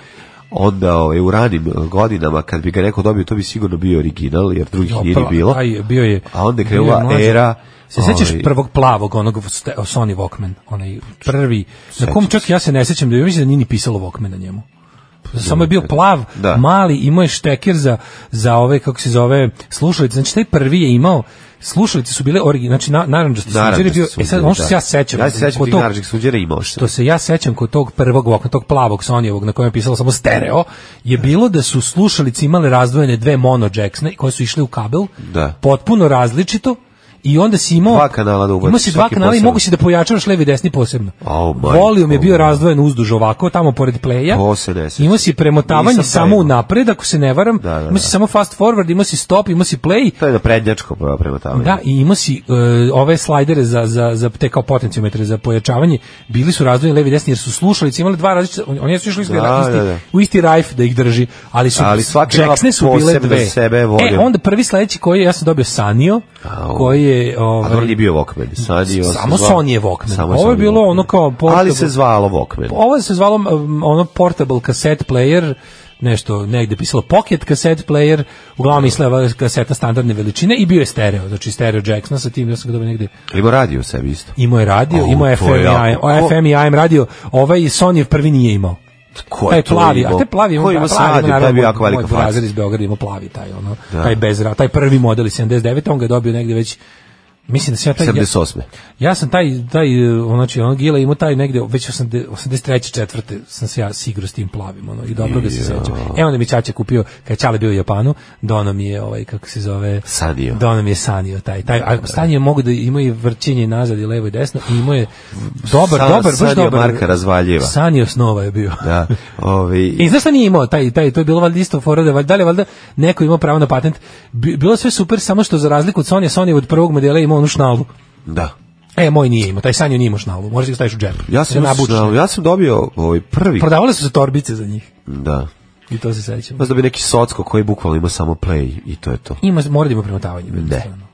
[SPEAKER 6] onda ovaj, u ranim eh, godinama kad bi ga neko dobio to bi sigurno bio original jer drugih nije ni
[SPEAKER 5] Pla-
[SPEAKER 6] bilo
[SPEAKER 5] Taj je- bio je,
[SPEAKER 6] a onda je
[SPEAKER 5] bio
[SPEAKER 6] krenula
[SPEAKER 5] mlađi.
[SPEAKER 6] era
[SPEAKER 5] Se sećaš
[SPEAKER 6] ovaj,
[SPEAKER 5] prvog plavog onog ste- Sony Walkman, onaj prvi, na kom čak ja se ne sećam da je mislim da nije ni pisalo Walkman na njemu. Samo je bio plav,
[SPEAKER 6] Pa Da.
[SPEAKER 5] mali, imao je šteker za, za ove, kako se zove, slušalice. Znači, taj prvi je imao, slušalice su bile origi, znači, na, naranđaste sunđere je
[SPEAKER 6] naranđaste
[SPEAKER 5] bio, e sad,
[SPEAKER 6] sunđere,
[SPEAKER 5] ono što se
[SPEAKER 6] da.
[SPEAKER 5] ja sećam,
[SPEAKER 6] ja se sećam
[SPEAKER 5] kod
[SPEAKER 6] tih
[SPEAKER 5] tog-
[SPEAKER 6] naranđih sunđera imao što
[SPEAKER 5] što se ja sećam kod tog prvog Walkmana, tog plavog Sonyevog na kojem je pisalo samo stereo, je bilo da su slušalice imale razdvojene dve mono jacksne koje su išle u kabel,
[SPEAKER 6] Da.
[SPEAKER 5] potpuno različito, i onda si imao
[SPEAKER 6] Dva kanala da ubaciš,
[SPEAKER 5] imao si dva
[SPEAKER 6] svaki
[SPEAKER 5] kanala i
[SPEAKER 6] posebno.
[SPEAKER 5] mogu si da pojačavaš levi i desni posebno.
[SPEAKER 6] Au, majko
[SPEAKER 5] Volium je bio
[SPEAKER 6] moja.
[SPEAKER 5] razdvojen uzduž ovako, tamo pored playa.
[SPEAKER 6] To se ne sećam.
[SPEAKER 5] Imao si premotavanje
[SPEAKER 6] Nisam
[SPEAKER 5] samo
[SPEAKER 6] taj
[SPEAKER 5] u
[SPEAKER 6] imao.
[SPEAKER 5] napred, ako se ne varam.
[SPEAKER 6] Da, da,
[SPEAKER 5] Imao si
[SPEAKER 6] da.
[SPEAKER 5] samo fast forward, imao si stop, imao si play.
[SPEAKER 6] to je na prednjačko prvo prema tamo
[SPEAKER 5] Da, i imao si e, ove slajdere za, za, za te kao potenciometre za pojačavanje, bili su razdvojeni levi i desni jer su slušalice imali dva različita, on- oni su išli izgleda
[SPEAKER 6] Da,
[SPEAKER 5] isti,
[SPEAKER 6] da, da.
[SPEAKER 5] u isti rajf da ih drži, ali su
[SPEAKER 6] Ali svaki ima
[SPEAKER 5] Jacksone su bile
[SPEAKER 6] posebno
[SPEAKER 5] dve.
[SPEAKER 6] sebe vodio.
[SPEAKER 5] e, onda prvi sledeći koji je, ja sam dobio Sanio,
[SPEAKER 6] Au.
[SPEAKER 5] koji je...
[SPEAKER 6] A
[SPEAKER 5] Ovaj,
[SPEAKER 6] dobro nije bio Walkman. Sad je on se
[SPEAKER 5] Samo
[SPEAKER 6] zvao-
[SPEAKER 5] Sony je Walkman.
[SPEAKER 6] Samo
[SPEAKER 5] Ovo je
[SPEAKER 6] Sony
[SPEAKER 5] bilo
[SPEAKER 6] Walkman.
[SPEAKER 5] ono kao portable.
[SPEAKER 6] Ali se zvalo Walkman.
[SPEAKER 5] ovo se zvalo um, ono portable cassette player, nešto negde pisalo pocket cassette player, uglavnom misleva kaseta standardne veličine i bio je stereo, znači stereo Jacksona sa tim, ja sam ga dobio negde
[SPEAKER 6] Ima radio u sebi isto.
[SPEAKER 5] Imao je radio,
[SPEAKER 6] Au,
[SPEAKER 5] imao je
[SPEAKER 6] to
[SPEAKER 5] FM i
[SPEAKER 6] je jako.
[SPEAKER 5] AM, o,
[SPEAKER 6] Ko-
[SPEAKER 5] FM i AM radio, ovaj Sony prvi nije imao.
[SPEAKER 6] Ko
[SPEAKER 5] taj
[SPEAKER 6] to
[SPEAKER 5] E, plavi, a
[SPEAKER 6] imao?
[SPEAKER 5] te plavi,
[SPEAKER 6] Ko ima
[SPEAKER 5] ima
[SPEAKER 6] sa
[SPEAKER 5] plavi,
[SPEAKER 6] radio?
[SPEAKER 5] naravno,
[SPEAKER 6] Taj je bio
[SPEAKER 5] moj-
[SPEAKER 6] jako velika
[SPEAKER 5] moj
[SPEAKER 6] faca.
[SPEAKER 5] burazer iz Beograda ima plavi taj, ono,
[SPEAKER 6] Da.
[SPEAKER 5] taj bez ra- taj prvi model iz 79, on ga je dobio negde već Mislim da sam ja taj...
[SPEAKER 6] 78.
[SPEAKER 5] Ja, ja sam taj, taj e, ono, znači, ono, Gila imao taj negde, već 80 83. četvrte sam se ja sigrao s tim plavim, ono, i dobro ga se sećam. E onda mi Čača kupio, kad je Čale bio u Japanu, dono mi je, ovaj, kako se zove...
[SPEAKER 6] Sanio.
[SPEAKER 5] Dono mi je sanio taj. taj a sanio mogu da ima i vrćenje nazad i levo i desno, i imao je dobar,
[SPEAKER 6] San-
[SPEAKER 5] dobar, baš
[SPEAKER 6] sanio
[SPEAKER 5] dobar.
[SPEAKER 6] Marka Razvaljiva.
[SPEAKER 5] Sanio snova je bio. (laughs)
[SPEAKER 6] Da, ovi,
[SPEAKER 5] I znaš šta nije imao taj taj to je bilo valjda isto fora da valjda da li je valjda neko imao pravo na patent. Bi- Bilo je sve super samo što za razliku od Sony, Sony je od prvog modela imao onu šnalu.
[SPEAKER 6] da.
[SPEAKER 5] E, moj nije imao, taj Sanjo nije imao šnalu, možeš da ga staviš u džep.
[SPEAKER 6] Ja sam,
[SPEAKER 5] Da nabučiš.
[SPEAKER 6] znao, ja sam dobio ovaj prvi.
[SPEAKER 5] Prodavale su se torbice za njih,
[SPEAKER 6] Da.
[SPEAKER 5] i to se sećam.
[SPEAKER 6] Možda bi neki socko koji bukvalno ima samo play i to je to.
[SPEAKER 5] Ima, mora da ima premotavanje. bilo
[SPEAKER 6] Ne.
[SPEAKER 5] stvarno.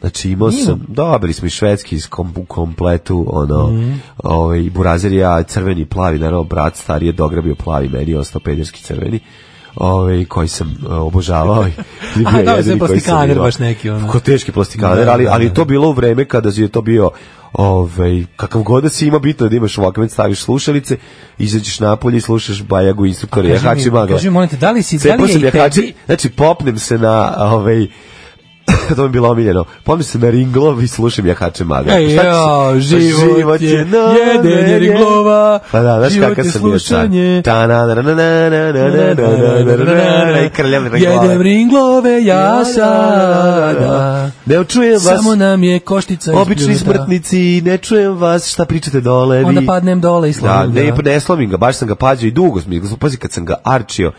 [SPEAKER 6] Znači imao
[SPEAKER 5] Ima.
[SPEAKER 6] sam, dobili smo i švedski iz kom, u kompletu, ono,
[SPEAKER 5] Mhm.
[SPEAKER 6] ovaj, burazer i ja, crveni i plavi, naravno brat stari je dograbio plavi, meni je ostao pederski crveni, ovaj, koji sam eh, obožavao.
[SPEAKER 5] (laughs)
[SPEAKER 6] i bio
[SPEAKER 5] A, da,
[SPEAKER 6] jedini
[SPEAKER 5] sve
[SPEAKER 6] koji sam
[SPEAKER 5] plastikaner
[SPEAKER 6] imao.
[SPEAKER 5] baš neki, ono.
[SPEAKER 6] Ko teški plastikaner,
[SPEAKER 5] Da,
[SPEAKER 6] ali,
[SPEAKER 5] da,
[SPEAKER 6] ali
[SPEAKER 5] da.
[SPEAKER 6] to bilo u vreme kada je to bio ovaj, kakav god da si ima bitno je da imaš Walkman, staviš slušalice, izađeš napolje i slušaš bajagu instruktora
[SPEAKER 5] Kaži mi-
[SPEAKER 6] Jahači Magla.
[SPEAKER 5] Kaži mi, molim te, da li si, da
[SPEAKER 6] Cepao
[SPEAKER 5] li je
[SPEAKER 6] sam
[SPEAKER 5] i
[SPEAKER 6] jahače,
[SPEAKER 5] tebi,
[SPEAKER 6] znači popnem se na ovaj (laughs) to mi je bilo omiljeno. Popnem se na ringlov i slušam jahače maga.
[SPEAKER 5] Ej,
[SPEAKER 6] Šta će se-
[SPEAKER 5] E, ja,
[SPEAKER 6] Pa
[SPEAKER 5] život je
[SPEAKER 6] na,
[SPEAKER 5] jedenje
[SPEAKER 6] na, na,
[SPEAKER 5] ringlova,
[SPEAKER 6] Pa da, znaš
[SPEAKER 5] život
[SPEAKER 6] kakav
[SPEAKER 5] je
[SPEAKER 6] sam bio sad.
[SPEAKER 5] slušanje.
[SPEAKER 6] Ta na na na na na na na na na na na na i krljam
[SPEAKER 5] jedem
[SPEAKER 6] ringlove.
[SPEAKER 5] ringlove, ja sada,
[SPEAKER 6] sada. Ne čujem vas,
[SPEAKER 5] samo nam je koštica
[SPEAKER 6] obični
[SPEAKER 5] ispljunuta.
[SPEAKER 6] smrtnici, ne čujem vas, šta pričate dole.
[SPEAKER 5] Onda
[SPEAKER 6] vi-
[SPEAKER 5] padnem dole i slomim
[SPEAKER 6] Da,
[SPEAKER 5] ga.
[SPEAKER 6] ne, pa ne slomim ga, baš sam ga pađao i dugo sam, pazi kad sam ga arčio,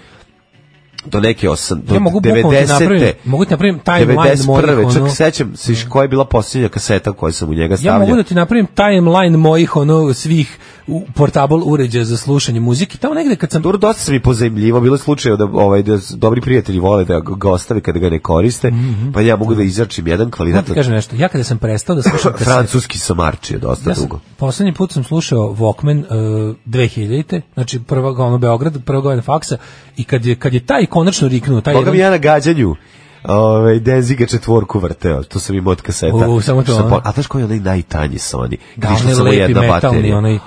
[SPEAKER 6] do neke osam, do
[SPEAKER 5] Ja mogu bukvalno ti
[SPEAKER 6] 90-te,
[SPEAKER 5] napravim, mogu ti napravim timeline mojih,
[SPEAKER 6] 91.
[SPEAKER 5] ono,
[SPEAKER 6] Čak sećam se iš- koja je bila posljednja kaseta koju sam u njega
[SPEAKER 5] ja
[SPEAKER 6] stavljao.
[SPEAKER 5] mogu da ti napravim timeline mojih, ono, svih u- portable uređaja za slušanje muzike, tamo negde kad sam...
[SPEAKER 6] Dobro, dosta sam i pozajemljivo, bilo je slučajeva da, ovaj, da s- dobri prijatelji vole da ga ostave kada ga ne koriste, pa ja mogu da izračim
[SPEAKER 5] Moram
[SPEAKER 6] jedan
[SPEAKER 5] Mhm. ti
[SPEAKER 6] kvalitet.
[SPEAKER 5] kažem nešto, ja kada sam prestao da
[SPEAKER 6] (laughs)
[SPEAKER 5] slušam kasete,
[SPEAKER 6] Francuski sam marčio dosta
[SPEAKER 5] Ja sam-
[SPEAKER 6] dugo.
[SPEAKER 5] Poslednji put sam slušao Walkman uh, 2000-te, znači prva godina Beograd, prva godina faksa i kad je, kad je taj konačno riknuo, taj
[SPEAKER 6] Boga mi
[SPEAKER 5] jedan-
[SPEAKER 6] ja na gađanju ovaj, Denziga četvorku vrteo, to sam imao od kaseta.
[SPEAKER 5] U, samo to,
[SPEAKER 6] Što sam
[SPEAKER 5] a?
[SPEAKER 6] po- a znaš koji je onaj najtanji Sony?
[SPEAKER 5] Da,
[SPEAKER 6] Gdje išla
[SPEAKER 5] onaj
[SPEAKER 6] samo
[SPEAKER 5] lepi
[SPEAKER 6] jedna
[SPEAKER 5] metalni,
[SPEAKER 6] baterija.
[SPEAKER 5] onaj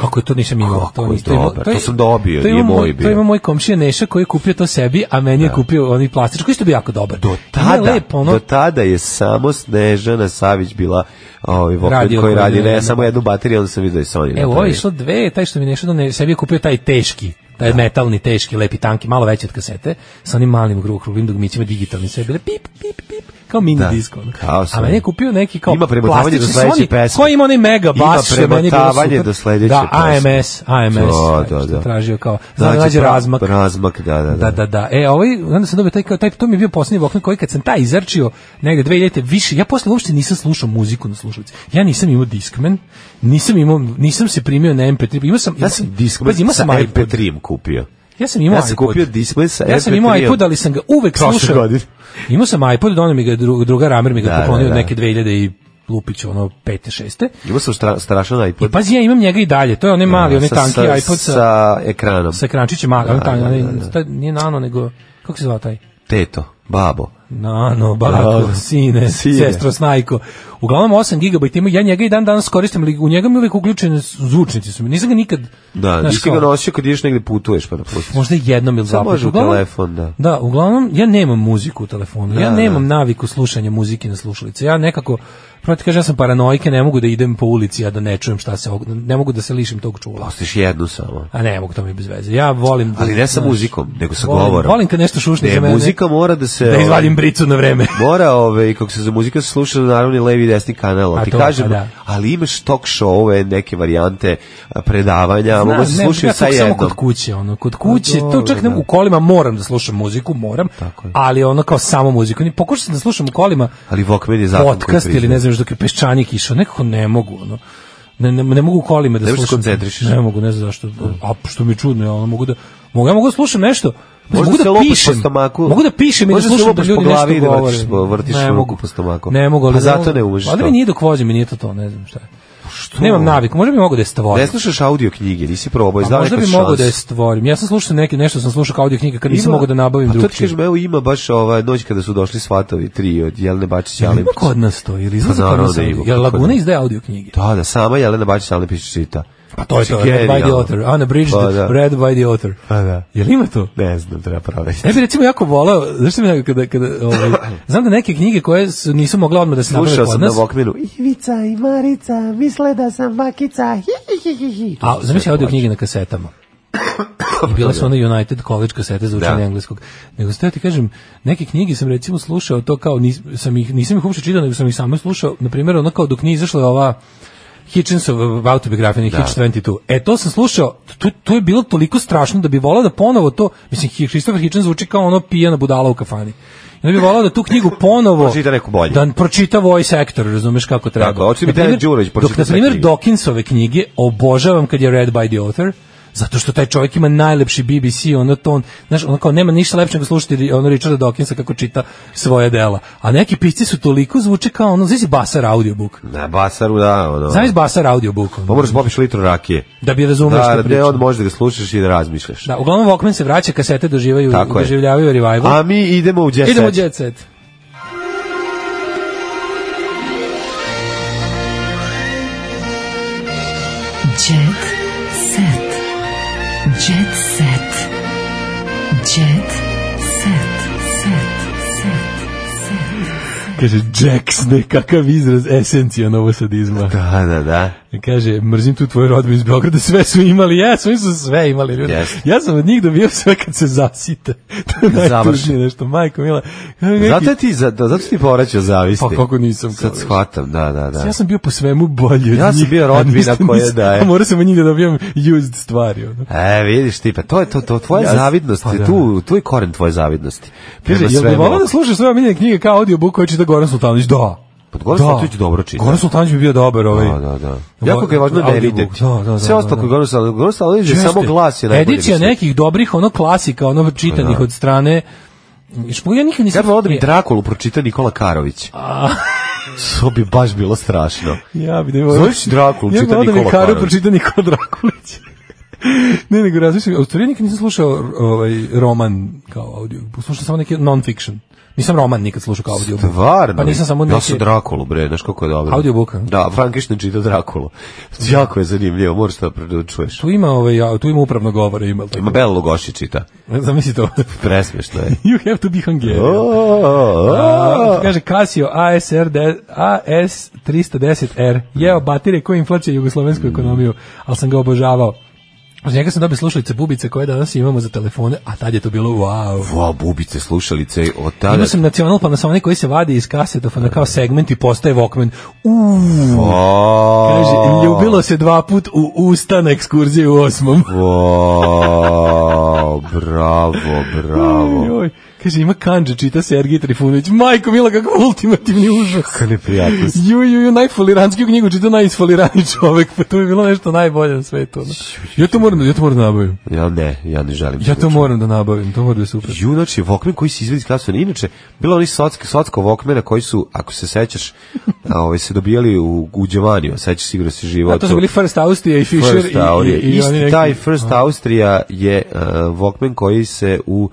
[SPEAKER 5] Kako je to nisam imao?
[SPEAKER 6] Kako je
[SPEAKER 5] nisam- ima-
[SPEAKER 6] dobar,
[SPEAKER 5] je-
[SPEAKER 6] to sam dobio,
[SPEAKER 5] to
[SPEAKER 6] nije
[SPEAKER 5] ima
[SPEAKER 6] moj
[SPEAKER 5] To
[SPEAKER 6] bio.
[SPEAKER 5] ima moj komšija Neša koji je kupio to sebi, a meni je kupio onaj plastički, koji što bi jako dobar. Do
[SPEAKER 6] Tada,
[SPEAKER 5] ono-
[SPEAKER 6] Do tada je samo Snežana Savić bila ovaj, vokal
[SPEAKER 5] Radio
[SPEAKER 6] koji
[SPEAKER 5] koji
[SPEAKER 6] radi,
[SPEAKER 5] je-
[SPEAKER 6] ne, samo jednu bateriju, onda sam vidio i Sony.
[SPEAKER 5] Evo, ovo je
[SPEAKER 6] napravio.
[SPEAKER 5] išlo dve, taj što mi nešto da ne, sebi je kupio taj teški, taj metalni, teški, lepi, tanki, malo veći od kasete, sa onim malim gru- kruglim dugmićima digitalni, sve je bile pip, pip, pip, kao mini
[SPEAKER 6] Da,
[SPEAKER 5] disk. ono.
[SPEAKER 6] kao
[SPEAKER 5] A
[SPEAKER 6] sam.
[SPEAKER 5] meni je kupio neki kao
[SPEAKER 6] Ima premotavanje
[SPEAKER 5] plastični
[SPEAKER 6] do sledeće
[SPEAKER 5] Sony,
[SPEAKER 6] pesme.
[SPEAKER 5] Koji ima onaj mega
[SPEAKER 6] Ima
[SPEAKER 5] bas, što je meni bilo
[SPEAKER 6] premotavanje
[SPEAKER 5] super.
[SPEAKER 6] do sledeće
[SPEAKER 5] Da,
[SPEAKER 6] pesme.
[SPEAKER 5] AMS, AMS,
[SPEAKER 6] Da,
[SPEAKER 5] taj
[SPEAKER 6] da,
[SPEAKER 5] što je
[SPEAKER 6] da.
[SPEAKER 5] tražio kao, znači, nađe
[SPEAKER 6] pra-
[SPEAKER 5] razmak.
[SPEAKER 6] Razmak, da, da, da.
[SPEAKER 5] Da, da, da. E, ovaj, onda sam dobio taj, kao- taj, to mi je bio posljednji Walkman koji kad sam taj izrčio negde 2000 više, ja posle uopšte nisam slušao muziku na slušalici. Ja nisam imao Discman, nisam imao, nisam se primio na MP3, imao sam...
[SPEAKER 6] Ja sam Discman
[SPEAKER 5] Pazi, imao
[SPEAKER 6] sa
[SPEAKER 5] sam iPod.
[SPEAKER 6] MP3 kupio.
[SPEAKER 5] Ja sam imao
[SPEAKER 6] Ja sam
[SPEAKER 5] iPod.
[SPEAKER 6] kupio Discman sa
[SPEAKER 5] Ja sam
[SPEAKER 6] MP3
[SPEAKER 5] imao iPod, ali sam ga uvek
[SPEAKER 6] prošle
[SPEAKER 5] slušao.
[SPEAKER 6] godine.
[SPEAKER 5] Imao sam iPod, donio mi ga dru- druga ramer, mi ga
[SPEAKER 6] Da,
[SPEAKER 5] poklonio
[SPEAKER 6] da, da.
[SPEAKER 5] od neke 2000 i lupić ono 5. 6.
[SPEAKER 6] Imao sam stra, strašan iPod.
[SPEAKER 5] I pazi, ja imam njega i dalje. To je onaj mali, onaj
[SPEAKER 6] Sa-
[SPEAKER 5] tanki
[SPEAKER 6] sa-
[SPEAKER 5] iPod sa, sa,
[SPEAKER 6] sa ekranom.
[SPEAKER 5] ekrančićem, mali, onaj
[SPEAKER 6] Da,
[SPEAKER 5] tanki,
[SPEAKER 6] da,
[SPEAKER 5] onaj-
[SPEAKER 6] da, da.
[SPEAKER 5] taj nije nano, nego, kako se zvao taj?
[SPEAKER 6] Teto, babo.
[SPEAKER 5] Nano, bako,
[SPEAKER 6] Bravo.
[SPEAKER 5] sine,
[SPEAKER 6] Sine.
[SPEAKER 5] sestro, snajko. Uglavnom 8 GB ima, ja njega i dan danas koristim, ali u njega mi uvijek uključeni su- zvučnici su mi. Nisam ga nikad...
[SPEAKER 6] Da,
[SPEAKER 5] znaš
[SPEAKER 6] nisi ga
[SPEAKER 5] kao,
[SPEAKER 6] nosio kad ideš negde putuješ pa napustiš.
[SPEAKER 5] Možda jednom ili dva
[SPEAKER 6] Sad može
[SPEAKER 5] puta.
[SPEAKER 6] u
[SPEAKER 5] Uglavnom-
[SPEAKER 6] telefon, da.
[SPEAKER 5] Da, uglavnom, ja nemam muziku u telefonu. ja
[SPEAKER 6] Da,
[SPEAKER 5] nemam naviku slušanja muzike na slušalice. Ja nekako, proti kažem, ja sam paranojke, ne mogu da idem po ulici, a da ne čujem šta se... og- Ne mogu da se lišim tog čula.
[SPEAKER 6] Ostiš jednu samo.
[SPEAKER 5] A ne mogu, to mi je bez veze. Ja volim... da-
[SPEAKER 6] Ali ne sa
[SPEAKER 5] znaš,
[SPEAKER 6] muzikom, nego sa
[SPEAKER 5] volim-
[SPEAKER 6] govorom.
[SPEAKER 5] Volim kad nešto šušne
[SPEAKER 6] Ne,
[SPEAKER 5] za mene.
[SPEAKER 6] muzika mora da se...
[SPEAKER 5] Da
[SPEAKER 6] ovaj,
[SPEAKER 5] izvadim bricu na vreme.
[SPEAKER 6] (laughs) Mora, ove, kako se za muzika sluša, naravno i levi i desni kanal,
[SPEAKER 5] A
[SPEAKER 6] ali ti
[SPEAKER 5] to,
[SPEAKER 6] kažem,
[SPEAKER 5] pa da.
[SPEAKER 6] ali imaš talk show neke varijante a, predavanja, mogu se
[SPEAKER 5] ne,
[SPEAKER 6] slušati
[SPEAKER 5] ja
[SPEAKER 6] sa
[SPEAKER 5] to Samo
[SPEAKER 6] jednom.
[SPEAKER 5] kod kuće, ono, kod kuće, to
[SPEAKER 6] dobro,
[SPEAKER 5] čak ne,
[SPEAKER 6] da.
[SPEAKER 5] u kolima moram da slušam muziku, moram, ali ono kao samo muziku. Ni pokušao sam da slušam u kolima
[SPEAKER 6] Ali Walkman je zakon koji
[SPEAKER 5] podcast ili ne znam što je peščanik išao, nekako ne mogu, ono. Ne, ne, ne mogu u kolima da
[SPEAKER 6] Ne možeš da
[SPEAKER 5] slušam.
[SPEAKER 6] koncentrišeš.
[SPEAKER 5] Ne mogu, ne znam zašto. A što mi je čudno, ja ono mogu da mogu ja mogu da slušam nešto.
[SPEAKER 6] Možda
[SPEAKER 5] mogu
[SPEAKER 6] se
[SPEAKER 5] da
[SPEAKER 6] lupaš
[SPEAKER 5] pišem,
[SPEAKER 6] po stomaku.
[SPEAKER 5] Mogu da pišem i da
[SPEAKER 6] Možda se
[SPEAKER 5] slušam da
[SPEAKER 6] lupaš po
[SPEAKER 5] ljudi nešto
[SPEAKER 6] glavi i da vrtiš
[SPEAKER 5] govore.
[SPEAKER 6] po- vrtiš ruku po stomaku.
[SPEAKER 5] Ne mogu, ali
[SPEAKER 6] Pa
[SPEAKER 5] ne
[SPEAKER 6] zato
[SPEAKER 5] mogu.
[SPEAKER 6] ne umeš
[SPEAKER 5] Valjda mi
[SPEAKER 6] to. Pa
[SPEAKER 5] nije dok vozim i nije to to, ne znam šta. je. Nemam naviku, možda bi mogao da je stvorim.
[SPEAKER 6] Ne slušaš audio knjige, nisi probao,
[SPEAKER 5] Pa
[SPEAKER 6] znaš
[SPEAKER 5] možda
[SPEAKER 6] kod
[SPEAKER 5] bi mogao
[SPEAKER 6] šans.
[SPEAKER 5] da je stvorim. Ja sam slušao neke, nešto sam slušao kao audio knjiga kad nisam
[SPEAKER 6] Ima-
[SPEAKER 5] mogao da nabavim
[SPEAKER 6] A to ti
[SPEAKER 5] drugčije.
[SPEAKER 6] kažem, evo ima baš ova noć kada su došli svatovi, tri od Jelene Bačić i
[SPEAKER 5] Jel
[SPEAKER 6] Alim.
[SPEAKER 5] ima kod nas to? Ili izlazi
[SPEAKER 6] Pa
[SPEAKER 5] kod
[SPEAKER 6] naravno
[SPEAKER 5] nas?
[SPEAKER 6] da ima,
[SPEAKER 5] audio?
[SPEAKER 6] kako
[SPEAKER 5] Jel Laguna
[SPEAKER 6] ne.
[SPEAKER 5] izdaje audio knjige?
[SPEAKER 6] Da, da, sama Jelena Bačić Alepić čita. Znači,
[SPEAKER 5] Pa to je to,
[SPEAKER 6] Genijalno.
[SPEAKER 5] read by the author. Unabridged,
[SPEAKER 6] Pa da.
[SPEAKER 5] read by the author.
[SPEAKER 6] Pa da.
[SPEAKER 5] Jel ima to?
[SPEAKER 6] Ne znam, treba provesti.
[SPEAKER 5] Ja bih recimo jako volao, znaš što mi je kada, kada,
[SPEAKER 6] (coughs)
[SPEAKER 5] ovaj, znam da neke knjige koje su, nisu mogle odmah da se nabave
[SPEAKER 6] Slušao
[SPEAKER 5] kod
[SPEAKER 6] sam na
[SPEAKER 5] nas,
[SPEAKER 6] Walkmanu. Ih,
[SPEAKER 15] Ivica i Marica misle da sam bakica. Hi, hi, hi, hi, hi.
[SPEAKER 5] a zamisli audio knjige na
[SPEAKER 6] (laughs)
[SPEAKER 5] kasetama. I bila su one United College kasete za učenje
[SPEAKER 6] Pa Da.
[SPEAKER 5] engleskog. Nego ste ja ti kažem, neke knjige sam recimo slušao to kao, nis, sam ih, nisam ih uopšte čitao, nego sam ih samo slušao, na primjer ono kao dok nije izašla ova Hitchensov autobiografija, da.
[SPEAKER 6] Da.
[SPEAKER 5] Hitch 22. E, to sam slušao, to, to je bilo toliko strašno da bi volao da ponovo to, mislim, Hi- Christopher Hitchens zvuči kao ono pijana budala u kafani. Ja bih volao da tu knjigu
[SPEAKER 6] (laughs)
[SPEAKER 5] ponovo
[SPEAKER 6] Pročita neku bolju.
[SPEAKER 5] Da pročita voice actor, razumeš kako treba.
[SPEAKER 6] Tako, hoće mi
[SPEAKER 5] Na primjer,
[SPEAKER 6] Dejan Đurović
[SPEAKER 5] Dok,
[SPEAKER 6] pročita
[SPEAKER 5] na
[SPEAKER 6] sve
[SPEAKER 5] primjer,
[SPEAKER 6] knjige.
[SPEAKER 5] Dawkinsove knjige obožavam kad je read by the author, zato što taj čovjek ima najlepši BBC, ono to, on, znaš, ono kao nema ništa lepše nego slušati ri- ono Richarda Dawkinsa kako čita svoje dela. A neki pisci su toliko zvuče kao ono, znaš si Basar audiobook.
[SPEAKER 6] Na Basaru, da, ono.
[SPEAKER 5] Znaš Basar audiobook. ono,
[SPEAKER 6] Pa moraš popiš litru rakije.
[SPEAKER 5] da bi razumeo
[SPEAKER 6] Da,
[SPEAKER 5] što
[SPEAKER 6] da,
[SPEAKER 5] priča.
[SPEAKER 6] ne, on može da ga slušaš i da razmišljaš.
[SPEAKER 5] Da, uglavnom Walkman se vraća, kasete doživaju,
[SPEAKER 6] Tako je.
[SPEAKER 5] doživljavaju revival.
[SPEAKER 6] A mi idemo u jet
[SPEAKER 5] Idemo u
[SPEAKER 6] set.
[SPEAKER 5] jet set.
[SPEAKER 4] Jet set. Jet set. Jet set. Set. Set. Set.
[SPEAKER 5] Kaže, Jax, ne, kakav izraz esencija (laughs) novosadizma.
[SPEAKER 6] Da, da, da.
[SPEAKER 5] Kaže, mrzim tu tvoju rodbu iz Beograda, sve su imali, jesu, oni su sve imali ljudi.
[SPEAKER 6] Jeste.
[SPEAKER 5] Ja sam od njih dobio sve kad se zasite. (laughs) to je
[SPEAKER 6] Završi.
[SPEAKER 5] najtužnije nešto, majko mila. Neki-
[SPEAKER 6] Zato je ti, za- da, zato ti povraćao zavisti.
[SPEAKER 5] Pa kako nisam,
[SPEAKER 6] Sad
[SPEAKER 5] kao,
[SPEAKER 6] shvatam, da, da, da.
[SPEAKER 5] Ja sam bio po svemu bolji od
[SPEAKER 6] Ja sam
[SPEAKER 5] njih,
[SPEAKER 6] bio
[SPEAKER 5] a
[SPEAKER 6] rodbina
[SPEAKER 5] niste-
[SPEAKER 6] koja
[SPEAKER 5] niste-
[SPEAKER 6] daje.
[SPEAKER 5] A (laughs) morao sam od njih da dobijam used stvari. Ono.
[SPEAKER 6] E, vidiš ti, pa to je to, to tvoja
[SPEAKER 5] Ja-
[SPEAKER 6] zavidnost,
[SPEAKER 5] Pa da.
[SPEAKER 6] tu, tu je koren tvoje zavidnosti.
[SPEAKER 5] Kaže,
[SPEAKER 6] Prema
[SPEAKER 5] jel bi
[SPEAKER 6] svemu
[SPEAKER 5] volao da
[SPEAKER 6] oko-
[SPEAKER 5] slušaš svoje omiljene knjige kao audiobook koji čita Goran Sultanović? Da.
[SPEAKER 6] Pa Goran Sultanović dobro čita.
[SPEAKER 5] Goran Sultanović bi bio dobar ovaj.
[SPEAKER 6] Da, da, da. Jako ga je važno da je
[SPEAKER 5] Audiobook,
[SPEAKER 6] videti.
[SPEAKER 5] Da, da, da.
[SPEAKER 6] Sve ostalo
[SPEAKER 5] da,
[SPEAKER 6] koji
[SPEAKER 5] da.
[SPEAKER 6] Goran Sultanović, Goran Sultanović je
[SPEAKER 5] Jeste.
[SPEAKER 6] samo glas je najbolji.
[SPEAKER 5] Edicija
[SPEAKER 6] mislim.
[SPEAKER 5] nekih dobrih ono klasika, ono čitanih
[SPEAKER 6] Da.
[SPEAKER 5] od strane Špo, ja nikad
[SPEAKER 6] Ja
[SPEAKER 5] nisam...
[SPEAKER 6] bih volao da mi Drakulu pročita Nikola Karović. (laughs) To bi baš bilo strašno.
[SPEAKER 5] Ja bi da (laughs)
[SPEAKER 6] Zoveš Drakulu,
[SPEAKER 5] Ja
[SPEAKER 6] čita
[SPEAKER 5] bih volao da mi
[SPEAKER 6] Nikola
[SPEAKER 5] Karo
[SPEAKER 6] Karović.
[SPEAKER 5] pročita Nikola Drakulić. (laughs) ne, nego razmišljam, u stvari ja nikad nisam slušao ovaj, roman kao audio, slušao samo neki non-fiction. Nisam roman nikad slušao kao audio.
[SPEAKER 6] Varno.
[SPEAKER 5] Pa nisam samo neke...
[SPEAKER 6] Ja sam Drakulu, bre, znaš kako je dobro.
[SPEAKER 5] Audiobooka.
[SPEAKER 6] Da, Frankenstein čita Drakulu. Jako je zanimljivo, moraš to da čuješ.
[SPEAKER 5] Tu ima, ovaj, ja- tu ima upravno govore, ima. Tako.
[SPEAKER 6] Ima Bela Lugoši čita.
[SPEAKER 5] Zamisli to. (laughs)
[SPEAKER 6] Presmešno je.
[SPEAKER 5] you have to be Hungarian. A,
[SPEAKER 6] Oh,
[SPEAKER 5] kaže Casio ASR de- AS310R. Jeo batire koji inflacija jugoslovensku ekonomiju, ali sam ga obožavao. Uz njega sam dobio slušalice bubice koje danas imamo za telefone, a tad je to bilo wow.
[SPEAKER 6] Wow, bubice, slušalice, od tada...
[SPEAKER 5] Imao sam nacional Panasonic koji se vadi iz kasetofona kao segment i postaje Walkman. Uuu, kaže,
[SPEAKER 6] Wow,
[SPEAKER 5] ljubilo se dva put u usta na ekskurziji u osmom.
[SPEAKER 6] wow, bravo, bravo.
[SPEAKER 5] Joj, kaže, ima kanđe, čita Sergij Trifunović. Majko, mila, kakav ultimativni užas.
[SPEAKER 6] Kako neprijatnost.
[SPEAKER 5] Ju, ju, ju, najfolirantskiju knjigu čita najisfolirani čovek, pa to bi bilo nešto najbolje na svetu. ono. Ja to moram, da- ja to moram da nabavim.
[SPEAKER 6] Ja ne, ja ne želim.
[SPEAKER 5] Ja to
[SPEAKER 6] slušati.
[SPEAKER 5] moram da nabavim, to mora da je super.
[SPEAKER 6] Ju, znači, Walkman koji se izvedi iz klasona. Inače, bilo oni socko, socko Walkmana koji su, ako se sećaš, a, ovaj, se dobijali u, u Đevaniju. Sećaš sigurno si živo.
[SPEAKER 5] A to su bili First Austria i Fisher
[SPEAKER 6] First
[SPEAKER 5] i, i,
[SPEAKER 6] Austria.
[SPEAKER 5] i, i
[SPEAKER 6] Isti
[SPEAKER 5] oni neki-
[SPEAKER 6] taj First Austria je uh, Walkman koji se u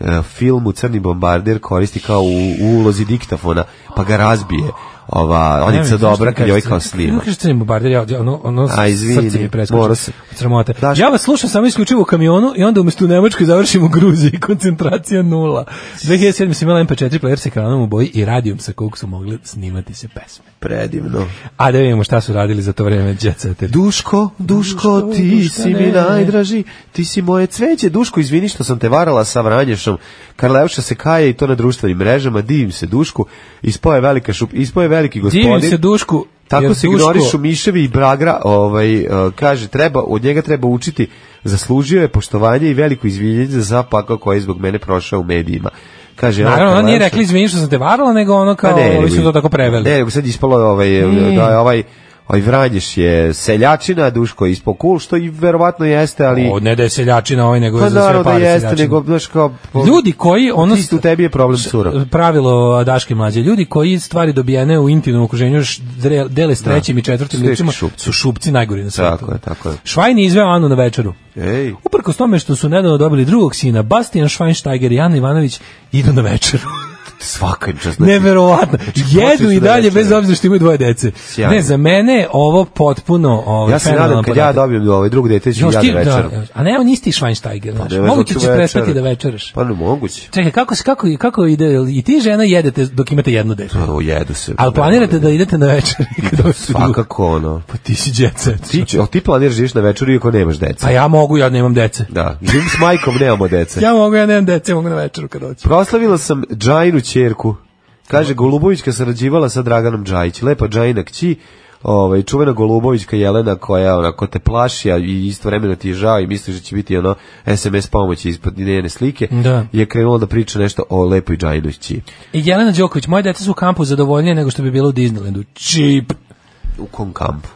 [SPEAKER 6] uh, filmu Crni bombarder koristi kao u, u ulozi diktafona, pa ga razbije. Ova,
[SPEAKER 5] Ne,
[SPEAKER 6] onica
[SPEAKER 5] znaš
[SPEAKER 6] dobra
[SPEAKER 5] šta
[SPEAKER 6] kad joj
[SPEAKER 5] kažete?
[SPEAKER 6] kao
[SPEAKER 5] Ne
[SPEAKER 6] snima.
[SPEAKER 5] kažete ni bombarder, ja ja, ono, ono
[SPEAKER 6] A, izvini,
[SPEAKER 5] srce mi preskoči.
[SPEAKER 6] morao sam.
[SPEAKER 5] od Sramote.
[SPEAKER 6] Znaš-
[SPEAKER 5] Ja vas slušam samo isključivo u kamionu i onda umjesto u Nemačkoj završim u Gruziji. (laughs) Koncentracija nula. 2007. sam imala MP4 player sa ekranom u boji i radijom sa kog su mogli snimati se pesme.
[SPEAKER 6] Predivno.
[SPEAKER 5] A da vidimo šta su radili za to vreme Jet Setteri.
[SPEAKER 6] Duško, Duško, ti
[SPEAKER 5] Duška,
[SPEAKER 6] si mi
[SPEAKER 5] ne.
[SPEAKER 6] najdraži, ti si moje cveće. Duško, izvini što sam te varala sa Vranješom. Karlevša se kaje i to na društvenim mrežama. Divim se Dušku. Ispao je velika šup, ispao je veliki gospodin.
[SPEAKER 5] Divim se Dušku.
[SPEAKER 6] Tako
[SPEAKER 5] jer
[SPEAKER 6] se
[SPEAKER 5] Duško-
[SPEAKER 6] ignorišu Miševi i Bragra, ovaj, e, kaže, treba, od njega treba učiti, zaslužio je poštovanje i veliko izvinjenje za pakao koji je zbog mene prošao u medijima. Kaže,
[SPEAKER 5] Naravno,
[SPEAKER 6] ona
[SPEAKER 5] ona nije rekla izvini što sam te varala, nego ono kao, ovi su to tako preveli.
[SPEAKER 6] znači. Pa Ne, nego sad ispalo je ovaj, da je ovaj, ovaj Vranješ je seljačina, Duško je ispod kul, što i verovatno jeste, ali...
[SPEAKER 5] O, ne da je seljačina ovaj, nego
[SPEAKER 6] pa
[SPEAKER 5] je za sve
[SPEAKER 6] naravno da
[SPEAKER 5] pare
[SPEAKER 6] jeste,
[SPEAKER 5] seljačina.
[SPEAKER 6] nego, znaš, kao... po-
[SPEAKER 5] Ljudi koji ono
[SPEAKER 6] Ti, u tebi je problem surov.
[SPEAKER 5] pravilo Daške mlađe, ljudi koji stvari dobijene u intimnom okruženju š- dre- dele s trećim i četvrtim
[SPEAKER 6] Slični
[SPEAKER 5] ljudima
[SPEAKER 6] šupci.
[SPEAKER 5] su šupci najgori na svetu.
[SPEAKER 6] Tako je, tako je.
[SPEAKER 5] Švajn je izveo Anu na večeru.
[SPEAKER 6] Ej,
[SPEAKER 5] Uprkos tome što su nedavno dobili drugog sina, Bastian Schweinsteiger i Ana Ivanović idu na večeru.
[SPEAKER 6] svaka im čast. znači,
[SPEAKER 5] Neverovatno. Jedu
[SPEAKER 6] počeli
[SPEAKER 5] i
[SPEAKER 6] su na
[SPEAKER 5] dalje
[SPEAKER 6] večeru.
[SPEAKER 5] bez obzira što imaju dvoje dece.
[SPEAKER 6] Sjajno.
[SPEAKER 5] Ne, za mene je ovo potpuno ovaj
[SPEAKER 6] Ja se nadam
[SPEAKER 5] fenomenalan
[SPEAKER 6] kad ja
[SPEAKER 5] podatak.
[SPEAKER 6] dobijem ovaj drug dete, ću
[SPEAKER 5] Još
[SPEAKER 6] ja
[SPEAKER 5] ti-
[SPEAKER 6] da večeram.
[SPEAKER 5] da, e, a ne, on isti Schweinsteiger. znaš.
[SPEAKER 6] Ne,
[SPEAKER 5] Moguće
[SPEAKER 6] hoću
[SPEAKER 5] ćeš prestati da
[SPEAKER 6] večeram.
[SPEAKER 5] večeraš.
[SPEAKER 6] Pa ne moguće.
[SPEAKER 5] Čekaj, kako, se- kako, kako ide, jel i ti i žena jedete dok imate jedno dete?
[SPEAKER 6] O, Pa jedu se.
[SPEAKER 5] Ali planirate da idete na večer?
[SPEAKER 6] Svakako ono.
[SPEAKER 5] Pa ti si djece.
[SPEAKER 6] Ti, će- ali ti planiraš da ideš na večeru iako nemaš deca.
[SPEAKER 5] Pa ja mogu, ja nemam dece.
[SPEAKER 6] Da, živim s majkom, nemamo dece.
[SPEAKER 5] Ja mogu, ja nemam dece, mogu na večeru kad hoću.
[SPEAKER 6] Proslavila sam Džajnu ćerku. Kaže, Golubovićka sarađivala sa Draganom Džajić. Lepa Džajna kći, ovaj, čuvena Golubovićka Jelena koja onako te plaši, a i istovremeno ti je žao i misliš da će biti ono SMS pomoći ispod njene slike,
[SPEAKER 5] Da.
[SPEAKER 6] je krenula da priča nešto o lepoj Džajnoj kći.
[SPEAKER 5] I Jelena Đoković, moje dete su u kampu zadovoljnije nego što bi bilo u Disneylandu. Čip!
[SPEAKER 6] U kom kampu?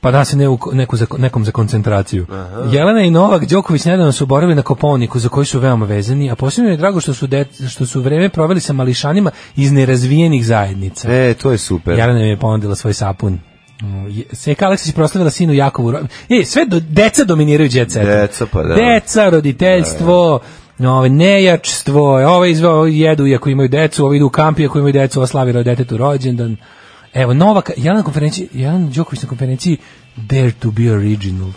[SPEAKER 5] Pa da se ne u ko- neku za, nekom za koncentraciju. Jelena i Novak Đoković nedavno su boravili na Kopovniku za koji su veoma vezani, a posebno mi je drago što su, dec- što su vreme proveli sa mališanima iz nerazvijenih zajednica.
[SPEAKER 6] E, to je super.
[SPEAKER 5] Jelena mi je ponudila svoj sapun. Mm, je- Seka Aleksić proslavila sinu Jakovu. ro- E, sve do, deca dominiraju djeca.
[SPEAKER 6] Deca, pa da.
[SPEAKER 5] Deca, roditeljstvo, ovaj, nejačstvo, ovaj izveo ovaj jedu iako imaju decu, ovi idu u kampi ako imaju decu, ova slavira detetu rođendan. Evo, Novak, Jelena na konferenciji, Jelena Đoković na konferenciji Dare to be original.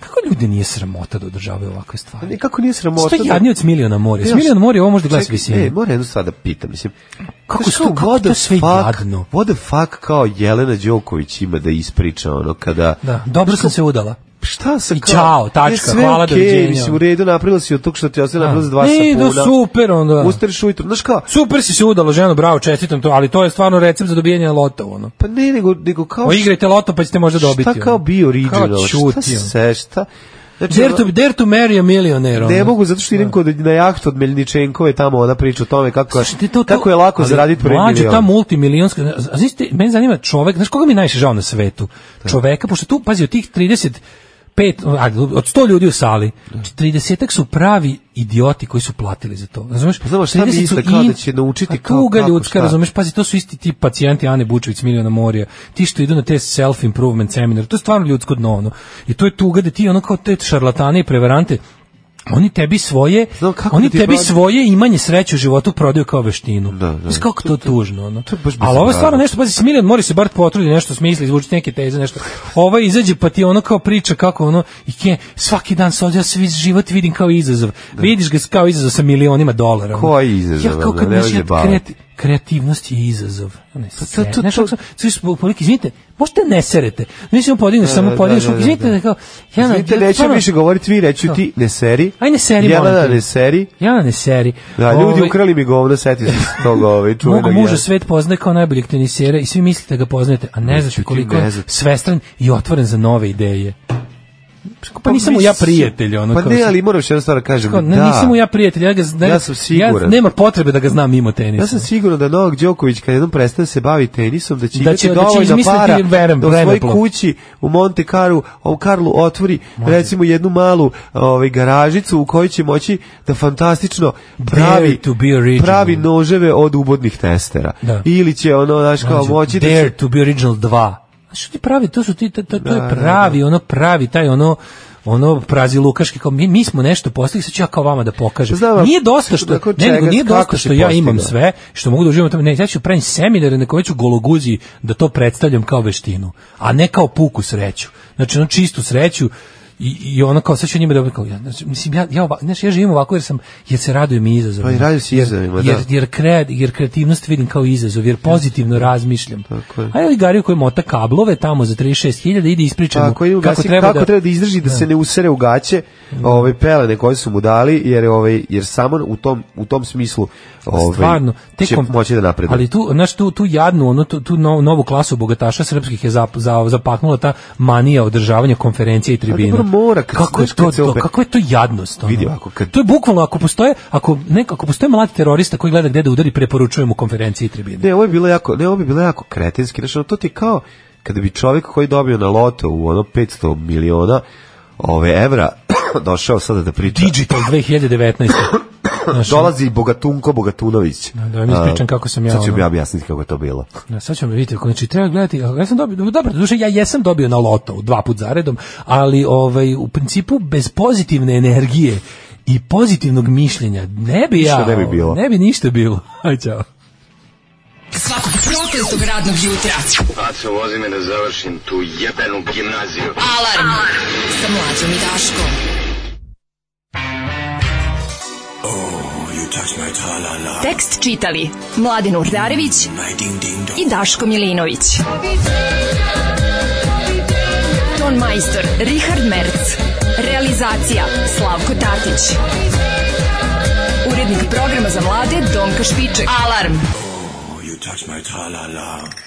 [SPEAKER 5] Kako kako ljude nije sramota da održavaju ovakve stvari?
[SPEAKER 6] Nikako nije Pa sramota.
[SPEAKER 5] Sto jadni od miliona more. S
[SPEAKER 6] Znaš,
[SPEAKER 5] milion more ovo možda gleda s
[SPEAKER 6] čekaj,
[SPEAKER 5] visine.
[SPEAKER 6] E, moram jednu stvar da pitam, mislim.
[SPEAKER 5] Kako
[SPEAKER 6] znaš
[SPEAKER 5] su
[SPEAKER 6] kao,
[SPEAKER 5] to- kako
[SPEAKER 6] what the
[SPEAKER 5] to sve
[SPEAKER 6] fuck-
[SPEAKER 5] jadno?
[SPEAKER 6] What the fuck kao Jelena Đoković ima da ispriča ono kada...
[SPEAKER 5] Da, dobro sam se udala.
[SPEAKER 6] Šta sam
[SPEAKER 5] I čao,
[SPEAKER 6] je
[SPEAKER 5] tačka,
[SPEAKER 6] sve
[SPEAKER 5] hvala,
[SPEAKER 6] okej,
[SPEAKER 5] doviđenja.
[SPEAKER 6] Mislim, u redu napravila si od tog što ti ostaje
[SPEAKER 5] Da.
[SPEAKER 6] napravila za dva
[SPEAKER 5] Ne,
[SPEAKER 6] sapuna.
[SPEAKER 5] da super onda.
[SPEAKER 6] Ustareš ujutro, znaš kao,
[SPEAKER 5] Super si se udala, ženo, bravo, čestitam to, ali to je stvarno recept za dobijanje lota, ono.
[SPEAKER 6] pa ne, nego, nego kao...
[SPEAKER 5] O, igrajte loto pa ćete možda dobiti.
[SPEAKER 6] Šta kao
[SPEAKER 5] ono.
[SPEAKER 6] bio original?
[SPEAKER 5] Kao
[SPEAKER 6] šta
[SPEAKER 5] čuti, ono.
[SPEAKER 6] se, šta... Znači,
[SPEAKER 5] Dare
[SPEAKER 6] ono-
[SPEAKER 5] to, dare to marry a millionaire. ono.
[SPEAKER 6] Ne mogu zato što idem kod na jahtu od Melničenkove tamo ona priča o tome kako je,
[SPEAKER 5] Slušajte, to- to-
[SPEAKER 6] kako je lako
[SPEAKER 5] ali
[SPEAKER 6] zaraditi prvi
[SPEAKER 5] mlađe,
[SPEAKER 6] milion.
[SPEAKER 5] ta multimilionska, a znaš ti, meni zanima čovek, znaš koga mi je najviše žao na svetu? Čoveka, pošto tu, pazi, od tih 35, ajde, od 100 ljudi u sali, 30 su pravi idioti koji su platili za to. Razumeš?
[SPEAKER 6] Pa znamo, šta
[SPEAKER 5] 30
[SPEAKER 6] misle,
[SPEAKER 5] su
[SPEAKER 6] kao
[SPEAKER 5] in-
[SPEAKER 6] da će naučiti
[SPEAKER 5] a
[SPEAKER 6] kao
[SPEAKER 5] tuga
[SPEAKER 6] kako,
[SPEAKER 5] ljudska,
[SPEAKER 6] šta?
[SPEAKER 5] razumeš, pazi, to su isti ti pacijenti Ane Bučević s Milijona Morija, ti što idu na te self-improvement seminare, to je stvarno ljudsko dno, ono. I to je tuga da ti ono kao te šarlatane i prevarante, oni tebi svoje,
[SPEAKER 6] Znam kako
[SPEAKER 5] oni
[SPEAKER 6] da ti
[SPEAKER 5] tebi
[SPEAKER 6] prođe-
[SPEAKER 5] svoje imanje sreće u životu prodaju kao veštinu.
[SPEAKER 6] Da, da.
[SPEAKER 5] Mislim, kako to tužno, ono.
[SPEAKER 6] je baš
[SPEAKER 5] Ali ovo je
[SPEAKER 6] bizarno.
[SPEAKER 5] stvarno nešto, pazi, Smiljan mora se bar potrudi nešto smisli, izvuči neke teze, nešto. Ovo izađe pa ti ono kao priča kako ono i ke, svaki dan se ovdje, ja sve život vidim kao izazov. Vidiš ga kao izazov sa milionima dolara. ono.
[SPEAKER 6] Koji izazov,
[SPEAKER 5] Ja kao
[SPEAKER 6] ono,
[SPEAKER 5] kad
[SPEAKER 6] ne
[SPEAKER 5] znaš,
[SPEAKER 6] može
[SPEAKER 5] ja
[SPEAKER 6] baviti.
[SPEAKER 5] kreati- kreativnost je izazov. Ono, sve,
[SPEAKER 6] to-
[SPEAKER 5] znaš,
[SPEAKER 6] to-
[SPEAKER 5] kako sam- svi su po- poliki, izvinite, možete ne serete. Mislim, podigneš, samo
[SPEAKER 6] da,
[SPEAKER 5] podigneš,
[SPEAKER 6] da, da,
[SPEAKER 5] izvinite,
[SPEAKER 6] da.
[SPEAKER 5] da kao, ja, na-
[SPEAKER 6] Znate,
[SPEAKER 5] ja
[SPEAKER 6] neću
[SPEAKER 5] stvarno-
[SPEAKER 6] više govoriti, vi reću ti, ne seri.
[SPEAKER 5] Aj, ne seri, molim
[SPEAKER 6] Jelena,
[SPEAKER 5] te.
[SPEAKER 6] ne seri.
[SPEAKER 5] ja ne seri.
[SPEAKER 6] Da, ljudi
[SPEAKER 5] Ovaj-
[SPEAKER 6] ukrali mi govno, seti se tog ovaj, čuvenog.
[SPEAKER 5] Mog muža
[SPEAKER 6] Jelena.
[SPEAKER 5] svet poznaje kao najboljeg tenisera i svi mislite da ga poznajete, a ne znate
[SPEAKER 6] Znači, ti
[SPEAKER 5] koliko
[SPEAKER 6] ne
[SPEAKER 5] je
[SPEAKER 6] znati.
[SPEAKER 5] svestran i otvoren za nove ideje. Pa nisam mu ja
[SPEAKER 6] mislim-
[SPEAKER 5] prijatelj, ono
[SPEAKER 6] Pa
[SPEAKER 5] kao
[SPEAKER 6] ne,
[SPEAKER 5] što-
[SPEAKER 6] ali moram još jednu stvar da kažem.
[SPEAKER 5] kao, ne,
[SPEAKER 6] da.
[SPEAKER 5] nisam mu ja prijatelj, ja, ga, ja,
[SPEAKER 6] Ja sam siguran.
[SPEAKER 5] nema potrebe da ga znam mimo tenisa.
[SPEAKER 6] Ja sam siguran da Novak Đoković kad jednom prestane se bavi tenisom da će
[SPEAKER 5] Da
[SPEAKER 6] imati
[SPEAKER 5] će- da će
[SPEAKER 6] dovoljno
[SPEAKER 5] izmisliti
[SPEAKER 6] para
[SPEAKER 5] vrem-
[SPEAKER 6] da u svojoj
[SPEAKER 5] vremeplov.
[SPEAKER 6] kući u Monte Carlo, u Carlo otvori recimo jednu malu ovaj garažicu u kojoj će moći da fantastično pravi
[SPEAKER 5] Dare to be original.
[SPEAKER 6] pravi noževe od ubodnih testera.
[SPEAKER 5] Da.
[SPEAKER 6] Ili će ono znaš kao
[SPEAKER 5] Mlađo,
[SPEAKER 6] moći da
[SPEAKER 5] Znači, Dare
[SPEAKER 6] će,
[SPEAKER 5] to be original 2. A što ti pravi, to su ti, to, to, to
[SPEAKER 6] Da,
[SPEAKER 5] je
[SPEAKER 6] da,
[SPEAKER 5] pravi, ono pravi, taj ono, ono prazi Lukaški, kao mi, mi smo nešto postigli, sad ću ja kao vama da pokažem.
[SPEAKER 6] Znam, ali
[SPEAKER 5] nije dosta što,
[SPEAKER 6] nakon
[SPEAKER 5] ne, nego
[SPEAKER 6] čega,
[SPEAKER 5] nije
[SPEAKER 6] kako
[SPEAKER 5] dosta
[SPEAKER 6] si
[SPEAKER 5] što ja imam
[SPEAKER 6] postigao?
[SPEAKER 5] sve, što mogu da uživam u tome, ne, ja ću pravim seminare na koje ću gologuzi da to predstavljam kao veštinu, a ne kao puku sreću. Znači, ono čistu sreću, I, i ono kao sad ću njima da kao ja znači, mislim ja ja ova, znači ja živim ovako jer sam jer se radujem i izazovima.
[SPEAKER 6] Pa i radujem se
[SPEAKER 5] Jer-
[SPEAKER 6] izazovima, da.
[SPEAKER 5] jer, jer, kre, jer kreativnost vidim kao izazov, jer pozitivno razmišljam.
[SPEAKER 6] Tako je.
[SPEAKER 5] A je Ligariju koji mota kablove tamo za 36.000 ide ispričamo
[SPEAKER 6] Tako, idemo
[SPEAKER 5] kako
[SPEAKER 6] gasi-
[SPEAKER 5] treba
[SPEAKER 6] kako
[SPEAKER 5] da...
[SPEAKER 6] treba da izdrži da se ne usere u gaće ove pelene koje su mu dali jer ovaj jer samo u tom u tom smislu ovaj
[SPEAKER 5] Pa stvarno te
[SPEAKER 6] će
[SPEAKER 5] kom-
[SPEAKER 6] moći da napreduje.
[SPEAKER 5] ali tu znaš tu tu jadnu ono tu, tu no- novu klasu bogataša srpskih je zap, za, zapaknula ta manija održavanja konferencije i tribina
[SPEAKER 6] dobro, mora, kad-
[SPEAKER 5] kako je
[SPEAKER 6] znaš,
[SPEAKER 5] to,
[SPEAKER 6] kad se
[SPEAKER 5] to
[SPEAKER 6] opet-
[SPEAKER 5] kako je to jadnost ono?
[SPEAKER 6] Vidi, ako kad-
[SPEAKER 5] to je bukvalno ako postoje ako nekako postoje mladi terorista koji gleda gde da udari preporučujem u konferenciji i tribini
[SPEAKER 6] Ne, ovo je bilo jako, ne, ovo bi bilo jako kretenski. Znači, ono, to ti je kao kada bi čovjek koji je dobio na loto u ono 500 miliona ove evra (coughs) došao sada da priča.
[SPEAKER 5] Digital 2019. Znaš,
[SPEAKER 6] (coughs) Dolazi Bogatunko Bogatunović.
[SPEAKER 5] da vam ispričam
[SPEAKER 6] A,
[SPEAKER 5] kako sam ja,
[SPEAKER 6] Sad ću
[SPEAKER 5] ono.
[SPEAKER 6] mi objasniti kako je to bilo.
[SPEAKER 5] Ja, sad ćemo vidjeti, ako znači treba gledati, ja sam dobio, dobro, duše, ja jesam dobio na loto dva put zaredom, ali ovaj, u principu bez pozitivne energije i pozitivnog mišljenja, ne bi ja, ovaj,
[SPEAKER 6] Ništa ne bi bilo.
[SPEAKER 5] ne bi ništa bilo. (laughs) Aj, čao.
[SPEAKER 9] Svakog prokletog radnog jutra.
[SPEAKER 7] Aco, vozi me da završim tu jebenu gimnaziju.
[SPEAKER 9] Alarm, sa mlađom i Daškom.
[SPEAKER 4] Tekst čitali Mladin Urdarević i Daško Milinović. Ton majstor Richard Merc. Realizacija Slavko Tatić. Urednik programa za mlade Donka Špiček. Alarm!
[SPEAKER 11] You touch my tra-la-la.